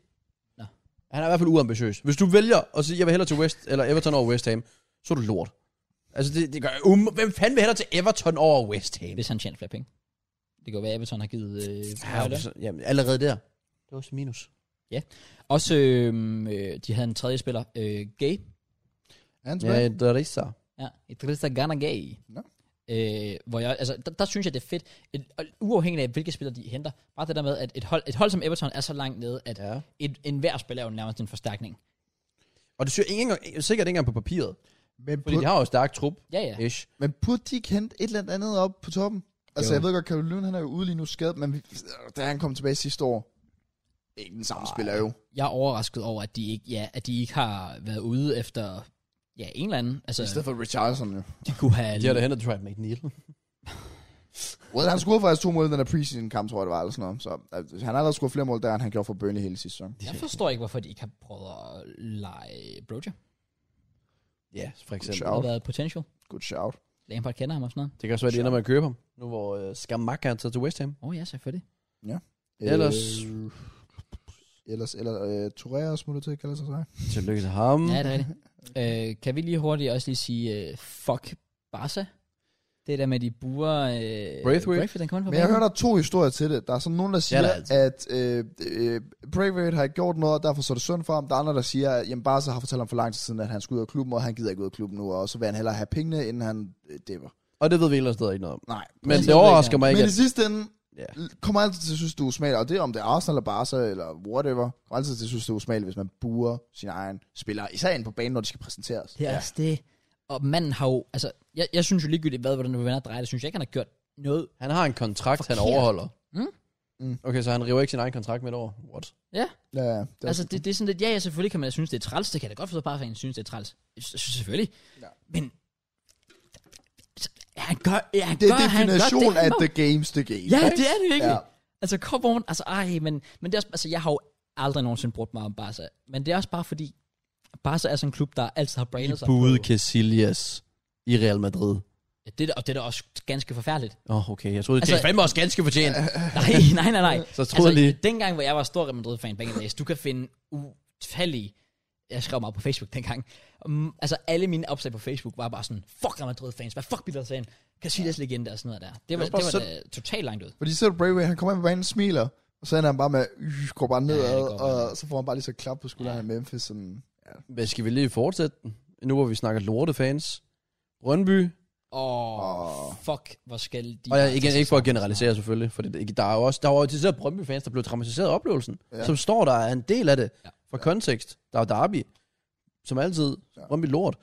Speaker 2: Det...
Speaker 1: Nå.
Speaker 2: Han er i hvert fald uambitiøs. Hvis du vælger at sige, jeg vil hellere til West, eller Everton over West Ham, så er du lort. Altså, det, det gør um, Hvem fanden vil hellere til Everton over West Ham?
Speaker 1: Hvis han tjener flere penge. Det kan jo være, at Everton har givet... Øh, højere
Speaker 2: Ja,
Speaker 1: løn.
Speaker 2: så, jamen, allerede der. Det var så minus.
Speaker 1: Også, øhm, øh, de havde en tredje spiller, øh, Gay.
Speaker 3: Er han tilbage?
Speaker 2: Ja, der er det så.
Speaker 1: Ja, Idrissa Gana Gay.
Speaker 3: Nå.
Speaker 1: Øh, hvor jeg, altså, der, der, synes jeg, det er fedt, et, og uafhængigt af, hvilke spillere de henter, bare det der med, at et hold, et hold som Everton er så langt nede, at
Speaker 2: Ja.
Speaker 1: et, en hver spiller er jo nærmest en forstærkning.
Speaker 2: Og det synes jeg ikke engang, sikkert ikke engang på papiret.
Speaker 3: Men,
Speaker 2: Fordi
Speaker 3: bur,
Speaker 2: de har jo en stærk trup.
Speaker 1: Ja, ja.
Speaker 2: Ish.
Speaker 3: men burde de ikke hente et eller andet op på toppen?
Speaker 1: Jo.
Speaker 3: Altså, jeg ved godt, Kevin Lund, han er jo ude lige nu skadet, men vi, da han kom tilbage sidste år, ikke den samme spiller jo.
Speaker 1: Jeg er overrasket over, at de ikke, ja, at de ikke har været ude efter ja, en eller anden.
Speaker 3: I stedet
Speaker 1: Altså,
Speaker 3: for Richardson jo.
Speaker 1: de kunne have...
Speaker 2: De har da hentet Dwight McNeil.
Speaker 3: Well, han scorede faktisk to mål i den der preseason kamp, tror jeg det var, eller sådan noget. Så øh, han har allerede scoret flere mål der, end han gjorde for Burnley hele sidste sæson.
Speaker 1: Jeg forstår ikke, hvorfor de ikke har prøvet at lege Broja.
Speaker 2: Ja, for eksempel.
Speaker 1: Det har
Speaker 3: Out.
Speaker 1: været potential.
Speaker 3: Good shout.
Speaker 1: Lampard kender ham og sådan noget.
Speaker 2: Det kan også være, at de ender med at købe ham. Nu hvor øh, Skamaka er taget til West Ham.
Speaker 1: Åh oh, ja, selvfølgelig.
Speaker 2: Ellers...
Speaker 3: Øh, ellers, eller øh, Torreira smutter til, kalder sig sig.
Speaker 2: Tillykke til ham.
Speaker 1: Mm. Ja, det er det. øh, kan vi lige hurtigt også lige sige, uh, fuck Barca? Det der med, de buer... Uh,
Speaker 2: Braithwaite.
Speaker 1: Braithwaite, han kommer ind på
Speaker 3: Men jeg
Speaker 1: banen.
Speaker 3: hører, der er to historier til det. Der er sådan nogen, der siger,
Speaker 2: der
Speaker 3: ja, at øh, øh, Braithwaite har ikke gjort noget, og derfor så er det synd for ham. Der er andre, der siger, at jamen, Barca har fortalt ham for lang tid siden, at han skulle ud af klubben, og han gider ikke ud af klubben nu, og så vil han hellere have pengene, inden han øh, dipper.
Speaker 2: Og det ved vi ellers stadig ikke noget om.
Speaker 3: Nej.
Speaker 2: Men
Speaker 1: det
Speaker 2: det
Speaker 1: ved vi
Speaker 2: overrasker
Speaker 1: ikke.
Speaker 2: mig ikke,
Speaker 3: Men i
Speaker 2: at...
Speaker 3: sidste ende
Speaker 2: Ja.
Speaker 3: l- kommer altid til at synes, du er usmagelig, og det er om det er Arsenal eller Barca eller whatever, kommer altid til at synes, du er usmagelig, hvis man buer sin egen spiller, især ind på banen, når de skal præsenteres.
Speaker 1: Det er ja. også det. Og manden har jo... Altså, jeg, jeg synes jo ligegyldigt, hvad, hvordan du vender og drejer det, synes jeg ikke, han har gjort noget.
Speaker 2: Han har en kontrakt, Forkert.
Speaker 1: Forkert.
Speaker 2: han overholder.
Speaker 1: Mm.
Speaker 3: Mm.
Speaker 2: Okay, så han river ikke sin egen kontrakt med et år. What?
Speaker 1: Ja,
Speaker 3: Ja, ja, det er
Speaker 1: altså det, det er sådan lidt, ja, ja, selvfølgelig kan man synes, det er træls. Det kan jeg da godt forstå, bare at han synes, det er træls. S- Selvfølgelig.
Speaker 3: Ja.
Speaker 1: Men han gør, ja, han
Speaker 3: det
Speaker 1: gør,
Speaker 3: er
Speaker 1: han gør
Speaker 3: definition
Speaker 1: han
Speaker 3: af
Speaker 1: må.
Speaker 3: the game's the game.
Speaker 1: Ja, det er det virkelig.
Speaker 3: Ja.
Speaker 1: Ja. Altså, come on. Altså, ej, men, men det er også, altså, jeg har jo aldrig nogensinde brugt mig om Barca. Men det er også bare fordi, Barca er sådan en klub, der altid har brandet sig.
Speaker 2: Buede Casillas i Real Madrid.
Speaker 1: Ja, det er, da- og det er da også ganske forfærdeligt.
Speaker 2: Åh, oh, okay. Jeg troede,
Speaker 1: Altså-
Speaker 2: altså, det fandme også ganske fortjent.
Speaker 1: [LAUGHS] nej, nej, nej, nej.
Speaker 2: Så troede jeg lige-
Speaker 1: Dengang, hvor jeg var stor Real Madrid-fan back in the days, du kan finde utallige jeg skrev meget på Facebook dengang. Um, altså alle mine opslag på Facebook var bare sådan, fuck Real Madrid-fans, hvad fuck Peter Sagen, Casillas legende og sådan noget der. Det var,
Speaker 3: var bare
Speaker 1: det var da totalt langt ud.
Speaker 3: Fordi så er det Braveway, han kommer ind på banen og smiler, og så ender han bare med, øh, går bare ned,
Speaker 1: Ja,
Speaker 3: ja,
Speaker 1: det går bare
Speaker 3: og så får han bare lige så et klap på skulderen ja. af Memphis. Sådan.
Speaker 2: Hvad skal vi lige fortsætte den? Nu hvor vi snakker lortefans. Brøndby.
Speaker 1: Åh, oh,
Speaker 3: Åh.
Speaker 1: fuck, hvor skal de...
Speaker 2: Og
Speaker 1: bare
Speaker 2: jeg, igen,
Speaker 1: til
Speaker 2: ikke for at
Speaker 1: sæsonen.
Speaker 2: generalisere selvfølgelig, for det, der er jo også, der var jo til sidst Brøndby-fans, der blev traumatiseret af oplevelsen,
Speaker 3: Ja.
Speaker 2: ja. som står der er en del af det,
Speaker 1: Ja.
Speaker 2: ja. fra kontekst. Der er jo Derby, som altid,
Speaker 3: Ja.
Speaker 2: ja. Brøndby lort.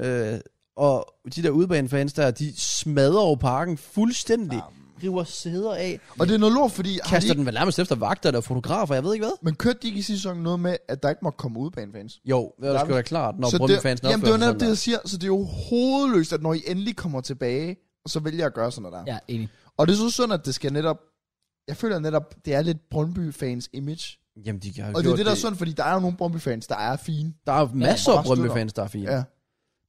Speaker 2: Øh, og de der udebanefans der, de smadrer over parken fuldstændig, ja. river sæder af,
Speaker 3: Og det er noget lort, fordi... har
Speaker 2: kaster
Speaker 3: de,
Speaker 2: den vel nærmest efter vagter og fotografer, jeg ved ikke hvad.
Speaker 3: Men kørte de ikke i sidste sæson noget med, at der ikke må komme udebanefans?
Speaker 2: Jo, det er
Speaker 3: Nej,
Speaker 2: sgu da klart, når
Speaker 3: så det,
Speaker 2: Brøndby-fansen
Speaker 3: jamen, det
Speaker 2: opfører
Speaker 3: var
Speaker 2: sig
Speaker 3: netop det,
Speaker 2: sådan
Speaker 3: jeg siger. Så det er jo hovedløst, at når I endelig kommer tilbage, så vælger jeg at gøre sådan noget der.
Speaker 1: Ja, enig.
Speaker 3: Og det er så synd, at det skal netop... Jeg føler netop, det er lidt Brøndby-fans image.
Speaker 2: der. Jamen, de har
Speaker 3: Og det er
Speaker 2: gjort
Speaker 3: det, der er synd, fordi der er jo nogle Brøndby-fans, der er fine.
Speaker 2: Der er masser
Speaker 3: og
Speaker 2: af
Speaker 3: bare støtter.
Speaker 2: Brøndby-fans, der er fine.
Speaker 3: Ja. ja.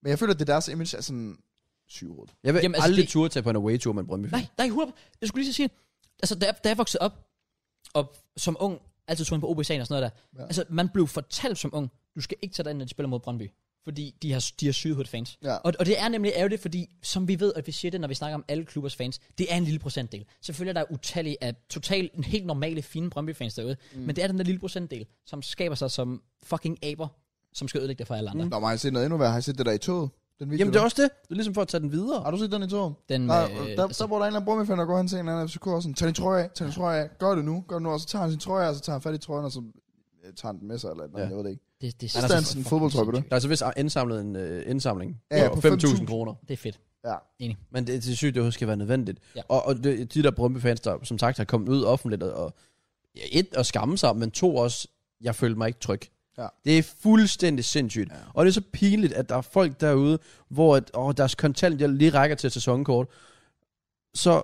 Speaker 3: Men jeg føler, at det er deres image er sådan syvråd.
Speaker 2: Jeg vil
Speaker 1: Jamen,
Speaker 2: Jamen,
Speaker 1: altså,
Speaker 2: altså, aldrig
Speaker 1: det-
Speaker 2: det... turde tage på en away-tour med en brøndby
Speaker 1: Nej, nej, 100. Jeg skulle lige så sige, altså da, jeg- da jeg voksede op, og som ung, altid tog ind på OBC'en og sådan noget der, ja.
Speaker 3: Ja.
Speaker 1: altså man blev fortalt som ung, du skal ikke tage dig ind, når de spiller mod Brøndby, fordi de har, de har sygehudt fans.
Speaker 3: Ja.
Speaker 1: Og, og det er nemlig ærgerligt, fordi som vi ved, at vi siger det, når vi snakker om alle klubbers fans, det er en lille procentdel. Selvfølgelig er der utallige af totalt en helt normale, fine Brøndby-fans derude, mm. men det er den der lille procentdel, som skaber sig som fucking aber, som skal ødelægge det for alle andre. Mm.
Speaker 3: Nå, men har I set noget endnu værre? Har I set det der i toget? Den video
Speaker 2: Jamen, det er
Speaker 3: der.
Speaker 2: også det. Det er ligesom for at tage den videre.
Speaker 3: Har du set den i toget?
Speaker 1: Den,
Speaker 3: Der,
Speaker 1: øh,
Speaker 3: der,
Speaker 1: altså,
Speaker 3: der, hvor der er en eller anden brormefan, der går hen til en eller anden FCK og sådan, tag din trøje af, tag din trøje af, gør det nu, gør det nu, og så tager han sin trøje af, og så tager han fat i trøjen, og så øh, tager han den med sig, eller noget,
Speaker 2: Ja.
Speaker 3: ja. jeg ved det ikke.
Speaker 1: det, det,
Speaker 3: Anders,
Speaker 1: det-
Speaker 3: en
Speaker 1: fucking
Speaker 3: fodboldtrøje på det.
Speaker 1: sindssygt.
Speaker 2: Der er så vist indsamlet en øh, indsamling
Speaker 3: Ja, ja,
Speaker 2: på
Speaker 3: på
Speaker 2: 5.000
Speaker 3: 5.000
Speaker 2: kroner.
Speaker 1: Det er fedt.
Speaker 2: Men det, det er sygt, det skal være nødvendigt.
Speaker 1: Ja.
Speaker 2: Og, og det, de der Brøndby-fans, der som sagt har kommet ud offentligt og, og ja, et, at skamme sig, men to også, jeg følte mig ikke tryg.
Speaker 3: Ja.
Speaker 2: Det er fuldstændig sindssygt. Ja. Og det er så pinligt, at der er folk derude, hvor at, åh, deres kontant jeg lige rækker til et sæsonkort. Så,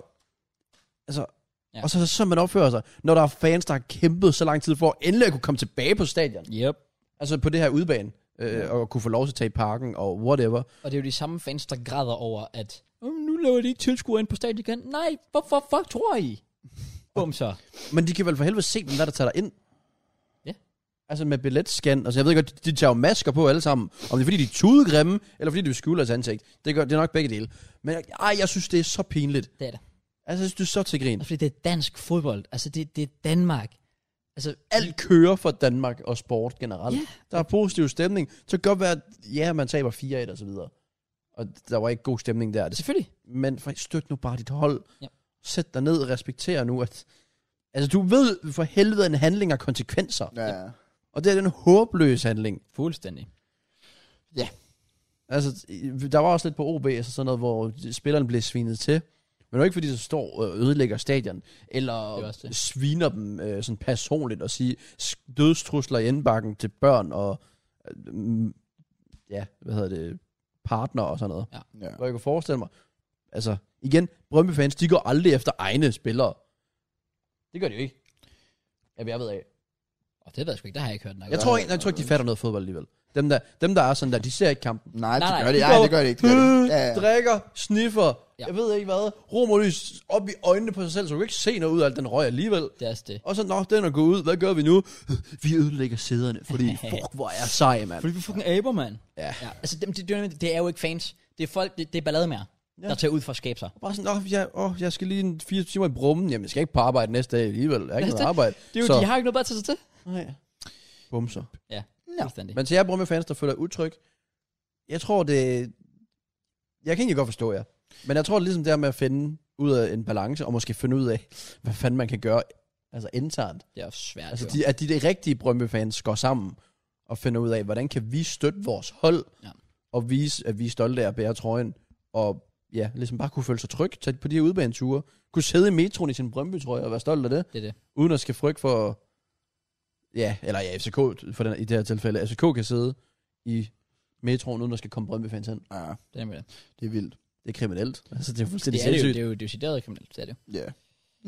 Speaker 2: altså,
Speaker 1: Ja.
Speaker 2: ja. og så, så man opfører sig, når der er fans, der har kæmpet så lang tid for at endelig at kunne komme tilbage på stadion.
Speaker 1: Yep.
Speaker 2: Altså på det her udebane, øh, og kunne få lov til at tage i parken og whatever.
Speaker 1: Og det er jo de samme fans, der græder over, at "Åh, nu laver de ikke tilskuere ind på stadion igen. Nej, hvorfor fuck tror I? Bum [LAUGHS] så.
Speaker 2: Men de kan vel for helvede se, hvem der, er, der tager dig ind.
Speaker 1: Ja.
Speaker 2: Altså med billetscan. Altså jeg ved godt, de, de tager jo masker på alle sammen. Om det er fordi, de er tudegrimme, eller fordi, de vil skjule deres ansigt. Det, gør, det er nok begge dele. Men ej, jeg synes, det er så pinligt.
Speaker 1: Det er det.
Speaker 2: Altså, jeg synes, det er så til grin.
Speaker 1: Også fordi det er dansk fodbold. Altså, det, det er Danmark. Altså,
Speaker 2: Alt kører for Danmark og sport generelt.
Speaker 1: Ja.
Speaker 2: Der er positiv stemning. Så kan det godt være, at ja, man taber 4-1 og så videre. Og der var ikke god stemning der. Det
Speaker 1: selvfølgelig.
Speaker 2: men for- støt nu bare dit hold.
Speaker 1: Ja.
Speaker 2: Ja. Sæt dig ned og respekter nu, at... Altså, du ved for helvede, at en handling har konsekvenser.
Speaker 3: Ja, ja.
Speaker 2: Og det er den håbløse handling.
Speaker 1: Fuldstændig.
Speaker 2: Altså, der var også lidt på OB, altså sådan noget, hvor spilleren blev svinet til. Men det var ikke, fordi de så står og ødelægger stadion,
Speaker 1: Det er
Speaker 2: eller
Speaker 1: også det.
Speaker 2: sviner dem øh, sådan personligt og siger "Sk- dødstrusler i indbakken til børn og, øh, mm, ja, hvad hedder det, partner og sådan noget.
Speaker 3: ja.
Speaker 2: Hvor jeg kunne forestille mig, altså, igen, Brøndby-fans, de går aldrig efter egne spillere. Det gør de jo ikke. Ja, jeg ved af.
Speaker 1: Og det ved jeg sgu ikke, der har jeg ikke hørt nok.
Speaker 2: Jeg
Speaker 1: om.
Speaker 2: tror, ikke, jeg tror ikke, de fatter noget fodbold alligevel. Dem der, dem, der er sådan der, de ser ikke kampen.
Speaker 3: Nej, det
Speaker 1: nej,
Speaker 3: gør det.
Speaker 2: de
Speaker 3: Ej,
Speaker 2: går-
Speaker 3: det gør det ikke. Det gør det. ikke. Ja,
Speaker 2: [LAUGHS]
Speaker 3: ja.
Speaker 2: Øh, drikker, sniffer,
Speaker 1: Ja.
Speaker 2: ja. jeg ved ikke hvad, romerlys op i øjnene på sig selv, så du kan ikke se noget ud af alt den røg alligevel.
Speaker 1: Det er også det.
Speaker 2: Og så, nå, den er gået ud, hvad gør vi nu? [LAUGHS] Vi ødelægger sæderne,
Speaker 3: [LAUGHS]
Speaker 2: fordi fuck, hvor er jeg sej, mand.
Speaker 1: Fordi vi er fucking aber, mand.
Speaker 2: Ja.
Speaker 1: ja. Altså, det, det, det, det er jo ikke fans. Det er folk, det, det er ballade mere, ja.
Speaker 2: Ja.
Speaker 1: der tager ud for at skabe sig.
Speaker 2: Bare sådan, åh, jeg, åh, jeg skal lige en fire timer i brummen. Jamen, jeg skal ikke på arbejde næste dag alligevel. Jeg har ikke
Speaker 1: Det er
Speaker 2: noget arbejde.
Speaker 1: Det er jo,
Speaker 2: så,
Speaker 1: de har ikke noget bedre til sig til.
Speaker 2: Nej. Bumser.
Speaker 1: Ja,
Speaker 3: Ja.
Speaker 1: fuldstændig.
Speaker 2: Men til jer brumme fans, der føler utryg, jeg tror det... Jeg kan ikke godt forstå jer. Men jeg tror det er ligesom det her med at finde ud af en balance, og måske finde ud af, [LAUGHS] hvad fanden man kan gøre altså internt.
Speaker 1: Det er jo svært.
Speaker 2: Altså
Speaker 1: jo.
Speaker 2: de, at de, de rigtige Brøndby-fans går sammen og finder ud af, hvordan kan vi støtte vores hold,
Speaker 1: Ja.
Speaker 2: ja. og vise, at vi er stolte af at bære trøjen, og ja, ligesom bare kunne føle sig tryg tage på de her udbaneture. Kunne sidde i metroen i sin Brøndby-trøje og være stolt af det,
Speaker 1: Det er det.
Speaker 2: uden at skal frygte for, ja, eller ja, FCK for den, i det her tilfælde. FCK kan sidde i metroen, uden at skal komme Brøndby-fans hen.
Speaker 3: Ja,
Speaker 1: Det er, med det.
Speaker 3: det er vildt.
Speaker 2: Det er kriminelt. Altså, det er
Speaker 1: Det,
Speaker 2: fuldstændig
Speaker 1: er det, jo,
Speaker 2: sindssygt.
Speaker 1: det er jo det er jo decideret kriminelt. Det er det. jo.
Speaker 3: Ja.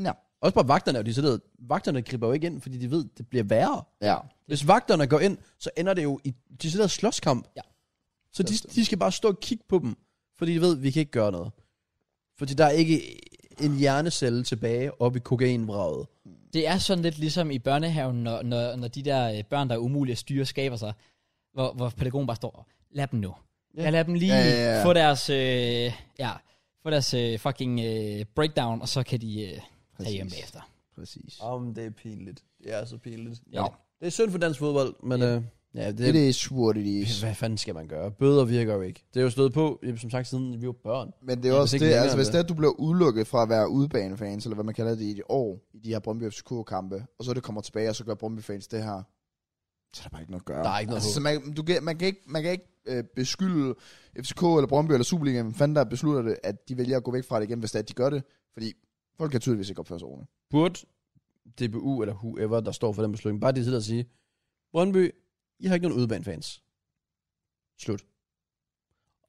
Speaker 3: Ja.
Speaker 2: Også bare vagterne, er jo decideret- vagterne griber jo ikke ind, fordi de ved, det bliver værre.
Speaker 3: Ja.
Speaker 2: Hvis vagterne går ind, så ender det jo i de sidder slåskamp.
Speaker 1: Ja.
Speaker 2: Så de, de skal bare stå og kigge på dem, fordi de ved, at vi kan ikke gøre noget. Fordi der er ikke en hjernecelle tilbage oppe i kokainbraget.
Speaker 1: Det er sådan lidt ligesom i børnehaven, når, når, når de der øh, børn, der er umulige at styre, skaber sig, hvor, hvor pædagogen bare står, lad dem nu.
Speaker 2: Ja.
Speaker 1: Jeg lader dem lige
Speaker 3: Ja, ja, ja.
Speaker 1: få deres, øh, ja, få deres øh, fucking øh, breakdown, og så kan de øh, tage hjem
Speaker 3: Præcis.
Speaker 1: bagefter.
Speaker 3: Præcis.
Speaker 2: Om det er pinligt. Det er så pinligt.
Speaker 1: Ja.
Speaker 2: Ja. Det er synd for dansk fodbold, men ja. Øh, ja, det,
Speaker 3: Det, det er surt i de...
Speaker 2: hvad fanden skal man gøre? Bøder virker jo ikke. Det er jo stået på, jamen, som sagt, siden vi var børn.
Speaker 3: Men det er
Speaker 2: Ja,
Speaker 3: også
Speaker 2: hvis ikke
Speaker 3: det,
Speaker 2: længere
Speaker 3: altså
Speaker 2: er
Speaker 3: hvis
Speaker 2: det.
Speaker 3: det er, at du bliver udelukket fra at være udebanefans, eller hvad man kalder det i et år, i de her Brøndby FCK-kampe, og så det kommer tilbage, og så gør Brøndby fans det her, så er der bare ikke noget at gøre.
Speaker 2: Der er ikke noget
Speaker 3: altså, så man, du, kan- man kan ikke, man kan ikke øh, beskylde FCK eller Brøndby eller Superligaen, hvem fanden der beslutter det, at de vælger at gå væk fra det igen, hvis det er, at de gør det. Fordi folk kan tydeligvis ikke opføre sig ordentligt.
Speaker 2: burde DBU eller whoever, der står for den beslutning, bare det til at sige, Brøndby, I har ikke nogen udebanefans. Slut.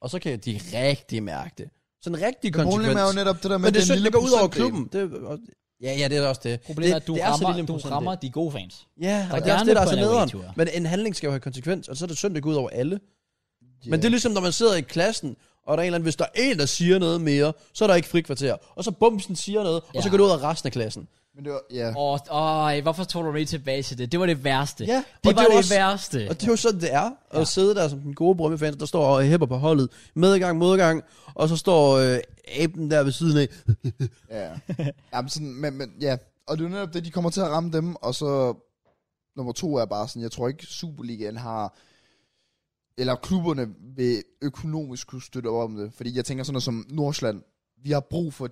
Speaker 2: Og så kan de rigtig mærke det. Så en rigtig konsekvens.
Speaker 3: Problemet er jo netop det der med,
Speaker 2: men det er
Speaker 3: den
Speaker 2: synd,
Speaker 3: lille
Speaker 2: det går ud over
Speaker 3: procentdel.
Speaker 2: klubben. Det, er- og- ja, ja, det er da også det.
Speaker 1: Problemet
Speaker 2: det,
Speaker 1: er, at du,
Speaker 2: det så
Speaker 1: rammer,
Speaker 2: lille en
Speaker 1: du
Speaker 2: procentdel.
Speaker 1: rammer de gode fans.
Speaker 2: Ja, og det er
Speaker 1: gerne
Speaker 2: også det, der er
Speaker 1: på
Speaker 2: så
Speaker 1: en
Speaker 2: nederen.
Speaker 1: away-tur.
Speaker 2: Men en handling skal jo have konsekvens, og så er det synd, det går ud over alle.
Speaker 3: Ja.
Speaker 2: Men det er ligesom, når man sidder i klassen, og der er en eller anden, hvis der er en, der siger noget mere, så er der ikke frikvarter. Og så bumsen siger noget, og
Speaker 1: Ja.
Speaker 2: så går det ud af resten af klassen.
Speaker 3: Men det var, ja.
Speaker 1: Åh, oh, hvorfor tog du ikke tilbage til det? Det var det værste.
Speaker 2: Ja,
Speaker 1: det
Speaker 2: og
Speaker 1: var
Speaker 2: det er
Speaker 1: det,
Speaker 2: også-
Speaker 1: værste.
Speaker 2: Og det er jo sådan, det er. At sidde der som den gode Brøndby-fans, der står og hæpper på holdet. Medgang, modgang. Og så står øh, aben der ved siden af.
Speaker 1: [LAUGHS]
Speaker 3: Ja. Jamen sådan, men, men ja. Og det er jo netop det, de kommer til at ramme dem, og så nummer to er bare sådan, jeg tror ikke Superligaen har eller klubberne vil økonomisk kunne støtte op om det. Fordi jeg tænker sådan noget som Nordsjælland. Vi har brug for, at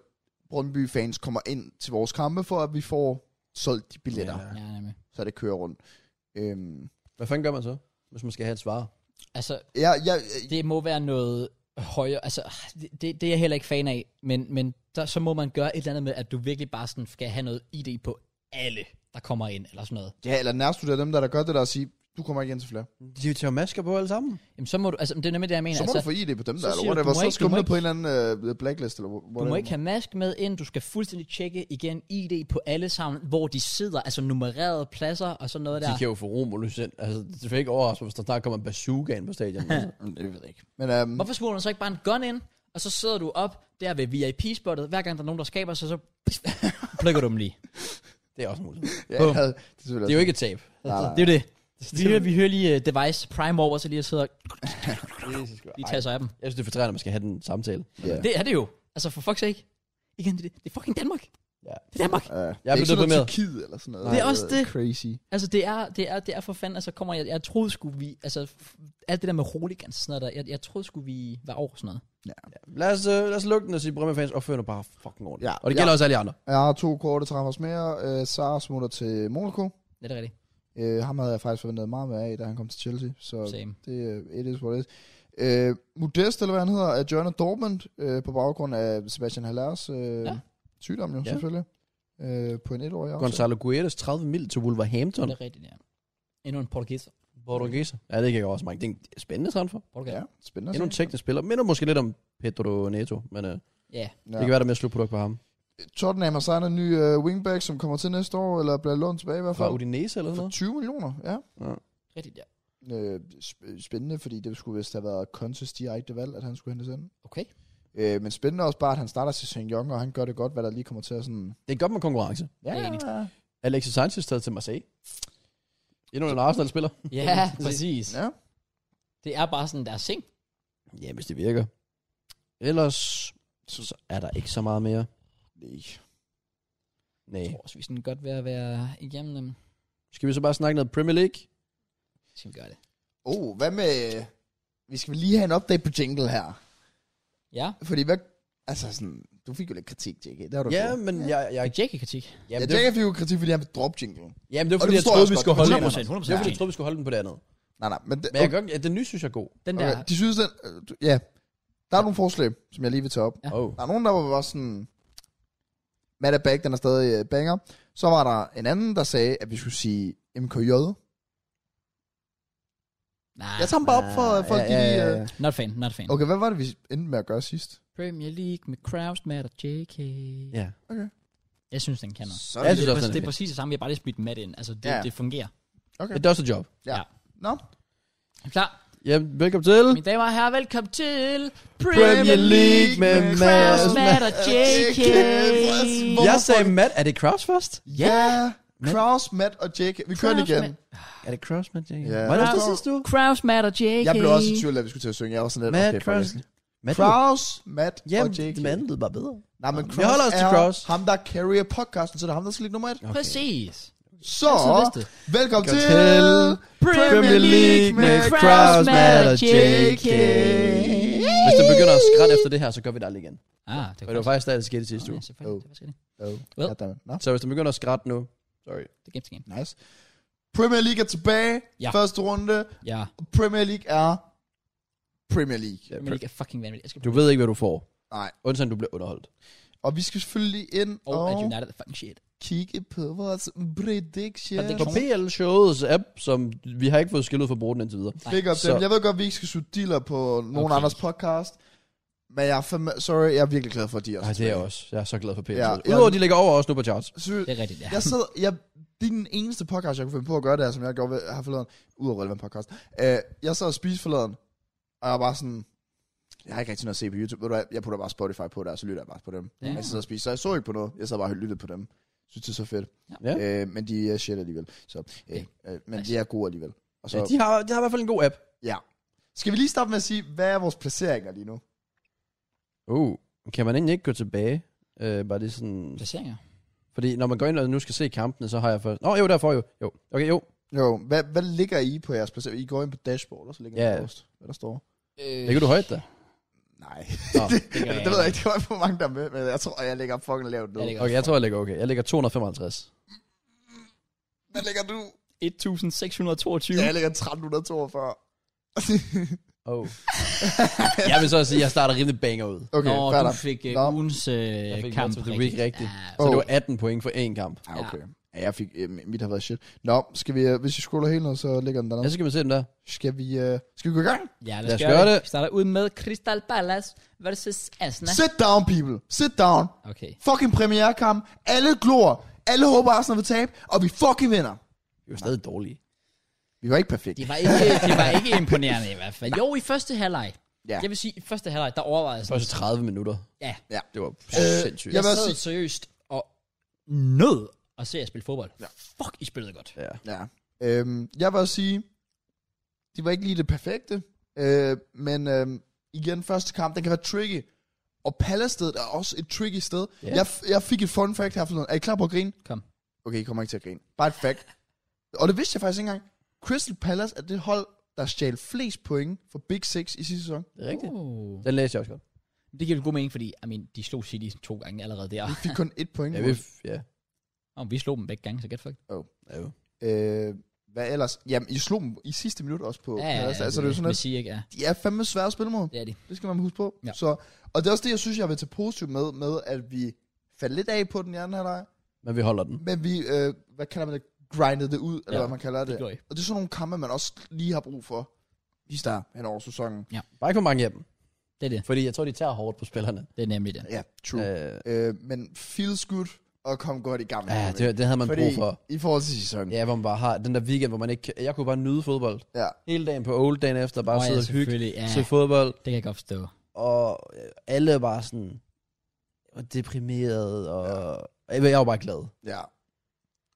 Speaker 3: Brøndby-fans kommer ind til vores kampe, for at vi får solgt de billetter, ja.
Speaker 2: Ja.
Speaker 1: Ja, nemlig.
Speaker 3: så det kører rundt. Øhm,
Speaker 2: Hvad fanden gør man så, hvis man skal have et svar?
Speaker 1: Altså,
Speaker 3: jeg, jeg,
Speaker 1: det må være noget højere, altså, det, det det er jeg heller ikke fan af, men, men der, så må man gøre et eller andet med, at du virkelig bare sådan skal have noget ID på alle, der kommer ind, eller sådan noget.
Speaker 3: ja, eller nærmest du dem, der, der gør det der og sige, du kommer ikke ind til flere.
Speaker 2: De tager masker på alle sammen.
Speaker 1: Jamen, så må du, altså, det er nemlig det, jeg mener.
Speaker 3: Så må
Speaker 1: altså,
Speaker 3: du få ID på dem
Speaker 1: så
Speaker 3: der, eller
Speaker 1: siger du,
Speaker 3: whatever.
Speaker 1: du må
Speaker 3: Så
Speaker 1: ikke-
Speaker 3: skal
Speaker 1: du
Speaker 3: du
Speaker 1: må
Speaker 3: med på en eller anden øh, blacklist, eller whatever.
Speaker 1: Du må ikke have mask med ind, du skal fuldstændig tjekke igen ID på alle sammen, hvor de sidder, altså nummererede pladser og sådan noget
Speaker 2: Ja. De
Speaker 1: der.
Speaker 2: kan jo få romolysent. Altså, det er ikke overraske, hvis der snart kommer en bazooka ind på [LAUGHS] stadion. altså.
Speaker 3: Det ved jeg ikke. Men øhm,
Speaker 1: Hvorfor smuler man så ikke bare en gun ind, og så sidder du op der ved VIP-spottet, hver gang der er nogen, der skaber sig, så plukker du dem lige.
Speaker 2: det er også muligt.
Speaker 3: ja,
Speaker 1: Bum.
Speaker 3: jeg havde, det, er selvfølgelig
Speaker 2: Det er jo ikke et tab.
Speaker 3: Nej, nej.
Speaker 1: Det er jo [LAUGHS] det. Vi hører, vi hører lige uh, Device Prime over, så lige sidder og
Speaker 2: Jesus Christ.
Speaker 1: lige tager sig af dem.
Speaker 2: Jeg synes, det er fortræder, når man skal have den samtale.
Speaker 3: Ja.
Speaker 1: Det er det jo. Altså for fuck's sake. Igen, det, det er fucking Danmark.
Speaker 2: Ja.
Speaker 1: Det er Danmark.
Speaker 3: Ja, jeg
Speaker 2: blevet deprimeret.
Speaker 3: Tyrkiet eller sådan noget.
Speaker 1: Det er også det.
Speaker 3: Crazy.
Speaker 1: Altså det er, det er, det er for fanden, altså kommer jeg, jeg troede skulle vi, altså f- alt det der med roligans og sådan noget der, jeg, jeg troede skulle vi være over sådan noget.
Speaker 2: Lad os, øh, lad os lukke den og sige, Brømme fans opfører dig bare fucking ordentligt.
Speaker 3: Ja.
Speaker 2: Og det gælder
Speaker 3: Ja.
Speaker 2: også alle andre.
Speaker 3: Jeg har to korte træffers mere. Øh, Sara smutter til Monaco.
Speaker 1: Det er det rigtigt.
Speaker 3: Øh, ham havde jeg faktisk forventet meget mere af, da han kom til Chelsea. Så
Speaker 1: Same.
Speaker 3: det er it is what it is. Øh, Modest, eller hvad han hedder, er Jørgen Dortmund øh, på baggrund af Sebastian Hallers øh,
Speaker 1: Ja.
Speaker 3: ja. sygdom jo,
Speaker 2: Ja.
Speaker 3: ja. selvfølgelig. Øh, på en etårig også.
Speaker 2: Gonzalo Guedes 30 mil til Wolverhampton.
Speaker 1: Det er rigtigt, ja. Endnu en portugiser.
Speaker 2: Portugiser. Ja, det kan jeg også mange. Det er en spændende transfer.
Speaker 1: Portugal.
Speaker 3: Ja, spændende. at
Speaker 2: Endnu en
Speaker 3: se.
Speaker 2: teknisk spiller. Minder måske lidt om Pedro Neto, men øh,
Speaker 1: Ja.
Speaker 2: det kan være, der er mere slutprodukt på ham.
Speaker 3: Tottenham har signet en ny øh, wingback, som kommer til næste år, eller bliver lånt tilbage i hvert
Speaker 2: Fra
Speaker 3: fald.
Speaker 2: Udinese eller sådan
Speaker 3: For
Speaker 2: noget?
Speaker 3: 20 millioner, ja.
Speaker 1: Rigtigt, ja.
Speaker 3: Øh, sp- spændende, fordi det skulle vist have været Contes direkte valg, at han skulle hentes ind.
Speaker 1: Okay. [LAUGHS]
Speaker 3: Øh, men spændende også bare, at han starter til St. Young, og han gør det godt, hvad der lige kommer til at sådan...
Speaker 2: Det er godt med konkurrence.
Speaker 1: Ja, ja, enig.
Speaker 2: Alexis Sanchez taget til Marseille. Endnu en Arsenal-spiller.
Speaker 1: Ja, præcis.
Speaker 3: ja.
Speaker 1: Det er bare sådan deres ting.
Speaker 2: Ja, hvis det virker. Ellers så er der ikke så meget mere.
Speaker 3: Nej.
Speaker 2: Nej.
Speaker 1: Jeg tror også, vi er sådan godt ved at være igennem dem.
Speaker 2: Skal vi så bare snakke noget Premier League?
Speaker 1: Så skal vi gøre det.
Speaker 3: Oh, hvad med... Vi skal lige have en update på jingle her.
Speaker 1: Ja.
Speaker 3: Fordi hvad... Altså sådan... Du fik jo lidt kritik, JK. Det har du
Speaker 2: Ja,
Speaker 3: fået.
Speaker 2: men jeg... jeg,
Speaker 1: Og Jackie kritik.
Speaker 2: jamen,
Speaker 3: jeg
Speaker 2: det,
Speaker 3: tænker, at vi fik jo kritik, fordi han vil droppe jinglen.
Speaker 2: jamen, det var
Speaker 3: og det
Speaker 2: fordi, jeg
Speaker 3: forstår jeg
Speaker 2: troede,
Speaker 3: også
Speaker 2: vi
Speaker 3: godt.
Speaker 2: skulle
Speaker 1: 100%,
Speaker 2: holde den.
Speaker 1: 100%.
Speaker 2: Det var fordi, jeg troede, vi skulle holde den på det andet.
Speaker 3: Nej, nej, men... Det,
Speaker 2: Men jeg, kan, ja, den nye synes jeg er god.
Speaker 1: Den der...
Speaker 3: okay, de synes, den, øh, du- ja. Der er nogle forslag, som jeg lige vil tage op.
Speaker 1: Ja.
Speaker 2: Oh.
Speaker 3: Der er nogen, der var bare sådan... Matt er back, den er stadig øh, banger. Så var der en anden, der sagde, at vi skulle sige MKJ.
Speaker 1: Nej,
Speaker 3: Jeg tager dem bare op for, for at give...
Speaker 2: Ah, ja,
Speaker 3: øh,
Speaker 2: ja.
Speaker 1: not fan, not fan.
Speaker 3: Okay, hvad var det, vi endte med at gøre sidst?
Speaker 1: Premier League med Kraus, Matt og JK.
Speaker 2: ja.
Speaker 1: Jeg synes, den kan noget.
Speaker 3: Så
Speaker 2: Jeg
Speaker 1: Det
Speaker 2: synes
Speaker 1: er,
Speaker 2: også,
Speaker 1: præcis,
Speaker 2: den er
Speaker 1: Altså, det er
Speaker 2: fin.
Speaker 1: præcis det samme, vi har bare lige smidt Matt ind. Altså, det,
Speaker 3: Ja.
Speaker 1: det fungerer.
Speaker 3: Okay.
Speaker 2: It does the job.
Speaker 3: Nå,
Speaker 1: Er I Klar.
Speaker 2: Jamen, velkommen til.
Speaker 1: Mine damer og herrer, velkommen til
Speaker 2: Premier League med
Speaker 1: Kraus,
Speaker 2: Mads.
Speaker 1: Matt og JK.
Speaker 2: Jeg sagde Matt, er det Kraus først?
Speaker 3: Ja, Kraus, Matt og Jake. Vi kører den
Speaker 1: Kraus,
Speaker 3: igen.
Speaker 1: Matt.
Speaker 2: Er det Kraus, Matt?
Speaker 3: Ja.
Speaker 2: Var det også det
Speaker 3: Kraus.
Speaker 2: sidste uge?
Speaker 1: Kraus, Matt og JK.
Speaker 3: Jeg blev også i tvivl, at vi skulle til at synge. Jeg var sådan lidt,
Speaker 2: Matt,
Speaker 3: okay, fuck
Speaker 2: Kraus.
Speaker 3: it.
Speaker 2: Matt,
Speaker 3: Kraus, Matt
Speaker 2: Jamen,
Speaker 3: og Jake.
Speaker 2: den anden lød bare bedre.
Speaker 3: Nej, men
Speaker 2: Vi
Speaker 3: Kraus
Speaker 2: holder os til
Speaker 3: er
Speaker 2: Kraus.
Speaker 3: ham, der carrier podcasten, så det er ham, der skal ligge nummer et.
Speaker 1: Okay. Præcis.
Speaker 3: Så,
Speaker 1: Jeg så vidste det.
Speaker 3: velkommen til...
Speaker 2: til Premier League med Kraus, Matt og JK. Hvis du begynder at skrætte efter det her, så gør vi det aldrig igen.
Speaker 1: Ah, det
Speaker 2: For det var faktisk der, det skete i sidste
Speaker 1: Ja,
Speaker 2: uge.
Speaker 1: selvfølgelig. Det var skidt.
Speaker 3: Oh,
Speaker 1: Well.
Speaker 3: goddammit. Nå,
Speaker 2: Så hvis du begynder at skrætte nu, sorry.
Speaker 1: Det gav igen.
Speaker 3: nice. Premier League er tilbage.
Speaker 1: Ja.
Speaker 3: Første runde.
Speaker 1: Ja,
Speaker 3: Premier League er... Premier League.
Speaker 1: men ikke er fucking vanvittigt. Jeg skal
Speaker 2: Du ved ikke, hvad du får.
Speaker 3: Nej.
Speaker 2: Undtagen du bliver underholdt.
Speaker 3: Og vi skal selvfølgelig ind
Speaker 1: og at
Speaker 3: og
Speaker 1: United er fucking shit.
Speaker 3: kigge på vores prediction.
Speaker 1: Og det
Speaker 2: På PL-showets app, som vi har ikke fået skilt ud for brugen indtil videre.
Speaker 1: Nej.
Speaker 3: Big up
Speaker 2: Så-
Speaker 3: dem. Jeg ved godt, at vi ikke skal suge dealer på nogen
Speaker 1: Okay.
Speaker 3: okay. andres podcast. Men jeg er fandme, sorry, jeg er virkelig glad for, at de er
Speaker 2: Nej, det er jeg også. Jeg er så glad for PL.
Speaker 3: Ja,
Speaker 2: Ja,
Speaker 3: ja.
Speaker 2: Udover, de ligger over os nu på charts.
Speaker 1: Det er rigtigt, ja.
Speaker 3: Jeg sidder, jeg, det er den eneste podcast, jeg kunne finde på at gøre det her, som jeg gjorde ved, her forleden. Udover relevant podcast. Øh, jeg sad og spiste forleden, og jeg var bare sådan, jeg har ikke rigtig noget at se på YouTube. Ved du hvad, jeg putter bare Spotify på der, og så lytter jeg bare på dem.
Speaker 1: Ja.
Speaker 3: Ja. Jeg sidder og spiser, så jeg så ikke på noget. Jeg sad bare og lyttede på dem. Synes det er så fedt.
Speaker 2: Ja.
Speaker 3: Øh, men de er shit alligevel. Så, øh, øh, men
Speaker 1: Nice.
Speaker 3: de er gode alligevel. Og så,
Speaker 2: Ja, de, har, de har i hvert fald en god app.
Speaker 3: ja. Skal vi lige starte med at sige, hvad er vores placeringer lige nu?
Speaker 2: Uh, kan man egentlig ikke gå tilbage? Øh, bare lige sådan...
Speaker 1: Placeringer.
Speaker 2: Fordi når man går ind og nu skal se kampene, så har jeg først... Nå, jo, derfor jo. Jo, okay, jo.
Speaker 3: Jo, hvad, hvad ligger I på jeres placering? I går ind på dashboard, og så ligger
Speaker 2: Ja.
Speaker 3: yeah. post. Hvad der står?
Speaker 1: Øh,
Speaker 2: Det kan du [LAUGHS] højt da.
Speaker 3: Nej,
Speaker 2: Nå,
Speaker 1: gør
Speaker 3: det ved jeg ikke. Det var for mange, der er med, men jeg tror, jeg ligger fucking lavt nu.
Speaker 1: Jeg ligger-
Speaker 2: okay, jeg tror, jeg ligger okay. Jeg ligger 255.
Speaker 3: Hvad ligger du?
Speaker 1: 1622.
Speaker 3: Ja, jeg ligger 1342.
Speaker 2: Oh. [LAUGHS] jeg vil så også sige, at jeg starter rimelig banger ud.
Speaker 3: [LAUGHS] Okay,
Speaker 1: Nå,
Speaker 3: fair
Speaker 1: du
Speaker 3: nok.
Speaker 1: fik
Speaker 3: Nå.
Speaker 1: uh, ugens
Speaker 2: Jeg
Speaker 1: uh,
Speaker 2: fik
Speaker 1: kamp
Speaker 2: Match of the Week rigtigt.
Speaker 1: Ja,
Speaker 2: Så
Speaker 3: Åh.
Speaker 2: det var 18 point for én kamp.
Speaker 3: Ah, okay. Ja, jeg fik, øh, mit har været shit. Nå, skal vi, øh, hvis vi scroller helt ned, så ligger den
Speaker 2: Ja,
Speaker 3: dernede.
Speaker 2: så skal vi se den der.
Speaker 3: Skal vi, øh, skal vi gå i gang?
Speaker 1: ja lad
Speaker 2: Lad
Speaker 1: os
Speaker 2: os
Speaker 1: gøre,
Speaker 2: gøre
Speaker 1: det.
Speaker 2: det.
Speaker 1: Vi starter ud med Crystal Palace versus Asna.
Speaker 3: Sit down, people. Sit down.
Speaker 1: Okay.
Speaker 3: Fucking premierekamp. Alle glor. Alle håber, Arsenal vil tabe. Og vi fucking vinder.
Speaker 2: Vi var stadig dårlige.
Speaker 3: Vi var ikke perfekte.
Speaker 1: Det var ikke, det var ikke imponerende i hvert fald. Jo, i første halvleg.
Speaker 3: Ja.
Speaker 1: Jeg vil sige, i første halvleg, der overvejede jeg sådan.
Speaker 2: Første 30 minutter.
Speaker 1: Ja.
Speaker 2: Det var
Speaker 3: Øh, jeg
Speaker 2: sindssygt.
Speaker 1: Jeg
Speaker 3: vil også
Speaker 1: sad
Speaker 3: sige-
Speaker 1: seriøst og nød at se jer spille fodbold. Ja. Fuck, I spillede godt.
Speaker 2: Ja.
Speaker 3: Ja. Øhm, jeg vil også sige, de var ikke lige det perfekte, øh, men øhm, igen, første kamp, den kan være tricky. Og Palacedet er også et tricky sted.
Speaker 2: Ja.
Speaker 3: Yeah. Jeg, f- jeg fik et fun fact her for noget. Er I klar på at grine?
Speaker 1: Kom.
Speaker 3: Okay, I kommer ikke til at grine. Bare et fact. og det vidste jeg faktisk ikke engang. Crystal Palace er det hold, der stjal flest point for Big Six i sidste sæson.
Speaker 2: Det er rigtigt.
Speaker 1: Oh.
Speaker 2: Uh. Den læste jeg også godt.
Speaker 1: Det giver jo god mening, fordi I mean, de slog City to gange allerede der.
Speaker 3: Vi fik kun et [LAUGHS] point.
Speaker 2: Ja, vi, ja.
Speaker 1: Og vi slog dem begge gange, så get fucked.
Speaker 2: ja jo.
Speaker 3: øh, hvad ellers? Jamen, I slog dem i sidste minut også på ja, Palace. altså, det er jo sådan,
Speaker 1: lidt.
Speaker 3: at
Speaker 1: Sige, ikke? Ja.
Speaker 3: de er fandme svære at spille mod.
Speaker 1: Det er de.
Speaker 3: Det skal man huske på. Ja.
Speaker 1: Ja.
Speaker 3: Så, og det er også det, jeg synes, jeg vil tage positivt med, med at vi faldt lidt af på den i anden halvleg,
Speaker 2: Men vi holder den.
Speaker 3: men vi, øh, hvad kalder man det, grindede det ud, eller
Speaker 2: Ja,
Speaker 3: hvad man kalder det.
Speaker 1: gjorde I.
Speaker 3: og det er sådan nogle kampe, man også lige har brug for, i start hen over sæsonen.
Speaker 2: Bare ikke for mange af dem.
Speaker 1: Det er det.
Speaker 2: Fordi jeg tror, de tager hårdt på spillerne.
Speaker 1: Det er nemlig det.
Speaker 3: Ja, true.
Speaker 2: Øh,
Speaker 3: Øh, men feels good, og kom godt i gang.
Speaker 2: ja, det, det havde man
Speaker 3: Fordi
Speaker 2: brug for.
Speaker 3: i forhold til sæsonen.
Speaker 2: Ja, hvor man bare har den der weekend, hvor man ikke... kan- Jeg kunne bare nyde fodbold.
Speaker 3: Ja.
Speaker 2: Hele dagen på old, dagen efter, bare
Speaker 1: Nå ja,
Speaker 2: sidde og hygge,
Speaker 1: selvfølgelig, ja.
Speaker 2: se fodbold.
Speaker 1: Det kan jeg godt forstå.
Speaker 2: Og øh, alle er bare sådan... Og deprimeret, og... og Jeg jeg var bare glad.
Speaker 3: ja.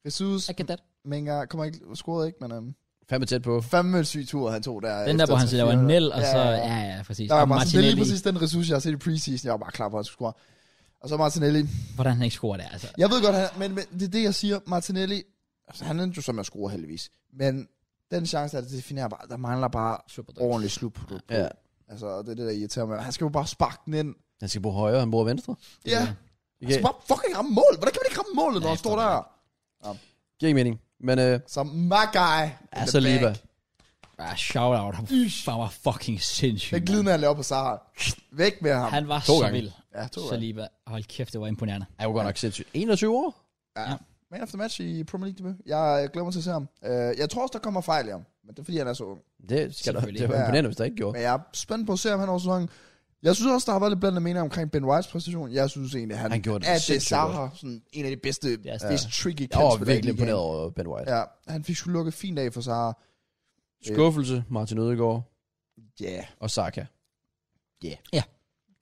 Speaker 3: Jesus,
Speaker 1: I get that.
Speaker 3: Menga, kommer ikke, scorede ikke, men um,
Speaker 2: Fandme tæt på.
Speaker 3: fandme syg tur, han tog der.
Speaker 1: Den der,
Speaker 3: efter
Speaker 1: hvor han så laver
Speaker 3: 3-4.
Speaker 1: Nel, og så... Ja, ja, præcis.
Speaker 3: Der var
Speaker 1: Og
Speaker 3: bare sådan, det er lige
Speaker 1: Martinelli,
Speaker 3: præcis den ressource, jeg har set i preseason. Jeg var bare klar på, at han skulle score. Og så Martinelli.
Speaker 1: Hvordan han ikke scorer der, altså.
Speaker 3: Jeg ved godt, han, men, men det er det, jeg siger. Martinelli, altså, han endte jo som at score heldigvis. Men den chance, der er, det definerer bare, der mangler bare
Speaker 1: Super dårligt.
Speaker 3: ordentligt slutprodukt. på.
Speaker 2: Ja.
Speaker 3: Altså, og det er det, der irriterer mig. Han skal jo bare sparke den ind.
Speaker 2: Han skal bruge højre, han bruger venstre.
Speaker 1: Det
Speaker 3: Ja.
Speaker 1: er-
Speaker 3: Han skal bare fucking ramme mål. Hvordan kan man ikke ramme målet, når
Speaker 1: Ja,
Speaker 3: han står
Speaker 1: jeg
Speaker 3: der?
Speaker 1: forstår
Speaker 2: Giver ikke mening. Men øh,
Speaker 3: Så my guy. in
Speaker 2: altså
Speaker 3: the back.
Speaker 2: Liba.
Speaker 1: Ah, shout out. Han han var fucking sindssyg.
Speaker 3: Den
Speaker 1: mand.
Speaker 3: glidende, han laver på Sahar. Væk med ham.
Speaker 1: Han var
Speaker 2: To
Speaker 1: så
Speaker 2: gange.
Speaker 1: vild.
Speaker 3: Ja, to
Speaker 1: Så
Speaker 3: gange.
Speaker 1: lige, hold kæft, det var imponerende.
Speaker 2: Jeg var godt nok sindssygt. 21 år?
Speaker 3: Ja. Man after match i Premier League debut. Jeg øh, glæder mig til at se ham. Øh, Jeg tror også, der kommer fejl i ham. Men det er, fordi han er så ung.
Speaker 2: Det skal der,
Speaker 1: Selvfølgelig.
Speaker 2: det var
Speaker 3: Ja.
Speaker 2: imponerende, hvis der ikke gjorde.
Speaker 3: Men jeg er spændt på at se, om han over sæsonen. Jeg synes også, der har været lidt blandet meninger omkring Ben Whites præstation. Jeg synes egentlig, han,
Speaker 2: Han gjorde det
Speaker 3: at det
Speaker 2: sindssygt
Speaker 3: Zaha, sådan en af de bedste,
Speaker 1: Ja,
Speaker 3: ja. mest tricky
Speaker 2: Jeg var
Speaker 3: kantspillere i
Speaker 2: virkelig
Speaker 3: ligaen.
Speaker 2: imponeret over Ben White. Ja.
Speaker 3: Ja, han fik sgu lukket fint af for Zaha.
Speaker 2: Skuffelse, Martin Ødegaard
Speaker 3: Ja, yeah.
Speaker 2: og Saka.
Speaker 3: Ja.
Speaker 1: Ja.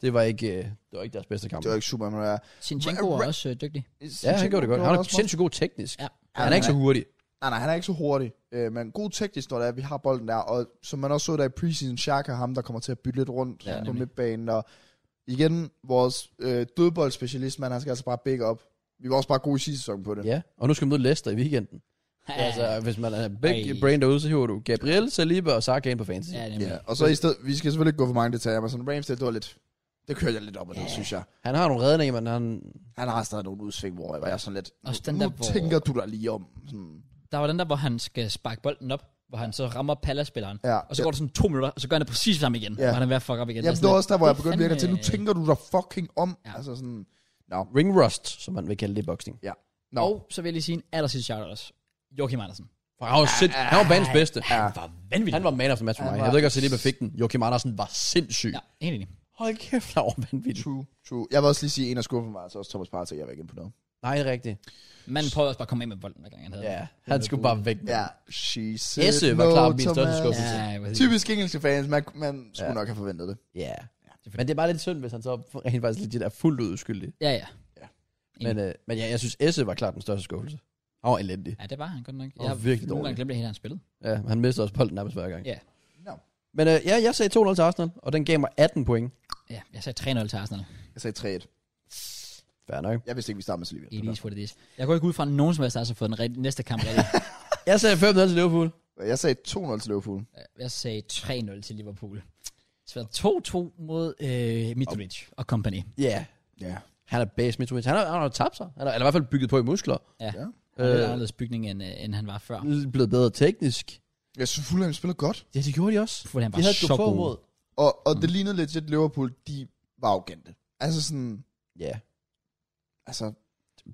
Speaker 2: Det var ikke, øh, det var ikke deres bedste kamp.
Speaker 3: det var ikke super, men øh, jeg...
Speaker 1: Sinchenko
Speaker 3: Ra-
Speaker 1: var
Speaker 3: ra-
Speaker 1: også øh, dygtig.
Speaker 2: Ja, han gjorde det godt. Han er
Speaker 3: også
Speaker 2: sindssygt god teknisk.
Speaker 1: Ja.
Speaker 2: Ja.
Speaker 3: meget-
Speaker 2: Han er ikke så hurtig.
Speaker 3: Nej, nej, han er ikke så hurtig. Øh, men god teknisk, når det er, at vi har bolden der. Og som man også så der i preseason, Shaq er ham, der kommer til at bytte lidt rundt
Speaker 1: Ja,
Speaker 3: ja, på
Speaker 1: nemlig.
Speaker 3: midtbanen. Og igen, vores øh, dødboldspecialist, man, han skal altså bare big op. Vi var også bare gode i sidste sæson på det.
Speaker 2: Ja, og nu skal vi møde Leicester i weekenden. Ja. Altså, hvis man er begge
Speaker 1: Ej.
Speaker 2: brain derude, så hiver du Gabriel, Saliba og Saka ind på fantasy.
Speaker 1: Ja,
Speaker 2: Ja.
Speaker 1: nemlig.
Speaker 3: Og så i stedet, vi skal selvfølgelig ikke gå for mange detaljer, men sådan Ramsdale, det var lidt, det kørte jeg lidt op, og det
Speaker 1: Ja.
Speaker 3: synes jeg.
Speaker 2: Han har nogle redninger, men han...
Speaker 3: Han har stadig nogle udsving, hvor jeg var sådan lidt,
Speaker 1: Også den
Speaker 3: nu
Speaker 1: der, hvor-
Speaker 3: tænker du dig lige om. Sådan,
Speaker 1: Der var den der, hvor han skal sparke bolden op, hvor han så rammer Palace-spilleren.
Speaker 3: ja.
Speaker 1: Og så går det sådan to minutter, og så gør han det præcis samme igen.
Speaker 3: Ja.
Speaker 1: Ja. Og han er ved at fuck op igen.
Speaker 3: Jamen, det var også der, hvor jeg begyndte
Speaker 1: fandme-
Speaker 3: virkelig at tænke, nu tænker du dig fucking om.
Speaker 1: øh, Ja.
Speaker 3: Altså sådan,
Speaker 2: Ring rust, som man vil kalde det i boksning.
Speaker 3: nå.
Speaker 1: Og så vil jeg lige sige en aller sidste shout-out også. Joachim Andersen.
Speaker 2: For han var, sind... han var banens bedste.
Speaker 1: Han var vanvittig.
Speaker 2: Han var man of the match for
Speaker 3: Han
Speaker 2: mig.
Speaker 3: var-
Speaker 2: Jeg ved ikke, om Saliba fik den. Joachim Andersen var sindssyg.
Speaker 1: Ja, helt enig.
Speaker 2: Hold kæft, han var vanvittig.
Speaker 3: True, true. Jeg vil også lige sige, en af skuffen var altså også Thomas Partey, jeg var ikke imponeret.
Speaker 2: Nej, det er rigtigt.
Speaker 1: Manden prøvede også bare at komme af med bolden, hver gang han havde
Speaker 2: Ja, han skulle bare væk. med
Speaker 3: Ja,
Speaker 2: den.
Speaker 3: she said
Speaker 2: Esse var klart min
Speaker 3: Thomas.
Speaker 2: største skuffelse.
Speaker 1: den. Ja, præcis.
Speaker 3: Typisk engelske fans, man, man skulle nok have forventet det.
Speaker 2: Ja. Men det er bare lidt synd, hvis han så rent faktisk legit er fuldt ud uskyldig.
Speaker 1: Ja, ja.
Speaker 2: Men, øh, men ja, jeg synes, Esse var klart den største skuffelse. Han var elendig.
Speaker 1: Ja, det var han godt nok.
Speaker 2: var virkelig
Speaker 1: nogle
Speaker 2: dårlig.
Speaker 1: gange glemte jeg helt, han spillede.
Speaker 2: Ja, han mistede også bolden nærmest hver gang.
Speaker 1: Ja.
Speaker 3: No.
Speaker 2: Men øh, ja, jeg sagde 2-0 til Arsenal, og den gav mig 18 point.
Speaker 1: Ja, jeg sagde 3-0 til Arsenal.
Speaker 3: Jeg sagde 3-1.
Speaker 2: Fair nok.
Speaker 3: Jeg vidste ikke, vi startede med Silvia.
Speaker 1: altså It is what it is. Jeg går ikke ud fra, at nogen som helst har fået den rigt- næste kamp rigtig.
Speaker 2: Jeg sagde 5-0 til Liverpool.
Speaker 3: Jeg sagde 2-0 til Liverpool.
Speaker 1: Jeg sagde 3-0 til Liverpool. Så var 2-2 mod øh, Mitrovic og company.
Speaker 2: Ja. Yeah.
Speaker 3: Ja.
Speaker 2: Han er base midtjylland. Han har, han har tabt sig. Han er, eller i hvert fald bygget på i muskler.
Speaker 1: Ja.
Speaker 3: Ja.
Speaker 1: ja. Det er lidt
Speaker 2: Øh.
Speaker 1: anderledes bygning, end, øh, end han var før.
Speaker 2: Blevet bedre teknisk.
Speaker 3: Jeg synes, Fulham spiller godt.
Speaker 2: Ja, det gjorde de også.
Speaker 1: Fulham
Speaker 2: de
Speaker 1: var
Speaker 2: havde
Speaker 1: så
Speaker 2: så
Speaker 1: gode.
Speaker 2: mod.
Speaker 3: Og, og
Speaker 2: Mm.
Speaker 3: det lignede legit Liverpool, de var arrogante. Altså sådan,
Speaker 2: Ja.
Speaker 3: altså,
Speaker 2: Der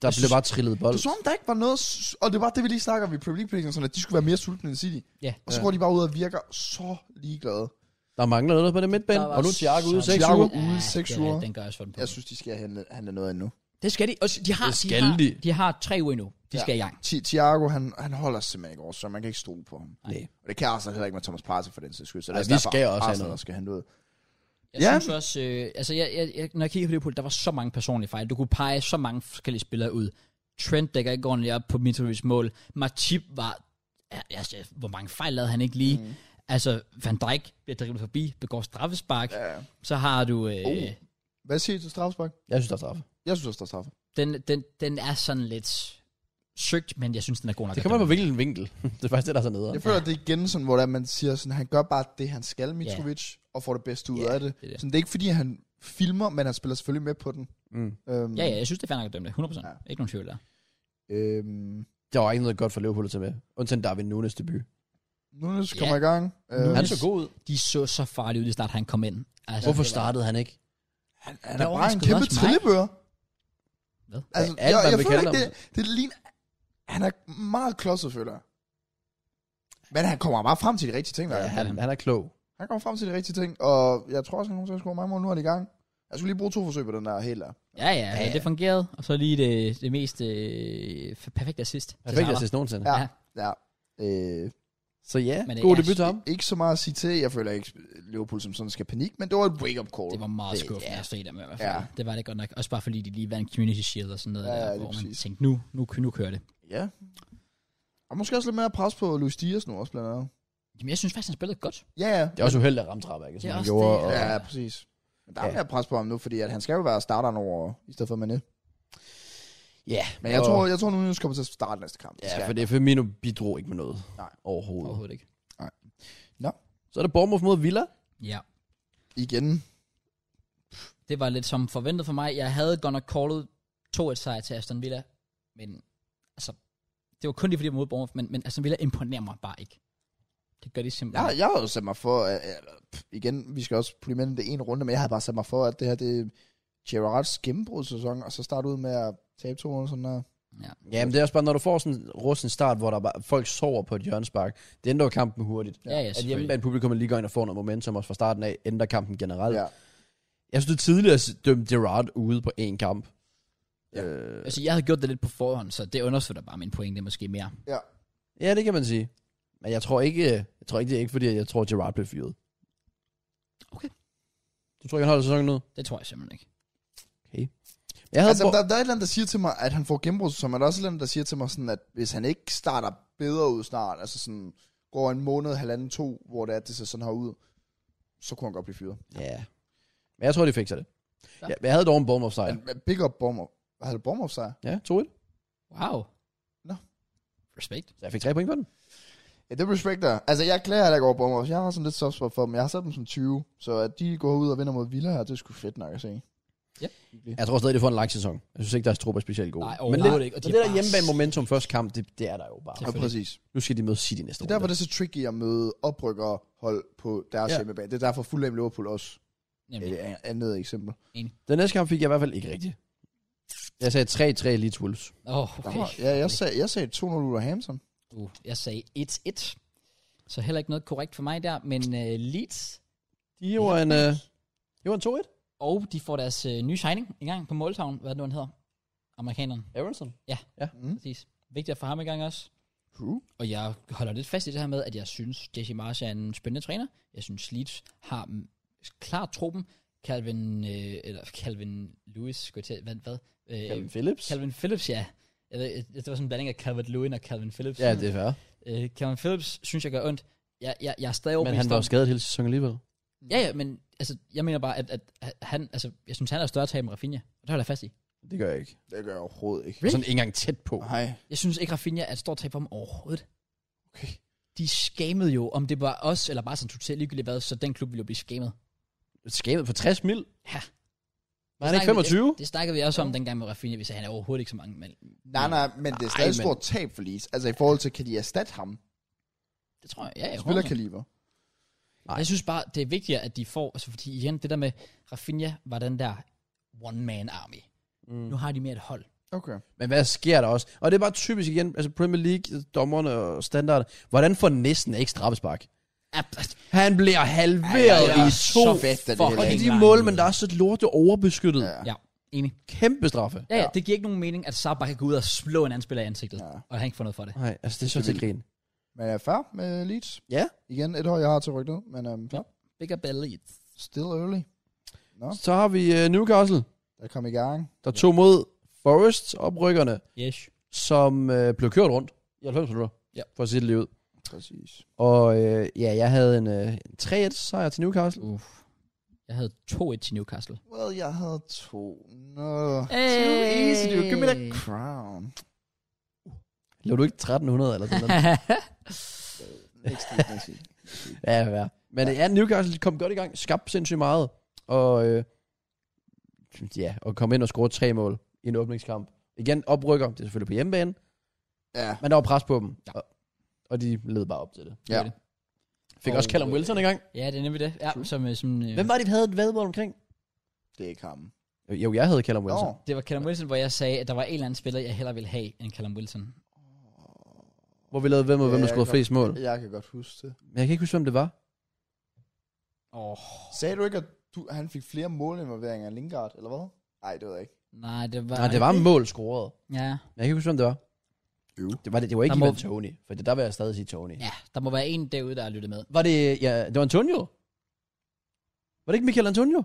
Speaker 1: Jeg
Speaker 2: blev
Speaker 1: synes-
Speaker 2: bare trillet bold.
Speaker 3: det er som om, der ikke var noget, s- og det var det, vi lige snakker om i Premier League, sådan at de skulle være mere sultne end City.
Speaker 1: Ja.
Speaker 3: Og så
Speaker 2: Ja.
Speaker 3: går de bare ud og virker så ligeglade.
Speaker 2: Der mangler noget på det midtbane.
Speaker 1: Der var
Speaker 2: Og nu er Thiago ude
Speaker 1: så-
Speaker 2: 6
Speaker 3: Thiago
Speaker 2: uger.
Speaker 3: ude i seks
Speaker 1: det er
Speaker 3: uger.
Speaker 1: rigtigt, Den gør også for den på.
Speaker 2: Mm.
Speaker 3: Jeg synes, de skal handle, handle noget endnu.
Speaker 1: det skal de. Og de har,
Speaker 2: Det skal
Speaker 1: de, har,
Speaker 2: de.
Speaker 1: de har tre uger endnu. De
Speaker 3: Ja.
Speaker 1: ja. skal i gang.
Speaker 3: Ti- Thiago, han, han holder simpelthen ikke over, så man kan ikke stole på ham.
Speaker 2: Nej.
Speaker 3: Og det kan Arsenal heller ikke med Thomas Partey for den sags skyld. Så
Speaker 2: Ej,
Speaker 3: det er
Speaker 2: vi
Speaker 3: derfor,
Speaker 2: skal også have
Speaker 3: Arsenal
Speaker 2: noget.
Speaker 3: også skal handle ud.
Speaker 1: Jeg
Speaker 3: Ja.
Speaker 1: ja. synes også, øh, altså jeg, jeg, jeg, når jeg kigger på Liverpool, der var så mange personlige fejl. Du kunne pege så mange forskellige spillere ud. Trent dækker ikke ordentligt op på Mitrovic's mål. Matip var, ja, altså, hvor mange fejl lavede han ikke lige? Mm. Altså, Van Dijk bliver driblet forbi, begår straffespark. Ja.
Speaker 3: Ja.
Speaker 1: Så har du, øh,
Speaker 3: Oh. Hvad siger I til strafspark?
Speaker 2: Jeg synes, der er straffe.
Speaker 3: Jeg synes også, der er straffe.
Speaker 1: den, den, den er sådan lidt søgt, men jeg synes, den er god nok.
Speaker 2: Det
Speaker 1: at
Speaker 2: kommer
Speaker 1: dømme.
Speaker 2: på hvilken vinkel. [LAUGHS] det er faktisk det, der er så nede.
Speaker 3: Jeg føler, at det er igen sådan, hvor der, man siger, sådan, han gør bare det, han skal, Mitrovic, og får det bedste ud
Speaker 2: Ja,
Speaker 3: af det.
Speaker 1: det er det.
Speaker 3: Sådan, det er ikke fordi, han filmer, men han spiller selvfølgelig med på den.
Speaker 2: Mm.
Speaker 3: Øhm,
Speaker 1: Ja, ja, jeg synes, det er fair nok at dømme det. 100%.
Speaker 3: Ja.
Speaker 1: Ja. Ikke nogen tvivl der.
Speaker 3: Øhm,
Speaker 2: Der var ikke noget godt for Liverpool at tage med. Undtagen Darwin Nunes debut.
Speaker 3: Nunes
Speaker 1: Ja.
Speaker 3: kommer i gang. Øh,
Speaker 1: Nunes.
Speaker 2: Han så god ud.
Speaker 1: De så så farlige ud, lige snart han kom ind. Altså,
Speaker 2: Hvorfor
Speaker 1: det var-
Speaker 2: startede han ikke?
Speaker 3: han,
Speaker 1: Det
Speaker 3: han er bare en
Speaker 1: overraskede
Speaker 3: kæmpe
Speaker 1: også mig.
Speaker 3: trillebør.
Speaker 1: Hvad?
Speaker 3: Altså,
Speaker 2: Alt,
Speaker 3: jeg,
Speaker 2: hvad
Speaker 3: jeg
Speaker 2: man
Speaker 3: føler
Speaker 2: kalder
Speaker 3: ikke, det, det ligner... Han er meget klodset, føler jeg. Men han kommer bare frem til de rigtige ting, der
Speaker 2: Ja,
Speaker 3: ja.
Speaker 2: han, han er klog.
Speaker 3: Han kommer frem til de rigtige ting, og jeg tror også, han kommer til at score mange mål. Nu er de i gang. Jeg skulle lige bruge to forsøg på den der helt der.
Speaker 1: Ja, ja, ja, det fungerede. Og så lige det, det mest øh, f- perfekte assist. til
Speaker 2: Perfekt
Speaker 1: Salah.
Speaker 2: assist nogensinde.
Speaker 3: Ja.
Speaker 1: Ja.
Speaker 3: ja. Øh,
Speaker 2: Så ja,
Speaker 1: Men det
Speaker 2: god
Speaker 1: er-
Speaker 2: debut til ham.
Speaker 3: ikke så meget at sige til. Jeg føler ikke, Liverpool som sådan skal panik, men det var et wake-up call.
Speaker 1: Det var meget
Speaker 3: Det-
Speaker 1: skuffende
Speaker 3: ja.
Speaker 1: at se dem i hvert fald.
Speaker 3: Ja,
Speaker 1: Ja. Det var det godt nok. Også bare fordi de lige vandt Community Shield og sådan noget.
Speaker 3: Ja, ja,
Speaker 1: der,
Speaker 3: lige
Speaker 1: hvor man
Speaker 3: præcis.
Speaker 1: tænkte, nu, nu, nu kører det.
Speaker 3: Ja. Og måske også lidt mere pres på Luis Diaz nu også, blandt andet.
Speaker 1: Jamen, jeg synes faktisk, han spillede godt.
Speaker 3: Ja, ja.
Speaker 2: Det er også uheldigt at ramme træbækket,
Speaker 1: Det
Speaker 2: som
Speaker 1: er
Speaker 2: han
Speaker 1: også
Speaker 2: gjorde.
Speaker 1: det.
Speaker 2: Og...
Speaker 3: Ja, præcis. Men der er
Speaker 2: Ja.
Speaker 3: mere pres på ham nu, fordi at han skal jo være starteren over, i stedet for Mané.
Speaker 2: Ja,
Speaker 3: Men jeg
Speaker 2: og-
Speaker 3: tror, jeg tror nu, han kommer til at starte næste kamp. Det skal
Speaker 2: Ja,
Speaker 3: han.
Speaker 2: for det Firmino bidrog ikke med noget
Speaker 3: Nej.
Speaker 2: overhovedet.
Speaker 1: Overhovedet ikke.
Speaker 2: Så er der Bournemouth mod Villa.
Speaker 1: Ja.
Speaker 3: Igen.
Speaker 1: Det var lidt som forventet for mig. Jeg havde godt nok callet 2-1 sejr til Aston Villa. Men altså, det var kun lige fordi, jeg var mod Bournemouth. Men, men Aston Villa imponerer mig bare ikke. Det gør de simpelthen.
Speaker 3: Jeg, jeg har jo sat mig for, at, at, pff, igen, vi skal også blive med i det ene runde, men jeg har bare sat mig for, at det her, det er Gerards gennembrudssæson, og så starte ud med at tabe to eller sådan der.
Speaker 2: Ja, men det er også bare, når du får sådan en russen start, hvor der bare, folk sover på et hjørnspark, det ændrer jo kampen hurtigt.
Speaker 1: Ja, ja,
Speaker 2: at
Speaker 1: selvfølgelig.
Speaker 2: hjemmebane publikum lige går ind og får noget momentum også fra starten af, ændrer kampen generelt. Ja.
Speaker 3: Ja.
Speaker 2: Jeg synes, det er tidligere at dømme Gerard ude på én kamp.
Speaker 3: Ja.
Speaker 2: Ja. Øh,
Speaker 1: Altså, jeg havde gjort det lidt på forhånd, så det understøtter bare min pointe måske mere.
Speaker 2: ja, det kan man sige. Men jeg tror ikke, øh, jeg tror ikke det er ikke, fordi jeg tror, Gerard blev fyret.
Speaker 1: Okay.
Speaker 2: Du tror ikke, han holder sæsonen ud?
Speaker 1: Det tror jeg simpelthen ikke.
Speaker 2: Jeg havde
Speaker 3: Altså,
Speaker 2: altså,
Speaker 3: der, der er et eller andet, der siger til mig, at han får gennembrudssæson, men der er også et eller andet, der siger til mig sådan, at hvis han ikke starter bedre ud snart, altså sådan går en måned, halvanden, to, hvor det er, at det ser sådan her ud, så kunne han godt blive fyret.
Speaker 2: Ja. Men jeg tror, de fik sig det.
Speaker 1: Ja.
Speaker 2: Ja. Jeg, jeg havde dog en Bournemouth sejr.
Speaker 3: Men big up Bomber. Hvad havde Bomber sejr?
Speaker 2: Ja, 2-1.
Speaker 1: Wow.
Speaker 3: Nå.
Speaker 1: Respekt.
Speaker 2: Så jeg fik tre point på den.
Speaker 3: Ja, det respekter jeg. Altså, jeg klager heller ikke over Bournemouth. Jeg har sådan lidt soft spot for dem. Jeg har sat dem som 20, så at de går ud og vinder mod Villa her, det er sgu fedt nok at se.
Speaker 2: Jeg tror stadig, det får en lang sæson. Jeg synes ikke, deres trup er specielt god.
Speaker 1: Nej,
Speaker 2: men
Speaker 1: overhovedet
Speaker 2: lidt,
Speaker 1: ikke, og de
Speaker 2: men
Speaker 1: er
Speaker 2: det der
Speaker 1: bare
Speaker 2: hjemmebane momentum første kamp, det, det er der jo bare.
Speaker 1: Ja.
Speaker 3: præcis.
Speaker 2: Nu skal de møde City næste
Speaker 3: Det
Speaker 2: år.
Speaker 3: er derfor, det er så tricky at møde oprykkerhold på deres ja.
Speaker 2: Ja.
Speaker 3: hjemmebane. Det er derfor Fulham Liverpool også.
Speaker 1: Nemlig.
Speaker 2: Øh,
Speaker 3: Det er et andet eksempel.
Speaker 2: Den næste kamp fik jeg i hvert fald ikke rigtigt. Jeg sagde 3-3 Leeds Wolves.
Speaker 1: Åh, oh, okay.
Speaker 3: Okay. Ja, jeg sagde, jeg sagde 2-0 ud af Hampton.
Speaker 1: Uh, jeg sagde 1-1. Så heller ikke noget korrekt for mig der, men uh, Leeds,
Speaker 2: De var en, øh, de var en 2-1.
Speaker 1: og de får deres uh, nye signing i gang på Måltown, hvad er det nu han hedder? Amerikaneren,
Speaker 2: Aronson.
Speaker 1: præcis. Vigtigt for ham i gang også.
Speaker 2: Uh.
Speaker 3: True.
Speaker 1: Og jeg holder lidt fast i det her med, at jeg synes, Jesse Marsh er en spændende træner. Jeg synes, Leeds har mm, klart truppen. Calvin, øh, eller Calvin Lewis, skulle jeg til, hvad? hvad? Øh,
Speaker 2: Calvin Phillips.
Speaker 1: Calvin Phillips, ja. Jeg ved, jeg- det var sådan en blanding af Calvin Lewin og Calvin Phillips.
Speaker 2: Ja, det er fair.
Speaker 1: Øh, Calvin Phillips synes jeg gør ondt. Jeg, jeg, jeg er stadig
Speaker 2: Men
Speaker 1: overbevist
Speaker 2: han var
Speaker 1: om-
Speaker 2: jo skadet hele sæsonen alligevel.
Speaker 1: Ja, ja, men altså, jeg mener bare, at, at han, altså, jeg synes, han er større tab end Rafinha. Og det holder jeg fast i.
Speaker 2: Det gør jeg ikke.
Speaker 3: Det gør jeg overhovedet ikke.
Speaker 2: Really? Sådan ikke engang tæt på.
Speaker 3: Nej.
Speaker 1: Jeg synes ikke, Rafinha er et stort tab for ham overhovedet.
Speaker 3: Okay.
Speaker 1: De skamede jo, om det var os, eller bare sådan totalt ligegyldigt hvad, så den klub ville jo blive skamet.
Speaker 2: Skabet for 60 mil?
Speaker 1: Ja.
Speaker 2: Var han ikke 25?
Speaker 1: Det, det snakkede vi også om, dengang med Rafinha, vi sagde, han er overhovedet ikke så mange mand.
Speaker 3: Nej, nej, men det er
Speaker 2: Nej,
Speaker 3: stadig et
Speaker 2: men-
Speaker 3: stort tab for Leeds. Altså i forhold til, kan de erstatte ham?
Speaker 1: Det tror jeg, ja, jeg
Speaker 3: Spiller
Speaker 1: håber.
Speaker 3: kaliber.
Speaker 1: Nej. Jeg synes bare, det er vigtigere, at de får, altså fordi igen, det der med, Rafinha var den der one-man army. Mm. Nu har de mere et hold.
Speaker 3: Okay.
Speaker 2: Men hvad sker der også? Og det er bare typisk igen, altså Premier League, dommerne og standard. Hvordan får næsten ikke straffespark?
Speaker 1: Ja,
Speaker 2: altså,
Speaker 1: pff,
Speaker 2: Han bliver halveret
Speaker 1: Ja, ja,
Speaker 2: i
Speaker 1: så
Speaker 2: to.
Speaker 3: Så fedt er det
Speaker 1: fuck.
Speaker 3: heller
Speaker 2: Og det er
Speaker 3: ikke.
Speaker 2: de mål, men der er så lorte overbeskyttet.
Speaker 3: Ja.
Speaker 1: ja, enig.
Speaker 2: Kæmpe straffe.
Speaker 1: Ja, ja, det giver ikke nogen mening, at Saab bare kan gå ud og slå en anden spiller i ansigtet,
Speaker 3: Ja.
Speaker 1: ja. og han ikke får noget for det.
Speaker 2: Nej, altså det er så
Speaker 3: Det er
Speaker 2: til grin.
Speaker 3: Men jeg er færdig med Leeds.
Speaker 2: Ja.
Speaker 3: Igen et hold, jeg har til rykket, men um,
Speaker 1: Ja. Big up elite.
Speaker 3: still early.
Speaker 2: Så har vi øh, Newcastle,
Speaker 3: Der kom i gang.
Speaker 2: der tog mod Forest oprykkerne,
Speaker 1: Yes.
Speaker 2: som øh, blev kørt rundt i 90 minutter,
Speaker 1: Ja.
Speaker 2: for at sige det lige ud.
Speaker 3: Præcis.
Speaker 2: Og øh, ja, jeg havde en, øh, en 3-1 sejr til Newcastle.
Speaker 1: Uff. Jeg havde 2-1 til Newcastle.
Speaker 3: Well, jeg havde to. No.
Speaker 1: Hey.
Speaker 3: Too easy, dude. Give me that crown.
Speaker 2: Lå du ikke 1300 eller sådan
Speaker 1: [LAUGHS]
Speaker 2: noget?
Speaker 3: Next week, next week.
Speaker 2: Ja, ja. Men ja, Newcastle kom godt i gang, skabte sindssygt meget, og øh, ja, og kom ind og scorede tre mål i en åbningskamp. Igen, oprykker, det er selvfølgelig på hjemmebane,
Speaker 3: Ja.
Speaker 2: men der var pres på dem,
Speaker 1: Ja.
Speaker 2: og, og de led bare op til det.
Speaker 3: Ja.
Speaker 2: Fik
Speaker 1: Og,
Speaker 2: også Callum Wilson i gang.
Speaker 1: ja, det er nemlig det. Ja, som, øh, som, øh,
Speaker 2: Hvem var det, vi havde et vadmål omkring?
Speaker 3: Det er ikke ham.
Speaker 2: Jo, jeg havde Callum Wilson.
Speaker 3: Nå.
Speaker 1: Det var Callum Wilson, hvor jeg sagde, at der var en eller anden spiller, jeg hellere ville have end Callum Wilson.
Speaker 2: Hvor vi lavede hvem og
Speaker 3: Ja,
Speaker 2: hvem, der
Speaker 3: jeg
Speaker 2: scorede
Speaker 3: kan
Speaker 2: flest mål.
Speaker 3: Jeg kan godt huske det.
Speaker 2: Men jeg kan ikke huske, hvem det var.
Speaker 1: Oh.
Speaker 3: Sagde du ikke, at du, han fik flere målinvolveringer end Lingard, eller hvad? Nej, det ved jeg ikke.
Speaker 1: Nej, det var...
Speaker 2: Nej, det var mål scoret.
Speaker 1: Ja.
Speaker 2: Men jeg kan ikke huske, hvem det var.
Speaker 3: Jo.
Speaker 2: Det var, det, det var ikke
Speaker 1: Der må-
Speaker 2: Ivan Tony, for der vil jeg stadig sige Tony.
Speaker 1: ja, der må være en derude, der har lyttet med.
Speaker 2: Var det, ja, det var Antonio? Var det ikke Michael Antonio?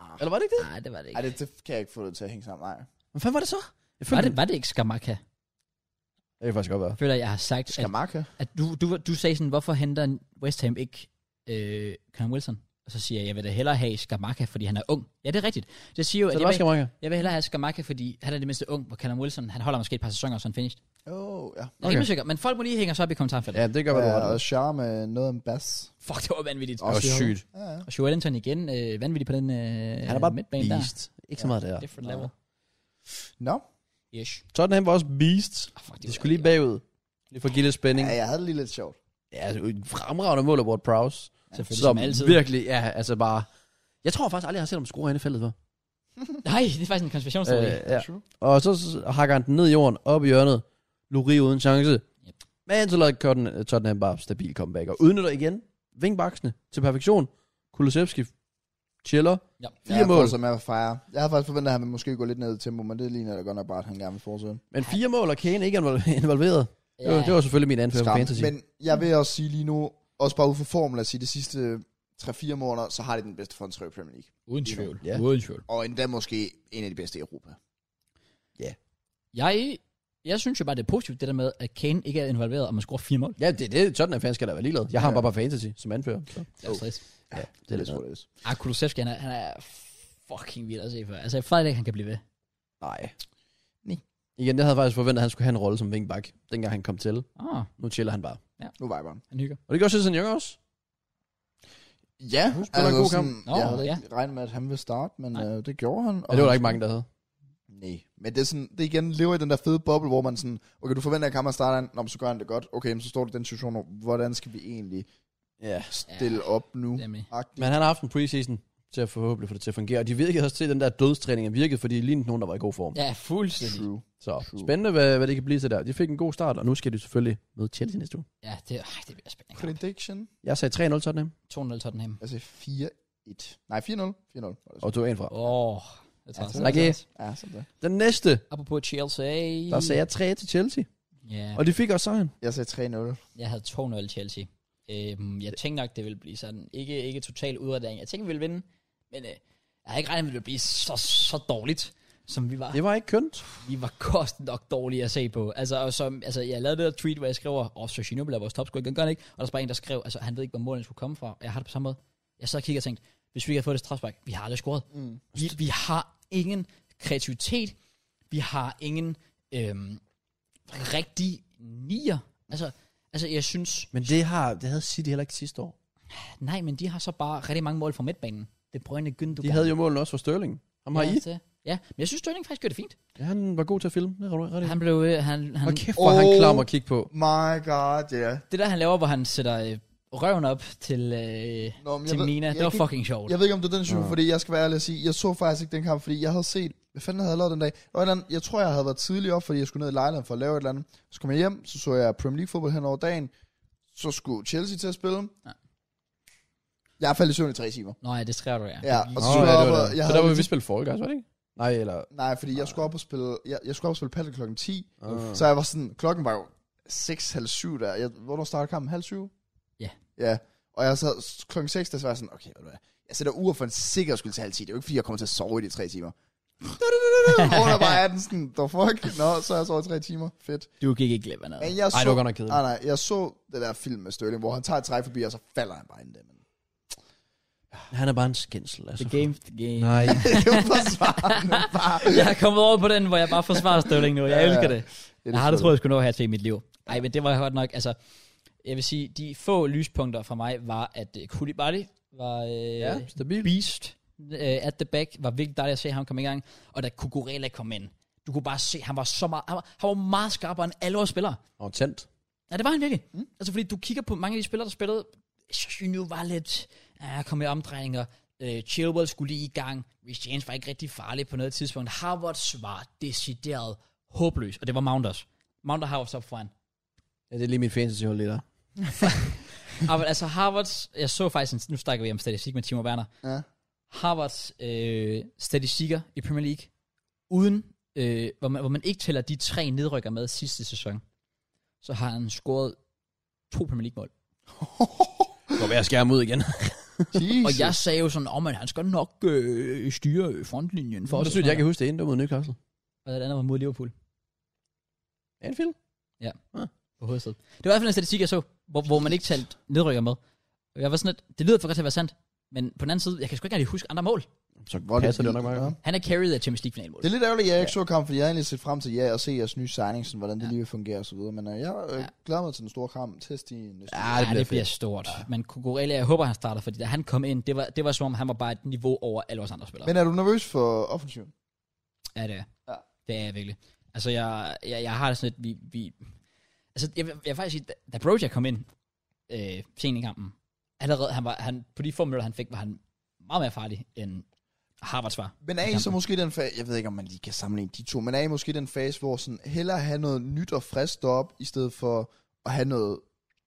Speaker 3: Ah.
Speaker 2: Eller var det ikke det?
Speaker 1: Nej, det var det ikke.
Speaker 3: Ej, det, det kan jeg ikke få det til at hænge sammen. Nej.
Speaker 2: Hvad fanden var det så? Jeg
Speaker 1: var, det, var det ikke Skamaka?
Speaker 2: det kan faktisk godt være.
Speaker 1: Jeg føler, jeg har sagt, at,
Speaker 3: Skamaka?
Speaker 1: at du, du, du sagde sådan, hvorfor henter West Ham ikke øh, Callum Wilson? Og så siger jeg, jeg vil da hellere have Skamaka, fordi han er ung. Ja, det er rigtigt. Det siger jo,
Speaker 2: Så
Speaker 1: at
Speaker 2: det
Speaker 1: jeg
Speaker 2: var
Speaker 1: vil,
Speaker 2: Skamaka.
Speaker 1: jeg vil hellere have Skamaka, fordi han er det mindste ung, hvor Callum Wilson, han holder måske et par sæsoner, og så er han finished. Jeg
Speaker 3: Åh, oh, ja.
Speaker 1: er okay. ikke sikker, men folk må lige hænge sig op i kommentarfeltet.
Speaker 2: Ja, det gør
Speaker 3: Ja,
Speaker 2: vi ret.
Speaker 3: og Char med noget om bass.
Speaker 1: Fuck, det var vanvittigt.
Speaker 2: Og sygt.
Speaker 3: Ja, ja.
Speaker 1: Og Joe Ellington igen, øh, vanvittig på den øh,
Speaker 2: Han er bare
Speaker 1: midtbane
Speaker 2: beast. Ikke så meget der.
Speaker 1: der. Different level.
Speaker 3: Nå,
Speaker 1: Yes.
Speaker 2: Tottenham var også beast.
Speaker 1: Oh, fuck,
Speaker 2: De skulle lige bagud. Lige for at give lidt spænding.
Speaker 3: ja, jeg havde det lige lidt sjovt.
Speaker 2: Ja, altså, et fremragende mål af Ward Prowse.
Speaker 1: Selvfølgelig,
Speaker 2: Som
Speaker 1: som altid.
Speaker 2: virkelig, ja, altså bare... Jeg tror faktisk aldrig, jeg har set ham score herinde i feltet for.
Speaker 1: Nej, det er faktisk en konspirationsteori.
Speaker 2: Øh,
Speaker 1: Øh,
Speaker 2: ja.
Speaker 3: True.
Speaker 2: Og så s- hakker han den ned i jorden, op i hjørnet. Luri uden chance.
Speaker 1: Yep.
Speaker 2: Men så lavede Cotton- Tottenham bare stabil comeback. Og udnytter igen vingbaksene til perfektion. Kulusevski chiller.
Speaker 1: ja.
Speaker 2: Fire
Speaker 3: jeg
Speaker 2: mål.
Speaker 3: Som jeg, fejrer. jeg havde faktisk forventet, at han ville måske gå lidt ned i tempo, men det ligner da godt nok bare, at han gerne vil fortsætte.
Speaker 2: Men fire mål, og Kane ikke invol- [LAUGHS] involveret. Ja. Det, var, det var selvfølgelig min anfører på
Speaker 3: Skam.
Speaker 2: fantasy. Men...
Speaker 3: Men jeg vil også sige lige nu, også bare ud fra formel at sige, de sidste 3-4 måneder, så har de den bedste frontrøg i Premier League.
Speaker 1: Uden
Speaker 2: tvivl.
Speaker 1: tvivl.
Speaker 2: Ja.
Speaker 1: Ja. Uden tvivl.
Speaker 3: Og endda måske en af de bedste i Europa.
Speaker 1: Jeg, jeg synes jo bare, det er positivt, det der med, at Kane ikke er involveret, og man scorer fire mål.
Speaker 2: Ja, det er det. Tottenham fans skal da være ligeglad. Jeg har ham
Speaker 3: Ja.
Speaker 2: bare på fantasy som anfører. Så.
Speaker 1: Det er stress.
Speaker 2: Ja,
Speaker 3: Det er lidt what it is.
Speaker 1: Ah, Kulusevski, han er, han er fucking vild at se for. Altså, jeg fejler ikke, han kan blive ved.
Speaker 2: Nej.
Speaker 3: Nej.
Speaker 2: Igen, jeg havde faktisk forventet, at han skulle have en rolle som vingbak, dengang han kom til.
Speaker 1: Ah,
Speaker 2: Nu chiller han bare.
Speaker 3: Nu viber han.
Speaker 1: han hygger.
Speaker 2: Og det gør Cezanne Jørgen også.
Speaker 3: Ja, altså
Speaker 2: Hun spiller en god kamp.
Speaker 1: Nå,
Speaker 3: jeg havde
Speaker 1: ja.
Speaker 3: ikke regnet med, at han ville starte, men
Speaker 1: Nej.
Speaker 3: øh, det gjorde han.
Speaker 2: Ja, det var der ikke mange, der havde.
Speaker 3: Nej, men det er, sådan, det igen lever i den der fede boble, hvor man sådan, okay, du forventer, at kampen starter, han, Nå, men så gør han det godt. Okay, men så står du i den situation, hvor, hvordan skal vi egentlig
Speaker 2: Ja.
Speaker 3: stille ja, op nu?
Speaker 1: Nemlig.
Speaker 3: Agtigt.
Speaker 2: Men han har haft en preseason til at forhåbentlig få det til at fungere. Og de virkede også til, at den der dødstræning er virket, fordi de lignede nogen, der var i god form. Ja.
Speaker 1: Ja, fuldstændig.
Speaker 3: True.
Speaker 2: Så
Speaker 3: True.
Speaker 2: spændende, hvad, hvad det kan blive til der. De fik en god start, og nu skal de selvfølgelig møde Chelsea næste uge.
Speaker 1: Ja, det, ej, det bliver spændende.
Speaker 3: Prediction.
Speaker 2: Jeg sagde 3-0 Tottenham,
Speaker 1: 2-0 Tottenham.
Speaker 3: Altså 4-1. Nej, 4-0. 4-0. var det så.
Speaker 2: og tog en fra.
Speaker 1: Åh, oh, det
Speaker 3: Ja,
Speaker 1: tager
Speaker 3: tak.
Speaker 1: jeg
Speaker 2: Okay.
Speaker 1: altså.
Speaker 3: Ja, sådan det.
Speaker 2: Den næste,
Speaker 1: Apropos Chelsea.
Speaker 2: der sagde jeg 3 til Chelsea,
Speaker 1: Ja,
Speaker 2: og de fik også sejren.
Speaker 3: Jeg sagde 3-0.
Speaker 1: jeg havde 2-0 Chelsea. Øhm, jeg tænkte nok, det ville blive sådan. Ikke, ikke total udredning. Jeg tænkte, vi ville vinde. Men øh, jeg havde ikke regnet med, at det ville blive så, så dårligt, som vi var.
Speaker 2: Det var ikke kønt.
Speaker 1: vi var kost nok dårlige at se på. Altså, og som, altså jeg lavede det der tweet, hvor jeg skriver, åh, oh, Jorginho bliver vores topscorer, igen, gør han ikke? Og der var bare en, der skrev, altså han ved ikke, hvor målene skulle komme fra. Og Jeg har det på samme måde. Jeg sad og kiggede og tænkte, hvis vi ikke havde fået det strafspark, vi har aldrig scoret. Mm. Vi, vi, har ingen kreativitet. Vi har ingen øhm, rigtig nier. Altså, Altså, jeg synes...
Speaker 2: Men det, har, det havde City heller ikke sidste år.
Speaker 1: Nej, men de har så bare rigtig mange mål fra midtbanen. Det brønde Gündogan.
Speaker 2: De havde jo målen også for Sterling. Ham har I.
Speaker 1: Ja, det- Ja, men jeg synes, Sterling faktisk gjorde det fint.
Speaker 2: Ja, han var god til at filme. Det har du ret i.
Speaker 1: Han blev... øh, Han, han,
Speaker 2: Hold kæft, hvor oh. han
Speaker 3: Åh.
Speaker 2: klam at kigge på.
Speaker 3: My god, ja. Yeah.
Speaker 1: Det der, han laver, hvor han sætter øh, røven op til, øh,
Speaker 3: Nå, men jeg
Speaker 1: til
Speaker 3: ved-
Speaker 1: Mina,
Speaker 3: jeg
Speaker 1: det var
Speaker 3: kan-
Speaker 1: fucking sjovt.
Speaker 3: Jeg ved ikke, om det er den type,
Speaker 2: Nå.
Speaker 3: fordi jeg skal være ærlig og sige, jeg så faktisk ikke den kamp, fordi jeg havde set, hvad fanden havde jeg lavet den dag? Og den, jeg tror, jeg havde været tidlig op, fordi jeg skulle ned i lejligheden for at lave et eller andet. Så kom jeg hjem, så så jeg Premier League fodbold hen over dagen, så skulle Chelsea til at spille.
Speaker 1: Ja.
Speaker 3: Jeg faldt i søvn i tre timer.
Speaker 1: Nå ja, det skrev du, ja.
Speaker 3: Ja, og
Speaker 2: Nå,
Speaker 3: så
Speaker 2: ja,
Speaker 3: skulle
Speaker 2: det
Speaker 3: jeg op,
Speaker 2: var der.
Speaker 3: og jeg
Speaker 2: Så der
Speaker 3: havde
Speaker 2: var vi spille Fall Guys, var det ikke? Nej, eller...
Speaker 3: Nej, fordi jeg skulle op og spille, jeg, jeg skulle op og spille paddle klokken 10,
Speaker 2: Uh.
Speaker 3: så jeg var sådan, klokken var jo 6, halv syv der. Jeg, hvornår startede kampen? Halv syv?
Speaker 1: Ja.
Speaker 3: Ja, og jeg sad klokken 6, der så var jeg sådan, okay, ved du hvad, jeg sætter uger for en sikker skyld til halv 10. Det er jo ikke, fordi jeg kommer til at sove i de tre timer. Under bare er den sådan, the fuck? Nå, så er jeg sovet i tre timer. Fedt.
Speaker 1: Du gik ikke glip af noget.
Speaker 3: Men jeg så,
Speaker 2: Ej, det var godt nok kedeligt.
Speaker 3: nej, nej, jeg så det der film med Sterling, hvor han tager et træk forbi, og så falder han bare ind i det. Men
Speaker 2: Han er bare en skændsel, altså.
Speaker 1: The game, the game.
Speaker 3: [LAUGHS]
Speaker 2: Nej.
Speaker 3: [LAUGHS] det var forsvarende bare.
Speaker 1: jeg er kommet over på den, hvor jeg bare forsvarer Sterling nu. Jeg
Speaker 3: Ja,
Speaker 1: elsker
Speaker 3: ja.
Speaker 1: det.
Speaker 3: er
Speaker 1: Jeg har det
Speaker 3: fedt.
Speaker 1: troet, jeg skulle nå her til i mit liv. Nej, men det var godt nok. Altså, jeg vil sige, de få lyspunkter for mig var, at uh, Koulibaly var uh,
Speaker 2: ja,
Speaker 1: ja.
Speaker 2: stabil.
Speaker 1: beast uh, at the back. Var virkelig dejligt at se ham komme i gang. Og da Kukurela kom ind, du kunne bare se, han var så meget, han var, han var meget skarpere end alle vores spillere.
Speaker 2: Og tændt.
Speaker 1: Ja, det var han virkelig. Mm. Altså, fordi du kigger på mange af de spillere, der spillede, Sinu var lidt, ja, kom i omdrejninger, øh, Chilwell skulle lige i gang, Rich James var ikke rigtig farlig på noget tidspunkt, Harvards var decideret håbløs, og det var Mount også. Mount og Harvards op foran.
Speaker 2: Ja, det er lige mit fantasy-hold lige der.
Speaker 1: Ah, men altså Harvards, jeg så faktisk, en, nu snakker vi om statistik med Timo Werner,
Speaker 3: Ja.
Speaker 1: Harvards øh, statistikker i Premier League, uden, øh, hvor, man, hvor man ikke tæller de tre nedrykker med sidste sæson, så har han scoret to Premier League-mål.
Speaker 2: Gå med at skære ham ud igen.
Speaker 3: Jesus.
Speaker 1: Og jeg sagde jo sådan, om oh, han skal nok øh, styre øh, frontlinjen for
Speaker 2: [LAUGHS] For så synes jeg, jeg kan huske det ene, der mod Newcastle.
Speaker 1: Og det andet var mod Liverpool
Speaker 2: Anfield?
Speaker 1: på hovedsædet. Det var i hvert fald en statistik, jeg så, hvor, hvor man ikke talte nedrykker med. Og Jeg var sådan lidt, det lyder for godt til at være sandt, men på den anden side, jeg kan sgu ikke rigtig huske andre mål.
Speaker 2: Så
Speaker 3: Hvor er det
Speaker 2: passer det jo nok
Speaker 3: vildt,
Speaker 2: meget
Speaker 3: ja.
Speaker 2: godt.
Speaker 1: Han er carried af Champions League finalmål.
Speaker 3: Det er lidt ærgerligt, at jeg ikke så kampen, fordi jeg havde egentlig set frem til jer og se jeres nye signing, sådan, hvordan det lige vil fungere og så videre. Men øh, jeg øh,
Speaker 1: Ja.
Speaker 3: glæder mig til den store kamp. Test i næste
Speaker 2: Ja,
Speaker 3: uge.
Speaker 1: Ja, det bliver,
Speaker 2: det
Speaker 1: det bliver
Speaker 2: bliver fedt.
Speaker 1: stort. Ja. Men Kukurella, jeg håber, han starter, fordi da han kom ind, det var, det var som om, han var bare et niveau over alle vores andre spillere.
Speaker 3: Men er du nervøs for offensiven?
Speaker 1: Ja, det er.
Speaker 3: Ja.
Speaker 1: Ja. Det er jeg virkelig. Altså, jeg, jeg, jeg har det sådan lidt, vi... vi altså, jeg, vil- jeg vil faktisk sige, da, da Broja kom ind øh, sent i kampen, allerede, han var, han, på de få minutter, han fik, var han meget mere farlig, end Harvards var.
Speaker 3: Men er I så måske i den fase, jeg ved ikke, om man lige kan sammenligne de to, men er I måske i den fase, hvor sådan, hellere have noget nyt og frisk op i stedet for at have noget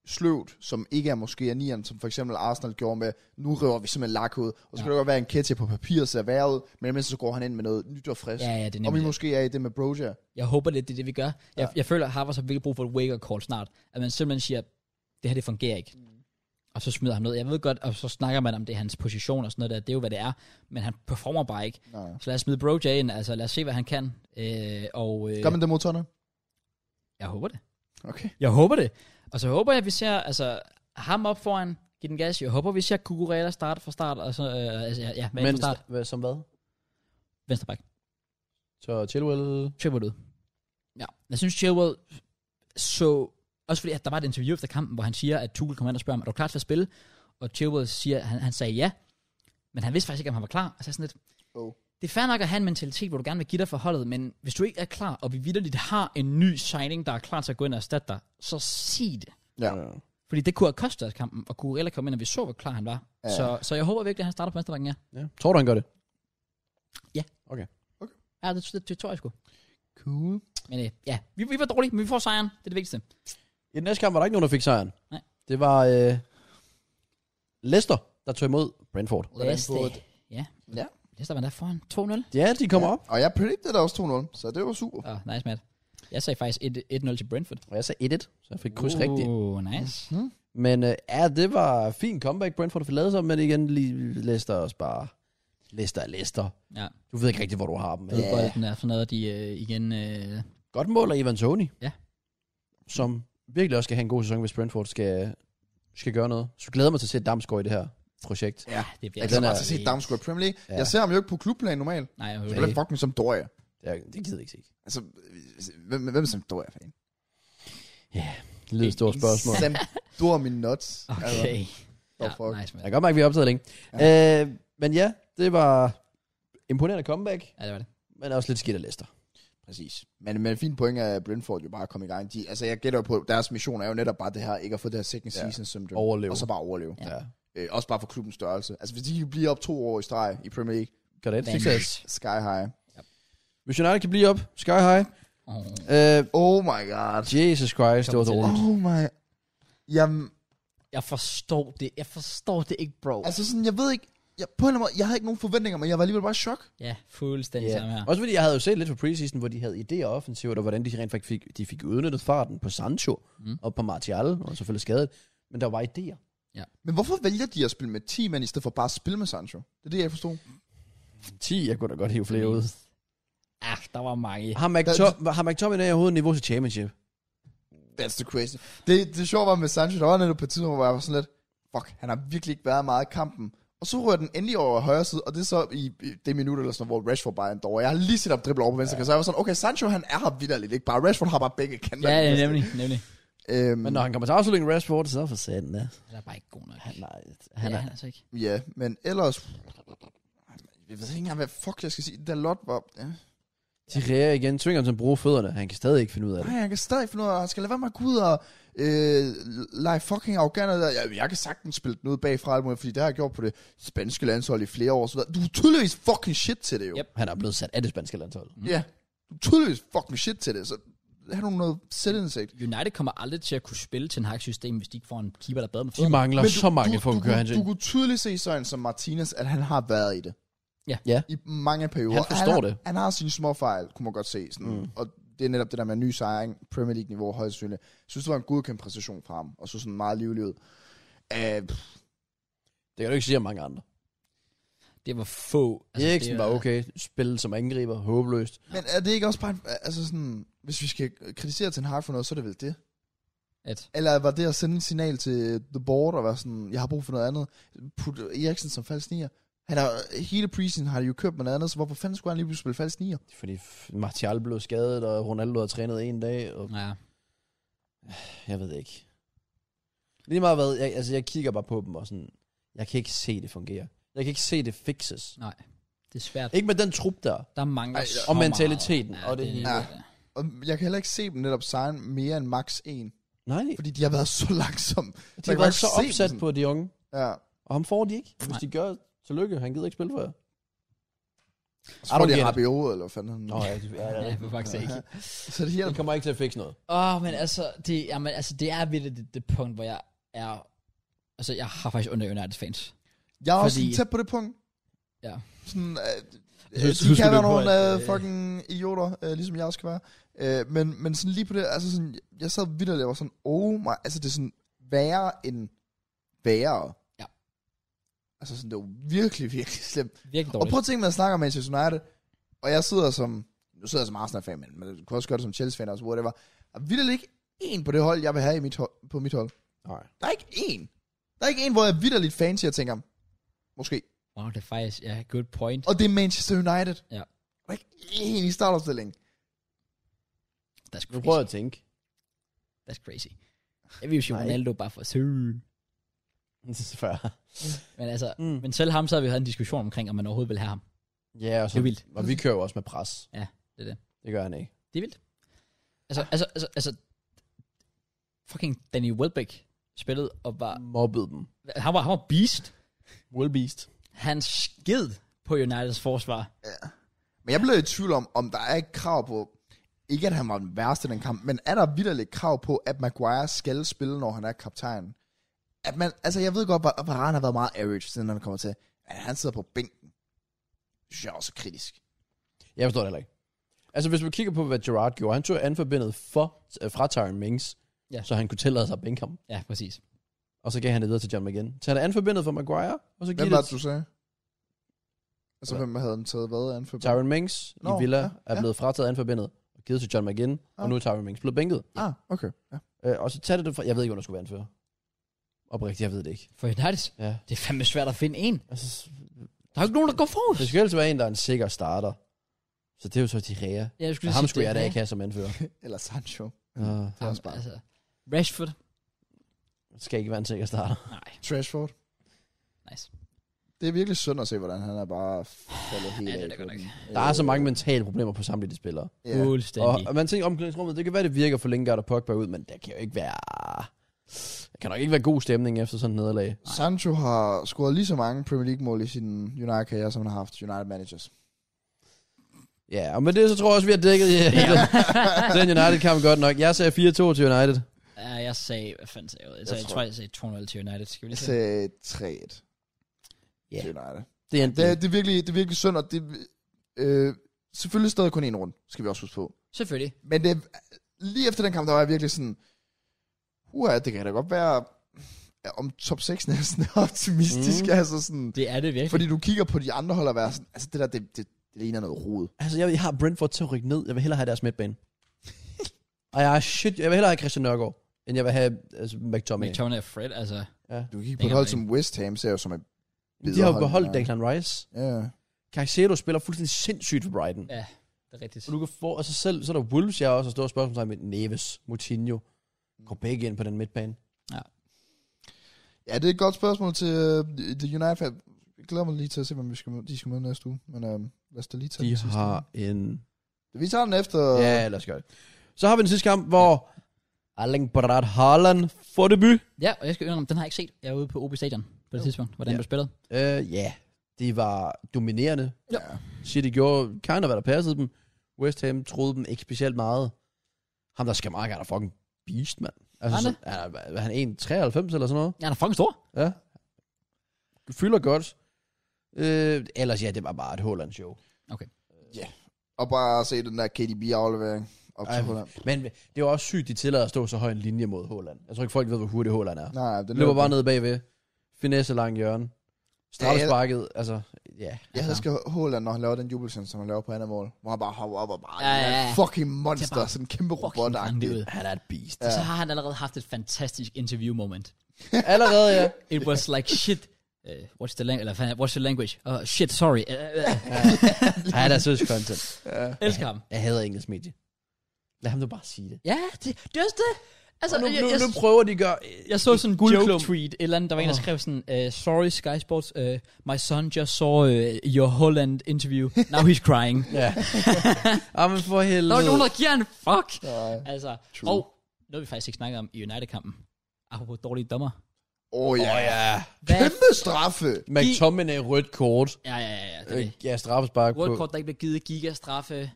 Speaker 3: sløvt, som ikke er måske er nieren, som for eksempel Arsenal gjorde med, nu river vi simpelthen lak ud, og så kan det godt være, en Ketja på papir ser værre ud, men imens så går han ind med noget nyt og frisk.
Speaker 1: Ja, ja, det er
Speaker 3: Om I
Speaker 1: nemlig.
Speaker 3: måske er i det med Broja.
Speaker 1: Jeg håber lidt, det er det, vi gør. Jeg, jeg føler, at Harvards har virkelig brug for et wake-up call snart. At man simpelthen siger, det her, det fungerer ikke.
Speaker 3: Mm.
Speaker 1: Og så smider han ned. Jeg ved godt, og så snakker man om det, hans position og sådan noget der. Det er jo, hvad det er. Men han performer bare ikke.
Speaker 3: Nej.
Speaker 1: Så lad os smide Broja ind. Altså, lad os se, hvad han kan. Øh, og øh,
Speaker 3: Gør man det mod Tottenham?
Speaker 1: jeg håber det.
Speaker 3: Okay.
Speaker 1: Jeg håber det. Og så håber jeg, at vi ser altså, ham op foran, give den gas. Jeg håber, vi ser Kukurela starte fra start. Og så, øh, altså, ja, ja men, fra start.
Speaker 2: hvad, som hvad?
Speaker 1: Venstre bak.
Speaker 2: Så Chilwell...
Speaker 1: Chilwell ud. Ja, jeg synes Chilwell så... Også fordi, at der var et interview efter kampen, hvor han siger, at Tuchel kommer ind og spørger ham, er du klar til at spille? Og Chilwell siger, han, han sagde ja, men han vidste faktisk ikke, om han var klar. Altså sådan lidt,
Speaker 3: Oh.
Speaker 1: det er fair nok at have en mentalitet, hvor du gerne vil give dig for holdet, men hvis du ikke er klar, og vi vidderligt har en ny signing, der er klar til at gå ind og erstatte dig, så sig det.
Speaker 3: Ja.
Speaker 1: Fordi det kunne have kostet os kampen, og Kurella kom ind, og vi så, hvor klar han var.
Speaker 3: Ja.
Speaker 1: Ja. Så, så jeg håber virkelig, at han starter på venstrebakken, ja.
Speaker 2: ja. Tror du, han gør det?
Speaker 1: Ja, det, det, det tror jeg sgu.
Speaker 3: Cool.
Speaker 1: Men øh, ja, vi, vi var dårlige, men vi får sejren. Det er det vigtigste.
Speaker 2: I den næste kamp var der ikke nogen, der fik sejren.
Speaker 1: Nej.
Speaker 2: Det var øh, Leicester, der tog imod Brentford.
Speaker 1: Leicester.
Speaker 3: Brentford.
Speaker 1: Ja.
Speaker 3: Ja.
Speaker 1: Leicester var der foran 2-0.
Speaker 2: Ja, de kommer
Speaker 3: ja.
Speaker 2: op.
Speaker 3: Og jeg predicted også 2-0, så det var super.
Speaker 1: Åh, oh, nice, Matt. Jeg sagde faktisk 1- 1-0 til Brentford.
Speaker 2: Og jeg sagde 1-1, så jeg fik kryds uh. rigtigt.
Speaker 1: Uh, nice.
Speaker 2: Men øh, ja, det var fint comeback, Brentford fik lavet sig, men igen, lige Leicester også bare... Leicester er Leicester.
Speaker 1: Ja.
Speaker 2: Du ved ikke rigtig, hvor du har dem.
Speaker 1: Ved
Speaker 2: Ja.
Speaker 1: bolden er sådan noget, de øh, igen... Øh,
Speaker 2: Godt mål af Ivan Toni.
Speaker 1: Ja.
Speaker 2: Som virkelig også skal have en god sæson, hvis Brentford skal, skal gøre noget. Så glæder jeg mig til at se Damsgaard i det her projekt.
Speaker 3: Ja.
Speaker 1: det bliver
Speaker 3: Jeg glæder
Speaker 2: den
Speaker 3: mig
Speaker 2: er-
Speaker 3: til at Altså, se Damsgaard i Premier League.
Speaker 2: Ja.
Speaker 3: Ja. Jeg ser ham jo ikke på klubplan normalt.
Speaker 1: Nej, jeg
Speaker 3: Jeg
Speaker 1: håber
Speaker 3: bliver
Speaker 1: det.
Speaker 3: fucking som Doria.
Speaker 2: Det, er, det gider jeg ikke se.
Speaker 3: Altså, hvem, hvem er som Doria fan?
Speaker 2: Det lyder et stort spørgsmål.
Speaker 3: Sam, du er min nuts.
Speaker 1: Okay.
Speaker 3: oh,
Speaker 1: Ja,
Speaker 3: fuck.
Speaker 1: nice, man.
Speaker 2: Jeg kan godt mærke, at vi har optaget længe. Ja. Øh, men ja, det var imponerende comeback,
Speaker 1: Ja, det var det.
Speaker 2: men også lidt skidt af Leicester.
Speaker 3: Præcis. Men, men fint point er, at Brentford jo bare kom i gang. De, altså, jeg gætter jo på, deres mission er jo netop bare det her, ikke at få det her second
Speaker 2: Ja.
Speaker 3: season ja. syndrome.
Speaker 2: Overleve.
Speaker 3: Og så bare overleve.
Speaker 1: Ja.
Speaker 2: Ja.
Speaker 3: Øh, også bare for klubbens størrelse. Altså, hvis de kan blive op to år i streg i Premier League,
Speaker 2: Gør det.
Speaker 1: Damn.
Speaker 2: Succes.
Speaker 3: sky high.
Speaker 2: Hvis United kan blive op, sky high.
Speaker 1: Oh.
Speaker 2: Øh,
Speaker 3: Oh my god.
Speaker 2: Jesus Christ, det var
Speaker 1: Kom til
Speaker 2: dårligt.
Speaker 3: Oh my... Jamen,
Speaker 1: Jeg forstår det. Jeg forstår det ikke, bro.
Speaker 3: altså sådan, jeg ved ikke... Jeg, på en eller anden måde, jeg havde ikke nogen forventninger, men jeg var alligevel bare i chok.
Speaker 1: ja, fuldstændig yeah. samme her.
Speaker 2: Yeah. Også fordi jeg havde jo set lidt på preseason, hvor de havde idéer offensivt, og hvordan de rent faktisk fik, de fik udnyttet farten på Sancho
Speaker 1: Mm.
Speaker 2: mm. og på Martial, og selvfølgelig skadet. Men der var idéer.
Speaker 3: Men hvorfor vælger de at spille med 10 mænd, i stedet for bare at spille med Sancho? Det er det, jeg ikke forstod.
Speaker 2: 10, jeg kunne da godt hive flere ud.
Speaker 1: Ah, der var mange.
Speaker 2: Har, McTom- har McTominay overhovedet niveau til championship?
Speaker 3: That's the question. Det, det sjove var med Sancho, der var netop på et tidspunkt, hvor jeg var sådan lidt, fuck, han har virkelig ikke været meget i kampen. Og så rører den endelig over højre side, og det er så i, i det minut eller sådan noget, hvor Rashford bare er en dår. Jeg har lige set op dribble over på venstre, ja. så jeg var sådan, okay, Sancho han er her vidderligt, ikke bare. Rashford har bare begge kanter.
Speaker 1: Ja, ja, nemlig, nemlig.
Speaker 3: Øhm,
Speaker 2: Men når han kommer til afslutningen Rashford, så for satan, ja.
Speaker 1: Han er bare ikke god nok.
Speaker 2: Han, nej,
Speaker 1: Han
Speaker 2: han
Speaker 1: er
Speaker 2: er,
Speaker 1: han altså ikke.
Speaker 3: Ja, men ellers... Jeg ved ikke engang, hvad fuck jeg skal sige. Det der lot var... Ja.
Speaker 2: de reagerer igen, tvinger ham til at bruge fødderne. Han kan stadig ikke finde ud af det.
Speaker 3: Nej, jeg kan stadig finde ud af, at han skal lade være med at gå ud og øh, lege fucking afghaner. der. Jeg, jeg kan sagtens spille den ud bagfra, alt muligt, fordi det har jeg gjort på det spanske landshold i flere år. og Så videre. du er tydeligvis fucking shit til det jo.
Speaker 1: Yep.
Speaker 2: Han er blevet sat af det spanske landshold.
Speaker 3: Ja, yeah. du er tydeligvis fucking shit til det, så har du noget selvindsigt.
Speaker 1: United kommer aldrig til at kunne spille til en system, hvis de ikke får en keeper, der er bedre med
Speaker 2: De
Speaker 1: fødderne.
Speaker 2: mangler
Speaker 3: Men
Speaker 2: så mange for at
Speaker 3: du,
Speaker 2: køre
Speaker 3: kunne-
Speaker 2: hans
Speaker 3: du, du kunne tydeligt se sådan som Martinez, at han har været i det.
Speaker 1: Ja.
Speaker 2: Ja.
Speaker 3: I mange perioder.
Speaker 2: Han forstår
Speaker 3: han,
Speaker 2: det.
Speaker 3: Han har sine små fejl, kunne man godt se. Sådan. Mm. Og det er netop det der med ny sejring, Premier League-niveau højst synligt. Jeg synes, det var en godkendt præstation fra ham, og så sådan meget livlig ud. Uh,
Speaker 2: Det kan du ikke sige om mange andre.
Speaker 1: Det var få.
Speaker 2: Altså, Eriksen
Speaker 1: det
Speaker 2: var okay. Spillet som angriber, håbløst.
Speaker 3: men er det ikke også bare, en, altså sådan, hvis vi skal kritisere Ten Hag for noget, så er det vel det?
Speaker 1: At,
Speaker 3: Eller var det at sende et signal til The Board og være sådan, jeg har brug for noget andet? Put Eriksen som falsk nier. Han har, hele preseason har de jo kørt med noget andet, så hvorfor fanden skulle han lige pludselig spille falsk nier?
Speaker 2: Fordi f- Martial blev skadet, og Ronaldo havde trænet en dag, og
Speaker 1: ja.
Speaker 2: jeg ved ikke. Lige meget hvad, jeg, altså jeg kigger bare på dem og sådan, jeg kan ikke se det fungere. Jeg kan ikke se det fixes.
Speaker 1: Nej, det er svært.
Speaker 2: Ikke med den trup der.
Speaker 1: Der mangler
Speaker 3: Ej,
Speaker 1: så
Speaker 2: og
Speaker 1: meget.
Speaker 2: mentaliteten, og det hele.
Speaker 3: Ja. Og jeg kan heller ikke se dem netop signe mere end max 1,
Speaker 2: Nej,
Speaker 3: fordi de har været så langsomme.
Speaker 2: de har
Speaker 3: kan
Speaker 2: været
Speaker 3: godt
Speaker 2: så
Speaker 3: se dem
Speaker 2: opsat
Speaker 3: sådan.
Speaker 2: på de unge,
Speaker 3: Ja.
Speaker 2: og ham får de ikke. Hvis
Speaker 1: Nej.
Speaker 2: de gør, tillykke, han gider ikke spille for jer.
Speaker 3: Så får
Speaker 2: don't
Speaker 3: de
Speaker 2: get it.
Speaker 3: Rabiot, eller hvad fanden han...
Speaker 2: Nå, ja, det,
Speaker 3: [LAUGHS]
Speaker 2: ja,
Speaker 1: Ja,
Speaker 2: ja.
Speaker 1: for faktisk ikke.
Speaker 3: Så det
Speaker 2: Det
Speaker 3: hjælper.
Speaker 2: kommer ikke til at fikse noget.
Speaker 1: Åh, oh, men altså, det, jamen, altså, det er virkelig det, det punkt, hvor jeg er... Altså, jeg har faktisk under United fans.
Speaker 3: Jeg er også
Speaker 1: Fordi-
Speaker 3: sådan tæt på det punkt.
Speaker 1: Ja.
Speaker 3: Sådan, øh,
Speaker 2: synes,
Speaker 3: øh,
Speaker 2: du
Speaker 3: de
Speaker 2: skulle
Speaker 3: kan være
Speaker 2: løbe på,
Speaker 3: nogle
Speaker 2: at,
Speaker 3: øh,
Speaker 2: øh,
Speaker 3: fucking idioter, øh, ligesom jeg også kan være. Øh, men, men sådan lige på det, altså sådan, jeg sad vidt og var sådan, oh my, altså det er sådan værre end værre.
Speaker 1: Ja.
Speaker 3: Altså sådan, det var virkelig, virkelig slemt.
Speaker 1: Virkelig
Speaker 3: Og
Speaker 1: dårligt.
Speaker 3: prøv at tænke, når jeg snakker om Manchester United, og jeg sidder som, nu sidder jeg som Arsenal-fan, men man kunne også gøre det som Chelsea-fan også, whatever. Og vil der ikke en på det hold, jeg vil have i mit hold, på mit hold?
Speaker 2: Nej.
Speaker 3: Der er ikke en. Der er ikke en, hvor jeg er vidderligt fan til, jeg tænker, måske.
Speaker 1: Wow, det er faktisk... Ja, good point.
Speaker 3: Og det er Manchester United.
Speaker 1: Ja.
Speaker 3: Der er ikke en i startopstillingen.
Speaker 1: That's crazy.
Speaker 2: Nu prøver jeg at tænke. [LAUGHS]
Speaker 1: That's crazy. Jeg vil jo sige
Speaker 2: Nej.
Speaker 1: Ronaldo bare for søge.
Speaker 2: Før.
Speaker 1: Men altså...
Speaker 2: Mm.
Speaker 1: Men selv ham, så har vi havde en diskussion omkring, om man overhovedet vil have ham.
Speaker 2: Ja, og, så,
Speaker 1: Det er vildt.
Speaker 2: og vi kører jo også med pres.
Speaker 1: Ja, det er det.
Speaker 2: Det gør han ikke.
Speaker 1: Det er vildt. Altså,
Speaker 2: Ah.
Speaker 1: altså, altså, altså... Fucking Danny Welbeck spillede og var...
Speaker 2: Mobbede dem.
Speaker 1: Han var, han var beast.
Speaker 2: Will Beast.
Speaker 1: Han sked på Uniteds forsvar.
Speaker 3: Men jeg blev i tvivl om, om der er et krav på, ikke at han var den værste i den kamp, men er der vidderligt krav på, at Maguire skal spille, når han er kaptajn? At man, altså jeg ved godt, hvor hvor Varane har været meget average, siden han kommer til, men han sidder på bænken. Det synes jeg også er kritisk.
Speaker 2: Jeg forstår det heller ikke. Altså, hvis man kigger på, hvad Gerard gjorde, han tog anforbindet for, øh, fra Tyron Mings,
Speaker 1: Ja.
Speaker 2: ja. så han kunne tillade sig at bænke ham.
Speaker 1: Ja, præcis.
Speaker 2: Og så gav han det videre til John McGinn. Så han er anforbindet for Maguire, og så giver
Speaker 3: Hvem var
Speaker 2: det
Speaker 3: det, du sagde? Altså, hvem havde den taget hvad an for?
Speaker 2: Tyron Mings
Speaker 3: Nå,
Speaker 2: i Villa
Speaker 3: ja,
Speaker 2: ja,
Speaker 3: ja.
Speaker 2: er blevet frataget anforbindet og givet til John McGinn,
Speaker 3: Ah.
Speaker 2: og nu er Tyron Mings blevet bænket.
Speaker 3: Ah, okay. Ja. [LAUGHS]
Speaker 2: Øh, og så tager det det fra... Jeg ved ikke, hvor der skulle være anfører. Oprigtigt, jeg ved det ikke.
Speaker 1: For United,
Speaker 2: Ja.
Speaker 1: det er fandme svært at finde en.
Speaker 2: Altså, s-
Speaker 1: Der er jo ikke nogen, der går forrest.
Speaker 2: det skal altid være en, der er en sikker starter. Så det er jo så Tirea.
Speaker 1: Ja, jeg
Speaker 2: Og
Speaker 1: lige
Speaker 2: ham
Speaker 1: sige,
Speaker 2: skulle jeg
Speaker 1: det
Speaker 2: da
Speaker 1: er-
Speaker 2: ikke have som anfører.
Speaker 3: Eller Sancho.
Speaker 2: Uh,
Speaker 3: Det er også
Speaker 1: Jamen,
Speaker 3: bare.
Speaker 1: Altså, Rashford.
Speaker 2: Skal ikke være en sikker starter.
Speaker 1: Nej,
Speaker 3: Trashford.
Speaker 1: nice.
Speaker 3: Det er virkelig synd at se, hvordan han er bare faldet helt
Speaker 1: Ja, det er
Speaker 3: af
Speaker 1: det
Speaker 3: på
Speaker 1: godt
Speaker 3: den.
Speaker 2: Der er så mange mentale problemer på samtlige de spillere.
Speaker 3: Ja.
Speaker 1: Yeah. Fuldstændig.
Speaker 2: Og, og man tænker omklædningsrummet, det kan være, det virker for Lingard og Pogba ud, men der kan jo ikke være... Der kan nok ikke være god stemning efter sådan et nederlag.
Speaker 3: Sancho har scoret lige så mange Premier League-mål i sin United-karriere, som han har haft United Managers.
Speaker 2: Ja, og med det, så tror jeg også, vi har dækket ja, [LAUGHS] den United-kamp godt nok. Jeg sagde 4-2 til United.
Speaker 1: Ja, jeg sagde, hvad fanden sagde jeg? Jeg,
Speaker 3: Jeg
Speaker 1: sagde, jeg
Speaker 3: tror-
Speaker 1: tror, jeg sagde 2-0 til United. Skal vi lige
Speaker 3: Jeg
Speaker 1: se?
Speaker 3: sagde 3-1
Speaker 2: Ja.
Speaker 3: til United.
Speaker 2: Det er en,
Speaker 3: Det, er- det, er virkelig, det er virkelig synd, og det, øh, selvfølgelig stadig kun en runde, skal vi også huske på.
Speaker 1: Selvfølgelig.
Speaker 3: Men det, lige efter den kamp, der var jeg virkelig sådan, uha, det kan da godt være, ja, om top 6 [LAUGHS] næsten er optimistisk, mm. altså sådan,
Speaker 1: Det er det virkelig.
Speaker 3: fordi du kigger på de andre hold og være sådan, altså det der, det, det, det ligner noget rod.
Speaker 2: Altså, jeg, jeg har Brentford til at rykke ned. Jeg vil hellere have deres midtbane. og jeg er shit. Jeg vil hellere have Christian Nørgaard, end jeg vil have altså, McTominay.
Speaker 1: McTominay og Fred, altså.
Speaker 3: Du kigger på
Speaker 1: Det
Speaker 3: et
Speaker 1: kan
Speaker 3: hold
Speaker 1: man
Speaker 3: som West Ham, ser jo som et
Speaker 2: De har jo
Speaker 3: biderhold,
Speaker 2: beholdt
Speaker 3: ja.
Speaker 2: Declan Rice.
Speaker 3: Ja.
Speaker 2: Caicedo spiller fuldstændig sindssygt for Brighton.
Speaker 1: Ja. Det er rigtigt.
Speaker 2: Og du kan få, og så selv, så er der Wolves, jeg har også stået spørgsmål med Neves, Moutinho. Går begge ind på den midtbane.
Speaker 3: ja, det er et godt spørgsmål til uh, The United. fan. Jeg glæder mig lige til at se, hvem vi skal møde, de skal møde næste uge, men uh, lad os da lige tage
Speaker 2: De
Speaker 3: den sidste. Øh.
Speaker 2: har en...
Speaker 3: Vi tager den efter...
Speaker 2: Ja, lad os gøre det. Så har vi den sidste kamp, hvor Erling Braut Haaland får debut.
Speaker 1: Ja, og jeg skal indrømme, den har jeg ikke set. Jeg var ude på OB Stadion på det
Speaker 2: Jo.
Speaker 1: tidspunkt, hvordan
Speaker 2: Ja.
Speaker 1: ja. blev spillet.
Speaker 2: Øh, Ja, uh, yeah. de var dominerende.
Speaker 3: ja.
Speaker 2: City gjorde kind of, hvad der passede dem. West Ham troede dem ikke specielt meget. Ham der skal meget gerne er fucking beast, mand. Altså,
Speaker 1: Er
Speaker 2: så,
Speaker 1: han
Speaker 2: han er, er han 1,93 eller sådan noget?
Speaker 1: Ja, han er fucking stor.
Speaker 2: Ja. Fylder godt. Øh, ellers, ja, det var bare et Holland-show.
Speaker 3: Og bare se den der KDB-aflevering op
Speaker 2: Ej,
Speaker 3: til Holland.
Speaker 2: Altså, Men det var også sygt, de tillader at stå så høj en linje mod Holland. Jeg tror ikke, folk ved, hvor hurtig Holland er.
Speaker 3: Nej, den
Speaker 2: Den løber bare ned bagved. Finesse langt hjørne. Straffesparket, altså, ja.
Speaker 3: Jeg elsker Håland, når han laver den jubelsen, som han laver på andet mål. Hvor han bare hopper op og bare
Speaker 1: Ja,
Speaker 3: ja,
Speaker 1: ja,
Speaker 3: ja,
Speaker 1: ja.
Speaker 3: fucking
Speaker 1: Det
Speaker 3: monster.
Speaker 1: er bare
Speaker 3: sådan en kæmpe robot
Speaker 1: Fucking han det ud.
Speaker 2: Han er et beast.
Speaker 1: Så har han allerede haft et fantastisk interview moment.
Speaker 2: Allerede,
Speaker 1: [LAUGHS]
Speaker 2: ja.
Speaker 1: It was like shit. Uh, what's the language? Eller fanden, what's the language? Uh, shit, sorry. Uh, uh, [LAUGHS]
Speaker 2: Han er søs content.
Speaker 1: elsker ham.
Speaker 2: Jeg hader engelsk medie. Lad ham nu bare sige det.
Speaker 1: Ja, det, det er også det. Altså,
Speaker 2: Og nu,
Speaker 1: jeg,
Speaker 2: nu,
Speaker 1: jeg,
Speaker 2: nu prøver de at gøre...
Speaker 1: jeg så sådan en
Speaker 2: guldklump.
Speaker 1: joke-tweet, et eller andet, der var en, der skrev sådan, uh, sorry Sky Sports, uh, my son just saw uh, your Holland interview, now he's crying.
Speaker 2: [LAUGHS] Ja. ah, men for
Speaker 1: [LAUGHS]
Speaker 2: helvede.
Speaker 1: Der var nogen, der giver en fuck.
Speaker 3: Nej.
Speaker 1: Altså,
Speaker 3: True.
Speaker 1: og noget vi faktisk ikke snakkede om i United-kampen. Apropos dårlige dommer.
Speaker 3: Åh oh, ja.
Speaker 2: Åh,
Speaker 3: Oh, ja.
Speaker 2: ja.
Speaker 1: Hvad?
Speaker 3: Kæmpe straffe.
Speaker 2: McTominay rødt kort.
Speaker 1: Ja, ja, ja, ja det er
Speaker 2: Øh,
Speaker 1: det.
Speaker 2: Ja, straffespark på.
Speaker 1: Rødt kort, der ikke blev givet gigastraffe.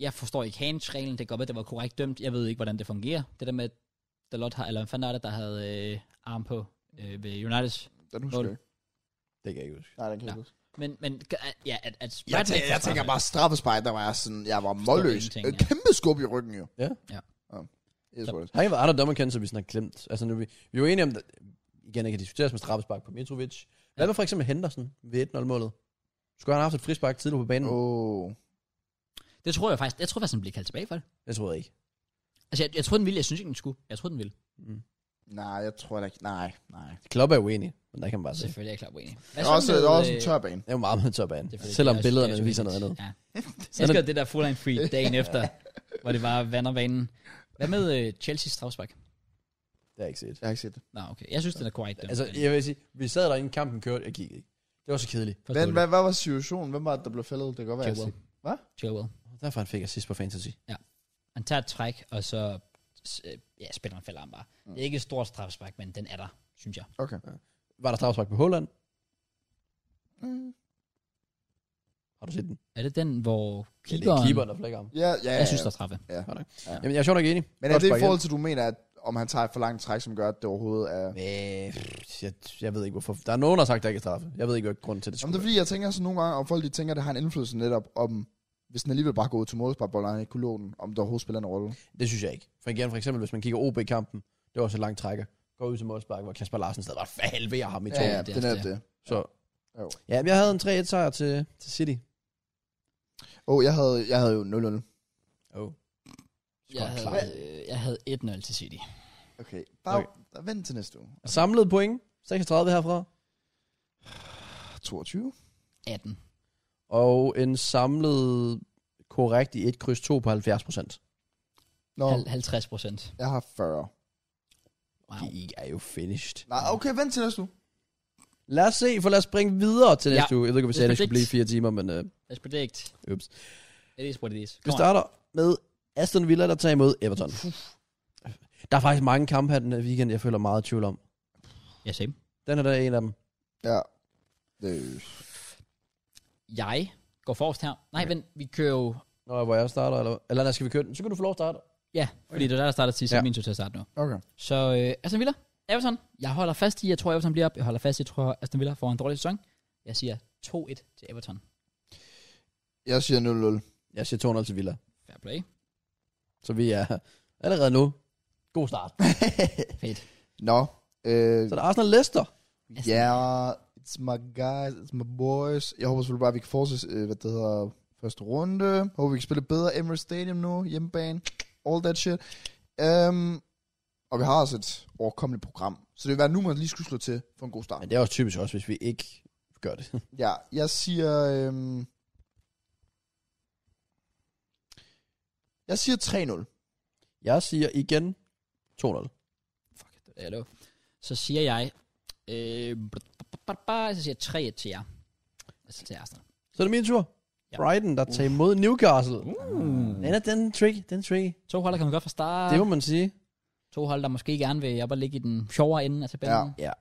Speaker 1: Jeg forstår ikke handsreglen. Det kan godt være, det var korrekt dømt. Jeg ved ikke, hvordan det fungerer. Det der med, der Lot har, eller hvad fanden er det, der havde øh, arm på øh, ved Uniteds.
Speaker 3: Den husker
Speaker 1: Nul.
Speaker 3: jeg ikke.
Speaker 2: Det kan jeg ikke huske.
Speaker 3: Nej, den kan jeg
Speaker 1: Nå.
Speaker 3: ikke. huske.
Speaker 1: Men, men ja, at, at
Speaker 3: Jeg,
Speaker 1: Brighton
Speaker 3: tæ-
Speaker 1: ikke får
Speaker 3: jeg tænker
Speaker 1: straffe.
Speaker 3: bare straffespejl, der var jeg sådan, jeg var målløs.
Speaker 1: ingenting,
Speaker 3: Øh,
Speaker 1: ja.
Speaker 3: Kæmpe skub i ryggen jo.
Speaker 2: Ja.
Speaker 1: Ja.
Speaker 3: ja. Yes, what it is.
Speaker 2: Har ikke været andre dommerkendelser, vi sådan har glemt? Altså, nu, er vi, vi er jo enige om, at igen, jeg kan diskuteres med straffespark på Mitrovic. Hvad med for eksempel Henderson ved 1-0-målet? Skulle han have haft et frispark tidligere på banen?
Speaker 3: Åh.
Speaker 2: Oh.
Speaker 3: Oh.
Speaker 1: Det tror jeg faktisk. Jeg tror faktisk, han blev kaldt tilbage for det.
Speaker 2: Jeg tror jeg ikke.
Speaker 1: Altså, jeg, jeg tror, den ville. Jeg synes ikke, den skulle. Jeg tror, den ville.
Speaker 3: Nej, jeg tror da ikke. Nej, nej.
Speaker 2: Mm. Klopp er uenig, men der kan man bare se.
Speaker 1: Selvfølgelig er jeg klar på enig. Hvad
Speaker 3: Der
Speaker 1: så
Speaker 3: er også,
Speaker 1: med,
Speaker 3: der er også
Speaker 1: øh,
Speaker 3: en tør bane.
Speaker 2: Det er jo meget med top banen.
Speaker 1: selvfølgelig, det
Speaker 2: Selvom
Speaker 1: er også-
Speaker 2: billederne
Speaker 1: det er
Speaker 2: viser
Speaker 1: også
Speaker 2: noget andet.
Speaker 1: vigtigt. Ja.
Speaker 3: [LAUGHS]
Speaker 1: Jeg elsker det der Fulham Free dagen efter, hvor det bare vander banen. Hvad med øh, Chelsea's strafspark?
Speaker 2: Det har jeg ikke set.
Speaker 3: Jeg har ikke set det.
Speaker 1: Nå, okay. Jeg synes, den er korrekt. Den.
Speaker 2: Altså, jeg vil sige, vi sad derinde, kampen kørte, jeg gik ikke. Det var så kedeligt.
Speaker 1: Forstår
Speaker 3: Men
Speaker 1: det.
Speaker 3: hvad, hvad var situationen? Hvem var det, der blev fældet? Det kan godt være, jeg
Speaker 1: Chilwell.
Speaker 3: siger- Hvad?
Speaker 1: Chilwell.
Speaker 2: Derfor han fik assist på fantasy.
Speaker 1: Han tager et træk, og så s- øh, ja, spilleren falder ham bare.
Speaker 3: Mm.
Speaker 1: Det er ikke et stort strafspark, men den er der, synes jeg.
Speaker 3: Okay.
Speaker 2: Var der straffespark på Holland?
Speaker 3: Mm.
Speaker 2: Har du set den?
Speaker 1: Er det den, hvor
Speaker 2: Ja, det er
Speaker 1: keeperen...
Speaker 2: keeperen, der flækker ham.
Speaker 3: Ja, ja, ja.
Speaker 1: Jeg synes, der er straffe.
Speaker 2: Jamen, jeg er sjovt nok enig.
Speaker 3: Men er det i
Speaker 2: Godt
Speaker 3: forhold til, du mener, at om han tager et for langt træk, som gør, at det overhovedet er...
Speaker 2: Øh, jeg, jeg ved ikke hvorfor. Der er nogen, der har sagt, der ikke er straffe. Jeg ved ikke, hvad grunden til det
Speaker 3: Jamen, det
Speaker 2: skulle
Speaker 3: er
Speaker 2: være.
Speaker 3: fordi, jeg tænker sådan nogle gange, om folk de tænker, at det har en indflydelse netop om, hvis den alligevel bare går ud til målsparkbold, og han ikke kunne låne den, om det overhovedet spiller en rolle.
Speaker 2: Det synes jeg ikke. For igen, for eksempel, hvis man kigger OB-kampen, det var så langt trækker. Går ud til målspark, hvor Kasper Larsen stadig bare halverer ham i to.
Speaker 3: Ja, ja,
Speaker 1: det er
Speaker 3: det er netop
Speaker 1: også
Speaker 3: det.
Speaker 2: Så.
Speaker 3: Jo.
Speaker 2: Ja, jeg havde en 3-1-sejr til, til City.
Speaker 3: Åh, oh, jeg, havde, jeg havde jo 0-0.
Speaker 2: Oh.
Speaker 1: Jeg havde, øh, jeg havde 1-0 til City.
Speaker 3: Okay, bare
Speaker 2: Okay.
Speaker 3: okay. vent til næste uge.
Speaker 2: Samlet point, 36 herfra.
Speaker 3: Ah, 22?
Speaker 1: 18.
Speaker 2: Og en samlet korrekt i 1 kryds 2 på 70 procent.
Speaker 3: Nå,
Speaker 1: Hal- 50 procent.
Speaker 3: jeg har 40.
Speaker 1: Wow.
Speaker 2: De er jo finished.
Speaker 3: Nej, okay, vent til næste uge.
Speaker 2: Lad os se, for lad os springe videre til
Speaker 1: Ja.
Speaker 2: næste uge. Jeg ved ikke, om vi sagde, at det
Speaker 1: Let's
Speaker 2: skulle blive
Speaker 1: predict.
Speaker 2: fire timer, men øh,
Speaker 1: Let's predict.
Speaker 2: ups.
Speaker 1: It is what it is.
Speaker 2: Vi
Speaker 1: Kom on.
Speaker 2: starter med Aston Villa, der tager imod Everton. Der er faktisk mange kampe her den her weekend, jeg føler meget tvivl om.
Speaker 1: Ja, same.
Speaker 2: Den her der er en af dem.
Speaker 3: Ja. Det,
Speaker 1: Jeg går forrest her. Nej, okay. vent. Vi kører jo...
Speaker 2: Nå, hvor jeg starter, eller, eller nej, skal vi køre den? Så kan du få lov at starte.
Speaker 1: Ja, fordi det er der, der starter sidst, så
Speaker 2: Ja.
Speaker 1: ja. min tur til at starte nu.
Speaker 3: okay.
Speaker 1: Så øh, Aston Villa, Everton. Jeg holder fast i, jeg tror, Everton bliver op. Jeg holder fast i, jeg tror, Aston Villa får en dårlig sæson. Jeg siger 2-1 til Everton.
Speaker 3: Jeg siger 0-0.
Speaker 2: Jeg siger 200 til Villa.
Speaker 1: Fair play.
Speaker 2: Så vi er allerede nu. God start.
Speaker 1: Fedt.
Speaker 3: Nå. Øh,
Speaker 2: [LAUGHS] Så der er Arsenal Leicester.
Speaker 1: Aston
Speaker 3: ja, yeah, it's my guys, it's my boys. Jeg håber selvfølgelig bare, at vi kan fortsætte, øh, hvad det hedder, første runde. Håber, vi kan spille bedre Emirates Stadium nu, hjemmebane, all that shit. Um, og vi har også et overkommeligt program. Så det vil være nu, man lige skulle slå til for en god start.
Speaker 2: Men det er også typisk også, hvis vi ikke gør det.
Speaker 3: Ja, jeg siger... Øhm, jeg siger 3-0.
Speaker 2: Jeg siger igen 200.
Speaker 1: Fuck, det er jeg lå. Så siger jeg... Øh, så siger jeg 3-1 til jer. Altså til Arsenal.
Speaker 2: Så er det min tur.
Speaker 1: Ja.
Speaker 2: Brighton, der tager imod Newcastle. Den er den er tricky, den er tricky.
Speaker 1: To hold, der kan man godt fra start.
Speaker 2: Det må man sige.
Speaker 1: To hold, der måske gerne vil op og ligge i den sjovere ende af tabellen.
Speaker 2: Ja.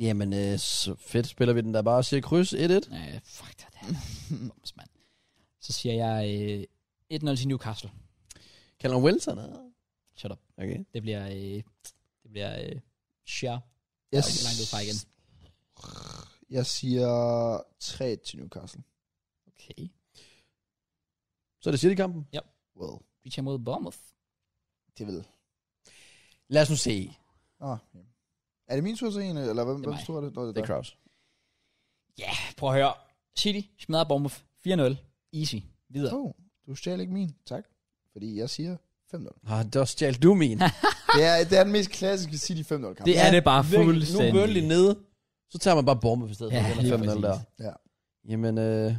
Speaker 2: Jamen, øh, så fedt spiller vi den der bare og siger kryds 1-1.
Speaker 1: Ja. Øh, fuck, det er det. Bums, mand. Så siger jeg øh, 1-0 til Newcastle.
Speaker 2: Callum Wilson. er-
Speaker 1: Shut up.
Speaker 2: Okay.
Speaker 1: Det bliver... Øh, det bliver... Øh, sure.
Speaker 3: Jeg,
Speaker 1: Yes. Langt ud fra igen.
Speaker 3: jeg siger 3 til Newcastle.
Speaker 1: Okay.
Speaker 2: Så er det City-kampen.
Speaker 3: Well,
Speaker 1: Vi tager mod Bournemouth.
Speaker 3: det vil...
Speaker 2: Lad os nu se.
Speaker 3: Ah, ja. Er det min tur til en, eller hvem,
Speaker 1: er
Speaker 3: hvem
Speaker 1: mig.
Speaker 3: tror det? Nå, det
Speaker 2: Det
Speaker 3: er
Speaker 2: er
Speaker 3: dig.
Speaker 2: Kraus.
Speaker 1: Ja, prøv at høre. City smadrer Bournemouth 4-0. Easy. Videre.
Speaker 3: Oh, du stjal ikke min, tak. Fordi jeg siger 5-0.
Speaker 2: Ah, der stjal du min.
Speaker 3: Det er, det er den mest klassiske City 5-0-kamp.
Speaker 1: Det er det bare
Speaker 2: Virkelig.
Speaker 1: fuldstændig.
Speaker 2: Nu er Burnley nede. Så tager man bare bombe i stedet.
Speaker 1: Ja,
Speaker 2: Ja,
Speaker 1: lige
Speaker 2: for den er 5-0 der.
Speaker 1: præcis.
Speaker 3: Ja.
Speaker 2: Jamen, øh,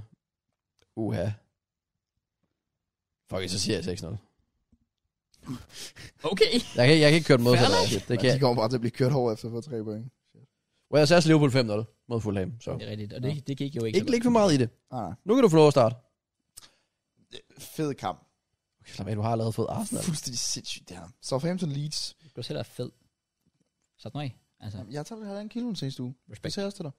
Speaker 2: uha. Fuck, it, så siger jeg 6-0.
Speaker 1: Okay.
Speaker 2: Jeg kan, jeg kan ikke køre den modsatte.
Speaker 1: Fair
Speaker 2: vej. Det kan
Speaker 3: Okay. De
Speaker 2: jeg.
Speaker 3: kommer bare til at blive kørt over efter for 3 point.
Speaker 2: Well, så er Liverpool 5-0 mod Fulham. Så.
Speaker 1: Det er rigtigt, og det, det gik jo ikke.
Speaker 2: Ikke lægge for meget i det.
Speaker 3: Ah, nej.
Speaker 2: Nu kan du få lov at starte.
Speaker 3: Fed kamp.
Speaker 2: Okay, slap af, du har allerede fået Arsenal.
Speaker 3: Fuldstændig sindssygt, det her. Southampton Leeds.
Speaker 1: Du selv er fed. Så nu af. Altså,
Speaker 3: Jeg tager vel halvanden kilo den seneste uge.
Speaker 1: respekt.
Speaker 3: Jeg også til dig.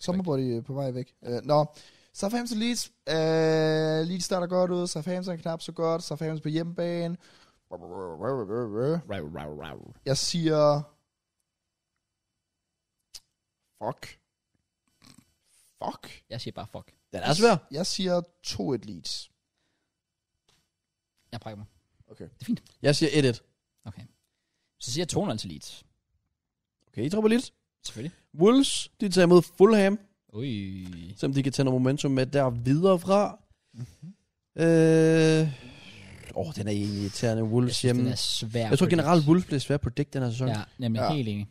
Speaker 3: Sommerbody øh, på vej væk. Uh, nå, Southampton Leeds. Uh, Leeds starter godt ud. Southampton er knap så godt. Southampton på hjemmebane.
Speaker 1: Rav, rav, rav.
Speaker 3: Jeg siger... Fuck. Fuck.
Speaker 1: Jeg siger bare fuck.
Speaker 2: Den er svær.
Speaker 3: Jeg siger 2-1 Leeds.
Speaker 1: Jeg brækker mig.
Speaker 3: Okay.
Speaker 1: Det er fint.
Speaker 2: Jeg siger 1-1.
Speaker 1: Okay. Så siger jeg 200 til Leeds.
Speaker 2: Okay, I dropper lidt.
Speaker 1: Selvfølgelig.
Speaker 2: Wolves, de tager imod Fulham,
Speaker 1: Ui.
Speaker 2: som de kan tage noget momentum med der videre fra. Åh, øh... oh, den er egentlig irriterende.
Speaker 1: Jeg
Speaker 2: Wolves
Speaker 1: synes,
Speaker 2: hjemme.
Speaker 1: den er svær.
Speaker 2: Jeg tror
Speaker 1: at predict.
Speaker 2: generelt, Wolves bliver svært på dæk den her sæson.
Speaker 1: Ja, nemlig
Speaker 3: Ja.
Speaker 1: ja. helt enig.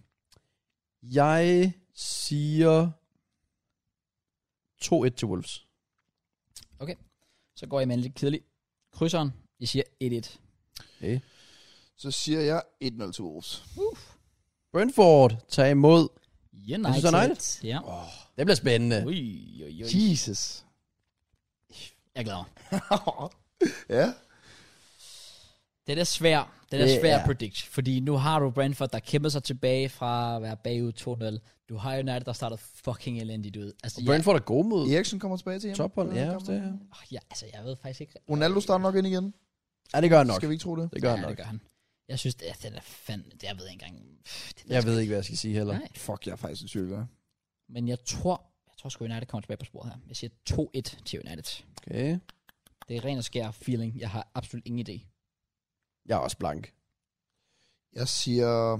Speaker 2: Jeg siger 2-1 til Wolves.
Speaker 1: Så går jeg med en lidt kedelig. Krydseren, jeg siger 1-1.
Speaker 2: Okay.
Speaker 3: Så siger jeg 1-0 til Wolves.
Speaker 2: Brentford tager imod.
Speaker 1: United.
Speaker 2: synes, United.
Speaker 1: Ja.
Speaker 2: Det bliver spændende.
Speaker 1: Ui, ui, ui.
Speaker 3: Jesus.
Speaker 1: Jeg glæder mig.
Speaker 3: ja.
Speaker 1: Det er svært. Det er
Speaker 2: Det
Speaker 1: svært
Speaker 2: er-
Speaker 1: at predict, fordi nu har du Brentford, der kæmper sig tilbage fra at være bagud 2-0. Du har United, der startede fucking elendigt ud. Altså,
Speaker 2: Og
Speaker 1: jeg,
Speaker 2: Brentford er gode mod
Speaker 3: Eriksen kommer tilbage til hjemme.
Speaker 2: tophold. Ja, også det her.
Speaker 1: åh, jeg, altså, jeg ved faktisk ikke.
Speaker 3: Ronaldo starter nok ind igen.
Speaker 2: Ja, det gør han nok.
Speaker 3: Skal vi ikke tro det?
Speaker 2: Det gør han
Speaker 1: ja,
Speaker 2: nok.
Speaker 1: det gør han. Jeg synes, det, den er fandme... Det, jeg ved ikke engang... pff, Det ved
Speaker 2: Jeg
Speaker 1: sgu
Speaker 2: ved ikke, hvad jeg skal sige heller.
Speaker 1: Nej.
Speaker 3: Fuck, jeg er faktisk i tvivl, ja.
Speaker 1: Men jeg tror... Jeg tror sgu, United kommer tilbage på sporet her. Jeg siger 2-1 til United.
Speaker 2: Okay.
Speaker 1: Det er ren og skær feeling. Jeg har absolut ingen idé.
Speaker 2: Jeg er også blank.
Speaker 3: Jeg siger...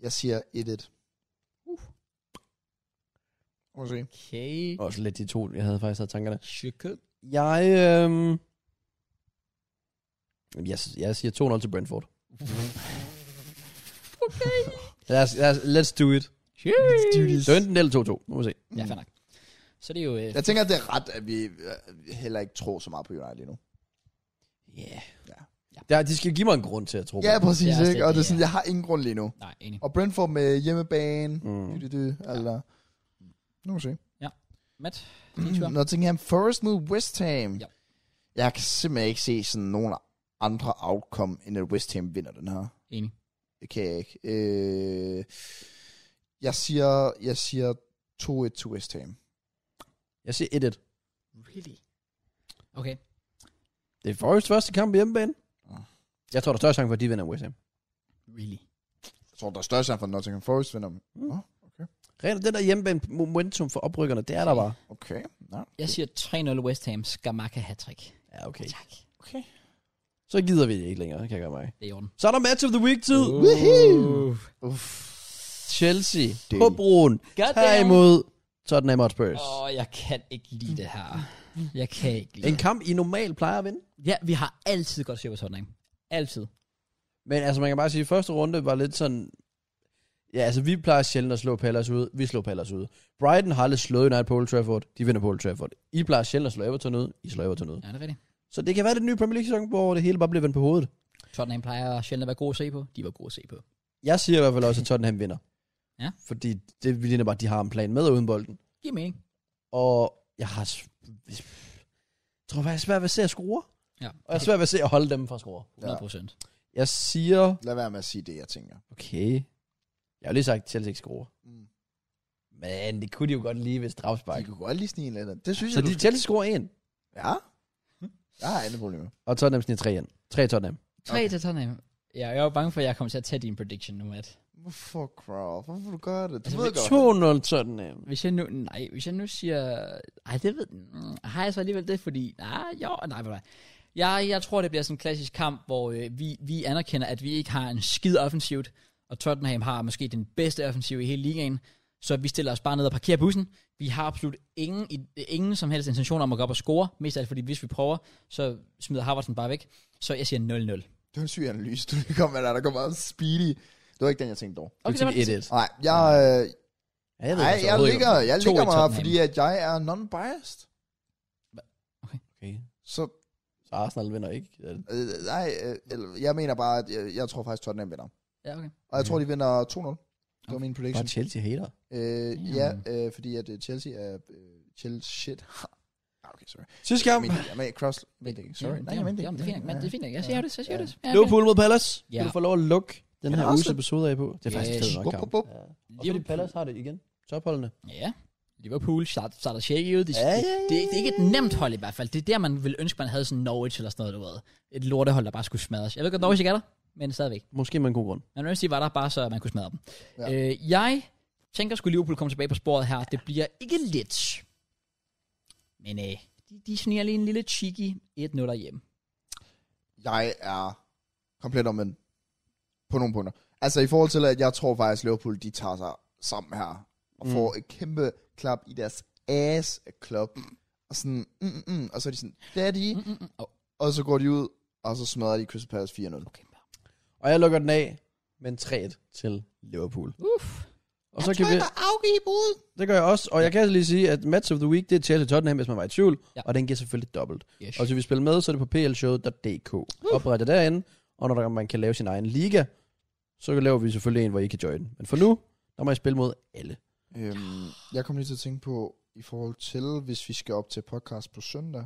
Speaker 3: Jeg siger 1-1.
Speaker 1: Uh.
Speaker 3: Må se.
Speaker 1: Okay.
Speaker 2: Også lidt de to, jeg havde faktisk havde tankerne.
Speaker 1: Shit.
Speaker 2: Jeg, øhm... Jeg, jeg siger 2-0 til Brentford.
Speaker 1: Okay.
Speaker 2: Lad os, lad os, let's do it.
Speaker 1: Let's do
Speaker 2: Det er enten eller 2-2. Nu må vi se.
Speaker 1: Ja, fair nok. Så er det er jo... Øh,
Speaker 3: Jeg tænker, at det er ret, at vi øh, heller ikke tror så meget på United lige nu.
Speaker 2: Yeah.
Speaker 3: Ja.
Speaker 1: Ja.
Speaker 2: Der, de skal give mig en grund til at tro på
Speaker 3: Ja,
Speaker 2: det.
Speaker 3: præcis,
Speaker 1: Det er også
Speaker 3: ikke?
Speaker 1: det,
Speaker 3: Og det er
Speaker 1: ja.
Speaker 3: sådan, jeg har ingen grund lige nu.
Speaker 1: Nej, enig.
Speaker 3: Og Brentford med hjemmebane, mm.
Speaker 2: Mm.
Speaker 3: dy, dy, dy, eller... Nu må vi se.
Speaker 1: Matt, din tur.
Speaker 3: Nottingham Forest mod West Ham.
Speaker 1: Ja.
Speaker 3: Jeg kan simpelthen ikke se sådan nogen andre outcome, end at West Ham vinder den her.
Speaker 1: Enig.
Speaker 3: Det kan jeg ikke. Øh, jeg siger, jeg siger 2-1 til West Ham.
Speaker 2: Jeg siger 1-1.
Speaker 1: Really? Okay.
Speaker 2: Det er Forrest første kamp i hjemmebane.
Speaker 3: Mm.
Speaker 2: Jeg tror, der er større chance for, at de vinder West Ham.
Speaker 1: Really?
Speaker 3: Jeg tror, der er større chance for, at Nottingham Forest vinder.
Speaker 2: Rent den der hjemmebane momentum for oprykkerne, det er der bare.
Speaker 3: Okay, nej.
Speaker 1: Jeg siger 3-0 West Ham. Skamaka hat-trick.
Speaker 2: Ja, okay.
Speaker 1: Tak.
Speaker 2: Så gider vi det ikke længere, kan jeg gøre mig.
Speaker 1: Det er i orden.
Speaker 2: Så er der match of the week tid. Uh.
Speaker 1: Woohoo!
Speaker 3: Uff.
Speaker 2: Chelsea
Speaker 3: Det-
Speaker 2: på broen. Tag
Speaker 1: Goddamn!
Speaker 2: imod Tottenham Hotspurs.
Speaker 1: Åh, oh, jeg kan ikke lide det her. Jeg kan ikke lide
Speaker 2: En
Speaker 1: det.
Speaker 2: kamp, I normalt plejer at vinde.
Speaker 1: Ja, vi har altid godt styr på Tottenham. Altid.
Speaker 2: Men altså, man kan bare sige, at første runde var lidt sådan... Ja, altså, vi plejer sjældent at slå Pallas ud. Vi slår Pallas ud. Brighton har aldrig slået United på Old Trafford. De vinder på Old Trafford. I plejer sjældent at slå Everton ud. I slår Everton ud.
Speaker 1: Ja, det er rigtigt.
Speaker 2: Så det kan være det nye Premier League-sæson, hvor det hele bare bliver vendt på hovedet.
Speaker 1: Tottenham plejer sjældent at være gode at se på. De var gode at se på.
Speaker 2: Jeg siger i hvert fald også, at Tottenham vinder.
Speaker 1: Ja.
Speaker 2: Fordi det ligner bare, at de har en plan med og uden bolden.
Speaker 1: Giver mening.
Speaker 2: Og jeg har... s- Jeg tror, jeg er svært ved at se at score.
Speaker 1: Ja,
Speaker 2: Og jeg er svært ved at se at holde dem fra at score.
Speaker 1: 100 procent.
Speaker 2: Jeg siger...
Speaker 3: Lad være med at sige det, jeg tænker.
Speaker 2: Okay. Jeg har jo lige sagt, at Chelsea ikke scorer.
Speaker 3: Mm.
Speaker 2: Men det kunne de jo godt lige, hvis
Speaker 3: De
Speaker 2: drafspark.
Speaker 3: kunne godt lige snige en eller anden. Det synes
Speaker 2: Så
Speaker 3: jeg,
Speaker 2: de
Speaker 3: du...
Speaker 2: Chelsea scorer en,
Speaker 3: Ja. Jeg har andre problemer.
Speaker 2: og Tottenham sniger tre ind. Tre Tottenham.
Speaker 1: 3 til Tottenham. Ja, jeg var bange for, at jeg kommer til at tage din prediction nu, Matt.
Speaker 3: Hvorfor, Krav? Hvorfor du gør det? Du
Speaker 1: Altså,
Speaker 3: ved
Speaker 1: vi-
Speaker 3: godt.
Speaker 2: 2-0 Tottenham.
Speaker 1: Hvis jeg nu, nej, hvis jeg nu siger, nej, det ved, mm, har jeg så alligevel det, fordi, nej, jo, nej, hvad jeg, jeg tror, det bliver sådan en klassisk kamp, hvor øh, vi, vi anerkender, at vi ikke har en skid offensivt, og Tottenham har måske den bedste offensiv i hele ligaen, så vi stiller os bare ned og parkerer bussen. Vi har absolut ingen, i- ingen som helst intention om at gå op og score, mest af alt fordi, hvis vi prøver, så smider Havertz bare væk. Så jeg siger 0-0.
Speaker 3: Det var en syg analyse, du lige kom med der. Der kom meget speedy. Det var ikke den, jeg tænkte dog.
Speaker 2: Okay, det var
Speaker 1: det.
Speaker 2: 1-1.
Speaker 3: Nej, jeg, øh,
Speaker 2: Ja, jeg, ved,
Speaker 3: nej,
Speaker 2: altså
Speaker 3: jeg
Speaker 2: overhovedet ikke,
Speaker 3: ligger, jeg
Speaker 1: To i
Speaker 3: ligger mig her,
Speaker 1: Tottenham.
Speaker 3: fordi at jeg er non-biased.
Speaker 2: Okay.
Speaker 3: Så,
Speaker 2: Så Arsenal vinder ikke. Øh,
Speaker 3: øh, nej, øh, eller- jeg mener bare, at jeg, jeg tror faktisk, Tottenham vinder.
Speaker 1: Ja, okay.
Speaker 3: Og jeg tror, de vinder 2-0. Det var min prediction.
Speaker 2: Bare Chelsea hater.
Speaker 3: Øh,
Speaker 1: Damn.
Speaker 3: ja, øh, fordi at øh, Chelsea er... Øh, Chelsea shit. [LAUGHS] Ah, okay, sorry.
Speaker 2: Sidste kamp.
Speaker 3: Men, jeg mener, cross... Men, det- sorry. Nej, jeg
Speaker 1: jamen,
Speaker 3: mente
Speaker 1: jamen, det er fint, men det er fint. Jeg siger det, så siger det. Ja, okay.
Speaker 2: Liverpool mod Palace.
Speaker 1: Ja.
Speaker 2: Ja. Du får lov at lukke den
Speaker 3: Kan
Speaker 2: her
Speaker 3: det også
Speaker 2: uges
Speaker 3: lidt?
Speaker 2: episode af på. Det er faktisk
Speaker 1: Yes.
Speaker 2: yes. fedt nok
Speaker 3: Bup,
Speaker 2: kamp.
Speaker 3: bup, bup.
Speaker 2: Ja. Og fordi Palace har det igen. Topholdene.
Speaker 1: Ja. Liverpool starter, starter shaky ud. Det,
Speaker 2: Ja, ja, ja,
Speaker 1: det, er ikke- det, er ikke et nemt hold i hvert fald. Det er der, man ville ønske, man havde sådan Norwich eller sådan noget, du ved. Et lortehold, der bare skulle smadres. Jeg ved godt, Norwich ikke er der, men stadigvæk.
Speaker 2: Måske med en god grund.
Speaker 1: Man ønsker, de var der bare, så man kunne smadre dem.
Speaker 3: Ja.
Speaker 1: Ja. Øh, jeg tænker, skulle Liverpool komme tilbage på sporet her. Det bliver ikke lidt. Men øh, de, de sniger lige en lille cheeky 1-0 hjem.
Speaker 3: jeg er komplet omvendt på nogle punkter. Altså i forhold til, at jeg tror faktisk, Liverpool, de tager sig sammen her, og mm. får et kæmpe klap i deres ass klub. Og sådan, mm, mm, mm, og så er de sådan, daddy, mm, mm,
Speaker 1: Åh.
Speaker 3: og så går de ud, og så smadrer de Crystal Palace 4-0.
Speaker 1: Okay.
Speaker 2: Og jeg lukker den af med en 3-1 til Liverpool.
Speaker 1: Uff.
Speaker 2: Og så kan vi...
Speaker 3: afgive bud.
Speaker 2: Det gør jeg også, og jeg kan altså lige sige, at match of the week, det er Chelsea Tottenham, hvis man var i tvivl,
Speaker 1: Ja.
Speaker 2: ja. og den giver selvfølgelig dobbelt.
Speaker 1: Yes.
Speaker 2: Og hvis vi spiller med, så er det på plshow.dk.
Speaker 1: Uh.
Speaker 2: Opret det derinde, og når der- man kan lave sin egen liga, så laver vi selvfølgelig en, hvor I kan join. Men for nu, der må I spille mod alle.
Speaker 3: Øhm, jeg kom lige til at tænke på, i forhold til, hvis vi skal op til podcast på søndag,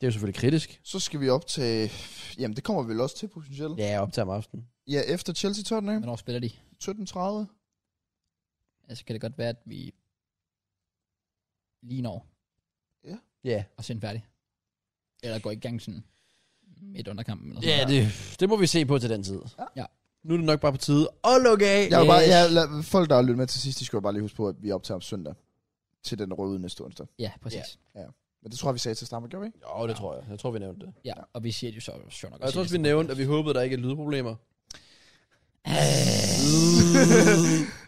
Speaker 2: Det er jo selvfølgelig kritisk.
Speaker 3: så skal vi op til, jamen det kommer vi vel også til potentielt. Ja,
Speaker 2: Ja, jeg optager om aftenen.
Speaker 3: ja efter Chelsea Tottenham,
Speaker 1: Hvornår spiller de?
Speaker 3: 17.30.
Speaker 1: Altså kan det godt være, at vi lige når
Speaker 2: Ja,
Speaker 1: og sende færdig. Eller går i gang sådan midt under kampen. Eller sådan
Speaker 2: ja
Speaker 1: noget.
Speaker 2: det, det må vi se på til den tid.
Speaker 1: Ja.
Speaker 2: Nu er det nok bare på tide at lukke af.
Speaker 3: Jeg vil bare, jeg, lad, folk, der har lyttet med til sidst, de skal jo bare lige huske på, at vi optager om søndag til den røde næste onsdag.
Speaker 1: Ja, præcis.
Speaker 3: Men det tror jeg, vi sagde til Stammer, gjorde vi
Speaker 2: [LAUGHS]
Speaker 3: ikke?
Speaker 2: Jo, det tror jeg. Jeg tror, vi nævnte det.
Speaker 1: Ja. ja, og vi siger det jo så sjovt nok.
Speaker 2: Og jeg tror også, vi nævnte, at vi håbede, der ikke er lydproblemer.
Speaker 1: Ah,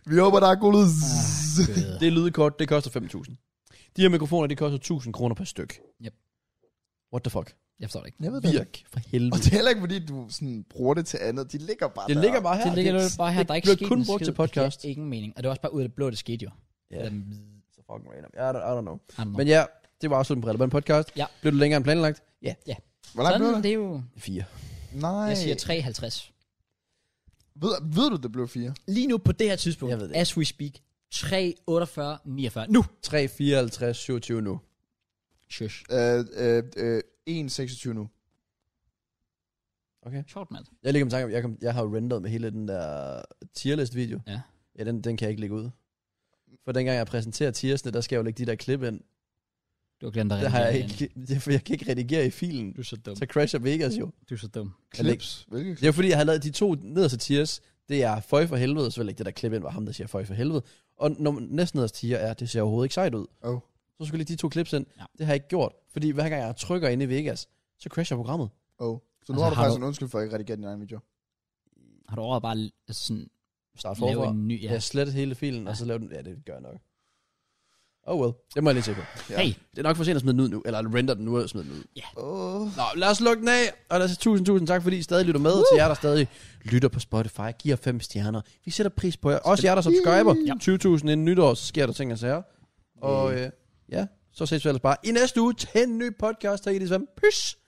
Speaker 3: Vi håber, der er god lyd.
Speaker 1: nævnte.
Speaker 2: Det lydkort, det koster 5.000. De her mikrofoner, de koster 1.000 kroner per styk.
Speaker 1: Yep.
Speaker 2: What the fuck?
Speaker 1: Jeg forstår det ikke.
Speaker 3: Jeg ved det.
Speaker 2: Virk for
Speaker 3: Og
Speaker 2: helvede.
Speaker 3: det er heller ikke, fordi du sådan, bruger det til andet. De ligger bare
Speaker 2: Det
Speaker 3: der.
Speaker 2: ligger bare her.
Speaker 1: Det ligger jo bare her, der er ikke
Speaker 2: bliver
Speaker 1: sket
Speaker 2: kun
Speaker 1: en
Speaker 2: brugt
Speaker 1: skid.
Speaker 2: til
Speaker 1: Det
Speaker 2: podcast.
Speaker 1: giver ingen mening. Og det var også bare ud af det blå, det skete jo.
Speaker 2: Ja.
Speaker 1: Eller,
Speaker 2: Så fucking random. I don't, I don't know.
Speaker 1: I don't know.
Speaker 2: Men ja, det var afslutningen på Relevant Podcast.
Speaker 1: Ja.
Speaker 2: Blev det længere end planlagt? Ja.
Speaker 1: Ja.
Speaker 3: Hvor langt blev
Speaker 1: Sådan,
Speaker 3: det?
Speaker 1: det er jo...
Speaker 2: Fire.
Speaker 3: Nej.
Speaker 1: Jeg siger 53.
Speaker 3: Ved, ved du, det blev 4?
Speaker 1: Lige nu på det her tidspunkt,
Speaker 2: Jeg ved det.
Speaker 1: as we speak, 3, 48, 49. Nu!
Speaker 2: 3, 54, 27 nu.
Speaker 1: Shush.
Speaker 3: Øh, øh, øh, 1,26 nu.
Speaker 1: Sjovt, mand.
Speaker 2: Jeg ligger med tanke om, jeg, kom, jeg har jo renderet med hele den der tierlist video.
Speaker 1: Ja.
Speaker 2: Ja, den, den kan jeg ikke lægge ud. For dengang jeg præsenterer tiersne, der skal jeg jo lægge de der klip ind.
Speaker 1: Du har glemt at
Speaker 2: Der har jeg
Speaker 1: redigere igen.
Speaker 2: ikke, det er, for [LAUGHS] jeg kan ikke redigere i filen.
Speaker 1: Du er så dum.
Speaker 2: Så crasher Vegas jo.
Speaker 1: Du er så dum.
Speaker 3: Clips. Hvilke
Speaker 2: Det er fordi, jeg har lavet de to nederste tiers. Det er føj for helvede, og selvfølgelig ikke det der klip ind, var ham, der siger føj for helvede. Og når næsten nederste tier er, det ser overhovedet ikke sejt ud.
Speaker 3: Oh.
Speaker 2: Så skulle jeg lige de to klips ind.
Speaker 1: Ja.
Speaker 2: Ja. Det har jeg ikke gjort. Fordi hver gang jeg trykker ind i Vegas, så crasher programmet.
Speaker 3: Oh. Så nu
Speaker 1: Altså,
Speaker 3: har du
Speaker 1: har
Speaker 3: faktisk
Speaker 1: du-
Speaker 3: en undskyld for at ikke redigere din egen video.
Speaker 1: Har du overvejet bare altså, sådan,
Speaker 2: Start
Speaker 1: lave
Speaker 2: forfra.
Speaker 1: en ny...
Speaker 2: Ja.
Speaker 1: Ja.
Speaker 2: Jeg slettet hele filen, ja. og så lavede den... Ja, det gør jeg nok. Oh well. Det må jeg lige tjekke på.
Speaker 3: Ja.
Speaker 1: Hey,
Speaker 2: Det er nok for sent at smide den ud nu. Eller render den nu og smide den ud.
Speaker 3: Oh.
Speaker 2: Nå, lad os lukke den af. Og lad os sige tusind, tusind tak, fordi I stadig lytter med. Uh. Til jer, der stadig lytter på Spotify. Giver fem stjerner. Vi sætter pris på jer. Også jer, der subscriber. Ja. Mm. 20.000 inden nytår, så sker der ting og sager. Og øh, ja, så ses vi ellers bare i næste uge til en ny podcast. Tak i det sammen. Peace.